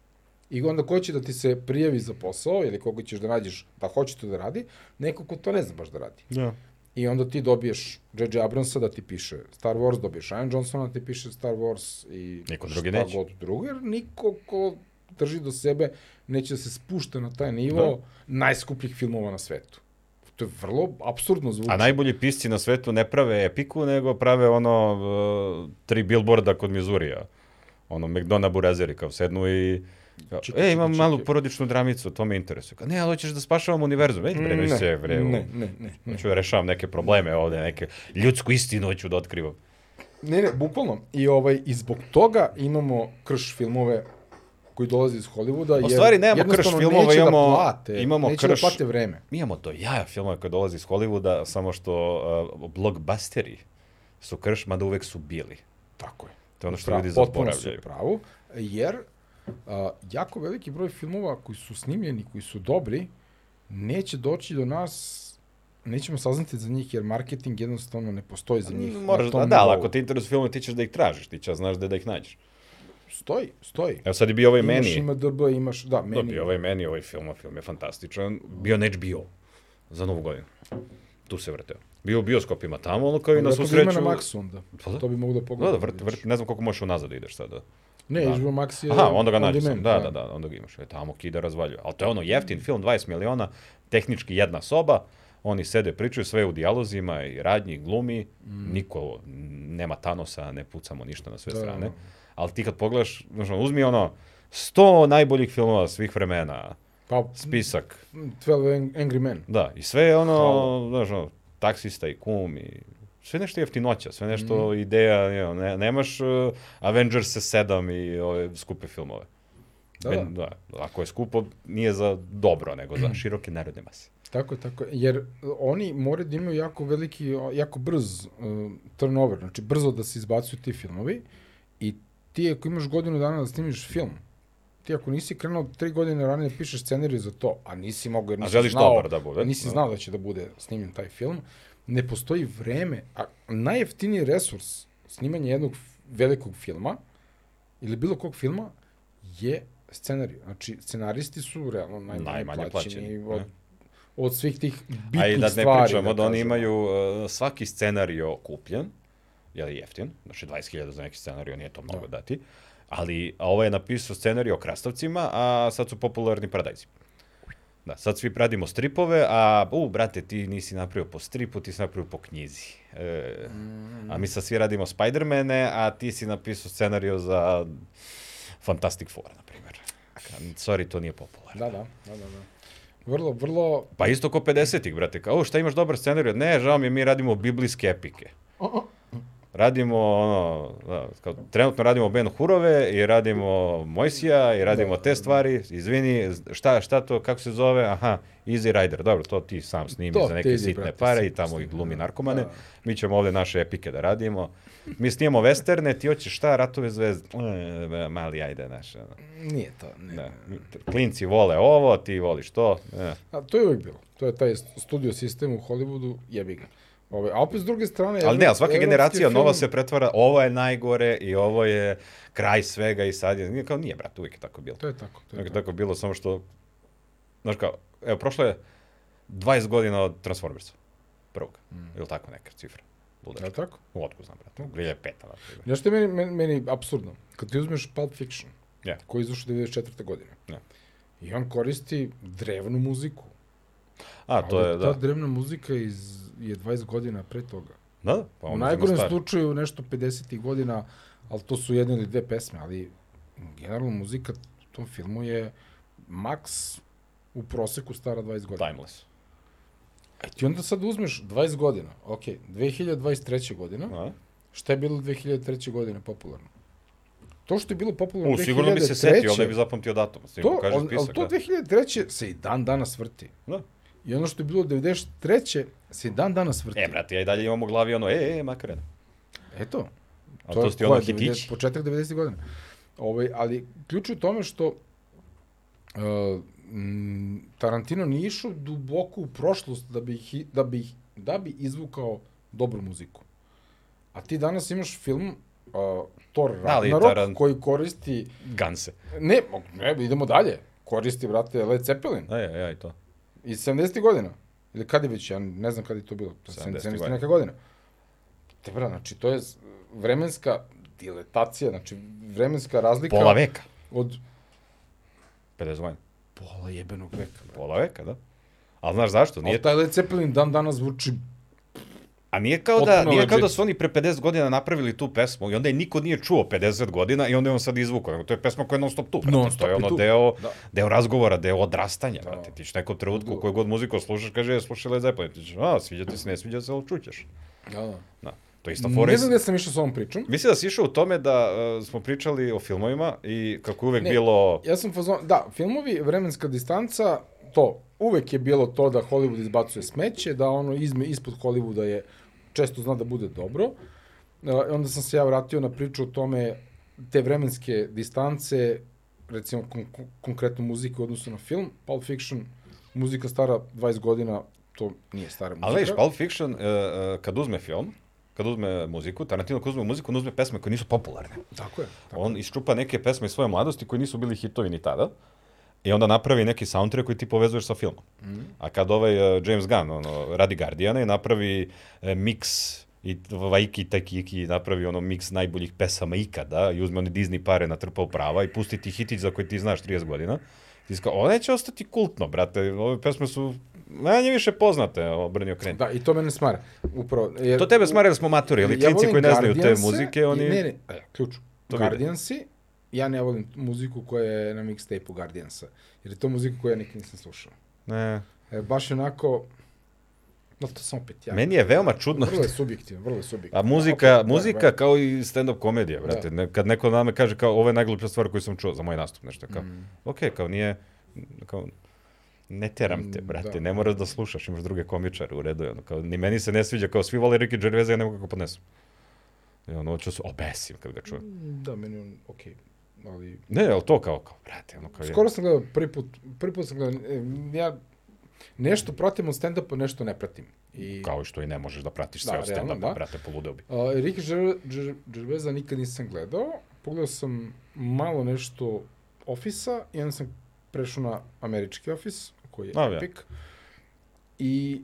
S1: I onda ko će da ti se prijavi za posao ili koga ćeš da nađeš da hoće to da radi, neko ko to ne zna baš da radi.
S2: Da.
S1: I onda ti dobiješ J.J. Abramsa da ti piše Star Wars, dobiješ Ryan Johnsona da ti piše Star Wars i
S2: Niko drugi
S1: šta
S2: neće.
S1: god drugo, jer niko ko drži do sebe neće da se spušta na taj nivo da. najskupljih filmova na svetu. To je vrlo absurdno zvuči.
S2: A najbolji pisci na svetu ne prave epiku, nego prave ono uh, tri billboarda kod Mizurija. Ono, McDona Burazeri, kao sednu i... Kao,
S1: Čekaj,
S2: e,
S1: čekaj,
S2: imam malu
S1: čekaj."
S2: porodičnu dramicu, to me interesuje. Kao, ne, ali hoćeš da spašavam univerzum. Ej, bre,
S1: ne,
S2: se, bre, u-
S1: ne, ne, ne, ne.
S2: Hoću da rešavam neke probleme ovde, neke ljudsku istinu hoću da otkrivam.
S1: Ne, ne, bukvalno. I, ovaj, i zbog toga imamo krš filmove koji dolaze iz Hollywooda. jer
S2: stvari nemamo krš
S1: jednostavno
S2: filmova,
S1: neće
S2: imamo-
S1: Da plate,
S2: imamo
S1: neće
S2: krš-
S1: da plate vreme.
S2: Mi imamo do jaja filmove koje dolaze iz Hollywooda, samo što uh, blockbusteri su krš, mada uvek su bili.
S1: Tako je.
S2: To je ono što
S1: Pra-
S2: ljudi
S1: Da, potpuno su u
S2: zaboravljaju.
S1: pravu, jer a, jako veliki broj filmova koji su snimljeni, koji su dobri, neće doći do nas nećemo saznati za njih jer marketing jednostavno ne postoji za njih. na
S2: Moraš da,
S1: tom
S2: da, ali
S1: nivou.
S2: ako te interesuju filmove, ti ćeš da ih tražiš, ti ćeš znaš da, da ih nađeš.
S1: Stoji, stoji.
S2: Evo sad je bio ovaj
S1: Imaš
S2: meni.
S1: ima DB, imaš, da, meni.
S2: Dobio ovaj meni, ovaj film, a film je fantastičan. Bio na HBO za novu godinu. Tu se vrteo. Bio u bioskopima tamo, ono kao i na
S1: Vjerojatno
S2: svu
S1: ga ima
S2: sreću.
S1: na Maxu onda.
S2: Pa da.
S1: To bi mogu da
S2: Da,
S1: pogledam.
S2: da, vrti, vrti, ne znam koliko možeš unazad da ideš sada.
S1: Ne, da. HBO Max je...
S2: Aha, onda ga
S1: on
S2: nađeš.
S1: demand,
S2: Da, da, da, onda ga imaš. E, tamo kida razvaljuje. Ali to je ono jeftin film, 20 miliona, tehnički jedna soba, oni sede, pričaju sve je u dijalozima i radnji, glumi, niko nema Thanosa, ne pucamo ništa na sve
S1: Mm. Da,
S2: strane.
S1: da.
S2: Ali ti kad pogledaš, znaš, ono, uzmi ono 100 najboljih filmova svih vremena,
S1: Pa,
S2: spisak,
S1: 12 Ang- Angry Men.
S2: da, i sve je ono,
S1: Hvala.
S2: znaš, ono, taksista i kum i sve nešto jeftinoća, sve nešto
S1: Mhm.
S2: ideja, you know, ne, nemaš uh, Avengers 7 i ove skupe filmove.
S1: Da,
S2: Ben-
S1: da. Mhm.
S2: da. Ako je skupo, nije za dobro, nego za široke narodne mase.
S1: Tako je, tako je. Jer e, oni moraju da imaju jako veliki, o, jako brz uh, turnover. Znači, brzo da se izbacuju ti filmovi. I ti ako imaš godinu dana da snimiš film, ti ako nisi krenuo tri godine ranije da pišeš scenarij za to, a nisi mogao jer
S2: A
S1: nisi
S2: želiš
S1: znao,
S2: dobar da bude,
S1: nisi
S2: da.
S1: znao da će da bude snimljen taj film, ne postoji vreme, a najjeftiniji resurs snimanja jednog f- velikog filma ili bilo kog filma je scenarij. Znači, scenaristi su realno najmanje,
S2: Najmanje
S1: najmanje plaćeni,
S2: plaćeni,
S1: od,
S2: ne?
S1: od svih tih bitnih
S2: A i da ne
S1: stvari.
S2: pričamo da, oni
S1: kažemo.
S2: imaju uh, svaki scenario kupljen, je li jeftin, znači 20.000 za neki scenario nije to
S1: Da.
S2: mnogo dati, ali a ovaj je napisao scenario o krastavcima, a sad su popularni paradajzi. Da, sad svi radimo stripove, a u, brate, ti nisi napravio po stripu, ti si napravio po knjizi. E, a mi sad svi radimo Spider-Mane, a ti si napisao scenario za Fantastic Four, na primjer. Sorry, to nije popularno.
S1: Da, da, da, da. da. Vrlo, vrlo...
S2: Pa isto ko 50-ih, brate. Kao, "O, šta imaš dobar scenarij? Ne, žao mi je, mi radimo biblijske epike. Radimo, ono, da, kao, trenutno radimo Ben Hurove i radimo Mojsija i radimo
S1: Da,
S2: te stvari. Izvini, šta, šta to, kako se zove? Aha, Easy Rider. Dobro, to ti sam snimi
S1: To
S2: za
S1: ti
S2: neke
S1: idi,
S2: sitne
S1: brate,
S2: pare i
S1: sitno
S2: tamo
S1: snimi,
S2: ih glumi
S1: da.
S2: narkomane.
S1: Da.
S2: Mi ćemo ovde naše epike da radimo. Mi snimamo westerne, ti hoćeš šta, ratove zvezde. E, mali, ajde, naš. Ono.
S1: Nije to, ne.
S2: Da. Klinci vole ovo, ti voliš to. E.
S1: A, to je uvijek bilo. To je taj studio sistem u Hollywoodu, jebi ga. Ove, a opet s druge strane...
S2: Ali ne, ali svaka
S1: E, evropski
S2: generacija
S1: film-
S2: nova se pretvara, ovo je najgore i ovo je kraj svega i sad je, nije kao nije, brate, uvijek je tako bilo.
S1: To je tako, to da. je
S2: Uvijek je
S1: tako.
S2: tako bilo, samo što, znaš kao, evo, prošlo je 20 godina od Transformersa, prvog,
S1: Mm.
S2: ili tako neka cifra,
S1: Je li
S2: ludačka,
S1: tako?
S2: u otku znam, brate, 2005. na primjer.
S1: Znaš što je meni, meni, meni apsurdno? Kad ti uzmeš Pulp Fiction,
S2: Ja.
S1: koji je izašao 94. godine,
S2: Ja.
S1: i on koristi drevnu muziku.
S2: A, to je, da,
S1: Ta drevna muzika iz, je 20 godina pre toga.
S2: da, da, pa
S1: Pa u
S2: onda smo
S1: najgorem
S2: stari.
S1: slučaju nešto 50. godina, ali to su jedne ili dve pesme, ali generalno muzika u tom filmu je maks u proseku stara 20 godina.
S2: Timeless.
S1: E ti onda sad uzmeš 20 godina, ok, 2023. godina,
S2: A?
S1: Šta je bilo 2003. godine popularno? To što je bilo popularno
S2: U,
S1: 2003.
S2: sigurno bi se setio, ali ne bi zapamtio datum.
S1: To,
S2: Sigurno, kaže
S1: ali, ali
S2: spisak,
S1: to
S2: da.
S1: 2003. se i dan danas vrti.
S2: da.
S1: I ono što je bilo 93. se i dan danas vrti.
S2: E, brate, ja i dalje imam u glavi ono, e, e, makarena.
S1: Eto.
S2: A to,
S1: je
S2: su ti ono
S1: koje, 90
S2: hitići.
S1: Početak 90. godina. Ovaj, ali ključ je u tome što uh, m, Tarantino nije išao duboko u prošlost da bi, hi- da bi, da bi izvukao dobru muziku. A ti danas imaš film uh, Thor
S2: Da, ali
S1: Ragnarok
S2: Taran-
S1: koji koristi...
S2: Ganse.
S1: Ne, mo- ne, idemo dalje. Koristi, brate, Led Zeppelin
S2: Aj, aj, aj, E, to.
S1: iz 70. godina. Ili kad je već, ja ne znam kad je to bilo. To je
S2: 70-ih
S1: 70.
S2: godina.
S1: neka godina. Te bra, znači, to je s- vremenska diletacija, znači vremenska razlika
S2: Pola veka.
S1: od
S2: 50 godina.
S1: pola jebenog veka. da, Bra.
S2: Pola veka, da. Ali znaš zašto? Nije
S1: Nije... taj Led Zeppelin dan danas zvuči
S2: A nije kao da,
S1: Potpuno
S2: nije kao da
S1: legit.
S2: su oni pre 50 godina napravili tu pesmu i onda je niko nije čuo 50 godina i onda je on sad izvukao. Nego To je pesma koja je non stop tu. Brate.
S1: Non
S2: to
S1: stop
S2: je
S1: je
S2: ono
S1: tu.
S2: deo,
S1: Da.
S2: deo razgovora, deo odrastanja.
S1: Da.
S2: Brate. Ti ćeš nekom trenutku
S1: Odgovor.
S2: koju god muziku slušaš, kaže, "E, slušaj Led Zeppelin. Ti ćeš, a, sviđa ti se, ne sviđa se, ali čućeš.
S1: Da, da.
S2: Da. To je isto
S1: Ne
S2: fora.
S1: znam gde sam išao s ovom pričom.
S2: Mislim da si išao u tome da uh, smo pričali o filmovima i kako je uvek
S1: Ne.
S2: bilo...
S1: Ja sam fazon, da, filmovi, vremenska distanca, to, uvek je bilo to da Hollywood izbacuje smeće, da ono izme, ispod Hollywooda je, često zna da bude dobro. E, onda sam se ja vratio na priču o tome te vremenske distance, recimo kon kon- konkretno muzike u odnosu na film, Pulp Fiction, muzika stara 20 godina, to nije stara muzika.
S2: Ali vidiš, Pulp Fiction, uh, uh, kad uzme film, kad uzme muziku, Tarantino kad uzme muziku, on uzme pesme koje nisu popularne.
S1: Tako je. Tako.
S2: On iščupa neke pesme iz svoje mladosti koje nisu bili hitovi ni tada. I onda napravi neki soundtrack koji ti povezuješ sa filmom. Mm. A kad ovaj uh, James Gunn ono, radi Guardiana i napravi uh, mix i Vajki Takiki napravi ono mix najboljih pesama ikada i uzme one Disney pare na trpao prava i pusti ti hitić za koji ti znaš 30 godina. Ti si kao, ovo neće ostati kultno, brate. Ove pesme su manje više poznate, obrnio kreni.
S1: Da, i to mene smara. Upravo. Jer,
S2: To tebe smara jer smo matori, ali klinci
S1: volim
S2: koji ne znaju te
S1: Guardianse i-
S2: muzike, oni...
S1: Ne, ne, e, ključ.
S2: To vide.
S1: Guardiansi, ja ne volim tu muziku koja je na mixtape-u Guardiansa, jer je to muzika koju ja nikad nisam slušao.
S2: ne.
S1: E, baš je onako, no to sam opet ja.
S2: Meni je veoma čudno
S1: Vrlo je subjektivno, vrlo je subjektivno.
S2: A muzika,
S1: Opet, da,
S2: muzika
S1: da.
S2: kao i stand-up komedija, brate. Ne, kad neko nama kaže kao ovo je najgluplja stvar koju sam čuo za moj nastup, nešto kao. Mm. Okej, kao nije kao ne teram te,
S1: Mm,
S2: brate,
S1: da.
S2: ne moraš da slušaš, imaš druge komičare, u redu je, ono, kao, ni meni se ne sviđa, kao svi vole Ricky Gervaisa, ja ne mogu kako podnesem. I ono, hoću da se obesim kad ga čujem.
S1: Da, meni je on, okej, ali...
S2: Ne, ali to kao, kao, brate, ono, kao,
S1: Skoro sam gledao prvi put, prvi put sam gledao, e, ja nešto pratim od stand-upa, nešto ne pratim. I...
S2: je, kao što i ne možeš da pratiš
S1: Da,
S2: sve od
S1: realno,
S2: stand-upa,
S1: da.
S2: brate, poludeo bi.
S1: Uh, Ricky Gerv- Gerv- Gervaisa nikad nisam gledao. Pogledao sam malo nešto Office-a i onda sam prešao na američki Office, koji je
S2: A, ja.
S1: epic. I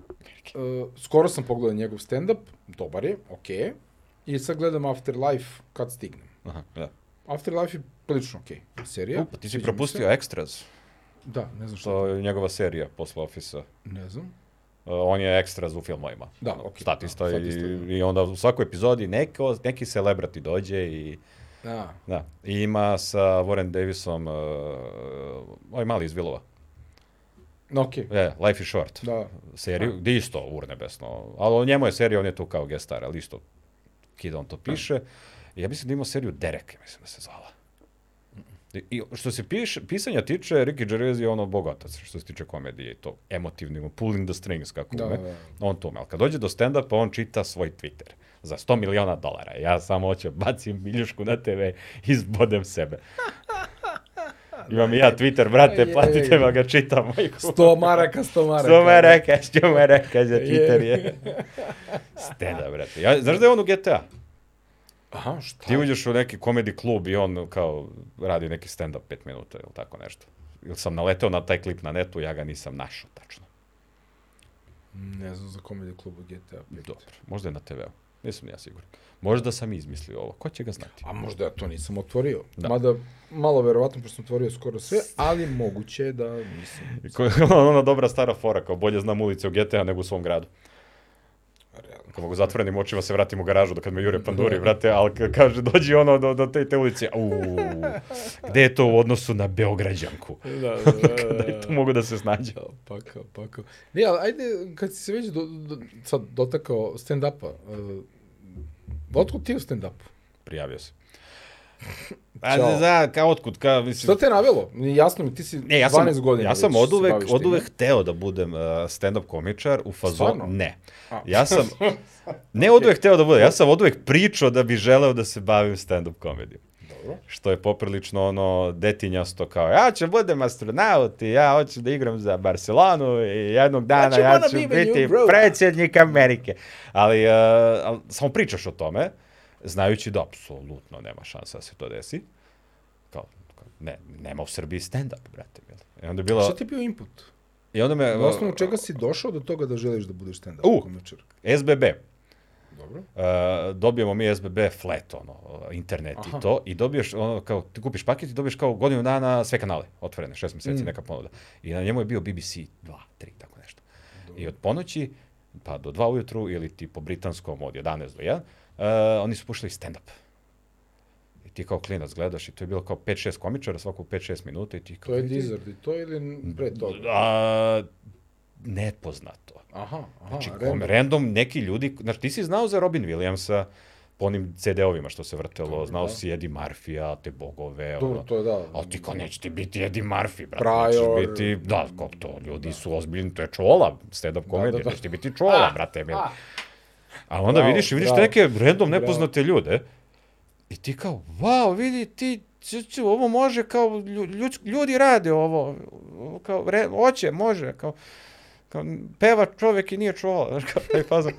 S1: uh, skoro sam pogledao njegov stand-up, dobar je, okej. Okay. I sad gledam Afterlife kad stignem.
S2: Aha, da.
S1: Afterlife je prilično okej okay. serija.
S2: Upa, pa ti si
S1: sviđa mi
S2: propustio
S1: se.
S2: Extras,
S1: Da, ne znam što.
S2: što je njegova serija posle Office-a.
S1: Ne znam.
S2: Uh, on je ekstra u filmovima.
S1: Da,
S2: Ono,
S1: okej,
S2: Statista,
S1: da,
S2: i,
S1: statista, da.
S2: i onda u svakoj epizodi neko, neki celebrity dođe i,
S1: Da.
S2: da, i ima sa Warren Davisom, uh, ovaj mali iz Vilova,
S1: No, Da, okej. Okay.
S2: e, Life is Short,
S1: Da.
S2: seriju, gde isto urnebesno, ali o njemu je serija, on je tu kao gestar, ali isto kida on
S1: Da.
S2: to piše. Ja mislim da ima seriju Derek, mislim da se zvala. I- I što se piš, pisanja tiče, Ricky Gervais je ono bogatac, što se tiče komedije i to emotivnim, pulling the strings, kako
S1: Da,
S2: ume
S1: da, da.
S2: on to ume. Ali kad dođe do stand-upa, on čita svoj Twitter za 100 miliona dolara. Ja samo hoću da bacim biljušku na TV i izbodem sebe. Imam i ja Twitter, brate,
S1: Ajde,
S2: platite
S1: ajde.
S2: me, ga čitam.
S1: Sto maraka, sto maraka.
S2: Što me reka, što me reka za
S1: da, Je.
S2: Twitter je. Steda, brate. Ja, znaš da je on u GTA?
S1: Aha, šta?
S2: Ti uđeš u neki komedi klub i on kao radi neki stand-up 5 minuta ili tako nešto. Ili sam naleteo na taj klip na netu, ja ga nisam našao tačno.
S1: Ne znam za komedi klubu GTA 5.
S2: Dobro, možda je na TV-u. Nisam ja siguran. Možda sam izmislio ovo, ko će ga znati?
S1: A možda ja to nisam otvorio.
S2: Da.
S1: Da. Mada, malo verovatno, pošto sam otvorio skoro sve, ali moguće je da nisam.
S2: I ko- Ona dobra stara fora, kao bolje znam ulice u GTA nego u svom gradu.
S1: Realno.
S2: Ako mogu zatvorenim očima se vratim u garažu dok kad me Jure panduri, vrate, ali ka- kaže dođi ono do, do te, te ulice, uuu, gde je to u odnosu na Beograđanku?
S1: Da,
S2: Kada je to mogu da se snađe?
S1: Pa kao, pa kao. Ne, ali ajde, kad si se već do, do, sad dotakao stand-upa, uh, Otkud ti u stand-upu?
S2: Prijavio se.
S3: A
S1: Ćao.
S3: da, da, kao otkud, kao, mislim...
S1: Šta te je navelo? Jasno mi, ti si
S2: Ne, E, ja sam,
S1: 12 godina.
S2: ja sam
S1: već
S2: od
S1: se
S2: uvek,
S1: baviš
S2: od
S1: time.
S2: uvek hteo da budem uh, stand-up komičar u fazonu.
S1: Stvarno?
S2: Ne.
S1: A.
S2: Ja sam, ne od uvek hteo da budem, ja sam od uvek pričao da bi želeo da se bavim stand-up komedijom.
S1: Dobro.
S2: Što je poprilično ono detinjasto kao, ja ću budem astronaut i ja hoću da igram za Barcelonu i jednog dana
S1: ću da
S2: ja
S1: wanna
S2: ću
S1: be with you,
S2: biti
S1: bro."
S2: predsjednik Amerike. Ali, uh, ali samo pričaš o tome, znajući da apsolutno nema šansa da se to desi. Kao, kao, ne, nema u Srbiji stand-up, brate. jel? I onda je bilo...
S1: Šta ti je bio input?
S2: I onda me...
S1: Na osnovu čega si došao do toga da želiš da budeš stand-up
S2: U.
S1: komičar?
S2: SBB.
S1: Dobro.
S2: Uh, dobijemo mi SBB flat, ono, uh, internet Aha.
S1: Aha.
S2: i to, i dobiješ, ono, kao, ti kupiš paket i dobiješ kao godinu dana sve kanale otvorene, šest meseci mm. neka ponuda. I na njemu je bio BBC 2, 3, tako nešto. I od ponoći, pa do 2 ujutru, ili ti po britanskom od 11 do 1, uh, oni su puštali stand-up. I ti kao klinac gledaš i to je bilo kao 5-6 komičara, svako 5-6 minuta i ti kao...
S1: To je
S2: vidi,
S1: Dizard i to ili pre toga?
S2: A, nepoznato.
S1: Aha, aha.
S2: Znači,
S1: random.
S2: random. random neki ljudi, znači ti si znao za Robin Williamsa po onim CD-ovima što se vrtelo,
S1: Dobro,
S2: znao
S1: da.
S2: si Eddie Murphy-a, te bogove,
S1: Dobro,
S2: ono.
S1: to je da.
S2: Ali ti kao neće ti biti Eddie Murphy, brate,
S1: Prior.
S2: nećeš biti, da, kao to, ljudi da. su ozbiljni, to je čola, stand-up komedija,
S1: da.
S2: da, da,
S1: ah.
S2: da. neće ti biti čola, brate, mil. A onda
S1: Bravo,
S2: vidiš, vidiš te
S1: bravo.
S2: neke random
S1: Bravo.
S2: nepoznate ljude i ti kao, wow, vidi ti, ću, ću, ovo može kao, lju- ljud, ljudi rade ovo, ovo kao, re, oće, može, kao, kao, peva čovek i nije čuvala, znaš, kao taj fazon.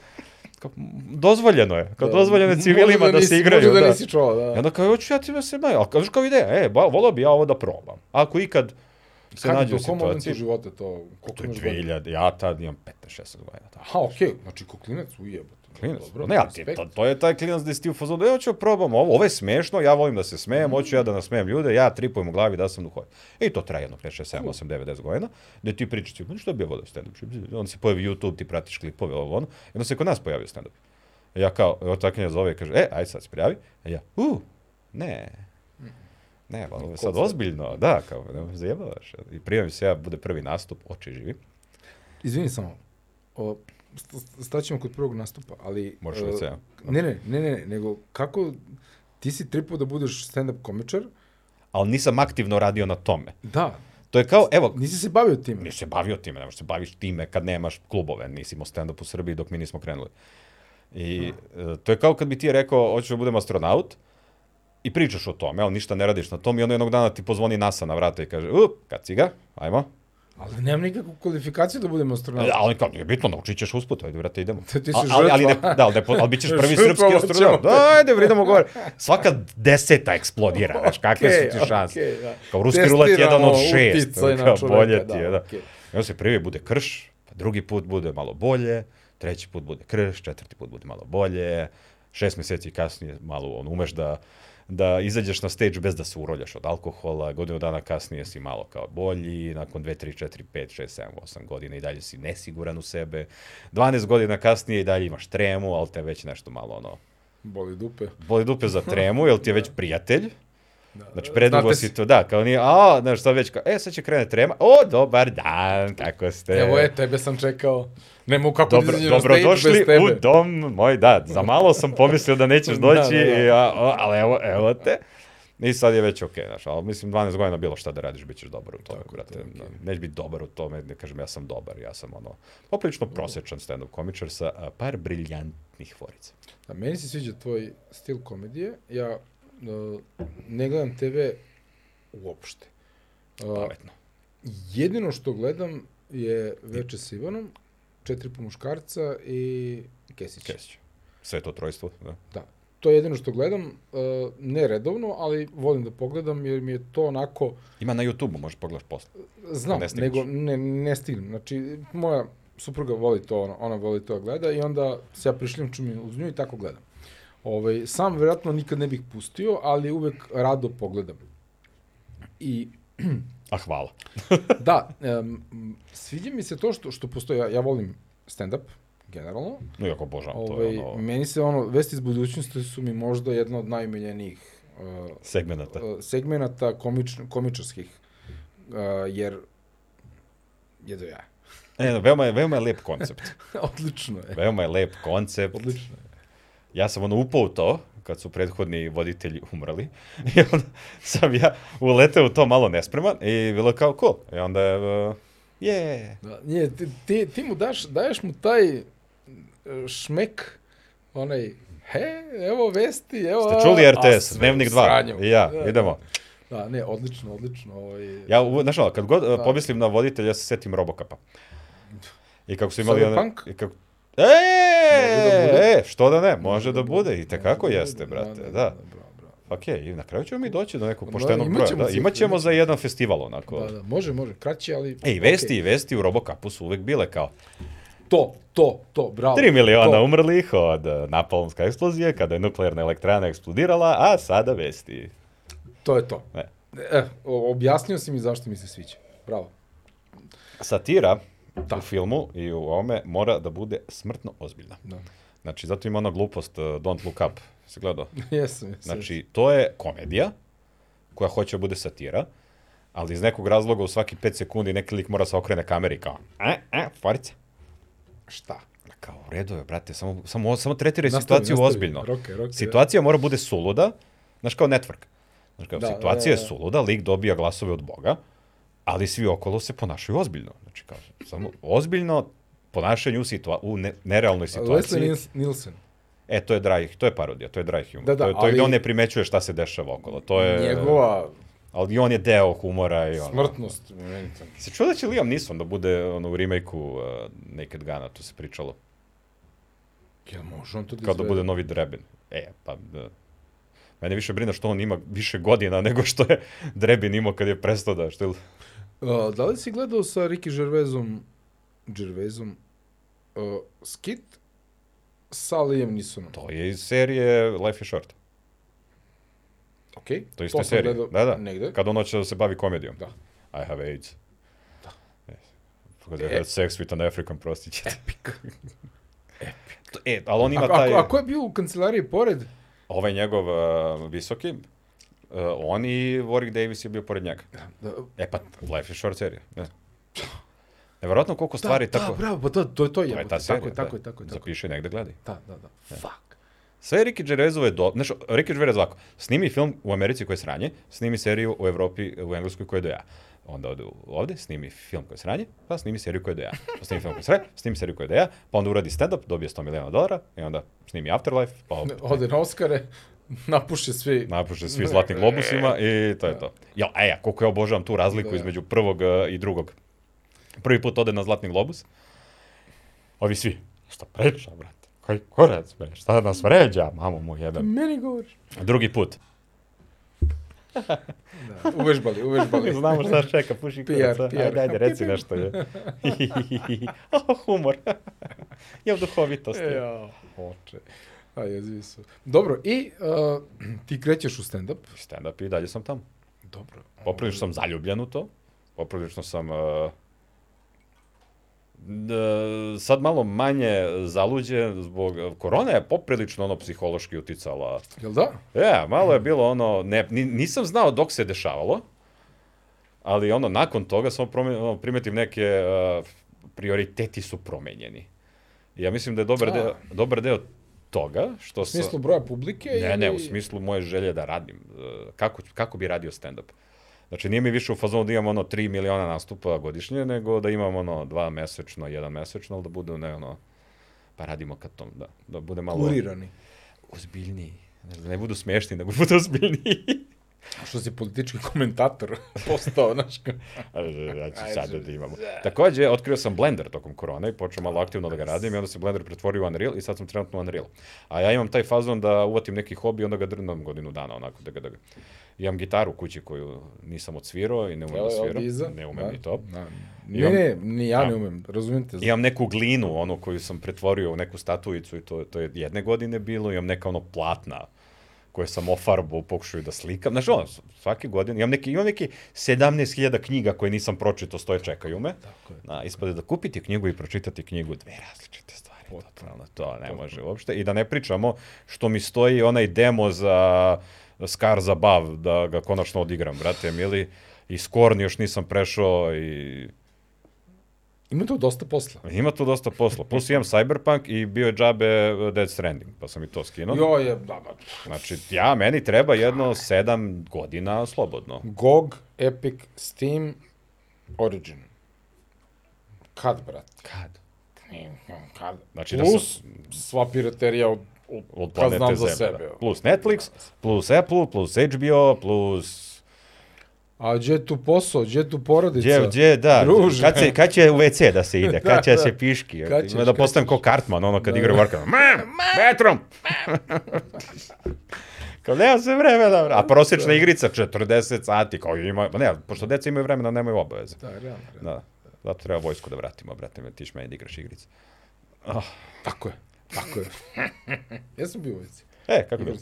S2: Kao, dozvoljeno je, kao dozvoljeno je civilima da, se igraju.
S1: da. Možda da nisi čuo, da.
S2: I onda kao, hoću ja ti da se bavim, ali kao, znaš kao ideja, e, ba, volao bi ja ovo da probam. Ako ikad se
S1: Kad je
S2: nađe
S1: to,
S2: u
S1: u kom momentu
S2: situaciji,
S1: života to? Koliko
S2: to je
S1: imaš godina?
S2: 2000, ja tad imam 15-16 godina. Tako.
S1: Aha, okej, znači ko klinac ujebote.
S2: Klinac,
S1: Dobro,
S2: ne, ali ti,
S1: respekt.
S2: to, to je taj klinac gde si ti u fazonu, evo ću probam ovo, ovo je smešno, ja volim da se smejem, hoću ja da nasmejem ljude, ja tripujem u glavi da sam duhovit. I to traje jedno 5, 6, 7, 8, 9, 10 godina, gde ti pričaš, ti, "Ma, što bi ja volio stand-up, onda se pojavi YouTube, ti pratiš klipove, ovo ono, i onda se kod nas pojavio stand-up. Ja kao, evo ta knja zove i kaže, e, aj sad se prijavi, a ja, u, ne, ne, ovo je sad ozbiljno, da, kao, ne, zajebavaš. I prijavim se ja, bude prvi nastup, oči živi.
S1: Izvini samo, o, st- st- staćemo kod prvog nastupa, ali...
S2: Možeš
S1: e,
S2: već ja.
S1: Ne, ne, ne, ne, nego kako... Ti si tripao da budeš stand-up komičar,
S2: Ali nisam aktivno radio na tome.
S1: da,
S2: To je kao, evo,
S1: nisi se bavio time.
S2: nisi se bavio time, ne možeš se baviš time kad nemaš klubove, nisi imao stand-up u Srbiji dok mi nismo krenuli. I
S1: Da.
S2: e, to je kao kad bi ti rekao, hoćeš da budem astronaut, i pričaš o tome, ali ništa ne radiš na tom i onda jednog dana ti pozvoni NASA na vrata i kaže, up, kad si ga, ajmo.
S1: Ali nemam nikakvu kvalifikaciju da budem astronaut.
S2: E, A on kao, nije bitno, naučit ćeš usput, ajde, vrate, idemo.
S1: Ti si
S2: A- ali, ali, ne,
S1: žrtva.
S2: da, ali, ne, po- ali bit ćeš prvi
S1: Žrtva
S2: srpski
S1: hoćemo
S2: astronaut.
S1: te.
S2: Da, ajde, idemo gore. Svaka deseta eksplodira, znaš, kakve su ti
S1: Okej,
S2: šanse.
S1: okej, da.
S2: Kao ruski rulet jedan od
S1: Testiramo
S2: šest,
S1: uticaj na
S2: kao
S1: čoveka,
S2: bolje ti je, da.
S1: okej.
S2: I onda se prvi bude krš, pa drugi put bude malo bolje, treći put bude krš, četvrti put bude malo bolje, šest meseci kasnije malo on, umeš da, da izađeš na stage bez da se uroljaš od alkohola, godinu dana kasnije si malo kao bolji, nakon 2, 3, 4, 5, 6, 7, 8 godina i dalje si nesiguran u sebe, 12 godina kasnije i dalje imaš tremu, ali te već nešto malo ono,
S1: Boli dupe.
S2: boli dupe za tremu, jel ti je
S1: Da.
S2: već prijatelj, Znači, predugo
S1: Znate
S2: si
S1: se.
S2: to, da, kao nije, a, znaš, sad već kao, e, sad će krene trema, o, dobar dan, kako ste?
S1: Evo je, tebe sam čekao. Ne mogu kako
S2: E. Dobro,
S1: da izađem na stage
S2: dobrodošli
S1: bez tebe.
S2: u dom moj, da, za malo sam pomislio da nećeš
S1: Da, da,
S2: doći,
S1: da.
S2: i, a, o, ali evo, evo te. I sad je već okej, okay, znaš, ali mislim 12 godina bilo šta da radiš, bit ćeš dobar u tome, Tako, brate. Okay. Nećeš biti dobar u tome, ne kažem ja sam dobar, ja sam ono,
S1: Da.
S2: poprilično prosečan stand-up komičar sa a, par briljantnih forica.
S1: A meni se sviđa tvoj stil komedije. Ja uh, ne gledam TV uopšte. Uh,
S2: Pametno.
S1: jedino što gledam je Veče s Ivanom, Četiri po muškarca i Kesić.
S2: Kesić. Sve to trojstvo, da.
S1: Da. To je jedino što gledam, uh, ne redovno, ali volim da pogledam jer mi je to onako,
S2: Ima na YouTube-u, možeš pogledaš posle.
S1: znam,
S2: Ne
S1: ne
S2: stigneš.
S1: nego ne, ne stignem. Znači, moja supruga voli to, ona, ona voli to da gleda i onda se ja prišljamču mi uz nju i tako gledam. Ovaj, sam vjerojatno nikad ne bih pustio, ali uvek rado pogledam. I
S2: A hvala.
S1: da, um, sviđa mi se to što, što postoji, ja, ja volim stand-up, generalno,
S2: No, jako božavam, Pa, to
S1: Ove,
S2: je ono
S1: meni se ono, vesti iz budućnosti su mi možda jedna od najmiljenijih uh,
S2: segmenta.
S1: uh, segmenata komič, komičarskih, uh, jer jedo ja.
S2: E, Ne, ne, veoma je, veoma je lep koncept.
S1: Odlično je.
S2: Veoma E, je lep koncept.
S1: Odlično je.
S2: ja sam ono upao u to, kad su prethodni voditelji umrli, i onda sam ja uleteo u to malo nespreman i bilo kao cool. I onda je, uh, yeah.
S1: Da, nije, ti, ti, ti mu daš, daješ mu taj e, šmek, onaj, he, evo vesti, evo...
S2: Ste čuli
S1: a,
S2: RTS,
S1: sve u
S2: Dnevnik 2?
S1: sranju.
S2: I ja,
S1: Da,
S2: idemo.
S1: Da, ne, odlično, odlično. Ovaj,
S2: Ja, u- znaš ono, kad god uh,
S1: Da.
S2: pomislim na voditelja, ja se setim Robocapa. I kako su imali...
S1: Cyberpunk?
S2: one- I kako... E,
S1: Može da bude.
S2: e, što da ne, može da bude, i tekako jeste, brate, da.
S1: bravo, bravo.
S2: Ok, i na kraju ćemo mi doći do nekog
S1: Da,
S2: poštenog
S1: imat
S2: broja.
S1: ćemo
S2: Da,
S1: cifre,
S2: imat ćemo
S1: imat
S2: za jedan festival, onako.
S1: Da, da, može, može, kraće, ali...
S2: Ej, vesti i vesti u Robocapu su uvek bile kao
S1: okej. To, to, to, bravo.
S2: 3 miliona
S1: to.
S2: umrlih od uh, napalmska eksplozije kada je nuklearna elektrana eksplodirala, a sada vesti. um-
S1: To je to.
S2: Ne.
S1: E, o- objasnio si mi zašto mi se sviđa. Bravo.
S2: Satira u filmu i u ovome mora da bude smrtno ozbiljna.
S1: Da.
S2: Znači, zato ima ona glupost uh, Don't Look Up. Se gledao?
S1: jesam, jesam.
S2: Znači, to je komedija koja hoće da bude satira, ali iz nekog razloga u svaki 5 sekundi neki lik mora da se okrene kameri i kao, "Eh, a, a, farica.
S1: šta?
S2: Ma Kao, u redu je, brate, samo, samo, samo tretiraj
S1: Nastavi,
S2: situaciju
S1: nastavi.
S2: ozbiljno.
S1: Roke, roke.
S2: Situacija mora bude suluda, znaš kao network. Znaš kao,
S1: Da, da,
S2: situacija
S1: da.
S2: je suluda, lik dobija glasove od Boga, ali svi okolo se ponašaju ozbiljno. Znači kao, samo ozbiljno ponašanje u, situa u ne nerealnoj situaciji.
S1: Leslie Nils- Nielsen.
S2: E, to je dry, to je parodija, to je dry humor.
S1: Da,
S2: Da,
S1: da,
S2: da, to je, to je gde
S1: ali-
S2: on ne primećuje šta se dešava okolo. To je,
S1: Njegova
S2: Ali i on je deo humora i ono.
S1: smrtnost. meni to-
S2: Se čuo da će Liam Neeson da bude ono, u remake-u uh, Naked Gun-a, tu se pričalo.
S1: Jel može on to da
S2: Kao da
S1: izvede?
S2: bude novi Drebin. E, pa... Da. Mene više brine što on ima više godina nego što je Drebin imao kad je prestao da... Što je,
S1: A, da li si gledao sa Ricky Gervaisom, Gervaisom, uh, skit sa Liam Neesonom?
S2: to je iz serije Life is Short.
S1: Ok.
S2: To je isto serija. Da, da.
S1: Negde.
S2: Kad on hoće da se bavi komedijom.
S1: Da.
S2: I have AIDS. Da. Yes. Because I
S1: E.
S2: had sex with an African prostitute. Epic. Epic. E, ali on
S1: A,
S2: ima taj...
S1: a, a ko je bio u kancelariji pored?
S2: Ovaj njegov uh, visoki, uh, on i Warwick Davis je bio pored njega.
S1: Da,
S2: E pa, Life is Short serija. Ne. Nevjerojatno koliko stvari
S1: da,
S2: tako...
S1: Da, bravo, pa to, to je to.
S2: To je
S1: jebote,
S2: ta serija.
S1: Tako je,
S2: da.
S1: tako je, tako je. Tako. je.
S2: Zapiši negde, gledaj.
S1: Da, da, da. Fuck.
S2: Sve je Ricky Gervaisove je do... Znaš, Ricky Gervais ovako, snimi film u Americi koji je sranje, snimi seriju u Evropi, u Engleskoj koja je do ja. Onda ode u- ovde, snimi film koji je sranje, pa snimi seriju koja je do ja. Pa snimi film koji je sranje, snimi seriju koja je do ja, pa onda uradi stand-up, dobije 100 miliona dolara, i onda snimi Afterlife, pa opet
S1: Ode na Oscare, napuše svi.
S2: napuše
S1: Da.
S2: svi zlatni globusima i to je to. Ja, e, ja, koliko ja obožavam tu razliku
S1: Da.
S2: između prvog e, i drugog. Prvi put ode na zlatni globus, ovi svi, šta priča, brate, koji kurac, bre, šta nas vređa, mamo mu jedan.
S1: Meni govoriš.
S2: Drugi put.
S1: Da, uvežbali, uvežbali.
S2: Znamo šta nas čeka, puši
S1: PR,
S2: kurac.
S1: PR.
S2: a? Ajde, ajde, reci nešto. Je. oh, humor. Jel duhovitost. je.
S1: E, Ja, oče. A, jezivi su. Dobro, i uh, ti krećeš u stand-up.
S2: Stand-up i dalje sam tamo.
S1: Dobro.
S2: Poprilično sam zaljubljen u to. Poprilično sam... Uh, d, sad malo manje zaluđen zbog... Korona je poprilično ono psihološki uticala.
S1: Jel da?
S2: Ja, malo je bilo ono... Ne, ni- nisam znao dok se dešavalo. Ali ono, nakon toga samo prome- ono, primetim neke... Uh, prioriteti su promenjeni. Ja mislim da je dobar
S1: A.
S2: deo, dobar deo toga što
S1: U
S2: sa-
S1: smislu broja publike?
S2: Ne, ne, u
S1: ili-
S2: smislu moje želje da radim. e, Kako, ću- kako bi radio stand-up? Znači, nije mi više u fazonu da imam ono 3 miliona nastupa godišnje, nego da imam ono 2 mesečno, 1 mesečno, ali da bude ne ono, pa radimo kad tom, da, da bude malo
S1: Kurirani.
S2: ozbiljniji. Znači, da ne budu smešni, nego budu ozbiljniji.
S1: A Što si politički komentator postao, znaš kao.
S2: Ajde, ja ću
S1: Ajde,
S2: sad da imamo.
S1: za-
S2: Takođe, otkrio sam Blender tokom korone i počeo malo aktivno da ga radim i onda se Blender pretvorio u Unreal i sad sam trenutno u Unreal. A ja imam taj fazon da uvatim neki hobi i onda ga drnam godinu dana onako da ga da ga. Imam gitaru u kući koju nisam odsvirao i ne umem da
S1: Evo, ovdje iza.
S2: sviram. Ne umem
S1: Da,
S2: ni to.
S1: da. Ne,
S2: Imam-
S1: ne, ni ja ne
S2: Da.
S1: umem, razumijete?
S2: Imam neku glinu, ono koju sam pretvorio u neku statuicu i to, to je jedne godine bilo. Imam neka ono platna koje sam ofarbao, pokušao da slikam. Znaš, ono, svake godine, imam neki, imam neki 17.000 knjiga koje nisam pročito, stoje čekaju me.
S1: Tako je.
S2: Na, ispade da kupiti knjigu i pročitati knjigu, dve različite stvari. Totalno, to ne može uopšte. I da ne pričamo što mi stoji onaj demo za Scar za Bav, da ga konačno odigram, brate mili. I Scorn još nisam prešao i...
S1: Ima tu dosta posla.
S2: Ima tu dosta posla. Plus imam Cyberpunk i bio je džabe uh, Dead Stranding, pa sam i to skinuo.
S1: Jo je, da, da.
S2: Znači, ja, meni treba jedno sedam godina slobodno.
S1: GOG, Epic, Steam, Origin. Kad, brate?
S2: Kad?
S1: Kad?
S2: Znači da
S1: Plus, sva piraterija od, od,
S2: Od
S1: kad
S2: planete
S1: znam za
S2: Zemlja,
S1: sebe.
S2: Da. Plus Netflix, plus Apple, plus HBO, plus...
S1: A gdje je tu posao, gdje je tu porodica?
S2: Gdje, gdje, da.
S1: Druže.
S2: Kad, se, kad će u WC da se ide? Kad će da,
S1: da.
S2: se piški?
S1: Kad
S2: Kad
S1: ćeš, Da,
S2: ćeš, da
S1: kad
S2: postanem ko Cartman, ono kad igra u Warcraft. Ma, metrom! Kao nema se vremena, vra. a
S1: Da.
S2: prosječna igrica 40 sati, kao ima, ma ne, pošto deca imaju vremena, nemaju obaveze.
S1: Da, realno, realno.
S2: Da, zato treba vojsku da vratimo, brate, me tiš meni da igraš igrice.
S1: Tako je, tako je. ja sam bio u vojci.
S2: E, kako bi?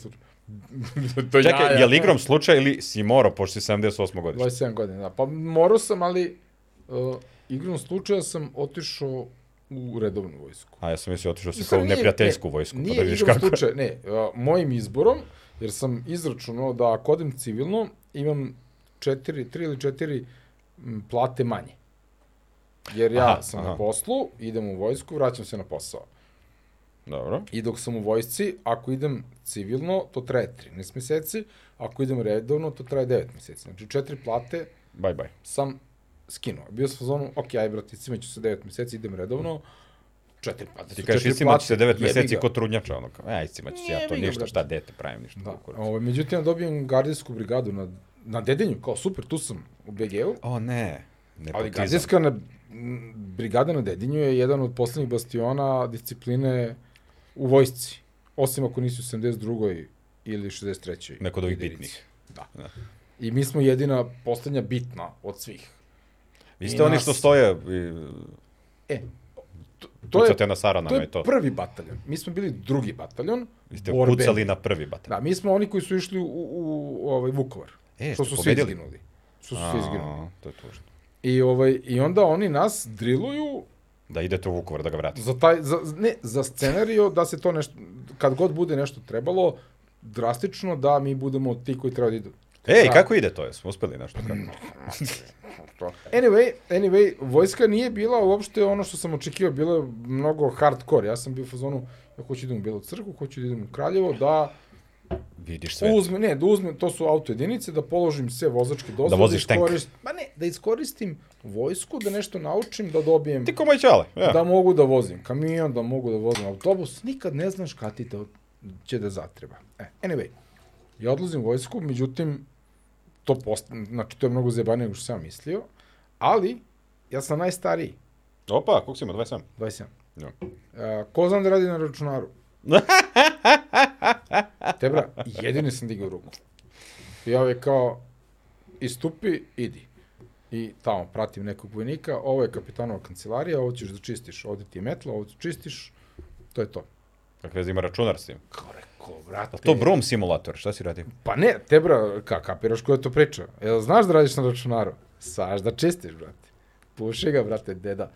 S1: to
S2: Čekaj, je li igrom slučaj ili si morao, pošto si 78 godišnje?
S1: 27 godina, da. Pa morao sam, ali uh, igrom slučaja sam otišao u redovnu vojsku.
S2: A ja sam mislio otišao si
S1: Mislim,
S2: kao u
S1: nije-
S2: neprijateljsku
S1: ne,
S2: vojsku,
S1: Nije
S2: pa da vidiš
S1: igrom
S2: kako je.
S1: slučaja, ne, a, mojim izborom, jer sam izračunao da ako odem civilno, imam četiri, tri ili četiri m, plate manje. Jer ja
S2: Aha,
S1: sam
S2: aha.
S1: na poslu, idem u vojsku, vraćam se na posao.
S2: Dobro.
S1: I dok sam u vojsci, ako idem civilno, to traje 13 meseci, ako idem redovno, to traje 9 meseci. Znači, četiri plate
S2: Bye, bye.
S1: sam skinuo. Bio sam u zonu, ok, aj brate, cimaću se 9 meseci, idem redovno, četiri plate.
S2: Ti
S1: su
S2: kažeš,
S1: četiri
S2: istima će
S1: plate,
S2: se devet
S1: jebi
S2: meseci
S1: ga.
S2: kod trudnjača, ono kao, aj, istima će ja to
S1: Jebi ga,
S2: ništa,
S1: brate.
S2: šta dete pravim, ništa.
S1: Da,
S2: kurac.
S1: ovaj, međutim, ja dobijem gardijsku brigadu na, na Dedinju, kao super, tu sam u BG-u,
S2: O, ne,
S1: ali
S2: nepotizam.
S1: gardijska na, m, brigada na Dedinju je jedan od poslednjih bastiona discipline u vojsci, osim ako nisi u 72. ili 63.
S2: Neko od ovih
S1: jedinici.
S2: bitnih.
S1: Da.
S2: Da.
S1: I mi smo jedina poslednja bitna od svih.
S2: Vi
S1: i
S2: ste oni
S1: nas-
S2: što stoje i
S1: E, to, to je
S2: pucate na
S1: To
S2: saranama i
S1: je
S2: to.
S1: prvi bataljon. Mi smo bili drugi bataljon.
S2: Vi ste
S1: borbeni.
S2: pucali na prvi batalj.
S1: Da, mi smo oni koji su išli u, u, u ovaj, Vukovar.
S2: E,
S1: E, što
S2: ste
S1: su svi
S2: pobedili?
S1: izginuli. Što su svi izginuli.
S2: A, To je tužno.
S1: I, ovaj, I onda oni nas driluju
S2: Da idete u Vukovar da ga vratite.
S1: za, taj, za, ne, za scenario da se to nešto, kad god bude nešto trebalo, drastično da mi budemo ti koji treba da idu.
S2: Ej,
S1: Da. Mm.
S2: kako ide to? Jesmo uspeli nešto? Kako?
S1: Anyway, anyway, vojska nije bila uopšte ono što sam očekivao, bilo je mnogo hardcore. Ja sam bio u fazonu, ja hoću da idem u Belu crkvu, hoću da idem u Kraljevo, da
S2: Vidiš sve.
S1: Sve. Uzme, ne, da uzmem, to su auto jedinice, da položim sve vozačke dozvole.
S2: Da voziš tank.
S1: Ma ne, da iskoristim vojsku, da nešto naučim, da dobijem,
S2: Ti ko moj čale. E. Ja.
S1: da mogu da vozim kamion, da mogu da vozim autobus. Nikad ne znaš kad ti to će da zatreba. E, anyway, ja odlazim u vojsku, međutim, to post... znači, to je mnogo zebanije nego što sam ja mislio, ali ja sam najstariji,
S2: Opa, koliko si imao? 27?
S1: 27.
S2: Ja.
S1: E, ko znam da radi na računaru? Tebra, jedini sam digao ruku. I ovaj kao, istupi, idi. I tamo pratim nekog vojnika, ovo je kapitanova kancelarija, ovo ćeš da čistiš, ovde ti je metla, ovo da čistiš, to je to.
S2: Kakve veze ima računar s tim?
S1: Kao rekao, vrate.
S2: Pa to Brom simulator, šta si radio?
S1: Pa ne, Tebra, ka, kapiraš koja to priča. Jel znaš da radiš na računaru? Saš da čistiš, brate. Puši ga, brate, deda.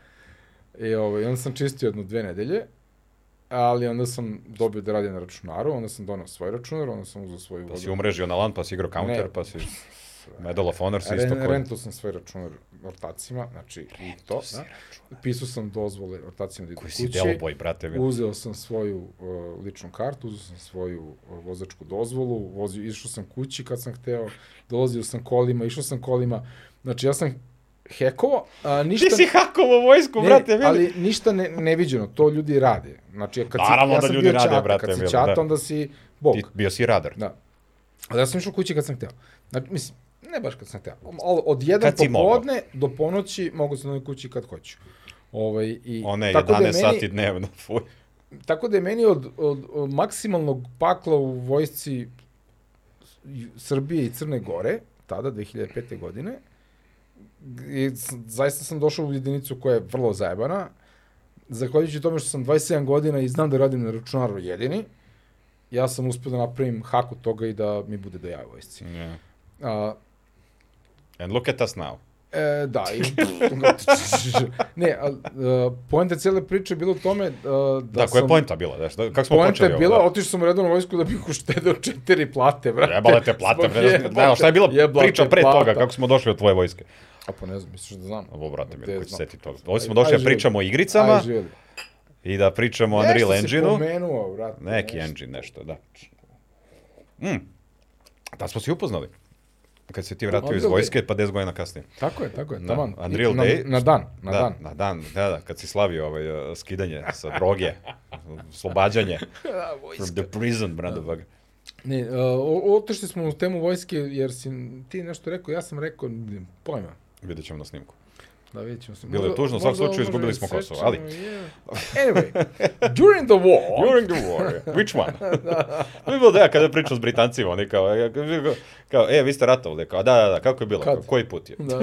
S1: I ovaj, onda sam čistio jedno dve nedelje, ali onda sam dobio da radim na računaru, onda sam donao svoj računar, onda sam uzao svoju
S2: Pa
S1: vodu.
S2: si umrežio na LAN, pa si igrao counter,
S1: Ne.
S2: pa si Medal of Honor, si isto
S1: Ren,
S2: koji.
S1: rentao sam svoj računar ortacima, znači i to.
S2: si
S1: Da. Pisao sam dozvole ortacima da idu
S2: Koji si
S1: kući.
S2: delo boj, brate. mi.
S1: Uzeo sam svoju uh, ličnu kartu, uzeo sam svoju uh, vozačku dozvolu, vozio, išao sam kući kad sam hteo, dolazio sam kolima, išao sam kolima. Znači ja sam hekovo, a, ništa...
S2: Ti si hakovo vojsku,
S1: ne,
S2: brate, mili.
S1: ali ništa ne, neviđeno, to ljudi rade. Znači, kad
S2: Naravno
S1: si, ja
S2: da
S1: sam
S2: ljudi
S1: bio
S2: rade,
S1: čata,
S2: brate,
S1: kad si
S2: mili,
S1: čata,
S2: da.
S1: onda si bog.
S2: Ti bio si radar.
S1: Da. Ali ja sam išao kući kad sam hteo. Znači, mislim, ne baš kad sam hteo. Ali od jedan
S2: Kad si mogao.
S1: popodne do ponoći mogu sam na kući kad hoću. Ovaj, i,
S2: O ne,
S1: tako da
S2: 11
S1: je
S2: sati dnevno, fuj.
S1: Tako da je meni od, od, od maksimalnog pakla u vojsci Ju- Srbije i Crne Gore, tada, 2005. godine, i s- zaista sam došao u jedinicu koja je vrlo zajebana, zahvaljujući tome što sam 27 godina i znam da radim na računaru jedini, ja sam uspio da napravim hak od toga i da mi bude do jaja u vojsci.
S2: Yeah.
S1: A,
S2: And look at us now.
S1: E, da, i... ne, a, a, poenta cijele priče je bila u tome a, da
S2: Da, koja je
S1: sam-
S2: poenta bila, da, šta, kako smo
S1: Poenta
S2: počeli
S1: je bila,
S2: ovo? da?
S1: otišao sam u redovnu vojsku da bih uštedeo četiri plate, brate.
S2: Jebala te plata,
S1: Zbog
S2: bre, ne znam,
S1: jebala
S2: da, šta je bila
S1: te- jebala
S2: priča
S1: te
S2: pre
S1: plata.
S2: toga, kako smo došli od tvoje vojske?
S1: A pa ne znam, misliš da znam.
S2: Ovo, brate, mi,
S1: Gde
S2: ko će se
S1: znam?
S2: seti toga? Ovdje smo
S1: Aj,
S2: došli
S1: aj,
S2: da
S1: živjeli.
S2: pričamo o igricama
S1: Aj, živjeli.
S2: i da pričamo o
S1: Nešto
S2: Unreal
S1: si
S2: Engine-u.
S1: pomenuo, brate.
S2: Neki
S1: nešto.
S2: engine, nešto, da. Mm. Tad smo se i upoznali. Kad se ti vratio iz
S1: Unreal Day.
S2: vojske, pa 10 godina kasnije.
S1: Tako je, tako je,
S2: Da,
S1: taman.
S2: Unreal
S1: na,
S2: Day.
S1: Na dan, na
S2: da,
S1: dan.
S2: Na dan, da, da, kad si slavio ovaj, uh, skidanje sa droge, slobađanje
S1: Da,
S2: from the prison, brando baga.
S1: Ne, uh, o- otišli smo u temu vojske jer si ti nešto rekao, ja sam rekao, ne, pojma.
S2: Vidjet ćemo na snimku.
S1: Da vidjet ćemo se.
S2: Bilo je
S1: Možda-
S2: tužno, u svakom
S1: možda ovo
S2: slučaju
S1: možemo
S2: izgubili
S1: da
S2: smo
S1: isečemo,
S2: Kosovo, ali-
S1: je. Anyway, during the war,
S2: During the war, which one?
S1: Da,
S2: to je bilo da ja kada pričam s Britancima, oni kao, ja- kao, kao, e, vi ste ratovali, kao, da, da, da, kako je bilo,
S1: Kad?
S2: Kao, koji put je?
S1: da,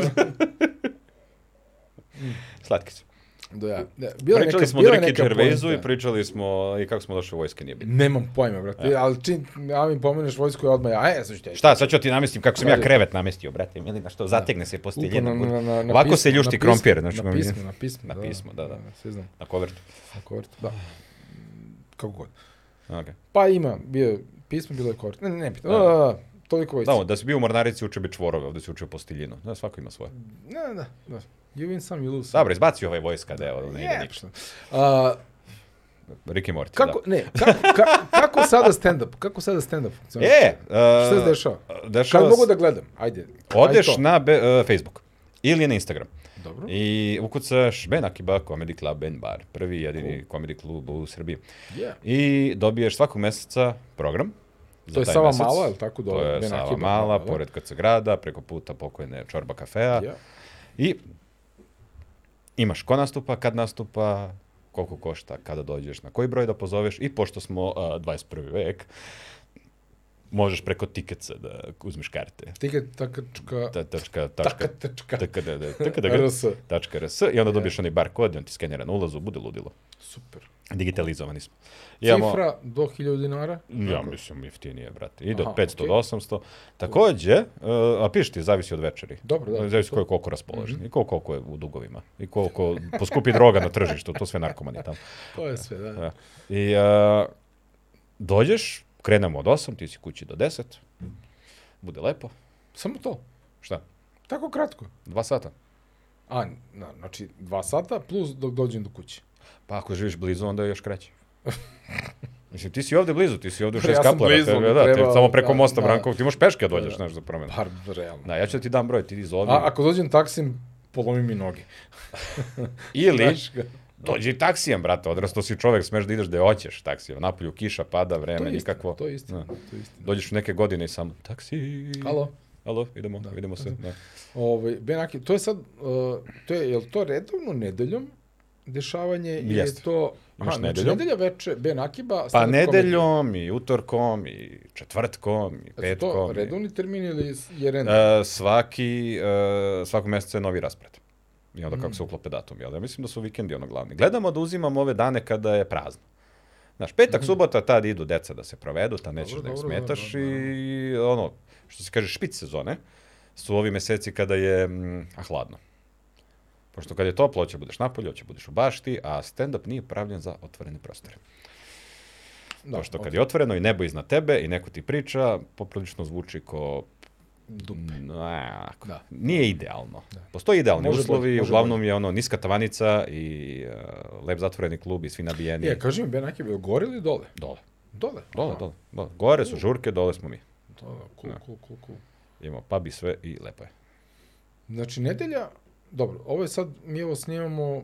S2: Slatki su.
S1: da, ja. Ne, bila je
S2: Pričali
S1: neka-
S2: smo o
S1: bila je
S2: Driki
S1: neka
S2: Gervaisu
S1: poenta.
S2: i pričali smo i kako smo došli u vojske, nije bilo.
S1: Nemam pojma, brate, ali čim ja mi pomeneš vojsku, ja odmah ja, e, sad ću te.
S2: E. Šta, sad ću ti namestim kako sam ja
S1: Ajde.
S2: krevet namestio, brate, ili na što, zategne se posteljina.
S1: Uporno na- na- na
S2: Ovako
S1: pismo,
S2: se
S1: na
S2: ljušti
S1: pismo,
S2: krompir, znači,
S1: na pismo, na pismo,
S2: na pismo, da, da.
S1: Sve znam,
S2: na kovertu.
S1: na kort, da. Kako god.
S2: Okay.
S1: Pa ima, bio je pismo, bilo je kort. Ne, ne, ne, pitam.
S2: Da.
S1: Da, da, da, toliko vojsci.
S2: Da, da si bio u mornarici, učio bi čvorove, ovdje si učio posteljinu. Da, svako ima svoje.
S1: Ne, da, da. You win some, you lose some.
S2: Dobro, izbaci ovaj vojska deo, da ne ide
S1: Je, što.
S2: ništa.
S1: A,
S2: Rick i Morty,
S1: kako,
S2: da.
S1: ne, kako, ka, kako sada stand-up? Kako sada stand-up? funkcionira?
S2: E, uh,
S1: Šta se dešava?
S2: Dešava
S1: Kad
S2: se-
S1: mogu da gledam? Ajde.
S2: Odeš
S1: ajde to.
S2: na be, e, Facebook ili na Instagram
S1: Dobro.
S2: i ukucaš Ben Akiba Comedy Club Ben Bar, prvi i jedini comedy klub u Srbiji.
S1: Yeah.
S2: I dobiješ svakog meseca program. za
S1: To je
S2: taj
S1: Sava
S2: mesec.
S1: Mala, je li tako
S2: To
S1: dole?
S2: je
S1: Ben
S2: Sava
S1: Akiba,
S2: Mala,
S1: da, da.
S2: pored KC grada, preko puta pokojne Čorba kafea.
S1: Ja.
S2: I imaš ko nastupa, kad nastupa, koliko košta, kada dođeš, na koji broj da pozoveš i pošto smo a, 21. vek, možeš preko tiketca da uzmeš karte.
S1: Tiket, takačka,
S2: Ta, tačka, tačka,
S1: taka, tačka,
S2: tačka, da, da, tačka, da,
S1: rs.
S2: tačka, rs. I onda dobiješ onaj bar kod i on ti skenira na ulazu, bude ludilo.
S1: Super.
S2: Digitalizovani smo. Imamo-
S1: Cifra do 1000 dinara.
S2: Ja mislim jeftinije, brate. Ide od
S1: Aha,
S2: 500 do
S1: okej.
S2: 800. Takođe, e, a piš ti, zavisi od večeri.
S1: Dobro, Mhm. da.
S2: Zavisi ko je koliko raspoložen i koliko, koliko je u dugovima i koliko poskupi droga na tržištu, to sve narkomani tamo.
S1: To je sve, da.
S2: E, I a, dođeš, krenemo od 8, ti si kući do 10. Bude lepo.
S1: Samo to.
S2: Šta?
S1: Tako kratko.
S2: Dva sata?
S1: A, na, znači, dva sata plus dok dođem do kuće.
S2: Pa ako živiš blizu, onda je još kraće. Mislim, ti si ovde blizu, ti si ovde u
S1: Ja
S2: šest
S1: sam
S2: kaplara.
S1: blizu,
S2: tebe,
S1: bi
S2: da, tebe,
S1: trebao,
S2: samo preko
S1: da,
S2: mosta
S1: da.
S2: Brankovog, ti možeš peške dođeš, znaš, do promena.
S1: Par, realno.
S2: Da, ja ću da ti dam broj, ti izovi.
S1: A ako dođem taksim, polomi mi noge.
S2: Ili,
S1: Znaš ga.
S2: dođi taksijem, brate, odrasto si čovek, smeš da ideš gde hoćeš taksijem. Napolju kiša, pada,
S1: To
S2: vreme,
S1: je istina,
S2: nikakvo.
S1: to je istina,
S2: Da.
S1: to je istina.
S2: Dođeš u neke godine i samo, taksi.
S1: Alo,
S2: Alo, idemo, vidimo se. Da.
S1: ovaj, Benaki, to je sad, uh, to je, je li to redovno nedeljom dešavanje ili je
S2: Jeste.
S1: to...
S2: Imaš
S1: Aha, znači,
S2: nedeljom.
S1: nedelja veče, Ben Akiba...
S2: Pa
S1: stand-up comedy.
S2: nedeljom i utorkom i četvrtkom i
S1: Jesu Znači, to
S2: petkom. i-
S1: redovni termin ili je random?
S2: E, svaki, e, svakog mjeseca je novi raspored. I onda
S1: Mm.
S2: kako se uklope datum, jel? Ja mislim da su vikendi ono glavni. Gledamo da uzimamo ove dane kada je prazno. Znaš, petak, subota, tad idu deca da se provedu, tad nećeš da ih
S1: Mhm. dobro, da,
S2: smetaš
S1: da, da.
S2: i ono, što se kaže, špic sezone su ovi meseci kada je mm, a, hladno. Pošto kad je toplo, hoće budeš napolje, hoće budeš u bašti, a stand-up nije pravljen za otvorene prostore.
S1: Da,
S2: Pošto kad
S1: ok.
S2: je otvoreno i nebo iznad tebe i neko ti priča, poprilično zvuči ko
S1: Dupe.
S2: Na,
S1: Da.
S2: Nije idealno. Postoje idealni
S1: Može
S2: uslovi,
S1: bolje, može
S2: uglavnom je ono niska tavanica i uh, lep zatvoreni klub i svi nabijeni.
S1: Je, E, kaži mi, Ben Akiba, je li gore ili dole?
S2: Dole.
S1: Dole.
S2: Dole,
S1: Aha,
S2: dole, dole. Gore su žurke, dole smo mi.
S1: dole, cool,
S2: Da.
S1: cool, cool, cool.
S2: Imamo pub i sve i lepo je.
S1: Znači, nedelja, dobro, ovo je sad, mi ovo snimamo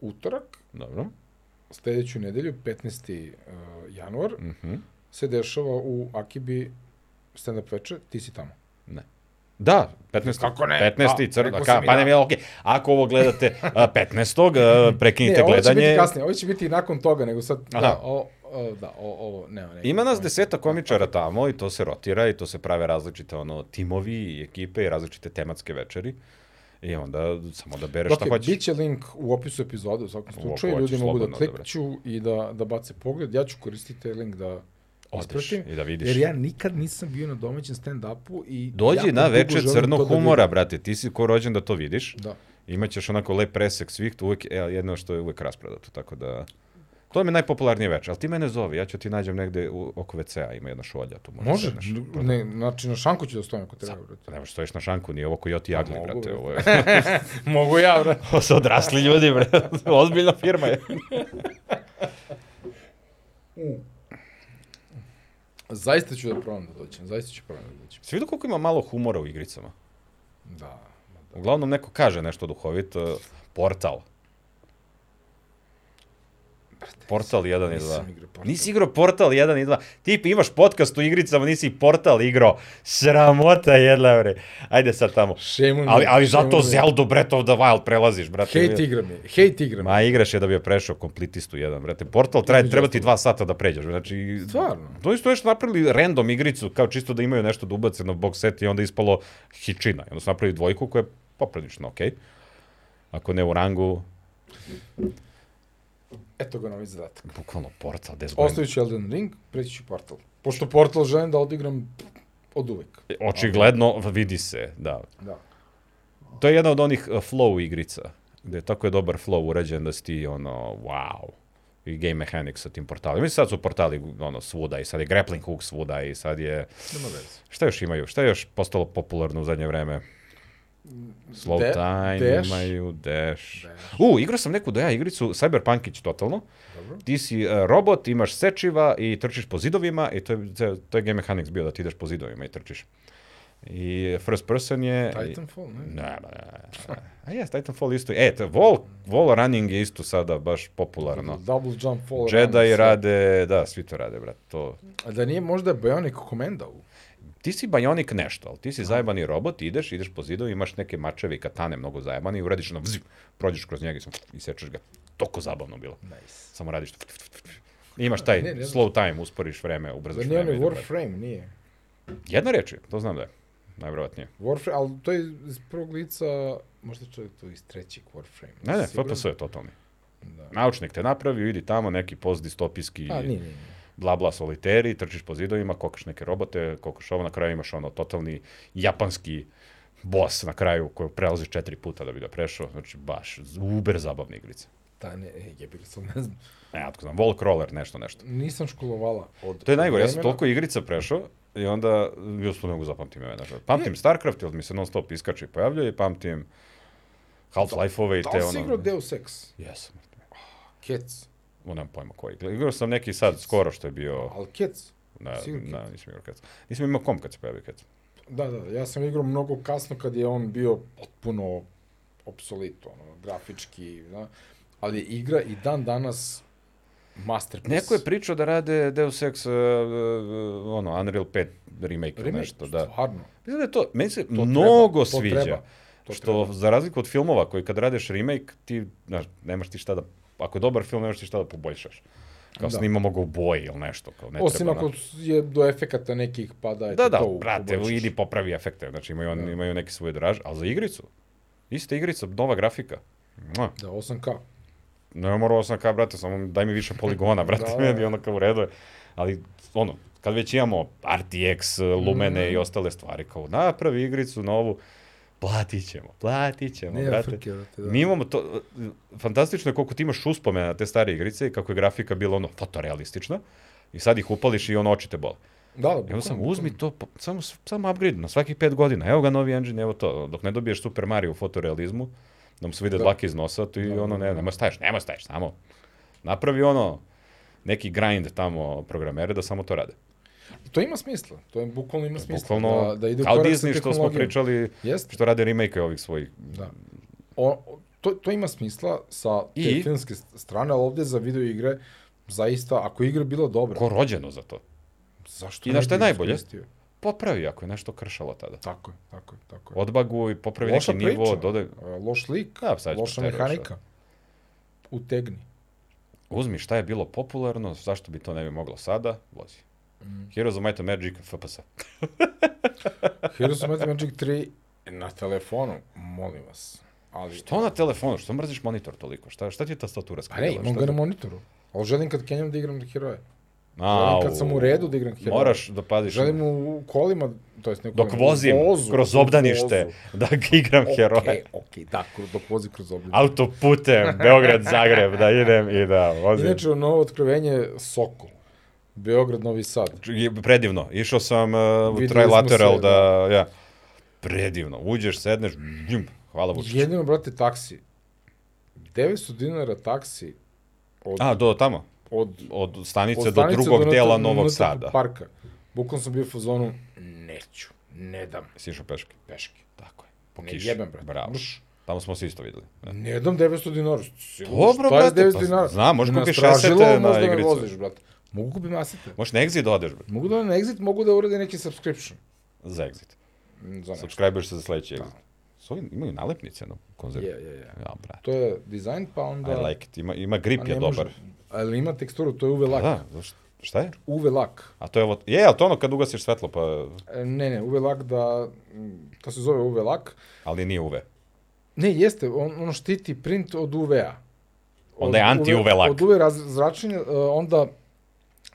S1: utorak,
S2: Dobro.
S1: sledeću nedelju, 15. uh, januar,
S2: Mhm.
S1: se dešava u Akibi stand-up večer, ti si tamo.
S2: Da, 15.
S1: Kako ne?
S2: 15.
S1: Pa,
S2: crta,
S1: rekao
S2: ka,
S1: sam i
S2: pa
S1: da.
S2: ne, okej. Ako ovo gledate uh, 15. Uh, prekinite
S1: ovo će biti
S2: gledanje.
S1: kasnije, ovo će biti i nakon toga, nego sad,
S2: Aha.
S1: da, o, o, da, o, ovo, ne, ne.
S2: Ima nas deseta komičara tamo i to se rotira i to se prave različite ono timovi i ekipe i različite tematske večeri. I onda samo da bereš šta
S1: Dok
S2: hoćeš.
S1: biće Dakle, link u opisu epizode, u svakom
S2: U
S1: slučaju,
S2: opisu,
S1: ljudi mogu da
S2: slobodno,
S1: klikću i da, da bace pogled. Ja ću koristiti taj link da
S2: Odeš
S1: ispratim.
S2: i da vidiš.
S1: Jer ja nikad nisam bio na domaćem stand-upu i...
S2: Dođi
S1: jako
S2: na
S1: dugo
S2: večer
S1: želim to
S2: crnog
S1: da
S2: humora,
S1: vidim.
S2: brate, ti si ko rođen da to vidiš.
S1: Da.
S2: Imaćeš onako lep presek svih, tu uvijek, e, ali jedno što je uvijek rasprodato, tako da... To mi je najpopularnije večer, ali ti mene zovi, ja ću ti nađem negde u, oko WC-a, ima jedna šolja tu. možda
S1: Može,
S2: sedneš. Pa da. Pa
S1: ne, znači na šanku ću da stojim ako treba, brate.
S2: Ne možeš stojiš na šanku, nije ovo ko Joti Jagli,
S1: mogu,
S2: brate,
S1: brate.
S2: ovo je...
S1: Mogu ja, brate.
S2: Ovo su odrasli ljudi, brate, ozbiljna firma je.
S1: Zaista ću da probam da dođem, zaista ću probam da dođem.
S2: Svi vidu koliko ima malo humora u igricama.
S1: Da.
S2: Uglavnom neko kaže nešto duhovito, portal. Portal 1 i
S1: nisam
S2: 2.
S1: igrao Portal.
S2: Nisi igrao Portal 1 i 2. Ti imaš podcast u igricama, nisi Portal igrao. Sramota jedna, bre. Ajde sad tamo.
S1: Shame on
S2: Ali,
S1: me,
S2: ali
S1: shame on
S2: zato
S1: me.
S2: Zelda Breath of the da Wild prelaziš, brate.
S1: Hejt igram je, hejt igram.
S2: Ma igraš je da bi je prešao kompletistu jedan, brate. Portal traje,
S1: Između
S2: treba ti
S1: ostalog.
S2: dva sata da pređeš, znači...
S1: Stvarno?
S2: To isto još napravili random igricu, kao čisto da imaju nešto da ubace na box set i onda je ispalo hičina. I onda su napravili dvojku koja je poprilično okej. Ako ne u rangu,
S1: Eto ga novi zadatak.
S2: bukvalno Portal, 10 godina.
S1: Ostavit ću Elden Ring, preći ću Portal. Pošto Portal да želim da odigram od uvek.
S2: Očigledno vidi se, da.
S1: Da.
S2: To je jedna od onih uh, flow igrica, gde je tako je dobar flow urađen da si ti ono, wow, i game mechanics sa tim portalima. Mislim, sad su portali ono, svuda i sad je grappling hook svuda i sad je...
S1: Nema veze.
S2: Šta još imaju? Šta je još postalo popularno u zadnje vreme? Slow
S1: De-
S2: time
S1: Dash.
S2: imaju, Dash.
S1: Dash.
S2: U, igrao sam neku da ja igricu, Cyberpunkić totalno.
S1: Dobro.
S2: Ti si e, robot, imaš sečiva i trčiš po zidovima i to je, to je- to je game mechanics bio da ti ideš po zidovima i trčiš. I first person je...
S1: Titanfall,
S2: I,
S1: ne?
S2: ne, ne, ne. A jes, Titanfall isto. E, to, wall, wall running je isto sada baš popularno.
S1: Double jump fall. run,
S2: Jedi
S1: sve.
S2: rade, da, svi to rade, brate. To,
S1: A da nije možda да Bionic Commando?
S2: ti si bajonik nešto, ali ti
S1: Da.
S2: si zajebani robot, ideš, ideš po zidu, imaš neke mačeve i katane mnogo zajebani i uradiš ono, vzip, prođeš kroz njega i, sam, i sečeš ga. Toko zabavno bilo.
S1: Nice.
S2: Samo radiš to. I Imaš taj
S1: Ne, ne znam.
S2: slow time, usporiš vreme, ubrzaš
S1: Zar nije
S2: vreme.
S1: onaj
S2: i tako dalje.
S1: Да Warframe, nije?
S2: Jedna reč je, to znam da je. Najvjerovatnije.
S1: Warframe, ali to je iz prvog lica, možda čovjek to iz trećeg Warframe. Да.
S2: Ne, ne,
S1: nisam siguran.
S2: FPS je totalni.
S1: Da.
S2: Naučnik te napravi, idi tamo, neki postdistopijski
S1: A, nije, nije, nije.
S2: bla bla soliteri, trčiš po zidovima, kokaš neke robote, kokaš ovo, na kraju imaš ono totalni japanski boss na kraju koji prelazi četiri puta da bi ga prešao, znači baš uber zabavna igrica.
S1: Ta ne, e, jebili sam, ne znam.
S2: Ne, otko znam, wall crawler, nešto, nešto.
S1: Nisam školovala od
S2: To je najgore, ja sam
S1: vremena.
S2: toliko igrica prešao i onda još to ne mogu zapamtim imena. Pamtim StarCraft, jer mi se non stop iskače i pojavljuje, pamtim Half-Life-ove i
S1: Da
S2: te
S1: li si
S2: ono...
S1: igrao Deus Ex?
S2: Jesam.
S1: Kec.
S2: O, nemam pojma koji. Igrao sam neki sad skoro što je bio...
S1: Ali Kec?
S2: Ne,
S1: sigurno
S2: ne, nisam igrao kad. Nisam imao kom kad se pojavio kad.
S1: Da, da, ja sam igrao mnogo kasno kad je on bio potpuno obsolit, ono, grafički, da. Ali je igra i dan danas masterpiece.
S2: Neko je pričao da rade Deus Ex, uh, uh, ono, Unreal 5 remake, remake
S1: Remake,
S2: nešto, da.
S1: Stvarno.
S2: Mislim da je to, meni se
S1: treba,
S2: mnogo
S1: to
S2: sviđa.
S1: treba, to
S2: što,
S1: treba.
S2: za razliku od filmova koji kad radeš remake, ti, znaš, nemaš ti šta da, ako je dobar film, nemaš ti šta da poboljšaš. Kao
S1: Da.
S2: snimamo ga u boji ili nešto, kao ne
S1: Osim
S2: treba.
S1: ako
S2: znaš.
S1: je do efekata nekih pada, eto
S2: Da, da,
S1: to u-
S2: brate,
S1: poboljšaš.
S2: idi popravi efekte, znači imaju, on,
S1: Da.
S2: imaju neki svoj draž, ali za igricu, ista igrica, nova grafika. Mua.
S1: Da, 8K.
S2: ne morao sam kao, brate, samo daj mi više poligona, brate,
S1: Da.
S2: meni ono kao u redu je. Ali, ono, kad već imamo RTX, eh, Lumene
S1: Mhm.
S2: i ostale stvari, kao napravi igricu novu, platit ćemo, platit ćemo,
S1: Nije
S2: brate.
S1: frke, brate, da.
S2: Mi imamo to, eh, fantastično je koliko ti imaš uspomena na te stare igrice i kako je grafika bila ono fotorealistična. I sad ih upališ i ono oči te bole.
S1: Da, da,
S2: Evo
S1: bukvalno,
S2: sam,
S1: bukvalno.
S2: uzmi to, pa- samo, samo upgrade na svakih pet godina. Evo ga novi engine, evo to. Dok ne dobiješ Super Mario u fotorealizmu, da mu se vide
S1: Da.
S2: dlake iz nosa, ti
S1: Da, da,
S2: ono, ne,
S1: da.
S2: nema staješ, nema staješ, samo napravi ono neki grind tamo programere da samo to rade.
S1: To ima smisla, to je bukvalno ima smisla.
S2: Bukvalno,
S1: da, da ide u
S2: kao
S1: korak sa
S2: Disney što smo
S1: tehnologijom.
S2: pričali,
S1: Jeste,
S2: što rade remake ovih svojih.
S1: da. O, o- to, to ima smisla sa te
S2: I?
S1: I? filmske s- strane, ali ovde za video igre, zaista, ako je igra bila dobra,
S2: Ko rođeno za to.
S1: zašto ne
S2: I znaš šta je
S1: bi
S2: najbolje?
S1: iskoristio?
S2: Popravi ako je nešto kršalo tada.
S1: Tako je, tako je, tako je.
S2: Odbaguj, popravi neki nivo, dodaj.
S1: e, loš lik,
S2: Da, sad ćemo
S1: loša
S2: taj loš,
S1: mehanika. Utegni.
S2: Uzmi šta je bilo popularno, zašto bi to ne bi moglo sada, vozi. Heroes of Might and Magic, FPS.
S1: Heroes of Might and Magic 3 na telefonu, molim vas. Ali,
S2: Što na telefonu, što mrziš monitor toliko? Šta, šta ti je tastatura
S1: Pa ne,
S2: skrivala?
S1: imam
S2: Šta
S1: ga
S2: ti-
S1: na monitoru. Ali želim kad Kenjam da igram na heroje. Želim kad sam u redu da igram heroja.
S2: Moraš da paziš.
S1: Želim u kolima, to jest ne u
S2: Dok
S1: kolima, u
S2: vozim
S1: vozu,
S2: kroz
S1: u
S2: obdanište,
S1: vozu.
S2: da igram heroja.
S1: Okej, okej, da, kru- dok vozi kroz obdanište.
S2: Autoputem, Beograd-Zagreb, da idem i da vozim.
S1: Inače, novo otkrivenje Sokol. Beograd, Novi Sad.
S2: Je Predivno. Išao sam uh, u
S1: Videli
S2: Trilateral
S1: smo se,
S2: da, ja. Predivno. Uđeš, sedneš, bljum, hvala Vučiću.
S1: Jedino, brate, taksi. 900 dinara taksi od,
S2: A, do tamo.
S1: od,
S2: Od stanice,
S1: od
S2: do
S1: stanice
S2: drugog
S1: nat-
S2: dela Novog
S1: natrag
S2: Sada.
S1: Parka. Bukom sam bio u fazonu, neću, ne dam
S2: Si išao peške.
S1: peške.
S2: Tako je. Po
S1: Ne
S2: kiši.
S1: jebem, brate.
S2: Bravo.
S1: Mrš. Mm.
S2: Tamo smo se isto videli. Da.
S1: Ne dam 900 dinara. Sigurno,
S2: Dobro,
S1: šta je
S2: brate,
S1: 900
S2: pa
S1: dinara?
S2: znam, možeš
S1: Na
S2: kupiš
S1: stražilo
S2: resete na
S1: možda me
S2: igricu.
S1: voziš, brate. Mogu kupim asete.
S2: Možeš na exit da odeš, bre.
S1: Mogu da na exit, mogu da uradim neki subscription.
S2: Za exit.
S1: Mm, Za nešto.
S2: Subscribeš se za sledeći exit. Su oni- imaju nalepnice na konzervu.
S1: Da. Je, je, je.
S2: Ja, brate.
S1: To je dizajn, pa onda...
S2: I like it. Ima, ima grip
S1: a
S2: je
S1: Pa ne može-
S2: dobar. да.
S1: Ali ima teksturu, to je UV lak.
S2: Da, zašto- šta je?
S1: UV lak.
S2: A to je ovo, je, ali to je ono kad ugasiš svetlo, pa,
S1: E, Ne, ne, UV lak da, mm, to se zove UV lak.
S2: ali nije UV.
S1: Ne, jeste, on, ono štiti print od UV-a. Od
S2: Onda je anti-UV lak.
S1: Od UV raz- zračenja, e, onda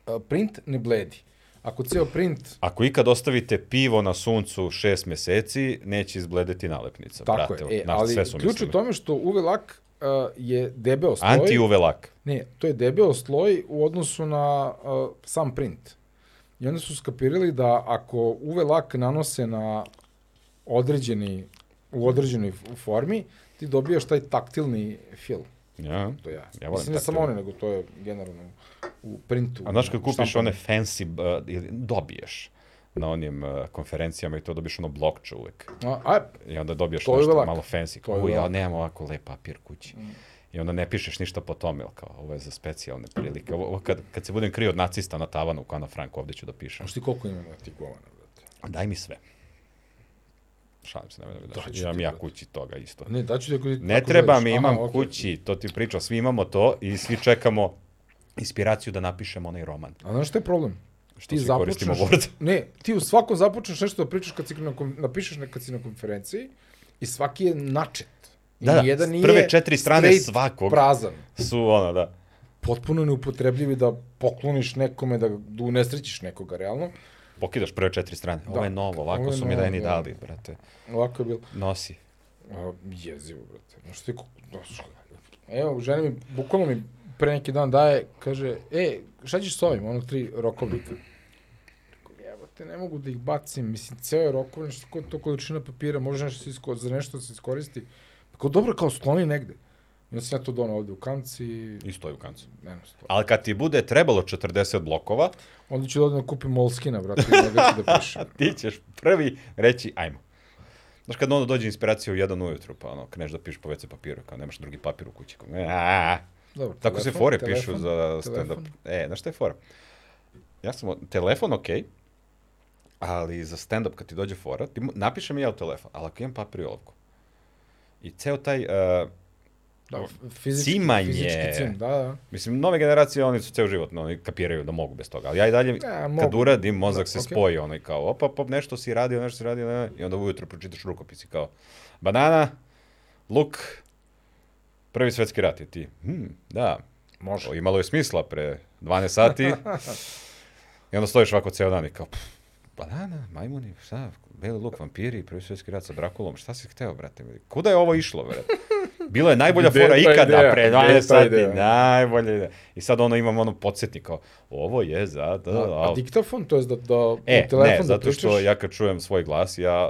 S1: e, print ne bledi. Ako ceo print,
S2: Ako ikad ostavite pivo na suncu šest meseci, neće izbledeti nalepnica.
S1: tako
S2: brate,
S1: je, e,
S2: na,
S1: ali
S2: sve su
S1: ključ u
S2: mislili.
S1: tome što UV lak e, je debeo sloj.
S2: Anti-UV lak.
S1: Ne, to je debeo sloj u odnosu na uh, sam print. I onda su skapirali da ako UV lak nanose na određeni, u određenoj f- formi, ti dobijaš taj taktilni fil.
S2: Ja.
S1: To ja.
S2: Ja volim
S1: Mislim, ne samo
S2: taktilni.
S1: oni, nego to je generalno u printu.
S2: A znaš kad kupiš
S1: štampanom.
S2: one fancy, uh, ili dobiješ na onim uh, konferencijama i to dobiješ ono blokče uvek.
S1: A, a,
S2: I onda dobiješ
S1: To je
S2: nešto
S1: velak.
S2: malo
S1: To je
S2: fancy.
S1: Mm.
S2: Kao, "U, ja
S1: velak.
S2: nemam ovako lep papir kući. I onda ne pišeš ništa po tome, jel kao, ovo je za specijalne prilike. Ovo, ovo kad, kad se budem krio od nacista na tavanu, kao na Franku, ovde ću da pišem.
S1: znaš ti koliko ima na tih govana, brate?
S2: Daj mi sve. Šalim se, nemoj da mi daš.
S1: Daću
S2: Imam
S1: ti,
S2: ja
S1: brate.
S2: kući toga isto.
S1: Pa Ne, daću ti ako...
S2: Ne
S1: ako
S2: treba
S1: želiš.
S2: mi,
S1: Aha,
S2: imam
S1: okej.
S2: kući, to ti pričam, svi imamo to i svi čekamo inspiraciju da napišemo onaj roman.
S1: A znaš šta je problem?
S2: Što svi koristimo Word.
S1: Ne, ti u svakom započneš nešto da pričaš kad si na kom, napišeš ne- kad si na konferenciji i svaki je načet. I
S2: Da, da,
S1: nijedan
S2: s
S1: nije
S2: prve četiri strane
S1: straight,
S2: svakog.
S1: Prazan.
S2: Su ono, da.
S1: Potpuno neupotrebljivi da pokloniš nekome, da, da unesrećiš nekoga, realno.
S2: Pokidaš prve četiri strane. Ovo
S1: Da.
S2: je novo,
S1: Ovo
S2: ovako
S1: je
S2: su mi
S1: novo,
S2: deni
S1: da.
S2: dali, brate.
S1: Ovako je bilo.
S2: Nosi.
S1: A, jezivo, brate. Znaš ti kako... znaš, Evo, žena mi, bukvalno mi pre neki dan daje, kaže, e, šta ćeš s ovim, ono tri
S2: Mhm.
S1: rokovnika? Rekao, Jebote, ne mogu da ih bacim, mislim, ceo je rokovnik, što ko- to količina papira, može nešto se isko, za nešto da se iskoristi. Pa kao, dobro, kao skloni negde. I onda sam ja to donao ovde u kanci,
S2: I stoji u kancu.
S1: ne znam, sto.
S2: Ali kad ti bude trebalo 40 blokova,
S1: Onda ću da odem da kupim Molskina, brate, i onda ću da pišem.
S2: ti ćeš prvi reći ajmo. Znaš, kad ono dođe inspiracija u jedan ujutru, pa ono, kreneš da pišeš po WC papiru, kao nemaš drugi papir u kući. Kao, "Aaaa."
S1: Dobro,
S2: Tako se
S1: telefon,
S2: fore
S1: telefon,
S2: pišu za stand-up.
S1: telefon.
S2: E, znaš šta je fora? Ja sam, od- telefon okej, ali za stand-up kad ti dođe fora, ti mo- napišem i ja u telefon, ali ako imam papir i olovku. I ceo taj, uh,
S1: Da, fizički,
S2: Cimanje.
S1: Fizički cim, da, da.
S2: mislim, nove generacije, oni su ceo život, no, oni kapiraju da mogu bez toga, ali ja i dalje, kad
S1: E, mogu. Da,
S2: uradim, mozak se
S1: okej.
S2: spoji, ono i kao, opa, opa, nešto si radio, nešto si radio, ne, i onda ujutro pročitaš rukopis i kao, banana, luk, prvi svetski rat i ti, hm, da,
S1: Može.
S2: O, imalo je smisla pre 12 sati. I onda stojiš ovako ceo dan i kao, pff, banana, majmuni, šta, beli luk, vampiri, prvi svjetski rat sa Drakulom, šta si hteo, brate? mili? Kuda je ovo išlo, brate? Bila je najbolja
S1: Gde je
S2: fora
S1: ta
S2: ikada,
S1: ideja?
S2: pre
S1: Gde je
S2: 12
S1: ta
S2: sati,
S1: ideja?
S2: najbolja ideja. I sad ono imam ono podsjetnik kao, ovo je za... Da, da,
S1: A, a diktafon, to je da, da
S2: E,
S1: u telefon
S2: ne,
S1: da
S2: zato što
S1: pričaš?
S2: ja kad čujem svoj glas, ja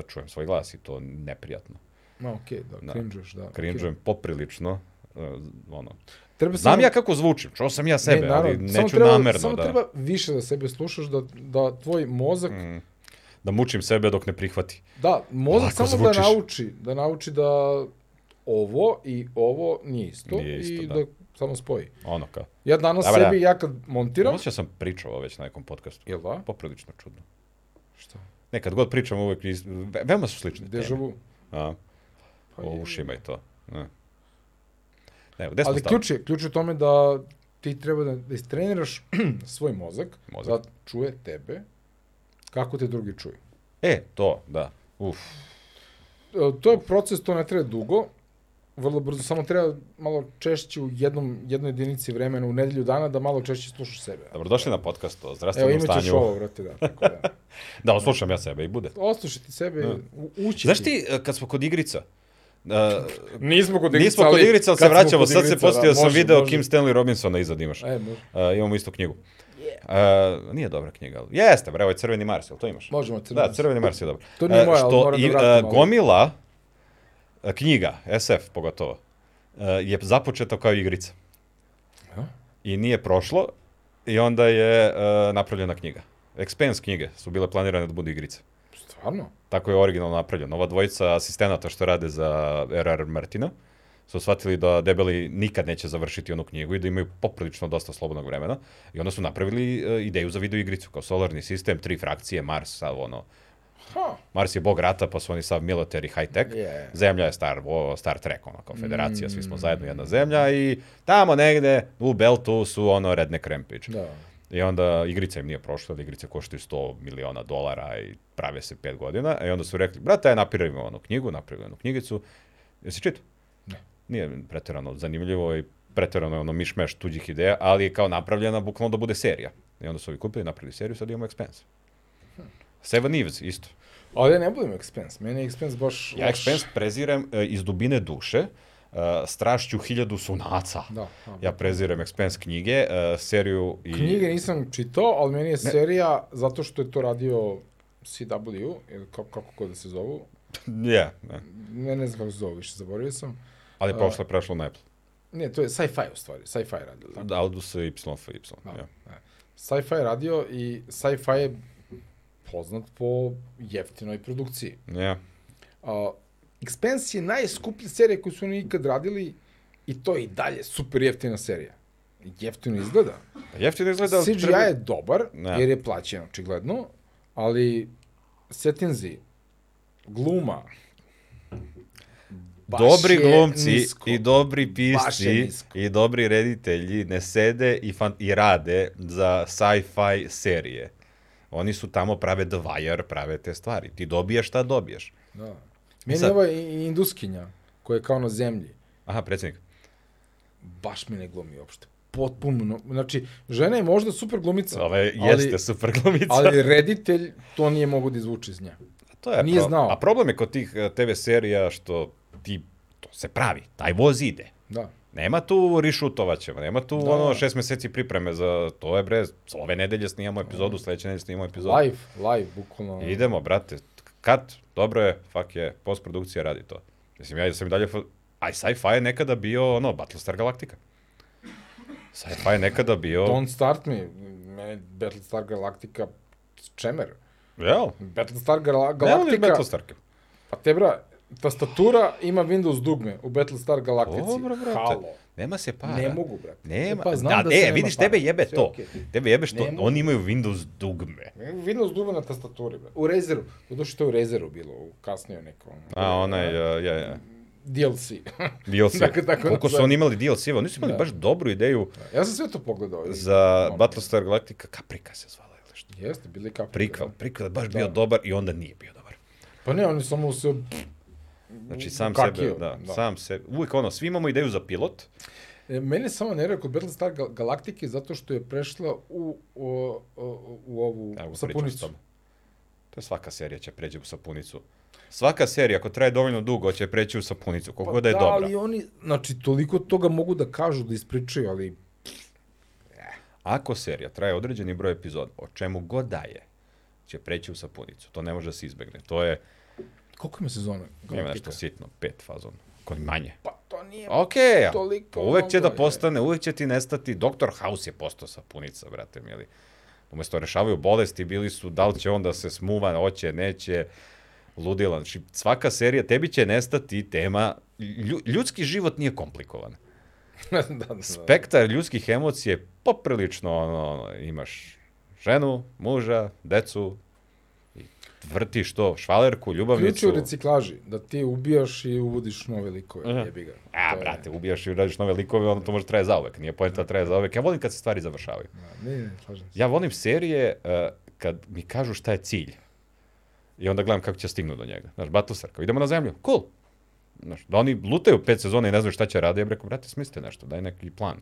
S2: uh, čujem svoj glas i to neprijatno.
S1: Ma, okej, okay,
S2: Da.
S1: da, cringe-uješ, da.
S2: Cringe-ujem poprilično, uh, ono.
S1: Okay. Treba
S2: Znam
S1: samo-
S2: ja kako zvučim, čuo sam ja sebe, ali
S1: naravno, samo
S2: neću
S1: treba,
S2: namerno
S1: Samo
S2: da...
S1: treba više da sebe slušaš, da, da tvoj mozak, mm.
S2: da mučim sebe dok ne prihvati.
S1: da, mozak
S2: Lako
S1: samo da
S2: zvučiš.
S1: nauči, da nauči da ovo i ovo nije isto,
S2: Nije isto,
S1: i
S2: da.
S1: da. samo spoji.
S2: Ono kao.
S1: Ja danas
S2: Dobar, da.
S1: sebi, ja kad montiram,
S2: Osjećao sam pričao ovo već na nekom podcastu.
S1: jel da?
S2: Poprilično čudno.
S1: Šta?
S2: Ne, kad god pričam uvek, iz... ve- veoma su slične teme.
S1: Dežavu.
S2: A,
S1: Pa
S2: o
S1: je.
S2: ušima i to. Ne, ne gde smo
S1: Ali
S2: stali?
S1: ključ je, ključ je u tome da ti treba da, da istreniraš svoj mozak,
S2: Mozak.
S1: da čuje tebe kako te drugi čuju.
S2: E, to, da. Uf,
S1: E, to je proces, to ne treba dugo. vrlo brzo, samo treba malo češće u jednom, jednoj jedinici vremena u nedelju dana da malo češće slušaš sebe.
S2: Dobrodošli na podcast o
S1: Evo
S2: zdravstvenom
S1: imaćeš
S2: stanju.
S1: ovo, vrati, da, tako da.
S2: Da, oslušam ja sebe i bude.
S1: Oslušaj ti sebe, u- ući.
S2: Da. Znaš
S1: ti.
S2: ti, e, kad smo kod igrica, e,
S1: Nismo kod igrica,
S2: nismo kod igrica, ali se
S1: kad smo
S2: vraćamo,
S1: kod
S2: sad se
S1: igrica, da,
S2: postio sam
S1: može,
S2: video
S1: može.
S2: Kim Stanley Robinsona iza imaš.
S1: E, može.
S2: E, imamo istu knjigu. E, nije dobra knjiga, ali jeste, bre, ovo je Crveni Mars, jel to imaš?
S1: Možemo, Crveni
S2: Da,
S1: Mars.
S2: Crveni Mars je dobro.
S1: To nije
S2: E,
S1: moja, ali
S2: što
S1: moram da
S2: i,
S1: vratim
S2: e,
S1: malo.
S2: Gomila e, knjiga, SF pogotovo, e, je započeta kao igrica.
S1: Ja?
S2: I nije prošlo i onda je e, napravljena knjiga. Expense knjige su bile planirane da budu igrice.
S1: Stvarno?
S2: Tako je originalno napravljeno. Ova dvojica asistenata što rade za R.R. Martina su shvatili da debeli nikad neće završiti onu knjigu i da imaju poprilično dosta slobodnog vremena. I onda su napravili e, ideju za videoigricu kao solarni sistem, tri frakcije, Mars, sav ono,
S1: Ha.
S2: Mars je bog rata, pa su oni sav military high tech.
S1: Je.
S2: Zemlja je Star, Wo- Star Trek, ono, kao federacija, svi smo zajedno jedna zemlja i tamo negde u Beltu su ono redne krempiče.
S1: Da.
S2: I onda igrica im nije prošla, da igrice koštaju 100 miliona dolara i prave se 5 godina. I onda su rekli, brate, aj napravimo onu knjigu, napravimo onu knjigicu. Jesi čitao?
S1: Ne.
S2: Nije preterano zanimljivo i preterano je ono mišmeš tuđih ideja, ali je kao napravljena bukvalno da bude serija. I onda su ovi kupili, napravili seriju, sad imamo Expense.
S1: Hm.
S2: Seven Eves, isto.
S1: Ali ja ne budem Expense, meni je Expense baš
S2: Ja
S1: loš.
S2: Expense prezirem e, iz dubine duše, e, strašću hiljadu sunaca.
S1: Da. a.
S2: Ja prezirem Expense knjige, e, seriju i...
S1: Knjige nisam čitao, ali meni je serija, zato što je to radio CW, ili kako, kako god da se zovu,
S2: Je, ne.
S1: ne, ne znam kako se zovu više, zaboravio sam.
S2: ali prošlo je prešlo na Apple.
S1: Ne, to je sci-fi u stvari, sci-fi radio. tako?
S2: Da, Aldus Y, F, Y.
S1: Da.
S2: Ja.
S1: Sci-fi je radio i sci-fi je poznat po jeftinoj produkciji.
S2: Ja.
S1: A, Expense je najskuplja serija koju su oni ikad radili i to je i dalje super jeftina serija. Jeftino izgleda.
S2: Jeftino izgleda... ali
S1: CGI
S2: treba-
S1: je dobar,
S2: Da.
S1: jer je plaćen očigledno, ali settinzi, gluma, baš
S2: Dobri
S1: je
S2: glumci
S1: nisko.
S2: i dobri
S1: Baš je
S2: pisci
S1: nisko.
S2: i dobri reditelji ne sede i, fan, i rade za sci-fi serije. Oni su tamo prave The Wire, prave te stvari. Ti dobiješ šta dobiješ.
S1: Da. Meni
S2: Sad-
S1: je ova i- i induskinja, koja je kao na zemlji,
S2: Aha, predsjednik.
S1: baš mi ne glumi uopšte. Potpuno. Znači, žena je možda super glumica,
S2: Ove,
S1: Da. ali-
S2: jeste super glumica.
S1: ali reditelj to nije mogo da izvuče iz nje.
S2: To je
S1: Nije
S2: pro-
S1: znao.
S2: A problem je kod tih e, TV serija što ti, to se pravi, taj voz ide.
S1: Da.
S2: Nema tu rišutovaćeva, nema tu
S1: Da.
S2: ono šest meseci pripreme za to je bre, ove nedelje snimamo epizodu,
S1: Da.
S2: sledeće nedelje snimamo epizodu.
S1: Live, live, bukvalno.
S2: Idemo, brate, kat, dobro je, fuck je, postprodukcija radi to. Mislim, ja sam i dalje, fo- aj sci-fi je nekada bio ono, Battlestar Galactica. Sci-fi je nekada bio,
S1: Don't start me. Mene Battlestar Galactica čemer.
S2: jel,
S1: Battlestar Gala-
S2: nema li
S1: Galactica...
S2: Battlestarke?
S1: Pa te bra, tastatura ima Windows dugme u Battlestar Galactici.
S2: Dobro, brate,
S1: Halo.
S2: nema se para.
S1: Ne mogu, brate.
S2: Nema,
S1: E, pa, znam
S2: da,
S1: da
S2: ne,
S1: se nema
S2: vidiš,
S1: para.
S2: tebe jebe
S1: Sve
S2: to.
S1: okej.
S2: Tebe jebe što
S1: Nema.
S2: oni imaju Windows dugme.
S1: Windows dugme na tastaturi, brate. U Razeru. Doduše to je u Razeru bilo, u kasnije nekom.
S2: A,
S1: Da.
S2: da. onaj, ja, ja, ja.
S1: DLC.
S2: DLC.
S1: Tako- tako
S2: Koliko su
S1: nazove.
S2: oni imali DLC-eva? Oni su imali
S1: Da.
S2: baš dobru ideju
S1: ja sam sve to pogledao. i-
S2: za
S1: ono,
S2: Battlestar Galactica. Kaprika se zvala ili što.
S1: Jeste, bili kapitali.
S2: Prikval. Prikval je baš bio
S1: Da.
S2: dobar i onda nije bio dobar.
S1: Pa ne, oni samo se...
S2: Znači, sam
S1: Kakio,
S2: sebe, da,
S1: da.
S2: sam sebe. Uvijek ono, svi imamo ideju za pilot.
S1: E, Mene samo nervira kod Battlestar Gal- Galactike zato što je prešla u, o, o, u ovu
S2: Evo, pričam s
S1: sapunicu.
S2: tobom. To je svaka serija će pređe u sapunicu. Svaka serija, ako traje dovoljno dugo, će preći u sapunicu, koliko god da je
S1: da,
S2: dobra.
S1: ali oni, znači, toliko toga mogu da kažu, da ispričaju, ali
S2: Ako serija traje određeni broj epizoda, o čemu god da je, će preći u sapunicu. To ne može da se izbegne. To je,
S1: koliko ima sezona?
S2: ima nešto
S1: Galactica?
S2: sitno, pet fazon. Kod manje.
S1: Pa to nije...
S2: Ok,
S1: Toliko
S2: uvek će da
S1: mnogo je.
S2: postane, uvek će ti nestati. Doktor House je postao sapunica, brate mili. Umesto rešavaju bolesti, bili su da li će onda se smuva, hoće, neće, ludila. Znači, svaka serija, tebi će nestati tema, lju, ljudski život nije komplikovan.
S1: da, da, da.
S2: Spektar ljudskih emocija je poprilično, ono, ono, imaš ženu, muža, decu, i vrtiš to, švalerku,
S1: Ključ je u
S2: ljubavnicu.
S1: reciklaži, da ti ubijaš i uvodiš nove likove,
S2: Aha.
S1: jebi ga.
S2: A,
S1: To je-
S2: brate, ubijaš i radiš nove likove, onda to može traje zauvek. Nije pojenta da traje zauvek. Ja volim kad se stvari završavaju.
S1: Da, Ne, ne, slažem se.
S2: Ja volim serije uh, kad mi kažu šta je cilj. I onda gledam kako će stignu do njega. Znaš, Battlestar, kao idemo na zemlju. Cool. Znaš, da oni lutaju pet sezona i ne znaju šta će rade, ja bih rekao, brate, smislite nešto, daj neki plan.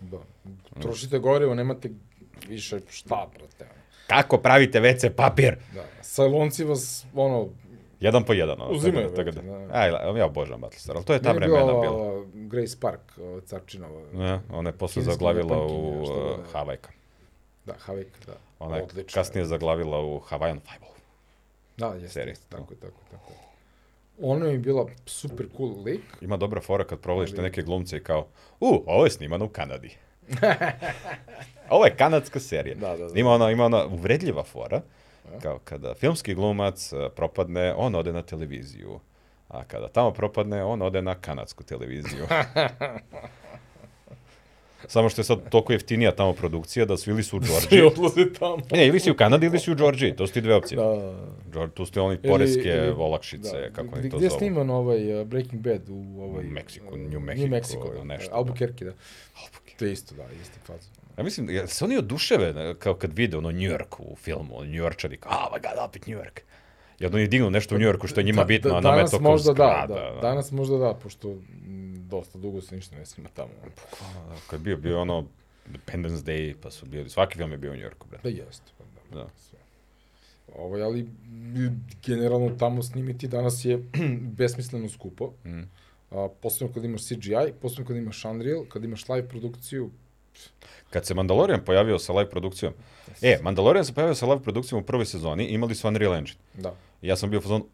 S1: Da. Trošite gorivo, nemate više šta, brate.
S2: Kako pravite WC papir?
S1: Da. Salonci vas, ono,
S2: Jedan po jedan. Ono,
S1: Uzimaju,
S2: tako da,
S1: brate,
S2: tako
S1: da.
S2: da. Aj, ja obožavam Battlestar, ali to je ta
S1: meni je
S2: vremena
S1: bio
S2: bila. Da.
S1: ova Grace Park, ova Carčinova.
S2: Ne, ona je posle
S1: Kineska
S2: zaglavila
S1: japankinja,
S2: u
S1: što da
S2: uh,
S1: je.
S2: Havajka.
S1: Da, Havik, da.
S2: Ona je
S1: Odlično.
S2: kasnije zaglavila u Hawaiian Five-O.
S1: Da, jeste,
S2: seriji.
S1: jeste, tako, je, tako, je, tako. je. Ona mi je bila super cool lik.
S2: Ima dobra fora kad provališ te neke glumce i kao, u, ovo je snimano u Kanadi. ovo je kanadska serija.
S1: Da, da, da.
S2: Ima ona, ima ona uvredljiva fora, kao kada filmski glumac e, propadne, on ode na televiziju. A kada tamo propadne, on ode na kanadsku televiziju. Samo što je sad toliko jeftinija tamo produkcija da svi ili su u
S1: I
S2: Đorđiji.
S1: odlazi tamo.
S2: Ne, ili si u Kanadi ili si u Đorđiji, to su ti dve opcije.
S1: Da, da.
S2: Đor- tu su ti oni
S1: Ili-
S2: poreske
S1: ili-
S2: olakšice,
S1: da.
S2: kako
S1: Gde-
S2: oni to
S1: Gde je
S2: zovu.
S1: sniman ovaj uh, Breaking Bad u ovaj...
S2: Meksiku,
S1: uh,
S2: New
S1: New
S2: Mexico,
S1: Mexico,
S2: ili
S1: da.
S2: nešto,
S1: Nešto,
S2: da.
S1: Albuquerque, da. To je isto, da, isti faz.
S2: Ja mislim, jel se oni oduševe ne, kao kad vide ono New York u filmu, ono New Yorkčani, kao, oh my god, opet New York. I onda oni dignu nešto u New Yorku što je njima
S1: Da,
S2: bitno,
S1: da-
S2: a nama je
S1: danas
S2: to kao
S1: možda da,
S2: zgrada.
S1: da,
S2: ono.
S1: Danas možda da, pošto m, dosta dugo se ništa ne snima tamo.
S2: Ono, da, Kad je bio, bio ono Independence Day, pa su bili, svaki film je bio u New Yorku, bre.
S1: Da jeste, pa da.
S2: Da.
S1: sve. Ovaj, ali m, generalno tamo snimiti danas je besmisleno skupo.
S2: Mm.
S1: A, posebno kad imaš CGI, posebno kad imaš Unreal, kad imaš live produkciju,
S2: Kad se Mandalorian pojavio sa live produkcijom, e, Mandalorian se pojavio sa live produkcijom u prvoj sezoni, imali su Unreal Engine.
S1: da.
S2: I Ja sam bio u fazonu,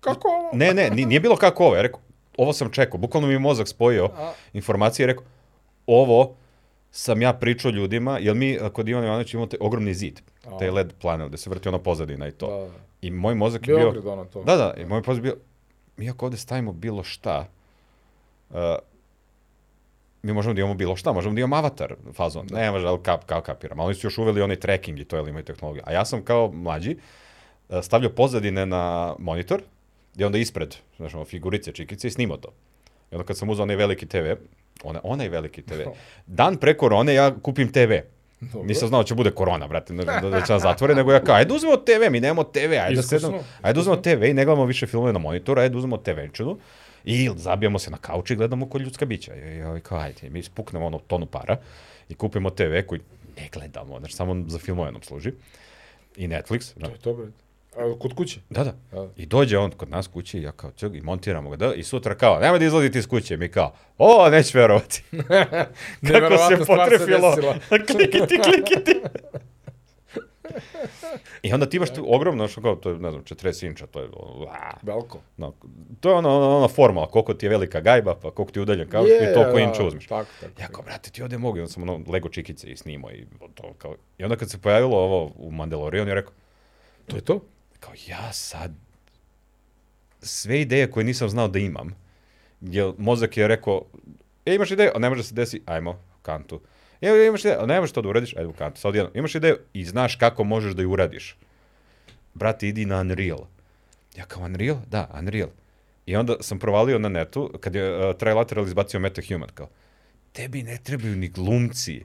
S1: Kako ovo?
S2: Ne, ne, ni- nije bilo kako ovo. Ja rekao, ovo sam čekao. Bukvalno mi je mozak spojio
S1: A.
S2: informacije i rekao, ovo sam ja pričao ljudima, jer mi a, kod Ivana Ivanovića imamo taj ogromni zid,
S1: A.
S2: taj LED planel gde se vrti ona pozadina i to.
S1: Da,
S2: I moj mozak je bio...
S1: Beograd, ono to.
S2: Da, da, i moj mozak je bio, mi ako ovde stavimo bilo šta, uh, mi možemo da imamo bilo šta, možemo da imamo avatar fazon. Ne može, ali kap, kao kapiram. Ali oni su još uveli onaj tracking i to, jel imaju tehnologiju. A ja sam kao mlađi uh, stavljao pozadine na monitor i onda ispred, znaš, ono, figurice, čikice i snimao to. I onda kad sam uzao onaj veliki TV, ona, onaj veliki TV, dan pre korone ja kupim TV.
S1: Dobro.
S2: Nisam znao da će bude korona, brate, da, da- da će nas zatvore, nego ja kao, ajde uzmemo TV, mi nemamo TV, ajde, da
S1: Iskusno,
S2: sedemo, ajde uzmemo TV i ne gledamo više filmove na monitoru, ajde da uzmemo TV-činu i zabijamo se na kauč i gledamo ko ljudska bića. I, i, ovi kao, ajde, mi spuknemo ono tonu para i kupimo TV koji ne gledamo, znači samo za filmove nam služi. I Netflix.
S1: To je to, bre. A, kod kuće?
S2: Da, da.
S1: Da.
S2: I dođe on kod nas kući i ja kao, čeg, i montiramo ga, da, i sutra kao, nemoj da izlazite iz kuće, mi kao, o, neć verovati. Kako
S1: Neverovatna
S2: se
S1: stvar se
S2: potrefilo.
S1: desila.
S2: klikiti, klikiti. I onda ti imaš tu ogromno, što kao, to je, ne znam, 40 inča, to je, a,
S1: Veliko.
S2: no, to je ona, ona, ona formula, koliko ti je velika gajba, pa koliko ti je udaljen kauč i toliko
S1: da,
S2: inča uzmeš.
S1: Tako, tako.
S2: Ja kao, brate, ti ovde mogu, i onda sam ono Lego čikice i snimao i to, kao, i onda kad se pojavilo ovo u Mandalorianu, ja rekao,
S1: To je to?
S2: kao ja sad sve ideje koje nisam znao da imam, jer mozak je rekao, e, imaš ideju, a ne može da se desi, ajmo, u kantu. E, e, imaš ideju, a ne možeš to da uradiš, ajde u kantu, sad jedno. Imaš ideju i znaš kako možeš da ju uradiš. Brate, idi na Unreal. Ja kao, Unreal? Da, Unreal. I onda sam provalio na netu, kad je uh, Trilateral izbacio MetaHuman, kao, tebi ne trebaju ni glumci.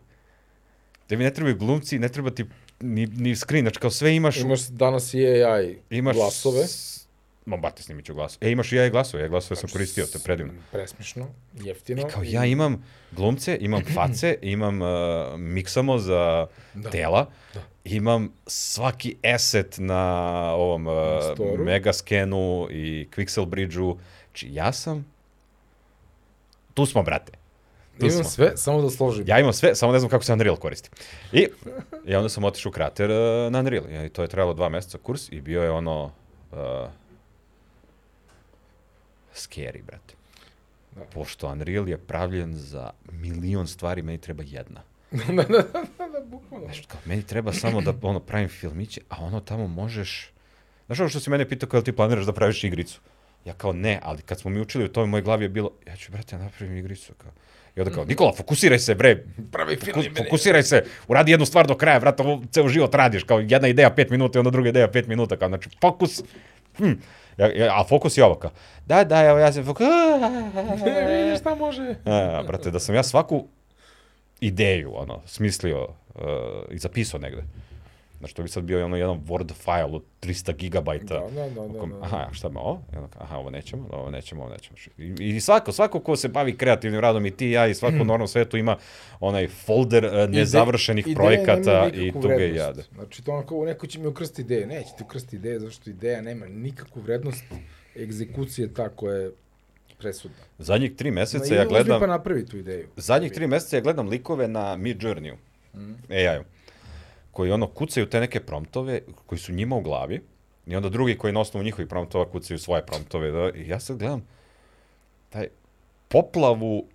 S2: Tebi ne trebaju glumci, ne treba ti ni, ni screen, znači kao sve imaš u
S1: Imaš danas i AI
S2: imaš
S1: glasove.
S2: s- Ma, bate, snimit ću glasove. E, imaš i ja i glasove, ja glasove
S1: Znači,
S2: sam koristio, to je predivno.
S1: Presmišno, jeftino.
S2: Kao,
S1: i-
S2: ja imam glumce, imam face, imam uh, miksamo za
S1: Da.
S2: tela, imam svaki asset na ovom uh,
S1: Na storu.
S2: Megascanu i Quixel Bridgeu. Či ja sam... Tu smo, brate. tu
S1: Imam
S2: smo.
S1: sve, samo da složim.
S2: Ja imam sve, samo ne znam kako se Unreal koristi. I, i onda sam otišao u krater e, na Unreal. I to je trajalo dva meseca kurs i bio je ono... Uh, scary, brate.
S1: Da.
S2: Pošto Unreal je pravljen za milion stvari, meni treba jedna.
S1: Da,
S3: Pa
S1: bukvalno.
S2: Znaš, kao, meni treba samo da ono, pravim filmiće, a ono tamo možeš... Znaš ono što si mene pitao kada ti planiraš da praviš igricu? Ja kao ne, ali kad smo mi učili u tome, u mojoj glavi je bilo, ja ću, brate, ja napravim igricu. Kao. I onda kao, Nikola, fokusiraj se, bre,
S3: Pravi Mhm. film
S2: Fokus-
S3: je meni.
S2: Fokusiraj se, uradi jednu stvar do kraja, vrata, ovo ceo život radiš, kao jedna ideja 5 minuta i onda druga ideja 5 minuta, kao znači fokus, hm. Ja, ja, a fokus je ovo kao, da, da, evo ja se fokus,
S1: Ne, vidiš šta može.
S2: a, brate, da sam ja svaku ideju, ono, smislio uh, i zapisao e, negde, Znači, to bi sad bio ono jedan Word file od 300
S1: Da,
S2: gigabajta.
S1: da, da,
S2: u
S1: da,
S2: kom-
S1: da.
S2: Aha, šta me ovo? I onda kao, Aha, ovo nećemo, ovo nećemo, ovo nećemo. I, I svako, svako ko se bavi kreativnim radom i ti i ja i svako u normalnom svetu ima onaj folder e, nezavršenih
S1: Ideje
S2: projekata
S1: nemaju
S2: i
S1: nikakvu
S2: tuge i
S1: vrednost.
S2: jade.
S1: Znači, to onako, neko će mi ukrsti ideje. Neće ti ukrsti ideje, zato što ideja nema nikakvu vrednost. Egzekucija je ta koja je presudna.
S2: Zadnjih tri
S1: Ma,
S2: meseca
S1: ili
S2: ja
S1: uzmi
S2: gledam...
S1: pa napravi tu ideju.
S2: Zadnjih tri meseca ja gledam likove na Mid Journeyu, mm. AI-u, koji ono kucaju te neke promptove koji su njima u glavi i onda drugi koji na osnovu njihovih promptova kucaju svoje promptove. Da, I ja sad gledam taj poplavu uh,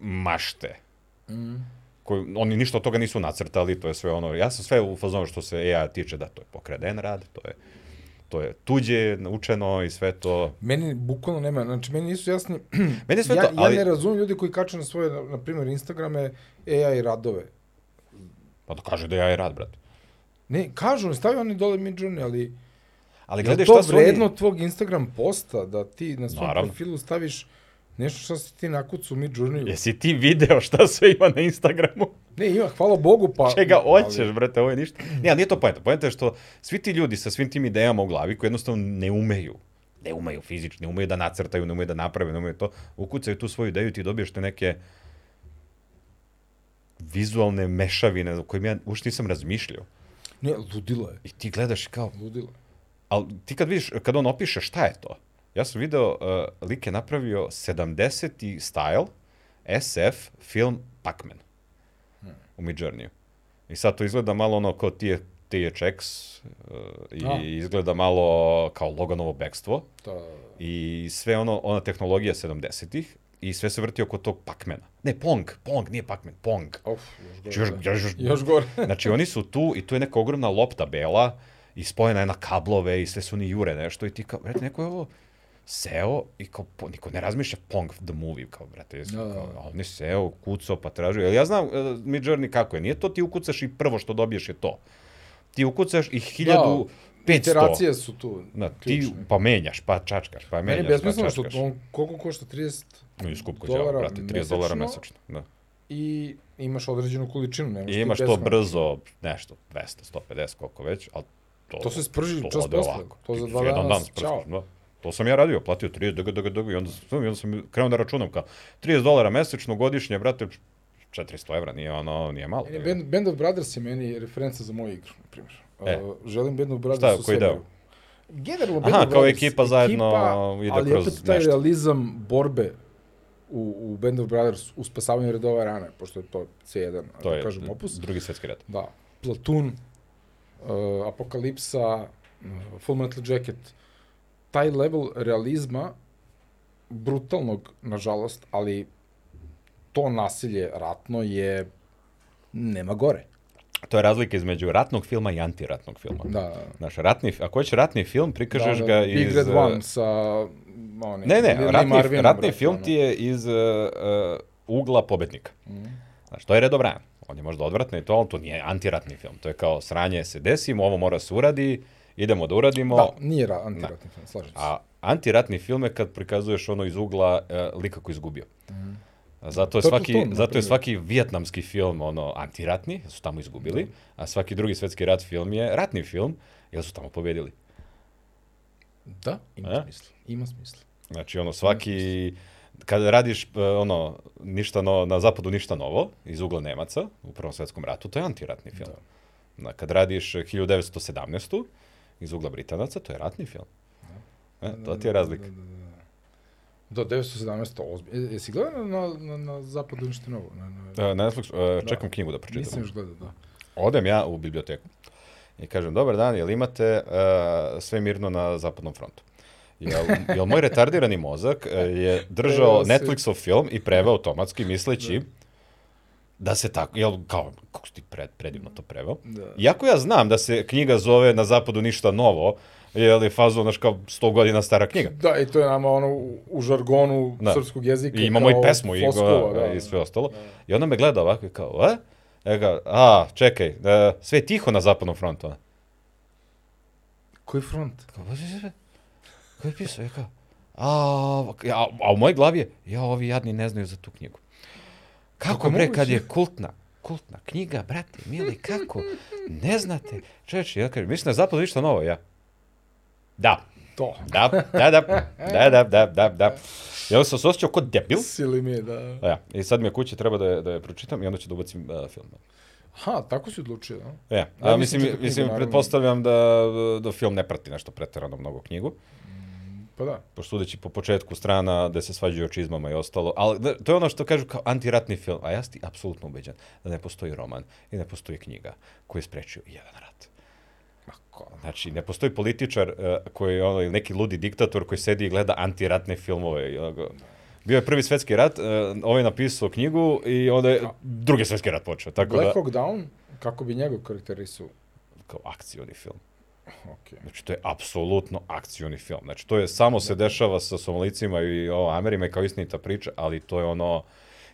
S2: mašte.
S1: Mm.
S2: Koju, oni ništa od toga nisu nacrtali, to je sve ono, ja sam sve u fazonu što se AI tiče, da to je pokraden rad, to je, to je tuđe, učeno i sve to.
S1: Meni bukvalno nema, znači meni nisu jasni,
S2: Meni je sve
S1: ja,
S2: to, ali,
S1: ja ne razumem ljudi koji kače na svoje, na, na primjer, Instagrame AI radove.
S2: pa da kaže da je AI rad, brate.
S1: Ne, kažu, ne stavljaju oni dole Midjourney, ali
S2: Ali
S1: je li
S2: gledaj
S1: to
S2: šta su oni...
S1: vredno tvog Instagram posta da ti na svom
S2: Naravno.
S1: profilu staviš nešto što si ti nakucu u Midjourneyu?
S2: Jesi ti video šta sve ima na Instagramu?
S1: Ne, ima, hvala Bogu, pa...
S2: Čega
S1: ali-
S2: hoćeš, brate, ovo je ništa. Ne, ali nije to poenta. Poenta je što svi ti ljudi sa svim tim idejama u glavi koji jednostavno ne umeju, ne umeju fizički, ne umeju da nacrtaju, ne umeju da naprave, ne umeju to, ukucaju tu svoju ideju i ti dobiješ te neke vizualne mešavine o kojim ja uopšte nisam razmišljao.
S1: Ne, ludilo je,
S2: I ti gledaš i kao,
S1: ludilo je.
S2: ali ti kad vidiš, kad on opiše šta je to, ja sam video, uh, lik je napravio 70. style SF film Pac-Man u Midjourneyu. I sad to izgleda malo ono kao TH, THX uh, i
S1: A.
S2: izgleda malo kao Loganovo bekstvo
S1: Ta...
S2: i sve ono, ona tehnologija 70-ih i sve se vrti oko tog Pac-Mana. Ne, Pong, Pong, nije Pac-Man, Pong.
S1: Of, još
S2: Znači, još,
S1: gore. da.
S2: još, još,
S1: Još gore.
S2: Znači, oni su tu i tu je neka ogromna lopta bela i spojena je na kablove i sve su ni jure nešto i ti kao, brate, neko je ovo seo i kao, po, niko ne razmišlja Pong the movie, kao, brate, jesu,
S1: Da,
S2: no,
S1: da,
S2: kao,
S1: da.
S2: a on je seo, kucao, pa tražio. Jel Ja znam uh, Midjourney kako je, nije to ti ukucaš i prvo što dobiješ je to. Ti ukucaš i 1500.
S1: Da, Iteracije su tu.
S2: Na, ti,
S1: ključne.
S2: pa menjaš, pa čačkaš, pa
S1: Meni je
S2: menjaš, pa
S1: besmisleno što
S2: čačkaš.
S1: on koliko košta 30
S2: No, i skupo
S1: dolara
S2: đavo, brate, 30 dolara
S1: mesečno.
S2: mesečno. Da.
S1: i imaš određenu količinu. Ne možeš
S2: I imaš to
S1: beskrajno.
S2: brzo, nešto, 200, 150, koliko već, ali to...
S1: To se sprži
S2: to
S1: čas
S2: ode
S1: posle.
S2: ovako.
S1: To
S2: Ti
S1: za
S2: s
S1: dva
S2: jedan
S1: dana
S2: dan
S1: si
S2: sprskaš,
S1: ćao.
S2: Da. To sam ja radio, platio 30, dg, dg, dg, i onda, sam, i onda sam krenuo da računam kao 30 dolara mesečno, godišnje, brate, 400 evra, nije ono, nije malo.
S1: Meni
S2: nije.
S1: Band, Band of Brothers je meni referenca za moju igru, na primjer.
S2: E.
S1: Uh, želim Band of Brothers
S2: Šta je,
S1: u
S2: koji
S1: svemiru.
S2: deo?
S1: Generalno Band
S2: Aha,
S1: of
S2: kao
S1: Brothers.
S2: ekipa zajedno ide
S1: ali
S2: kroz
S1: opet taj
S2: nešto.
S1: realizam borbe u, u Band of Brothers, u spasavanju redova rane, pošto je to C1,
S2: to
S1: da
S2: je
S1: kažem, opus.
S2: drugi svetski red.
S1: Da, Platoon, uh, Apokalipsa, uh, Full Metal Jacket, taj level realizma, brutalnog, nažalost, ali to nasilje ratno je nema gore.
S2: To je razlika između ratnog filma i antiratnog filma.
S1: Da.
S2: Znaš, ratni, ako hoćeš ratni film, prikažeš
S1: da,
S2: Pa ga
S1: da,
S2: iz...
S1: Big Red
S2: eh,
S1: One sa onim...
S2: Ne, ne,
S1: Lee
S2: ratni,
S1: Marvinom,
S2: ratni
S1: brate,
S2: film
S1: ono.
S2: ti je iz uh, uh, ugla pobednika.
S1: Mhm.
S2: Znaš, to je redobran. On je možda odvratno i to, ali to nije antiratni film. To je kao sranje se desimo, ovo mora se uradi, idemo da uradimo.
S1: Da, nije ra, antiratni film, slažem se.
S2: A antiratni film je kad prikazuješ ono iz ugla uh, lika koji je izgubio. Zato je,
S1: Mhm. To je
S2: svaki,
S1: Platoon, na
S2: zato je
S1: primjer.
S2: svaki vijetnamski film ono antiratni, jer su tamo izgubili,
S1: Da.
S2: a svaki drugi svetski rat film je ratni film, jer su tamo pobedili.
S1: Da, ima
S2: E?
S1: smisla. Ima smisla.
S2: Znači, ono, svaki... Kada radiš, e, ono, ništa no, na zapadu ništa novo, iz ugla Nemaca, u Prvom svetskom ratu, to je antiratni film. Da. Kad radiš e, 1917. iz ugla Britanaca, to je ratni film. E, to ti je razlika.
S1: Da, 917, ozbiljno. e, Jesi gledao na, na, na zapadu ništa novo? Na, na,
S2: E, Na Netflixu, e, čekam knjigu da pročitam.
S1: Nisam još gledao, da.
S2: Odem ja u biblioteku i kažem, dobar dan, jel imate uh, sve mirno na zapadnom frontu? Jel, jel moj retardirani mozak e, je držao
S1: Preveo si.
S2: Netflixov film i preveo automatski misleći da se tako, jel, kao, kako si ti pred, predivno to preveo.
S1: Da.
S2: Iako ja znam da se knjiga zove Na zapadu ništa novo, jel je fazo, znaš, kao 100 godina stara knjiga.
S1: Da, i to je nama ono u, u žargonu
S2: Da.
S1: srpskog jezika.
S2: I imamo i
S1: kao
S2: pesmu i,
S1: Floskula,
S2: da,
S1: da,
S2: i sve ostalo. I onda me gleda ovako i kao, a? Ja ga, a, čekaj, e, sve je tiho na zapadnom frontu. a?"
S1: Koji front?
S2: Kao, "Baš, baš, baš, ko je pisao? Ja kao, a, a, a u mojoj glavi je, ja, ovi jadni ne znaju za tu knjigu. Kako,
S1: Kako je
S2: bre,
S1: moguće?
S2: kad je kultna, kultna knjiga, brate, mili, kako? Ne znate? Čovječe, ja kažem, mislim da je zapad ništa novo, ja. Da.
S1: To.
S2: Da, da, da, da, da, da, da, da. Ja sam se osjećao kod debil.
S1: Sili mi je da...
S2: A ja, i sad mi je kući treba da je, da je pročitam i onda ću da ubacim uh, film.
S1: Ha, tako si odlučio, da?
S2: Ja, a,
S1: Ja mislim
S2: mislim,
S1: čitao
S2: mislim,
S1: knjigu, naravno.
S2: pretpostavljam da, da film ne prati nešto pretjerano mnogo knjigu.
S1: Pa da.
S2: pošto sudeći po početku strana da se svađaju o čizmama i ostalo, ali da, to je ono što kažu kao antiratni film, a ja sam ti apsolutno ubeđen da ne postoji roman i ne postoji knjiga koji je sprečio jedan rat. Znači, ne postoji političar eh, koji je ono, ili neki ludi diktator koji sedi i gleda antiratne filmove. i ono, Bio je prvi svetski rat, eh, ovaj je napisao knjigu i onda je drugi svetski rat počeo. Tako
S1: Black
S2: da,
S1: Hawk Down, kako bi njegov karakterisu...
S2: kao akcioni film.
S1: Okej.
S2: Znači, to je apsolutno akcioni film. Znači, to je samo se dešava sa Somalicima i o Amerima i kao istinita priča, ali to je ono,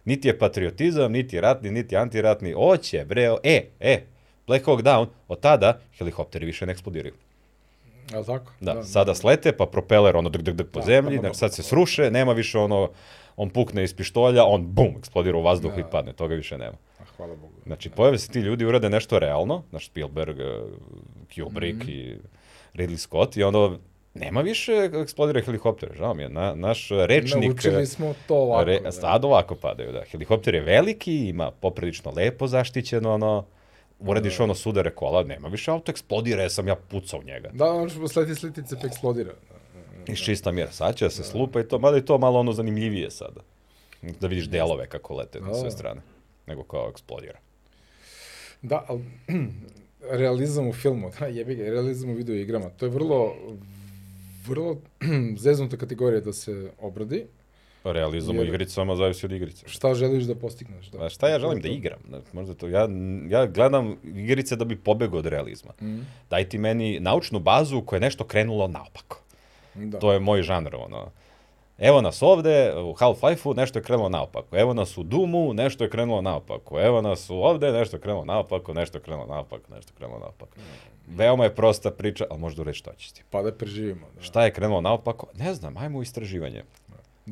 S2: niti je patriotizam, niti je ratni, niti je antiratni. Oće, bre, o- e, e, Black Hawk Down, od tada helikopteri više ne eksplodiraju.
S1: Okay. Al tako?
S2: Da, sada slete, pa propeler ono dk dk dk po zemlji,
S1: tamo
S2: znači sad se sruše, nema više ono, on pukne iz pištolja, on bum, eksplodira u vazduh i padne, toga više nema.
S1: A, hvala Bogu.
S2: Znači, pojave se ti ljudi, urade nešto realno, naš Spielberg, eh, Kubrick
S1: Mhm.
S2: i Ridley Scott, i onda nema više eksplodira helikopter, žao mi je, na, naš eh, rečnik...
S1: Naučili
S2: eh,
S1: smo to ovako.
S2: re,
S1: da.
S2: Sad ovako padaju, da. Helikopter je veliki, ima poprilično lepo zaštićeno, ono, uradiš
S1: Da.
S2: ono sudare kola, nema više auto, eksplodira, ja sam ja pucao njega.
S1: Da, ono što sleti sletice pa eksplodira. da.
S2: I čista mira, sad će da se slupa i to, mada je to malo ono zanimljivije sada. Da vidiš delove kako lete na sve
S1: Da.
S2: strane, nego kao eksplodira.
S1: Da, ali realizam u filmu, da, jebi ga, realizam u video igrama, to je vrlo, vrlo zeznuta kategorija da se obradi.
S2: Realizam u
S1: Jer-
S2: igricama zavisi od igrice.
S1: Šta želiš da postigneš? Da.
S2: Pa šta ja želim da igram? Znaš, Možda to, ja, ja gledam igrice da bi pobegao od realizma. Mm. Daj ti meni naučnu bazu koja je nešto krenulo naopako.
S1: Da.
S2: To je moj žanr, ono. Evo nas ovde, u Half-Life-u nešto je krenulo naopako. Evo nas u Doomu, nešto je krenulo naopako. Evo nas u ovde, nešto je krenulo naopako, nešto je krenulo naopako, nešto je krenulo naopako. Veoma je prosta priča, ali možda ureš šta ćeš ti.
S1: Pa da preživimo. Da.
S2: Šta je krenulo naopako? Ne znam, ajmo u istraživanje.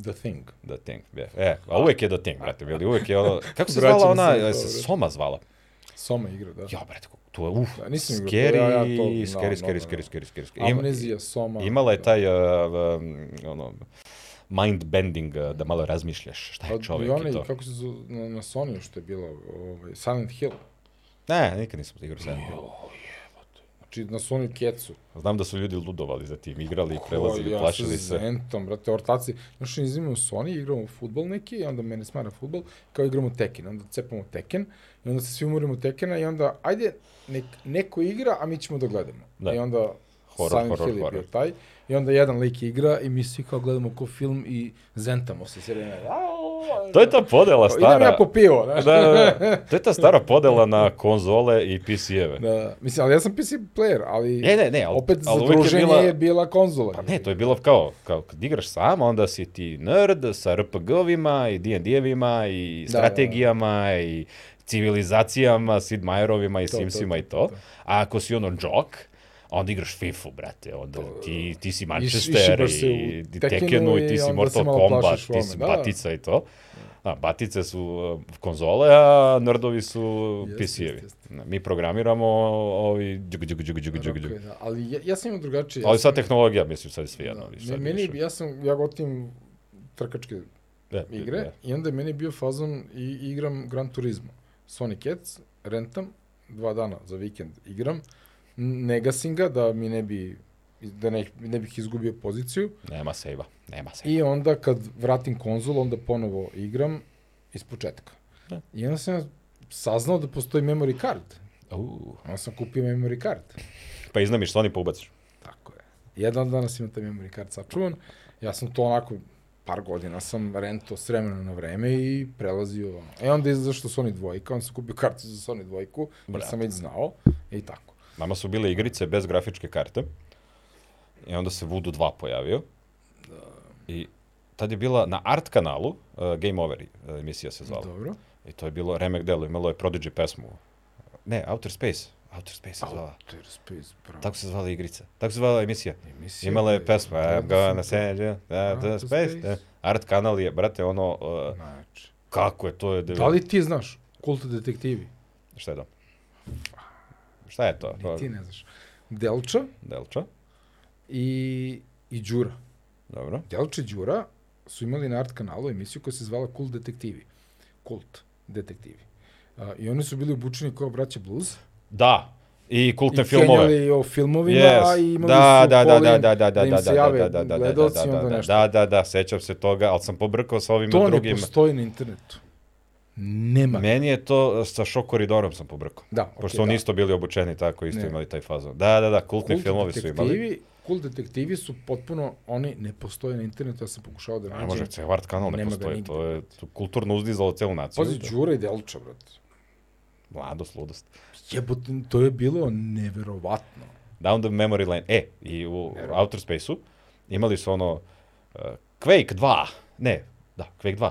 S1: The Thing.
S2: The Thing, yeah. E, a uvek je The Thing, brate, bili, uvek je ono... Kako se
S1: Vraćam
S2: zvala
S1: se
S2: ona,
S1: na
S2: jel
S1: to,
S2: se
S1: bre.
S2: Soma zvala?
S1: Soma igra, da.
S2: Ja, brate, kako- to je, uf,
S1: Da, nisam igrao to,
S2: scary,
S1: ja- ja to znam,
S2: scary,
S1: dobro,
S2: scary,
S1: da.
S2: scary, scary, scary, scary. Ima-
S1: Amnezija, Soma. da.
S2: Imala je taj, uh, um, ono, mind bending, uh, da malo razmišljaš šta je
S1: Pa i
S2: čovjek i
S1: onaj,
S2: to.
S1: kako se zove, na, na Sony što je bilo, ovaj, Silent Hill.
S2: Ne, nikad nisam igrao sam.
S1: Znači, na Sony Ketsu.
S2: Znam da su ljudi ludovali za tim, igrali, prelazili, plašili
S1: Ja sa
S2: se.
S1: Zentom, brate, ortaci. Znaš, ne izimamo Sony, igramo fudbal neki, i onda mene smara fudbal, kao igramo Tekken, onda cepamo Tekken, i onda se svi umorimo Tekena, i onda, ajde, nek, neko igra, a mi ćemo da gledamo.
S2: Da.
S1: Da. I onda
S2: Horor,
S1: Silent
S2: horor,
S1: Hill je bio
S2: horor.
S1: taj, i onda jedan lik igra, i mi svi kao gledamo ko film, i zentamo se sve vreme. Au,
S2: To je ta podela
S1: Pa, Idem ja
S2: Pa stara.
S1: po pivo, znaš.
S2: Da, da, da. To je ta stara podela na konzole i PC-eve.
S1: Da, mislim, ali ja sam PC player, ali
S2: Ne, ne, ne, ali-
S1: opet
S2: ali
S1: ali
S2: uvijek je
S1: zadruženje je
S2: bila-
S1: bila, konzola.
S2: Pa ne, to je bilo kao, kao kad igraš sam, onda si ti nerd sa RPG-ovima i D&D-evima i
S1: Da, da, da.
S2: strategijama i civilizacijama, Sid Meierovima i
S1: to,
S2: Simsima i
S1: to,
S2: to. A ako si ono džok, onda igraš FIFA, brate, onda ti, ti si Manchester
S1: išibeš se u
S2: i, i
S1: Tekkenu
S2: Tekkenu i
S1: i
S2: ti si
S1: onda
S2: Mortal
S1: se malo
S2: Kombat,
S1: plašiš u
S2: ti si
S1: ovome, da, da.
S2: Batica i to. A, batice su uh, konzole, a nerdovi su
S1: Jeste,
S2: PC-evi.
S1: jeste, jeste.
S2: Mi programiramo ovi džug, džug, džug, džug, džug, džug.
S1: Rokovi, da. Ali ja, ja sam imao drugačije. ja
S2: Ali
S1: sam-
S2: sad tehnologija, mislim, sad je sve jedno.
S1: da.
S2: više,
S1: Me-
S2: sad
S1: meni,
S2: više.
S1: ja sam, ja gotim trkačke
S2: Da,
S1: igre
S2: da.
S1: i onda je meni bio fazon i igram Gran Turismo. Sonic Cats, rentam, dva dana za vikend igram, n- ne gasim ga da mi ne bi da ne, ne bih izgubio poziciju
S2: da, Nema sejva, nema sejva.
S1: i onda kad vratim konzol, onda ponovo igram iz početka.
S2: Da.
S1: I onda sam ja saznao da postoji memory card.
S2: Uuu.
S1: Onda sam kupio memory card.
S2: Pa iznamiš Sony pa ubaciš.
S1: Tako je. Jedan danas imam taj memory card sačuvan. Ja sam to onako par godina sam rento s vremena na vreme i prelazio ono. E onda je zašto Sony dvojka, onda sam kupio kartu za Sony dvojku, jer
S2: Brate.
S1: sam već znao i tako.
S2: Nama su bile igrice bez grafičke karte. I onda se Voodoo 2 pojavio. I tad je bila na Art kanalu, uh, Game Over uh, emisija se zvala.
S1: Dobro.
S2: I to je bilo remek delo, imalo je Prodigy pesmu. Ne, Outer Space. Outer Space se zvala.
S1: Outer Space, bravo.
S2: Tako se zvala igrica. Tako se zvala emisija.
S1: Emisija
S2: Imala je
S1: koja
S2: pesmu. I'm
S1: gledao sam
S2: gonna
S1: to.
S2: send you Outer
S1: Outer
S2: Space. E,
S1: space.
S2: Art kanal je, brate, ono, uh,
S1: Znači.
S2: kako je to je...
S1: Da li ti znaš? Kult detektivi.
S2: Šta je to? Šta je to?
S1: Ni
S2: to
S1: ti
S2: je
S1: ne znaš. Delča
S2: Delča.
S1: i, i Đura.
S2: Dobro.
S1: Delče Đura su imali na Art kanalu emisiju koja se zvala Kult detektivi. Kult detektivi. A, I oni su bili obučeni kao braća Blues.
S2: Da. I kultne
S1: I
S2: filmove.
S1: kenjali o filmovima
S2: Yes.
S1: i imali
S2: Da,
S1: su
S2: da, da,
S1: polin
S2: da, da, da, da,
S1: im
S2: da,
S1: se
S2: da,
S1: jave
S2: da, da, da, da,
S1: gledaoci
S2: da,
S1: i
S2: da,
S1: onda
S2: da,
S1: nešto.
S2: da, da, da, sećam se toga, ali sam pobrkao sa ovima
S1: to ne
S2: drugim.
S1: postoji na internetu. Nema.
S2: Meni je to e, sa šok koridorom sam pobrkao.
S1: Da, okej,
S2: Pošto oni
S1: da.
S2: isto bili obučeni tako, isto
S1: Ne.
S2: imali taj fazon. Da, da, da, kultni filmovi su imali.
S1: detektivi- Kult detektivi su potpuno, oni ne postoje na internetu, ja sam pokušao da
S2: Ne može,
S1: nađem.
S2: ceo art kanal ne
S1: Nema ga
S2: postoji,
S1: nigde,
S2: to je to kulturno uzdizalo celu naciju.
S1: Pazi, Đura i Delča, brate.
S2: Mladost, ludost.
S1: Jebote, to je bilo neverovatno.
S2: Down the Memory Lane. E, i u Outer Space-u imali su ono uh, Quake 2. Ne, da, Quake 2,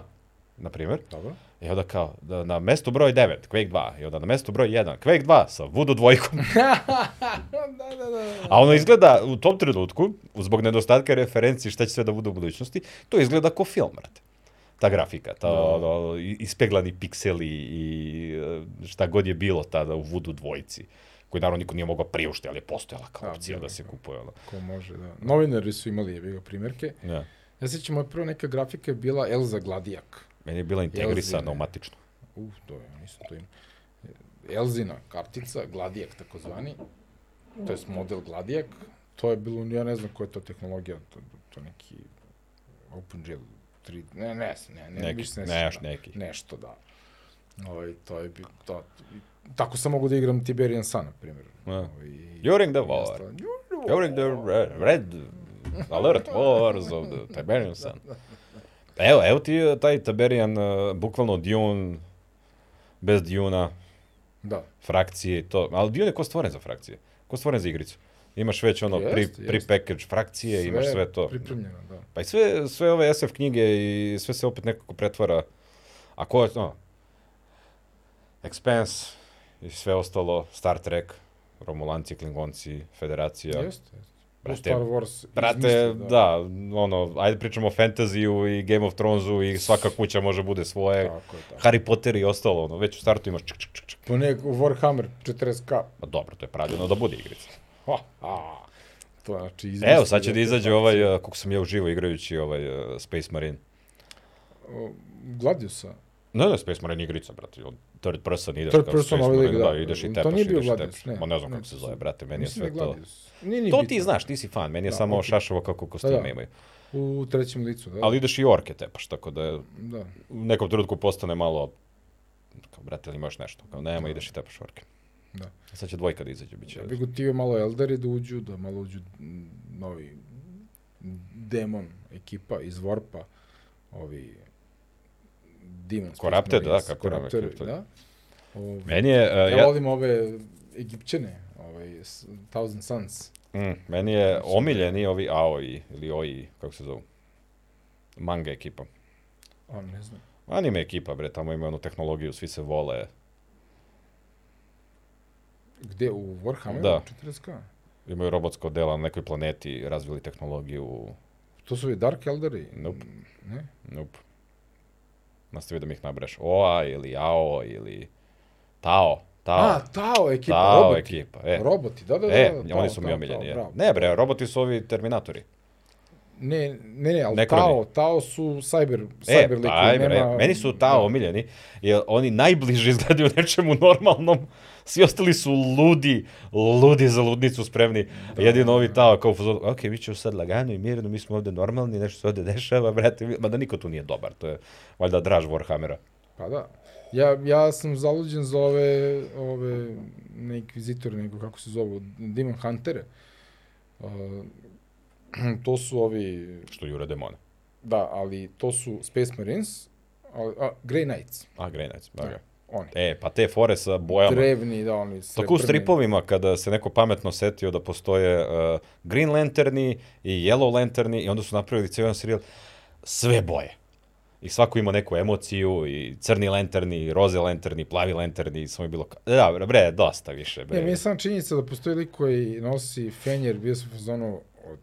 S2: na primjer.
S1: Dobro.
S2: I onda kao, da, na mestu broj 9, Quake 2. I onda na mestu broj 1, Quake 2 sa Voodoo dvojkom.
S1: Da, da, da.
S2: A ono izgleda u tom trenutku, zbog nedostatka referenci šta će sve da bude u budućnosti, to izgleda kao film, brate. Ta grafika, ta,
S1: Da.
S2: ono, i- ispeglani pikseli i e, šta god je bilo tada u Voodoo dvojci koji naravno niko nije mogao priuštiti, ali je postojala kao
S1: Da,
S2: opcija
S1: bilo
S2: da
S1: je
S2: se kupuje. Ono. Da.
S1: Ko može, da. Novinari su imali jebi ga primjerke.
S2: Ja.
S1: Ja sećam, moja prva neka grafika je bila Elza Gladijak.
S2: Meni je bila integrisana
S1: Jelzine.
S2: umatično.
S1: Uf, to je, nisam to imao. Elzina kartica, Gladijak takozvani, to je model Gladijak, to je bilo, ja ne znam koja je to tehnologija, to, to neki OpenGL 3, ne, ne, znam, ne, ne, ne,
S2: Neki,
S1: više se ne,
S2: ne,
S1: sjećam,
S2: neki.
S1: da. nešto, da. Ovaj, to je bilo, to, tako sam mogu da igram Tiberian Sun, na primjer.
S2: Da.
S1: Ovaj, i-
S2: During the
S1: i
S2: war,
S1: ostalo.
S2: during the da re- red alert wars of the Tiberian sun. Pa Evo, evo ti je taj Tiberian, uh, bukvalno Dune, bez Duna,
S1: Da,
S2: frakcije i to. Ali Dune je ko stvoren za frakcije, ko stvoren za igricu. Imaš već ono
S1: Jest,
S2: pre,
S1: jest.
S2: pre-package frakcije, sve, imaš sve to.
S1: Pripremljeno, da.
S2: Pa i sve, sve ove SF knjige i sve se opet nekako pretvara. A ko je, no, Expanse i sve ostalo, Star Trek, Romulanci, Klingonci, Federacija.
S1: Ja. Jeste, jeste.
S2: Brate,
S1: Brate, Star Wars
S2: Brate,
S1: izmislio,
S2: da. ono, ajde pričamo o fantasyju i Game of Thronesu i svaka kuća može bude svoje.
S1: Tako je, tako.
S2: Harry Potter i ostalo, ono, već u startu imaš čk, čk, čk, čk.
S1: Po nek, Warhammer 40k.
S2: Ma dobro, to je pravljeno da bude igrica.
S1: Ha, a, to znači izmislio.
S2: Evo, sad će da izađe ovaj, uh, kako sam ja uživo igrajući ovaj uh, Space Marine.
S1: Gladiusa.
S2: Ne, ne, Space Marine je igrica, brate. on Third person ideš
S1: Third
S2: kao
S1: person,
S2: Space
S1: ovaj
S2: Marine,
S1: lig,
S2: da,
S1: da.
S2: ideš i
S1: To
S2: tepaš,
S1: nije bio
S2: ideš i
S1: Gladius,
S2: tepaš.
S1: ne,
S2: Ma ne znam
S1: ne,
S2: kako se
S1: to
S2: zove,
S1: sam-
S2: brate, meni je
S1: Mislim da
S2: sve to.
S1: Gladius. Nije ni
S2: To
S1: bitno.
S2: ti znaš, ti si fan, meni je
S1: Da,
S2: samo
S1: okej.
S2: šašavo kako
S1: Da,
S2: kostime
S1: da.
S2: imaju.
S1: U trećem licu, da.
S2: Ali ideš i orke tepaš, tako da je
S1: Da.
S2: u nekom trenutku postane malo, kao, brate, ili imaš nešto? Kao, nema, ideš i tepaš orke.
S1: Da.
S2: Sad će dvojka da izađe, bit će.
S1: Ja bih gotio malo Eldari da uđu, da malo uđu m, novi demon ekipa iz Warpa, ovi Demon Space
S2: Korapter, da,
S1: Marines,
S2: kako nam je
S1: Korapter,
S2: kripto.
S1: da. Ovi,
S2: Meni je, uh,
S1: ja, ja
S2: ja,
S1: volim ove Egipćane, ovaj, s- Thousand Suns.
S2: mm, meni je omiljeni ovi Aoi, ili Oi, kako se zovu, manga ekipa.
S1: A, ne znam.
S2: Anime ekipa, bre, tamo imaju onu tehnologiju, svi se vole.
S1: Gde, u Warhammeru?
S2: Da.
S1: 40k?
S2: Imaju robotsko dela na nekoj planeti, razvili tehnologiju.
S1: To su i Dark Eldari?
S2: Nope.
S1: Ne?
S2: Nope. Nastavi da mi ih nabreš. Oa ili Ao ili Tao. Tao.
S1: A, Tao ekipa,
S2: Tao
S1: roboti.
S2: ekipa. E,
S1: Roboti, da, da, da.
S2: e
S1: da,
S2: oni
S1: Tao,
S2: su mi
S1: Tao,
S2: omiljeni.
S1: Tao,
S2: je.
S1: bravo.
S2: ne bre, roboti su ovi Terminatori. E,
S1: Ne, ne, ne, ali
S2: Nekroni.
S1: Tao, Tao su cyber,
S2: E,
S1: cyber likovi,
S2: taj bre,
S1: nema... Da.
S2: meni su Tao omiljeni, jer oni najbliže izgledaju nečemu normalnom. Svi ostali su ludi, ludi za ludnicu spremni.
S1: Da,
S2: Jedino ovi Tao kao u fazonu, ok, mi ćemo sad lagano i mirno, mi smo ovde normalni, nešto se ovde dešava, brate. Ma da niko tu nije dobar, to je valjda draž Warhammera.
S1: Pa da. Ja, ja sam zaluđen za ove, ove ne inkvizitore, nego kako se zovu, Demon Huntere. Uh, to su ovi,
S2: Što jure demone.
S1: da, ali to su Space Marines, a, a Grey Knights,
S2: A, Grey Knights, da ga.
S1: oni.
S2: E, pa te fore sa bojama.
S1: Drevni, da, oni
S2: Tako u
S1: srebrni.
S2: stripovima, kada se neko pametno setio da postoje uh, Green Lanterni i Yellow Lanterni i onda su napravili cijel jedan serijal, sve boje. I svako ima neku emociju, i crni lenterni, i roze lenterni, i plavi lenterni, i samo je bilo kao, da, bre, dosta više,
S1: Ne, mi
S2: bre.
S1: je sam činjenica da postoji lik koji nosi fenjer, bio sam u zonu, od,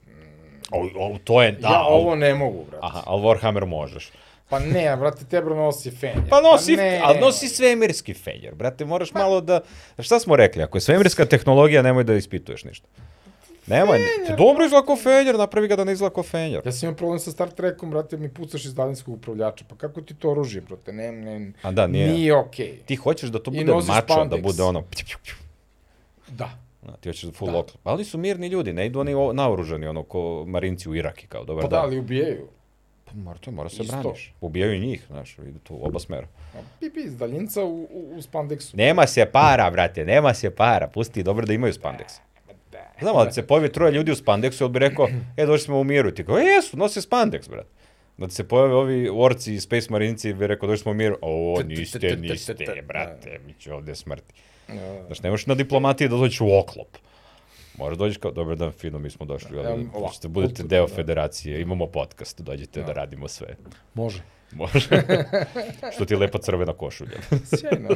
S2: O, o, to je, da,
S1: ja
S2: al-
S1: ovo ne mogu, brate.
S2: aha, ali Warhammer možeš.
S4: Pa ne, brate, Tebro nosi fenje.
S2: Pa nosi,
S4: ne.
S2: ali nosi svemirski Fenjer, brate, moraš malo da... Šta smo rekli, ako je svemirska tehnologija, nemoj da ispituješ ništa. Nemoj, te dobro izgleda ko Fenjer, napravi ga da ne izgleda ko Fenjer.
S4: Ja sam imao problem sa Star Trekom, brate, mi pucaš iz daljinskog upravljača. Pa kako ti to oružje, brate? Ne, ne,
S2: A da, nije.
S4: nije okej.
S2: Ti hoćeš da to
S4: I
S2: bude mačo,
S4: nosiš
S2: da
S4: spandex.
S2: bude ono...
S4: Da.
S2: Na, ti hoćeš full da. local. Pa Ali su mirni ljudi, ne idu oni o- naoružani, ono, ko marinci u Iraki, kao, dobar
S4: Pa da,
S2: dan.
S4: ali ubijaju.
S2: Pa mora, to mora se
S4: Isto.
S2: braniš. Ubijaju njih, znaš, idu tu u oba smera.
S4: A, Pi, pi, iz daljinca u, u, u spandeksu.
S2: Nema se para, brate, nema se para. Pusti, dobro da imaju spandeks. Znam, ali se pojave troje ljudi u spandeksu, on bi rekao, e, došli smo u miru. Ti kao, e, jesu, nose spandeks, brate. Da ti se pojave ovi orci i space marinci, bi rekao, došli smo u miru. O, niste, niste, brate,
S4: da.
S2: mi će ovdje smrti. Znaš, ne možeš na diplomatiji da dođeš u oklop. Možeš dođeš kao, dobar dan, fino, mi smo došli.
S4: Evo,
S2: Ovdje,
S4: ovako,
S2: ćete, budete
S4: kulturno,
S2: deo
S4: da.
S2: federacije, imamo podcast, dođete da radimo sve.
S1: Može.
S2: Može. Što ti je lepa crvena košulja.
S4: Sjajno.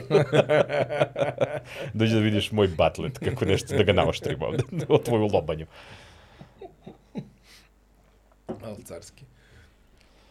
S2: Dođi da vidiš moj batlet, kako nešto da ga naoštrim ovde, o tvoju lobanju.
S1: Ali carski.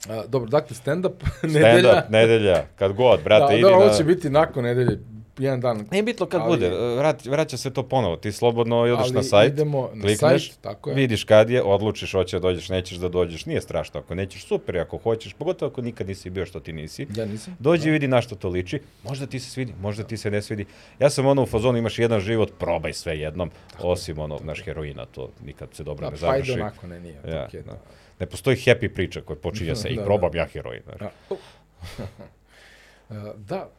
S4: A, dobro, dakle, stand-up
S2: Stand
S4: nedelja.
S2: up, nedelja, kad god, brate,
S4: da,
S2: idi
S4: da, ovo
S2: na...
S4: će biti nakon nedelje, jedan dan.
S2: Nije bitno kad
S4: Ali-
S2: bude, vrat, vraća se to ponovo, ti slobodno odeš
S4: Ali
S2: na sajt,
S4: idemo na
S2: klikneš,
S4: sajt, tako je.
S2: vidiš kad je, odlučiš hoće da dođeš, nećeš da dođeš, nije strašno, ako nećeš, super, ako hoćeš, pogotovo ako nikad nisi bio što ti nisi.
S4: Ja nisam.
S2: Dođi i vidi na što to liči. Možda ti se svidi, možda ti se ne svidi. Ja sam ono u fazonu imaš jedan život, probaj sve jednom, osim ono, naš heroina, to nikad se dobro
S4: Da, pa
S2: ne završi.
S4: ide onako, ne, nije.
S2: Ja,
S4: okej, da.
S2: da. Ne postoji happy priča koja počinje sa i
S4: Da,
S2: probam ja heroin. znaš.
S4: Da. A, da,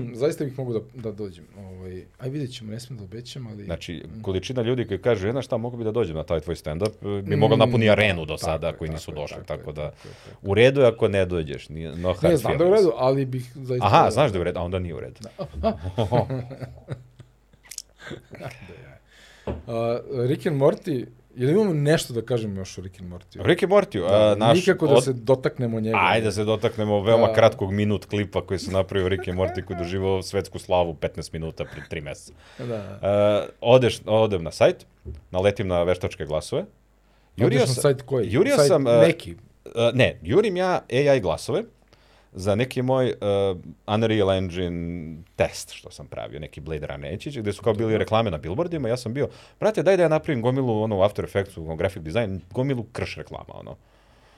S4: zaista bih mogu da, da dođem. Ovaj, aj vidjet ćemo, ne smijem da obećam, ali...
S2: Znači, količina ljudi koji kažu, jedna šta, mogu bi da dođem na taj tvoj stand-up, e, bi
S4: Mm,
S2: mogao napuni arenu do sada koji nisu došli, tako da u redu je ako ne dođeš, nije- no hard
S4: Ne, znam da je u
S2: feelings.
S4: redu, ali bih zaista...
S2: Aha, znaš da je u redu, a onda nije u redu.
S4: A, Rick and Morty, je li imamo nešto da kažemo još o Rick and Morty?
S2: Rick i Morty, a, naš...
S4: Nikako da
S2: od-
S4: se dotaknemo njega.
S2: Ajde da se dotaknemo veoma
S4: Da.
S2: kratkog minut klipa koji se napravio Rick i Morty koji je doživao svetsku slavu 15 minuta pred 3 mjeseca.
S4: Da.
S2: Uh, odeš, odem na sajt, naletim na veštačke glasove.
S4: Jurio
S2: Jurio
S4: sam...
S2: sa-
S4: Sajt koji?
S2: Jurio
S4: sajt
S2: sam... e,
S4: Neki.
S2: e, ne, jurim ja AI glasove za neki moj uh, Unreal Engine test što sam pravio, neki Blade Runner Ečić, gde su kao
S4: Da.
S2: bili reklame na billboardima, ja sam bio, brate, daj da ja napravim gomilu ono, u After Effectsu, u graphic design, gomilu krš reklama, ono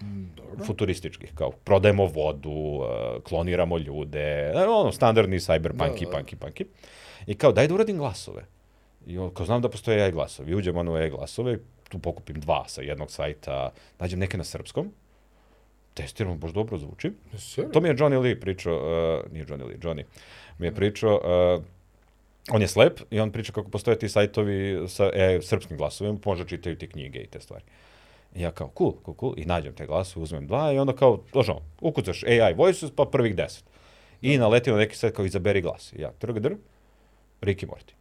S1: Mm,
S2: futurističkih, kao prodajemo vodu, uh, kloniramo ljude, e, ono, standardni cyberpunki,
S4: Da, da.
S2: punki, punki. I kao, daj da uradim glasove. I on, kao znam da postoje AI glasovi, uđem ono u AI glasove, tu pokupim dva sa jednog sajta, nađem neke na srpskom, testiram, baš dobro zvuči.
S4: Serio?
S2: To mi je Johnny Lee pričao, uh, nije Johnny Lee, Johnny, mi je pričao, uh, on je slep i on priča kako postoje ti sajtovi sa e, srpskim glasovima, možda čitaju ti knjige i te stvari. I ja kao, cool, cool, cool, i nađem te glasove, uzmem dva i onda kao, došao, ukucaš AI voices, pa prvih deset. I naletim na neki sajt kao izaberi glas. I ja, trg, drg, Rick i Morty.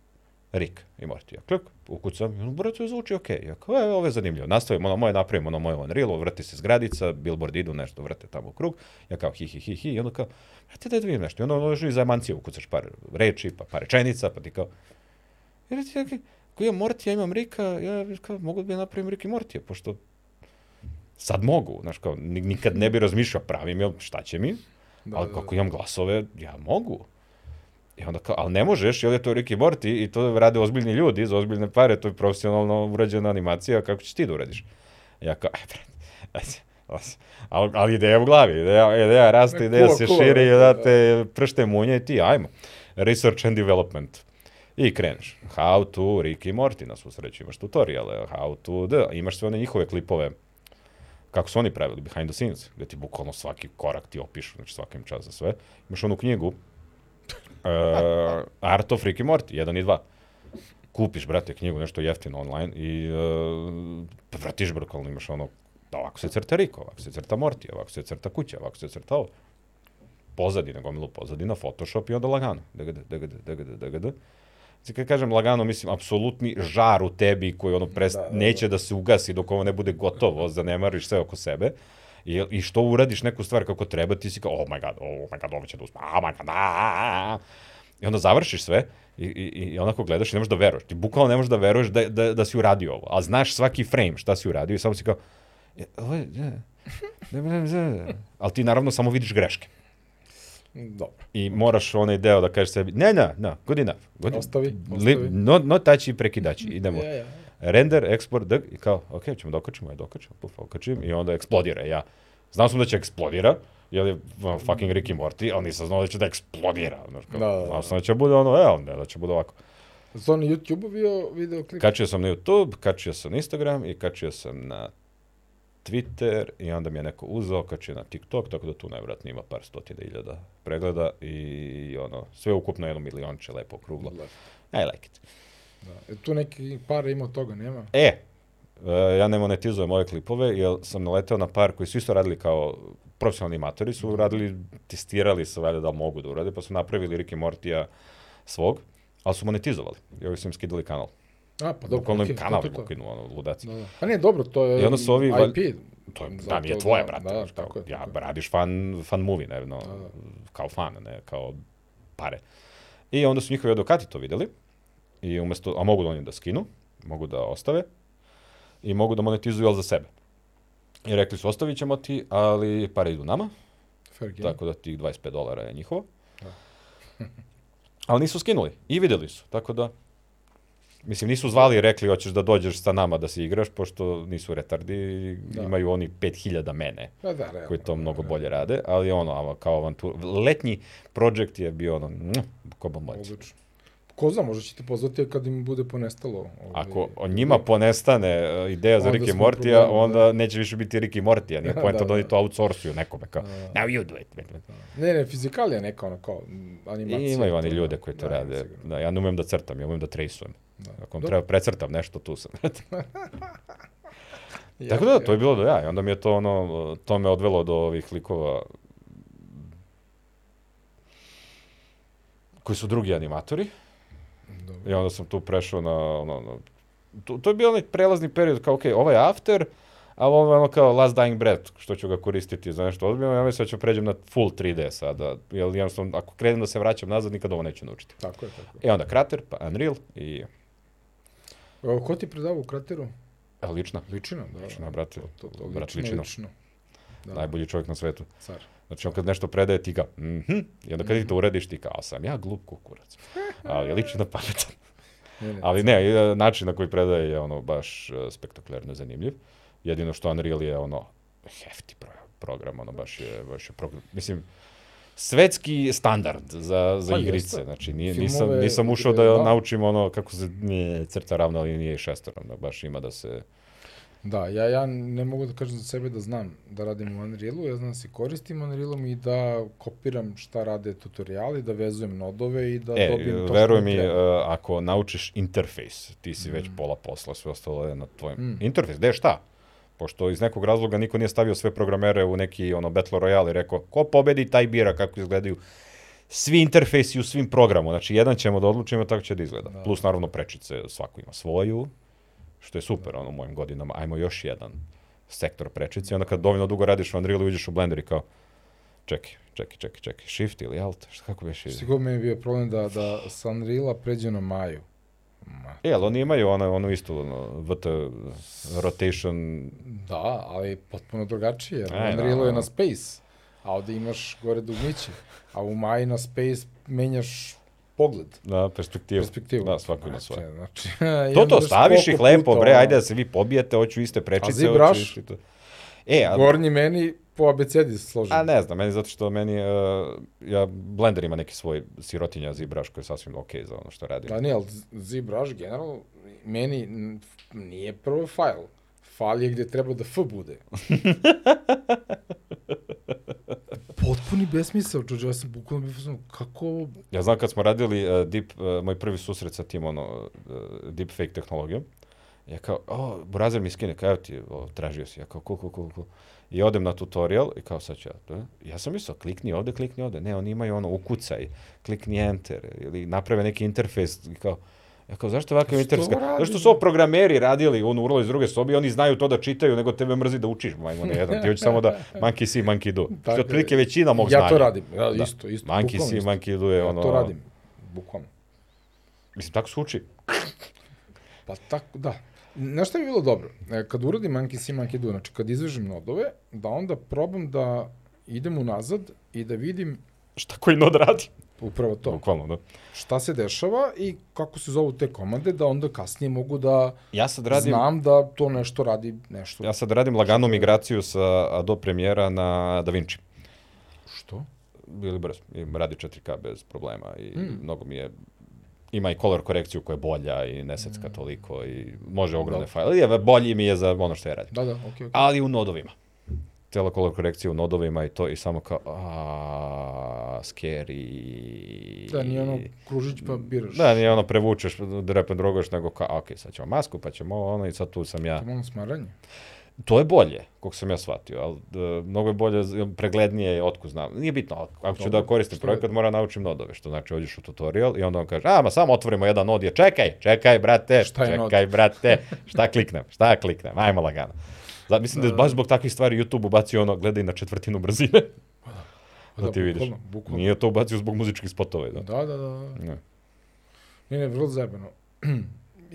S2: Rick i Morty. Ja klik, ukucam, i ono, brate, zvuči okej. Ja kao, e, ovo je zanimljivo. Nastavim, ono moje, napravim ono moje Unreal, vrti se zgradica, billboard idu, nešto vrte tamo u krug. Ja kao, hi, hi, hi, hi, i onda kao, brate, daj da vidim nešto. I onda ono još i za emancije ukucaš par reči, pa par rečenica, pa ti kao, i reći, ja, ako imam Morty, ja imam Rika, ja kao, mogu bi napravim Rick i Morty, pošto sad mogu, znaš, kao, ni- nikad ne bi razmišljao, pravim, jel, šta će mi,
S4: Da,
S2: ali
S4: da,
S2: kako imam glasove, ja mogu. I onda kao, ali ne možeš, jer je to Rick i Morty i to rade ozbiljni ljudi za ozbiljne pare, to je profesionalno urađena animacija, kako ćeš ti da uradiš? Ja kao, "E, aj, brate, ajde, ajde. ali, ali ideja je u glavi, ideja, ideja raste,
S4: Ne,
S2: ideja
S4: kuva,
S2: se
S4: kuva,
S2: širi,
S4: brate,
S2: da te pršte munje i ti, ajmo. Research and development. I kreneš. How to Rick i Morty na svu sreću. Imaš tutoriale. How to da. Imaš sve one njihove klipove. Kako su oni pravili, behind the scenes, gde ti bukvalno svaki korak ti opišu, znači svaka im čast za sve. Imaš onu knjigu, uh, Art of Rick i Morty, 1 i 2. Kupiš, brate, knjigu, nešto jeftino online i uh, vratiš brkalno, imaš ono, da ovako se crta Rick, ovako se crta Morty, ovako se crta kuća, ovako se crta ovo. Pozadina, gomilu pozadina, Photoshop i onda lagano. Dgd, dgd, dgd, dgd. Znači, kad kažem lagano, mislim, apsolutni žar u tebi koji ono prest,
S4: Da, da, da.
S2: neće da se ugasi dok ovo ne bude gotovo, zanemariš sve oko sebe. I, I što uradiš neku stvar kako treba, ti si kao, oh my god, oh my god, ovo će da uspe, oh my god, a, a, a. I onda završiš sve i, i, i onako gledaš i ne možeš da veruješ. Ti bukvalno ne možeš da veruješ da, da, da si uradio ovo, a znaš svaki frame šta si uradio i samo si kao, "E, ovo je, je, Ne, ne, ne, ne. Ali ti naravno samo vidiš greške.
S1: Dobro.
S2: I moraš onaj deo da kažeš sebi, ne, ne, ne, good enough. Good
S5: Ostavi,
S2: Li,
S5: ostavi.
S2: no, no tači i prekidači, idemo.
S1: Ja, ja.
S2: Render, export, dg, i kao, ok, ćemo da okačimo, ja dokačim, puf, okačim, i onda eksplodira, ja. Znao sam da će eksplodira, jer je ono, fucking Ricky Morty, ali nisam znao da će da eksplodira. Znaš, kao,
S1: Da, da, da.
S2: Znao sam da će bude ono, evo, ne, da će bude ovako.
S1: Zon YouTube-u bio videoklip.
S2: Kačio sam na YouTube, kačio sam na Instagram i kačio sam na Twitter i onda mi je neko uzeo, kačio na TikTok, tako da tu najvratnije ima par stotina iljada pregleda i ono, sve ukupno jedno milionče, lepo okruglo. I like it.
S1: Da. E, tu neki par ima od toga, nema?
S2: E, e, ja ne monetizujem ove klipove, jer sam naleteo na par koji su isto radili kao profesionalni amatori, su radili, testirali se valjda da li mogu da urade, pa su napravili Ricky Mortija svog, ali su monetizovali. I ovi su im skidali kanal.
S1: A, pa dobro.
S2: Bukvalno im
S1: okej,
S2: kanal
S1: to,
S2: im
S1: to, to.
S2: ukinuo, ono, ludaci.
S1: Da, da. Pa nije dobro, to je
S2: I onda su ovi valj-
S1: IP.
S2: To je, da,
S1: Zato
S2: nije tvoje,
S1: da,
S2: brate.
S1: da,
S2: znaš,
S1: tako
S2: kao,
S1: je,
S2: ja,
S1: tako je. Da,
S2: radiš fan, fan movie, ne, no, kao fan, ne, kao pare. I onda su njihovi advokati to videli, i umesto, a mogu da oni da skinu, mogu da ostave, i mogu da monetizuju, ali za sebe. I rekli su, ostavit ćemo ti, ali pare idu nama,
S1: Fair game.
S2: tako da tih 25 dolara je njihovo.
S1: Da.
S2: Ali nisu skinuli i videli su, tako da... Mislim, nisu zvali i rekli, hoćeš da dođeš sa nama da se igraš, pošto nisu retardi, da. imaju oni 5000 mene
S1: Da, da, realno.
S2: koji to mnogo bolje rade, ali ono, ava- kao avantur, letnji projekt je bio ono, mm, ko bombonci.
S1: Odlično. da, Ko zna, možda će te pozvati kad im bude ponestalo. Ovaj,
S2: Ako o njima ponestane e, ideja za
S1: Onda
S2: Ricky
S1: smo u
S2: Mortija,
S1: problemu,
S2: onda neće više biti Ricky Mortija, nije
S1: Da,
S2: poenta da,
S1: da,
S2: oni
S1: da.
S2: to outsourcuju nekome, kao, now you do it.
S1: Ne, ne, fizikalija neka ono kao m, animacija.
S2: I imaju
S1: to,
S2: oni
S1: da.
S2: ljude koji to
S1: Da,
S2: rade.
S1: sigurno.
S2: Da, ja ne umem da crtam, ja umem da trejsujem.
S1: Da.
S2: Ako vam
S1: Dobro.
S2: treba precrtam nešto, tu sam.
S1: Ja,
S2: Tako da,
S1: ja.
S2: to je bilo do ja. I onda mi je to ono, to me odvelo do ovih likova koji su drugi animatori.
S1: Dobro.
S2: I onda sam tu prešao na, ono, ono to, to je bio onaj prelazni period, kao, okej, ovaj je after, ali ovo je ono kao last dying breath, što ću ga koristiti za nešto odbiljno, ja mislim da ću pređem na full 3D sada, jer jednostavno, ako krenem da se vraćam nazad, nikad ovo neću naučiti.
S1: Tako je, tako je.
S2: I onda Krater, pa Unreal i
S1: O, ko ti predava u krateru?
S2: e, lična.
S1: Ličina, da.
S2: Lična, brate,
S1: To, to,
S2: brat
S1: ličina,
S2: ličina.
S1: lično. Da,
S2: Najbolji čovjek na svetu.
S1: car.
S2: Znači, on kad nešto predaje, ti ga, mhm, i onda kad ti to urediš, ti kao, sam ja glup kukurac. Ali lično pametan.
S1: Ne, ne.
S2: Ali ne, i, e, način na koji predaje je ono baš e, spektakularno zanimljiv. Jedino što Unreal je ono hefti pro, program, ono baš je, baš je program. Mislim, svetski standard za, za
S1: Pa jeste.
S2: igrice. Znači, nije,
S1: Filmove,
S2: nisam, nisam ušao da,
S1: igre, da.
S2: naučim ono kako se nije crta ravna linija i šestoravna. Baš ima da se...
S1: Da, ja, ja ne mogu da kažem za sebe da znam da radim u Unrealu, ja znam da se koristim Unrealom i da kopiram šta rade tutoriali, da vezujem nodove i da
S2: e,
S1: dobijem to što
S2: veruj mi,
S1: treba.
S2: e, ako naučiš interfejs, ti si već pola posla, sve ostalo je na tvojim...
S1: Mm.
S2: Interfejs, gde je šta? Pošto iz nekog razloga niko nije stavio sve programere u neki ono Battle Royale i rekao, ko pobedi, taj bira kako izgledaju svi interfejsi u svim programu. Znači, jedan ćemo da odlučimo, tako će da izgleda. Plus, naravno, prečice, svako ima svoju, što je super, ono, u mojim godinama. Ajmo još jedan sektor prečice. I onda kad dovoljno dugo radiš u Unrealu, uđeš u Blender i kao, čekaj, čekaj, čekaj, čekaj, shift ili alt, šta, kako beš ide?
S1: Sigurno mi je bio problem da, da sa Unreala pređe na Maju. Ma,
S2: E, ali oni imaju ono, ono isto, ono, VT rotation,
S1: da, ali potpuno drugačije. Jer
S2: E,
S1: Unrealu
S2: da,
S1: je
S2: da.
S1: na Space, a ovde imaš gore dugmiće. A u Maji na Space menjaš pogled,
S2: da, perspektivu.
S1: perspektivu.
S2: Da, svako ima svoje.
S1: Znači,
S2: To to, staviš ih lepo, bre, ajde da se vi pobijete, hoću iste prečice,
S1: zibraš?
S2: hoću isti to. E, a,
S1: Gornji meni po abecedi složen.
S2: a ne znam, meni zato što meni, uh, ja, Blender ima neki svoj sirotinja zibraš koji je sasvim okej za ono što radim.
S1: Da nije, ali Z- ZBrush generalno meni n- f- nije prvo fajl. Fajl je gde treba da F bude. Potpuni besmisao, čoče, ja sam bukvalno bio fazon, kako ovo...
S2: Ja znam kad smo radili uh, deep, uh, moj prvi susret sa tim ono, uh, deep fake tehnologijom, ja kao, o, Burazer mi skine, kao, evo ti, o, tražio si, ja kao, cool, cool, cool, cool. I odem na tutorial i kao, sad ću ja, to, ja sam mislio, klikni ovde, klikni ovde, ne, oni imaju ono, ukucaj, klikni enter, ili naprave neki interfejs, i kao, Ja kao, zašto ovakav
S1: Što
S2: interfejs? Kao,
S1: radi?
S2: Zašto su ovo programeri radili, on urlo iz druge sobe, i oni znaju to da čitaju, nego tebe mrzi da učiš, majmone jedan, ti hoćeš samo da monkey see, monkey do. Što je
S1: Tako je.
S2: otprilike većina mog znanja.
S1: Ja to radim, ja,
S2: Da.
S1: isto, isto.
S2: Monkey
S1: bukvalno
S2: see,
S1: isto.
S2: monkey do je ono...
S1: Ja to radim, bukvalno.
S2: Mislim, tako se uči.
S1: Pa tako, da. Znaš šta bi bilo dobro? E, Kad uradim Monkey See, Monkey Do, znači kad izvežem nodove, da onda probam da idem unazad i da vidim
S2: Šta koji nod radi?
S1: upravo to.
S2: Bukvalno, da.
S1: Šta se dešava i kako se zovu te komande, da onda kasnije mogu da
S2: Ja sad
S1: Radim.
S2: radim...
S1: znam da to nešto radi nešto.
S2: Ja sad radim laganu migraciju sa Adobe Premiera na DaVinci.
S1: Što?
S2: Ili brzo. I radi 4K bez problema i
S1: Hmm.
S2: mm. mnogo mi je ima i color korekciju koja je bolja i ne
S1: Hmm.
S2: secka toliko i može ogromne
S1: Da.
S2: fajle. Je, bolji mi je za ono što ja radim.
S1: Da, da, okej, okay, okej.
S2: Ali u nodovima. Cela color korekcija u nodovima i to i samo kao a scary.
S1: Okay. Da, nije ono kružić pa biraš.
S2: Da, nije ono prevučeš, drep and drogoš, nego kao, ok, sad ćemo masku, pa ćemo ovo, ono i sad tu sam ja.
S1: To je malo smaranje.
S2: To je bolje, kako sam ja shvatio, ali e, mnogo je bolje, z- preglednije je otku znam. Nije bitno, ali ako ću
S1: Dobro,
S2: da koristim
S1: što je-
S2: projekat, moram naučim nodove, što znači ođeš u tutorial i onda on kaže, a, ma samo otvorimo jedan nod, je čekaj, čekaj, brate,
S1: Šta je nod?
S2: čekaj, brate, šta kliknem, šta kliknem, ajmo lagano. Da, mislim da je baš zbog takvih stvari YouTube ubacio ono, gledaj na četvrtinu brzine, da, ti vidiš.
S1: Pa Bukvalno, bukvalno.
S2: Nije to ubacio zbog muzičkih spotova, da.
S1: Da, da, da.
S2: Ne.
S1: Ne, ne, vrlo zajebano.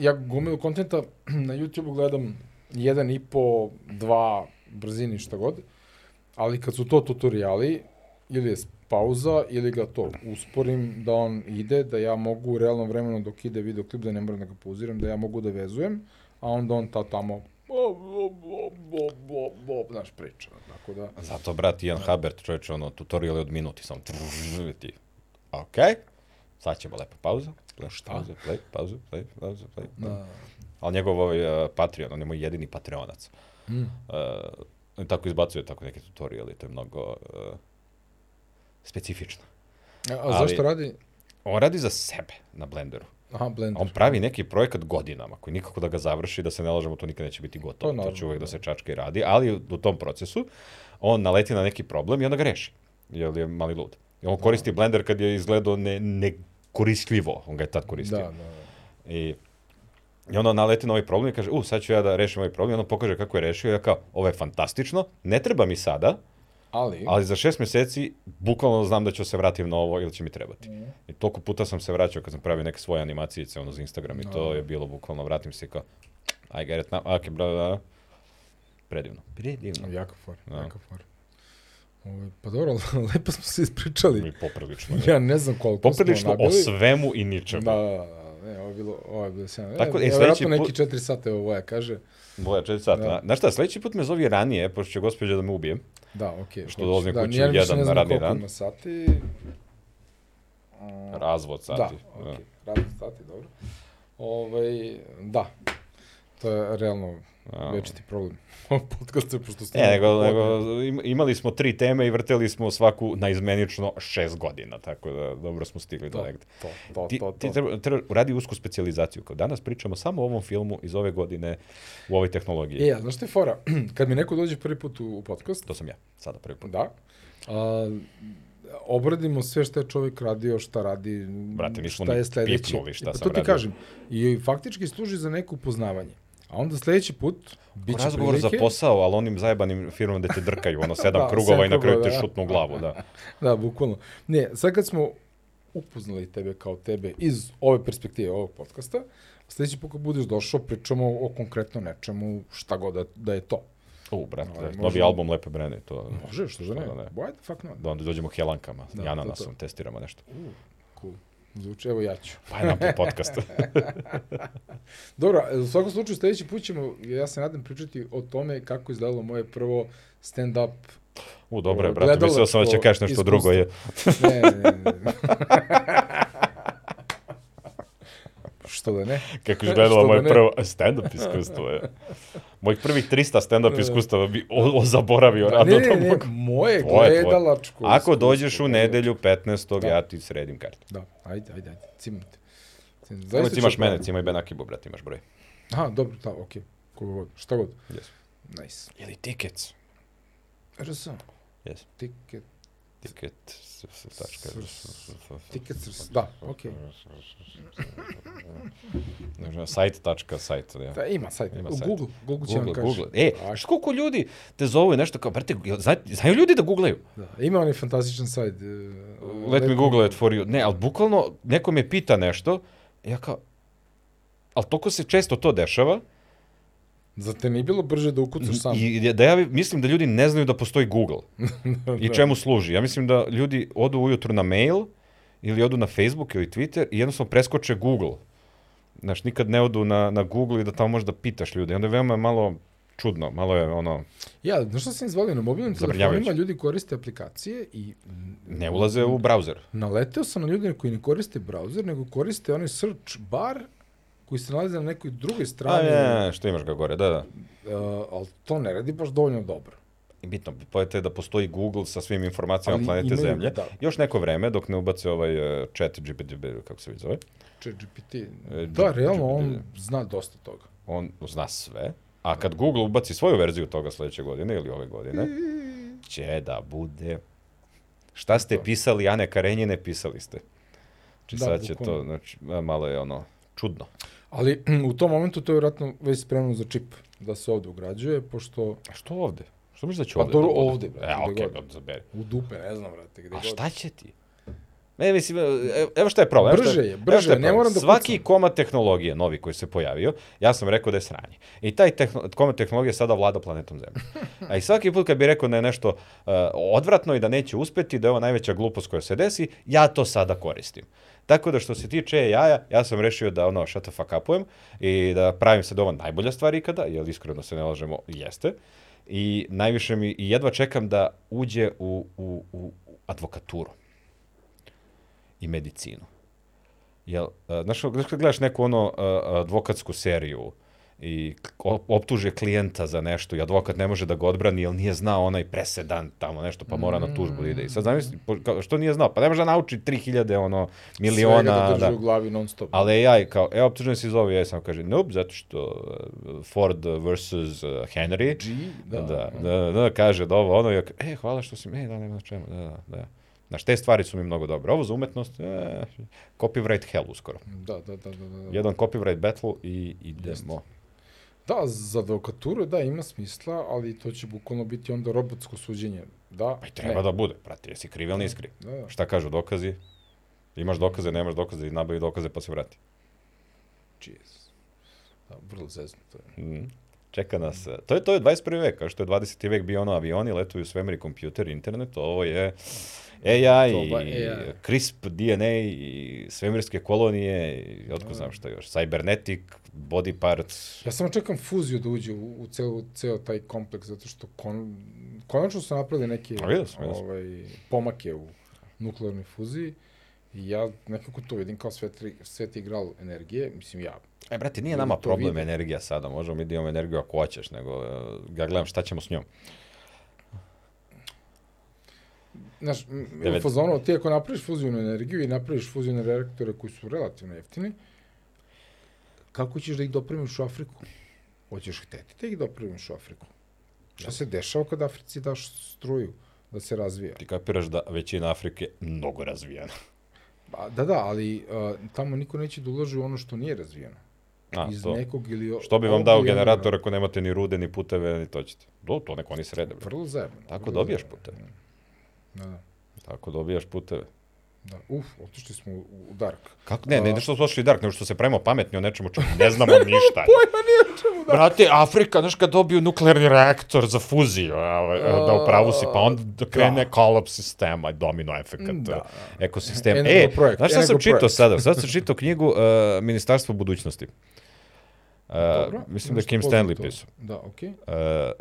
S1: ja gomilu kontenta na YouTube gledam jedan i po, dva brzini šta god, ali kad su to tutoriali, ili je s- pauza, ili ga to usporim da on ide, da ja mogu u realnom vremenu dok ide videoklip, da ne moram da ga pauziram, da ja mogu da vezujem, a onda on ta tamo bo, bo, bo, bo, bo, bo, znaš, priča. Tako da,
S2: Zato, brat, Ian Habert, čovječ, ono, tutorial je od minuti, samo trrrr, ti. Okej, sad ćemo lepo pauza. Play, Šta? Pauza, play, pauza, play, pauza, play. Pa. Da. Ali njegov ovaj, uh, Patreon, on je moj jedini Patreonac.
S1: mm,
S2: Uh, on tako izbacuje tako neke tutoriali, to je mnogo uh, specifično.
S1: a, a
S2: Ali-
S1: zašto radi?
S2: On radi za sebe na Blenderu.
S1: Aha,
S2: A
S1: Blender.
S2: On pravi neki projekat godinama koji nikako da ga završi, da se ne lažemo, to nikad neće biti gotovo.
S1: To
S2: To, to će
S1: naravno,
S2: uvek da
S1: da.
S2: se čačka i radi, ali u tom procesu on naleti na neki problem i onda ga reši. Jer je mali lud. I on
S1: Da.
S2: koristi Blender kad je izgledao ne, nekoristljivo. On ga je tad koristio.
S1: Da, da, da.
S2: I, I onda naleti na ovaj problem i kaže, u, sad ću ja da rešim ovaj problem. I onda pokaže kako je rešio. I ja kao, ovo je fantastično, ne treba mi sada,
S1: Ali,
S2: ali za šest meseci bukvalno znam da ću se vratim na ovo ili će mi trebati.
S1: Mhm.
S2: I toliko puta sam se vraćao kad sam pravio neke svoje animacijice ono, za Instagram i to je bilo bukvalno, vratim se i kao, I get it now, ok, bla, bla, bla. Predivno. Predivno.
S1: Jaka for,
S2: Da.
S1: da. jaka for. Ove, pa dobro, ali lepo smo se ispričali.
S2: I poprilično.
S1: Ja ne znam koliko
S2: Poprilično
S1: smo
S2: o
S1: nabili.
S2: svemu i ničemu.
S1: Da, da, da, ne, ovo je bilo, ovo je bilo sjajno.
S2: pa. Tako,
S1: Tako,
S2: e,
S1: e, e,
S2: sledeći
S1: vjerojatno neki
S2: put-
S1: četiri sata je ovo, ja kaže.
S2: Boja, četiri sata.
S1: Da.
S2: Znaš šta, sledeći put me zovi ranije, pošto će gospođa da me ubije.
S1: Da, okej.
S2: Što
S1: hoću.
S2: dolazim kući
S1: ni ja
S2: u
S1: više
S2: jedan
S1: ne
S2: na
S1: znam
S2: radni
S1: koliko
S2: dan.
S1: Ima sati. A,
S2: Razvod sati.
S1: Da, okej, radni sati, dobro. Ovaj, da, to je realno
S2: Da.
S1: večiti problem. Ovo podcast je pošto
S2: Ne, E, nego, nego im- imali smo tri teme i vrteli smo svaku naizmenično šest godina, tako da dobro smo stigli do
S1: To,
S2: negde.
S1: to, to,
S2: Ti,
S1: Pa to, to.
S2: ti treba, treba radi usku specijalizaciju. Kao danas pričamo samo o ovom filmu iz ove godine u ovoj tehnologiji.
S1: E, ja, znaš što je fora? Kad mi neko dođe prvi put u, u podcast,
S2: To sam ja, sada prvi put.
S1: Da. A, obradimo sve što je čovjek radio, šta radi,
S2: Brate, nismo
S1: šta
S2: ni
S1: je sledeće.
S2: pipnuli šta
S1: E, pa to
S2: sam
S1: ti
S2: radio.
S1: kažem. I faktički služi za neko upoznavanje. A onda sledeći put
S2: Biće
S1: biće
S2: razgovor
S1: prilike.
S2: za posao, ali onim zajebanim firmama gde te drkaju, ono sedam
S1: Da,
S2: krugova i
S1: sedam
S2: na kraju
S1: krugova,
S2: te
S1: da.
S2: šutnu u glavu, da.
S1: Da, bukvalno. Ne, sad kad smo upoznali tebe kao tebe iz ove perspektive ovog podcasta, sledeći put kad budeš došao, pričamo o konkretno nečemu, šta god da, da je to.
S2: U, brate,
S1: Ovaj,
S2: novi
S1: možemo-
S2: album Lepe Brene, to...
S1: Može, što da ne?
S2: da ne.
S1: Why the fuck not?
S2: Da onda dođemo helankama,
S1: Da,
S2: i
S1: to,
S2: ananasom, testiramo nešto.
S1: Cool. Zvuči, evo ja ću.
S2: Pa je nam po podcastu.
S1: Dobro, e, u svakom slučaju sledeći put ćemo, ja se nadam, pričati o tome kako je izgledalo moje prvo stand-up.
S2: U, dobro je,
S1: Ovo,
S2: brate, mislio sam da će
S1: gledalačko
S2: kažeš nešto drugo. Je.
S1: Ne, ne, ne, ne. Što da ne?
S2: Kako izgledalo
S1: Što
S2: moje
S1: da ne?
S2: prvo stand-up iskustvo je. Mojih prvih 300 stand-up iskustava bi o, o zaboravio
S1: Da,
S2: rado
S1: ne,
S2: to
S1: ne, ne,
S2: mogu.
S1: moje
S2: Tvoje, tvoje.
S1: gledalačko.
S2: Ako
S1: iskustvo.
S2: dođeš u nedelju 15.
S1: Da.
S2: ja ti sredim kartu.
S1: Da, ajde, ajde, ajde, cimam te. Cimam.
S2: Zaista
S1: Zaista ću-
S2: cimaš mene, cimaj Ben Akibo, brate, imaš broj.
S1: Aha, dobro, da, okej. Koga god, šta god.
S2: Yes.
S1: Nice.
S2: Ili tickets.
S1: RS,
S2: Yes.
S1: tiket,
S2: Ticket. s- s- Tačka.
S1: tiket, RS, da, okej.
S2: Sajt. Tačka. Sajt. Ja.
S1: Da, ima sajt,
S2: Ima
S1: u
S2: sajt.
S1: Google, Google će vam
S2: Google,
S1: kaži.
S2: Google. E, što koliko ljudi te zovu i nešto kao, brate, jel zna- znaju ljudi da googlaju?
S1: Da, ima onaj fantastičan sajt. e,
S2: Let me google it for you. Ne, ali bukvalno neko me pita nešto, ja kao, ali toliko se često to dešava,
S1: Za te nije bilo brže da ukucaš sam.
S2: I i da ja mislim da ljudi ne znaju da postoji Google
S1: Da.
S2: i čemu služi. Ja mislim da ljudi odu ujutru na mail ili odu na Facebook ili Twitter i jednostavno preskoče Google. Znaš, nikad ne odu na, na Google i da tamo možeš da pitaš ljude. I onda je veoma malo čudno, malo je ono,
S1: Ja, znaš što sam izvalio? Na mobilnim telefonima
S2: Zabrinjavajuće.
S1: ljudi koriste aplikacije i mm,
S2: ne ulaze u browser.
S1: naleteo sam na ljude koji ne koriste browser, nego koriste onaj search bar koji se nalazi na nekoj drugoj
S2: A,
S1: strani,
S2: ne, ne, što imaš ga gore, da, da.
S1: uh, ali to ne radi baš dovoljno dobro.
S2: I bitno, pojete da postoji Google sa svim informacijama
S1: Ali
S2: planete
S1: imaju-
S2: Zemlje.
S1: da.
S2: Još neko vreme, dok ne ubace ovaj uh, chat GPT, kako se vi zove,
S1: Če GPT,
S2: E,
S1: da,
S2: G-
S1: realno on
S2: GPT.
S1: zna dosta toga.
S2: on zna sve, a kad Google ubaci svoju verziju toga sledeće godine ili ove godine, će da bude... Šta ste pisali, Ane Karenjine, pisali ste. Znači
S1: Da,
S2: sad će to,
S1: bukvalno.
S2: znači, malo je ono, čudno.
S1: Ali u tom momentu to je vjerojatno već spremno za čip da se ovde ugrađuje, pošto
S2: A što ovde? Što misliš da će
S1: Pa
S2: ovde?
S1: dobro,
S2: da bude?
S1: ovde, brate,
S2: E,
S1: gde
S2: okej,
S1: god.
S2: okay, zaberi.
S1: u dupe, ne znam, vrate, gde
S2: A
S1: god.
S2: šta će ti? E, mislim, evo- evo šta je problem. evo šta
S1: Brže je,
S2: evo
S1: brže
S2: šta
S1: je, ne
S2: problem.
S1: moram da
S2: Svaki
S1: kucam.
S2: komad tehnologije novi koji se pojavio, ja sam rekao da je sranje. I taj tehno, komad tehnologije sada vlada planetom Zemlje. A i svaki put kad bi rekao da je nešto uh, odvratno i da neće uspeti, da je ovo najveća glupost koja se desi, ja to sada koristim. Tako da što se tiče jaja, ja sam rešio da ono shut the fuck upujem i da pravim se da je ovo najbolja stvar ikada, jer iskreno se ne lažemo, jeste. I najviše mi, i jedva čekam da uđe u, u, u u advokaturu i medicinu. Jel, e, znaš, znaš kad gledaš neku ono e, advokatsku seriju i k- op- optuže klijenta za nešto i advokat ne može da ga odbrani jer nije znao onaj presedan tamo nešto pa mora na tužbu da ide. I sad zamisli, po- kao, što nije znao? Pa ne može da nauči 3000 ono, miliona.
S1: Svega da drži
S2: da.
S1: u glavi non stop.
S2: Ali ja i kao, e, optužen si zove, ja sam kaže, nope, zato što uh, Ford versus uh, Henry.
S1: G, da.
S2: da, da, da, da, kaže da ovo, ono, ja, ka- e, hvala što si, e, da, nema na čemu, da, da, da. Znaš, te stvari su mi mnogo dobre. Ovo za umetnost, e, copyright hell uskoro.
S1: Da, da, da, da, da. da.
S2: Jedan copyright battle i idemo.
S1: Da, za advokaturu, da, ima smisla, ali to će bukvalno biti onda robotsko suđenje. Da,
S2: Pa i treba
S1: ne.
S2: da bude, prati, jesi kriv ili nisi kriv.
S1: Da, da.
S2: Šta kažu dokazi? Imaš dokaze, nemaš dokaze, nabavi dokaze pa se vrati.
S1: Jeez. Da, vrlo zezno to je.
S2: Mm. Čeka nas. e, To je, to je 21. vek, kao što je 20. vek bio ono avioni, letuju u svemir i kompjuter, internet, ovo je AI,
S1: Doba
S2: i
S1: AI.
S2: CRISP, DNA, i svemirske kolonije, i
S1: Da.
S2: otko znam šta još, cybernetic, body parts,
S1: Ja samo čekam fuziju da uđe u, u ceo, ceo taj kompleks, zato što kon, konačno su napravili neke
S2: A vidio sam, vidio sam.
S1: ovaj, pomake u nuklearnoj fuziji i ja nekako to vidim kao sveti, sveti igral energije, mislim ja.
S2: E, brate, nije
S1: Ljudi
S2: nama
S1: to
S2: problem
S1: vide.
S2: energija sada, možemo mi da imamo energiju ako hoćeš, nego e, ja gledam šta ćemo s njom.
S1: Znaš, m-
S2: Devet.
S1: u fazonu, ti ako napraviš fuzijnu energiju i napraviš fuzijne reaktore koji su relativno jeftini, kako ćeš da ih dopremiš u Afriku? Hoćeš hteti da ih dopremiš u Afriku? Šta se dešava kad Africi daš struju da se razvija?
S2: Ti kapiraš da većina Afrike mnogo razvijena.
S1: Ba, da, da, ali uh, tamo niko neće da uloži u ono što nije razvijeno.
S2: A,
S1: Iz
S2: to.
S1: nekog ili... o-
S2: Što bi vam
S1: ovog
S2: dao
S1: ili onog.
S2: generator ako nemate ni rude, ni puteve, ni to ćete. Do, to neko oni srede, brate.
S1: Vrlo zajebano.
S2: Tako
S1: vrlo
S2: dobijaš
S1: zajebano.
S2: puteve.
S1: Da, da.
S2: Tako dobijaš puteve.
S1: da. Uf, otišli smo u, u dark.
S2: Kako? Ne, ne,
S1: A-
S2: ne što smo došli Dark, nego što se pravimo pametni o nečemu čemu ne znamo ništa. Pojma nije čemu da. Brate, Afrika, znaš kad dobiju nuklearni reaktor za fuziju, a, a, da upravo si, pa onda da krene kolaps sistema i domino efekat
S1: Mm,
S2: da. ekosistema.
S1: Enego
S2: E,
S1: projekt,
S2: znaš šta sam
S1: enego
S2: čitao
S1: projekt.
S2: sada? Sad sam čitao knjigu uh, Ministarstvo budućnosti. Uh,
S1: Dobro,
S2: mislim da je
S1: nešto
S2: Kim
S1: poznato.
S2: Stanley pisao.
S1: Da, okej. Okay.
S2: E,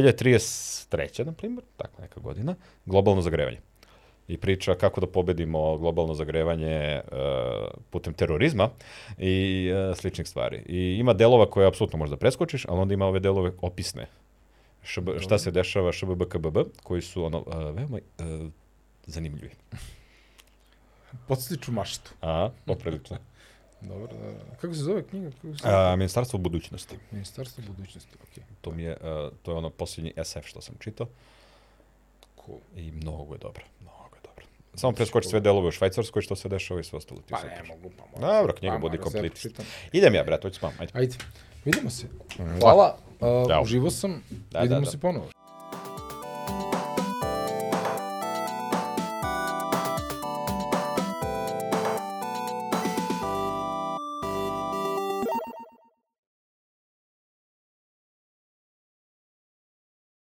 S2: 2033. na primjer, tako neka godina, globalno zagrevanje. I priča kako da pobedimo globalno zagrevanje e, putem terorizma i e, sličnih stvari. I ima delova koje apsolutno možda preskočiš, ali onda ima ove delove opisne. Šb, šta se dešava ŠBBKBB, koji su ono, e, veoma e, zanimljivi.
S1: Podstiču maštu.
S2: A, poprilično.
S1: Dobro, da, da. Kako se zove knjiga? Kako se...
S2: A, E, Ministarstvo budućnosti.
S1: Ministarstvo budućnosti, okej.
S2: To mi je, e, to je ono posljednji SF što sam čitao.
S1: Cool.
S2: I mnogo je dobro, mnogo je dobro. Samo preskoči sve delove u Švajcarskoj, što se dešava i sve ostalo ti
S1: Pa
S2: se
S1: ne
S2: priča.
S1: mogu, pa moram.
S2: Dobro, Da, knjiga
S1: Pa,
S2: budi
S1: moram, sad
S2: kompletist.
S1: pročitam.
S2: Idem ja, brate, hoću s mamom, ajde.
S1: Ajde, vidimo se. Hvala, uh,
S2: Ćao.
S1: uživo sam,
S2: Mhm. Da,
S1: vidimo
S2: da, da.
S1: se ponovo.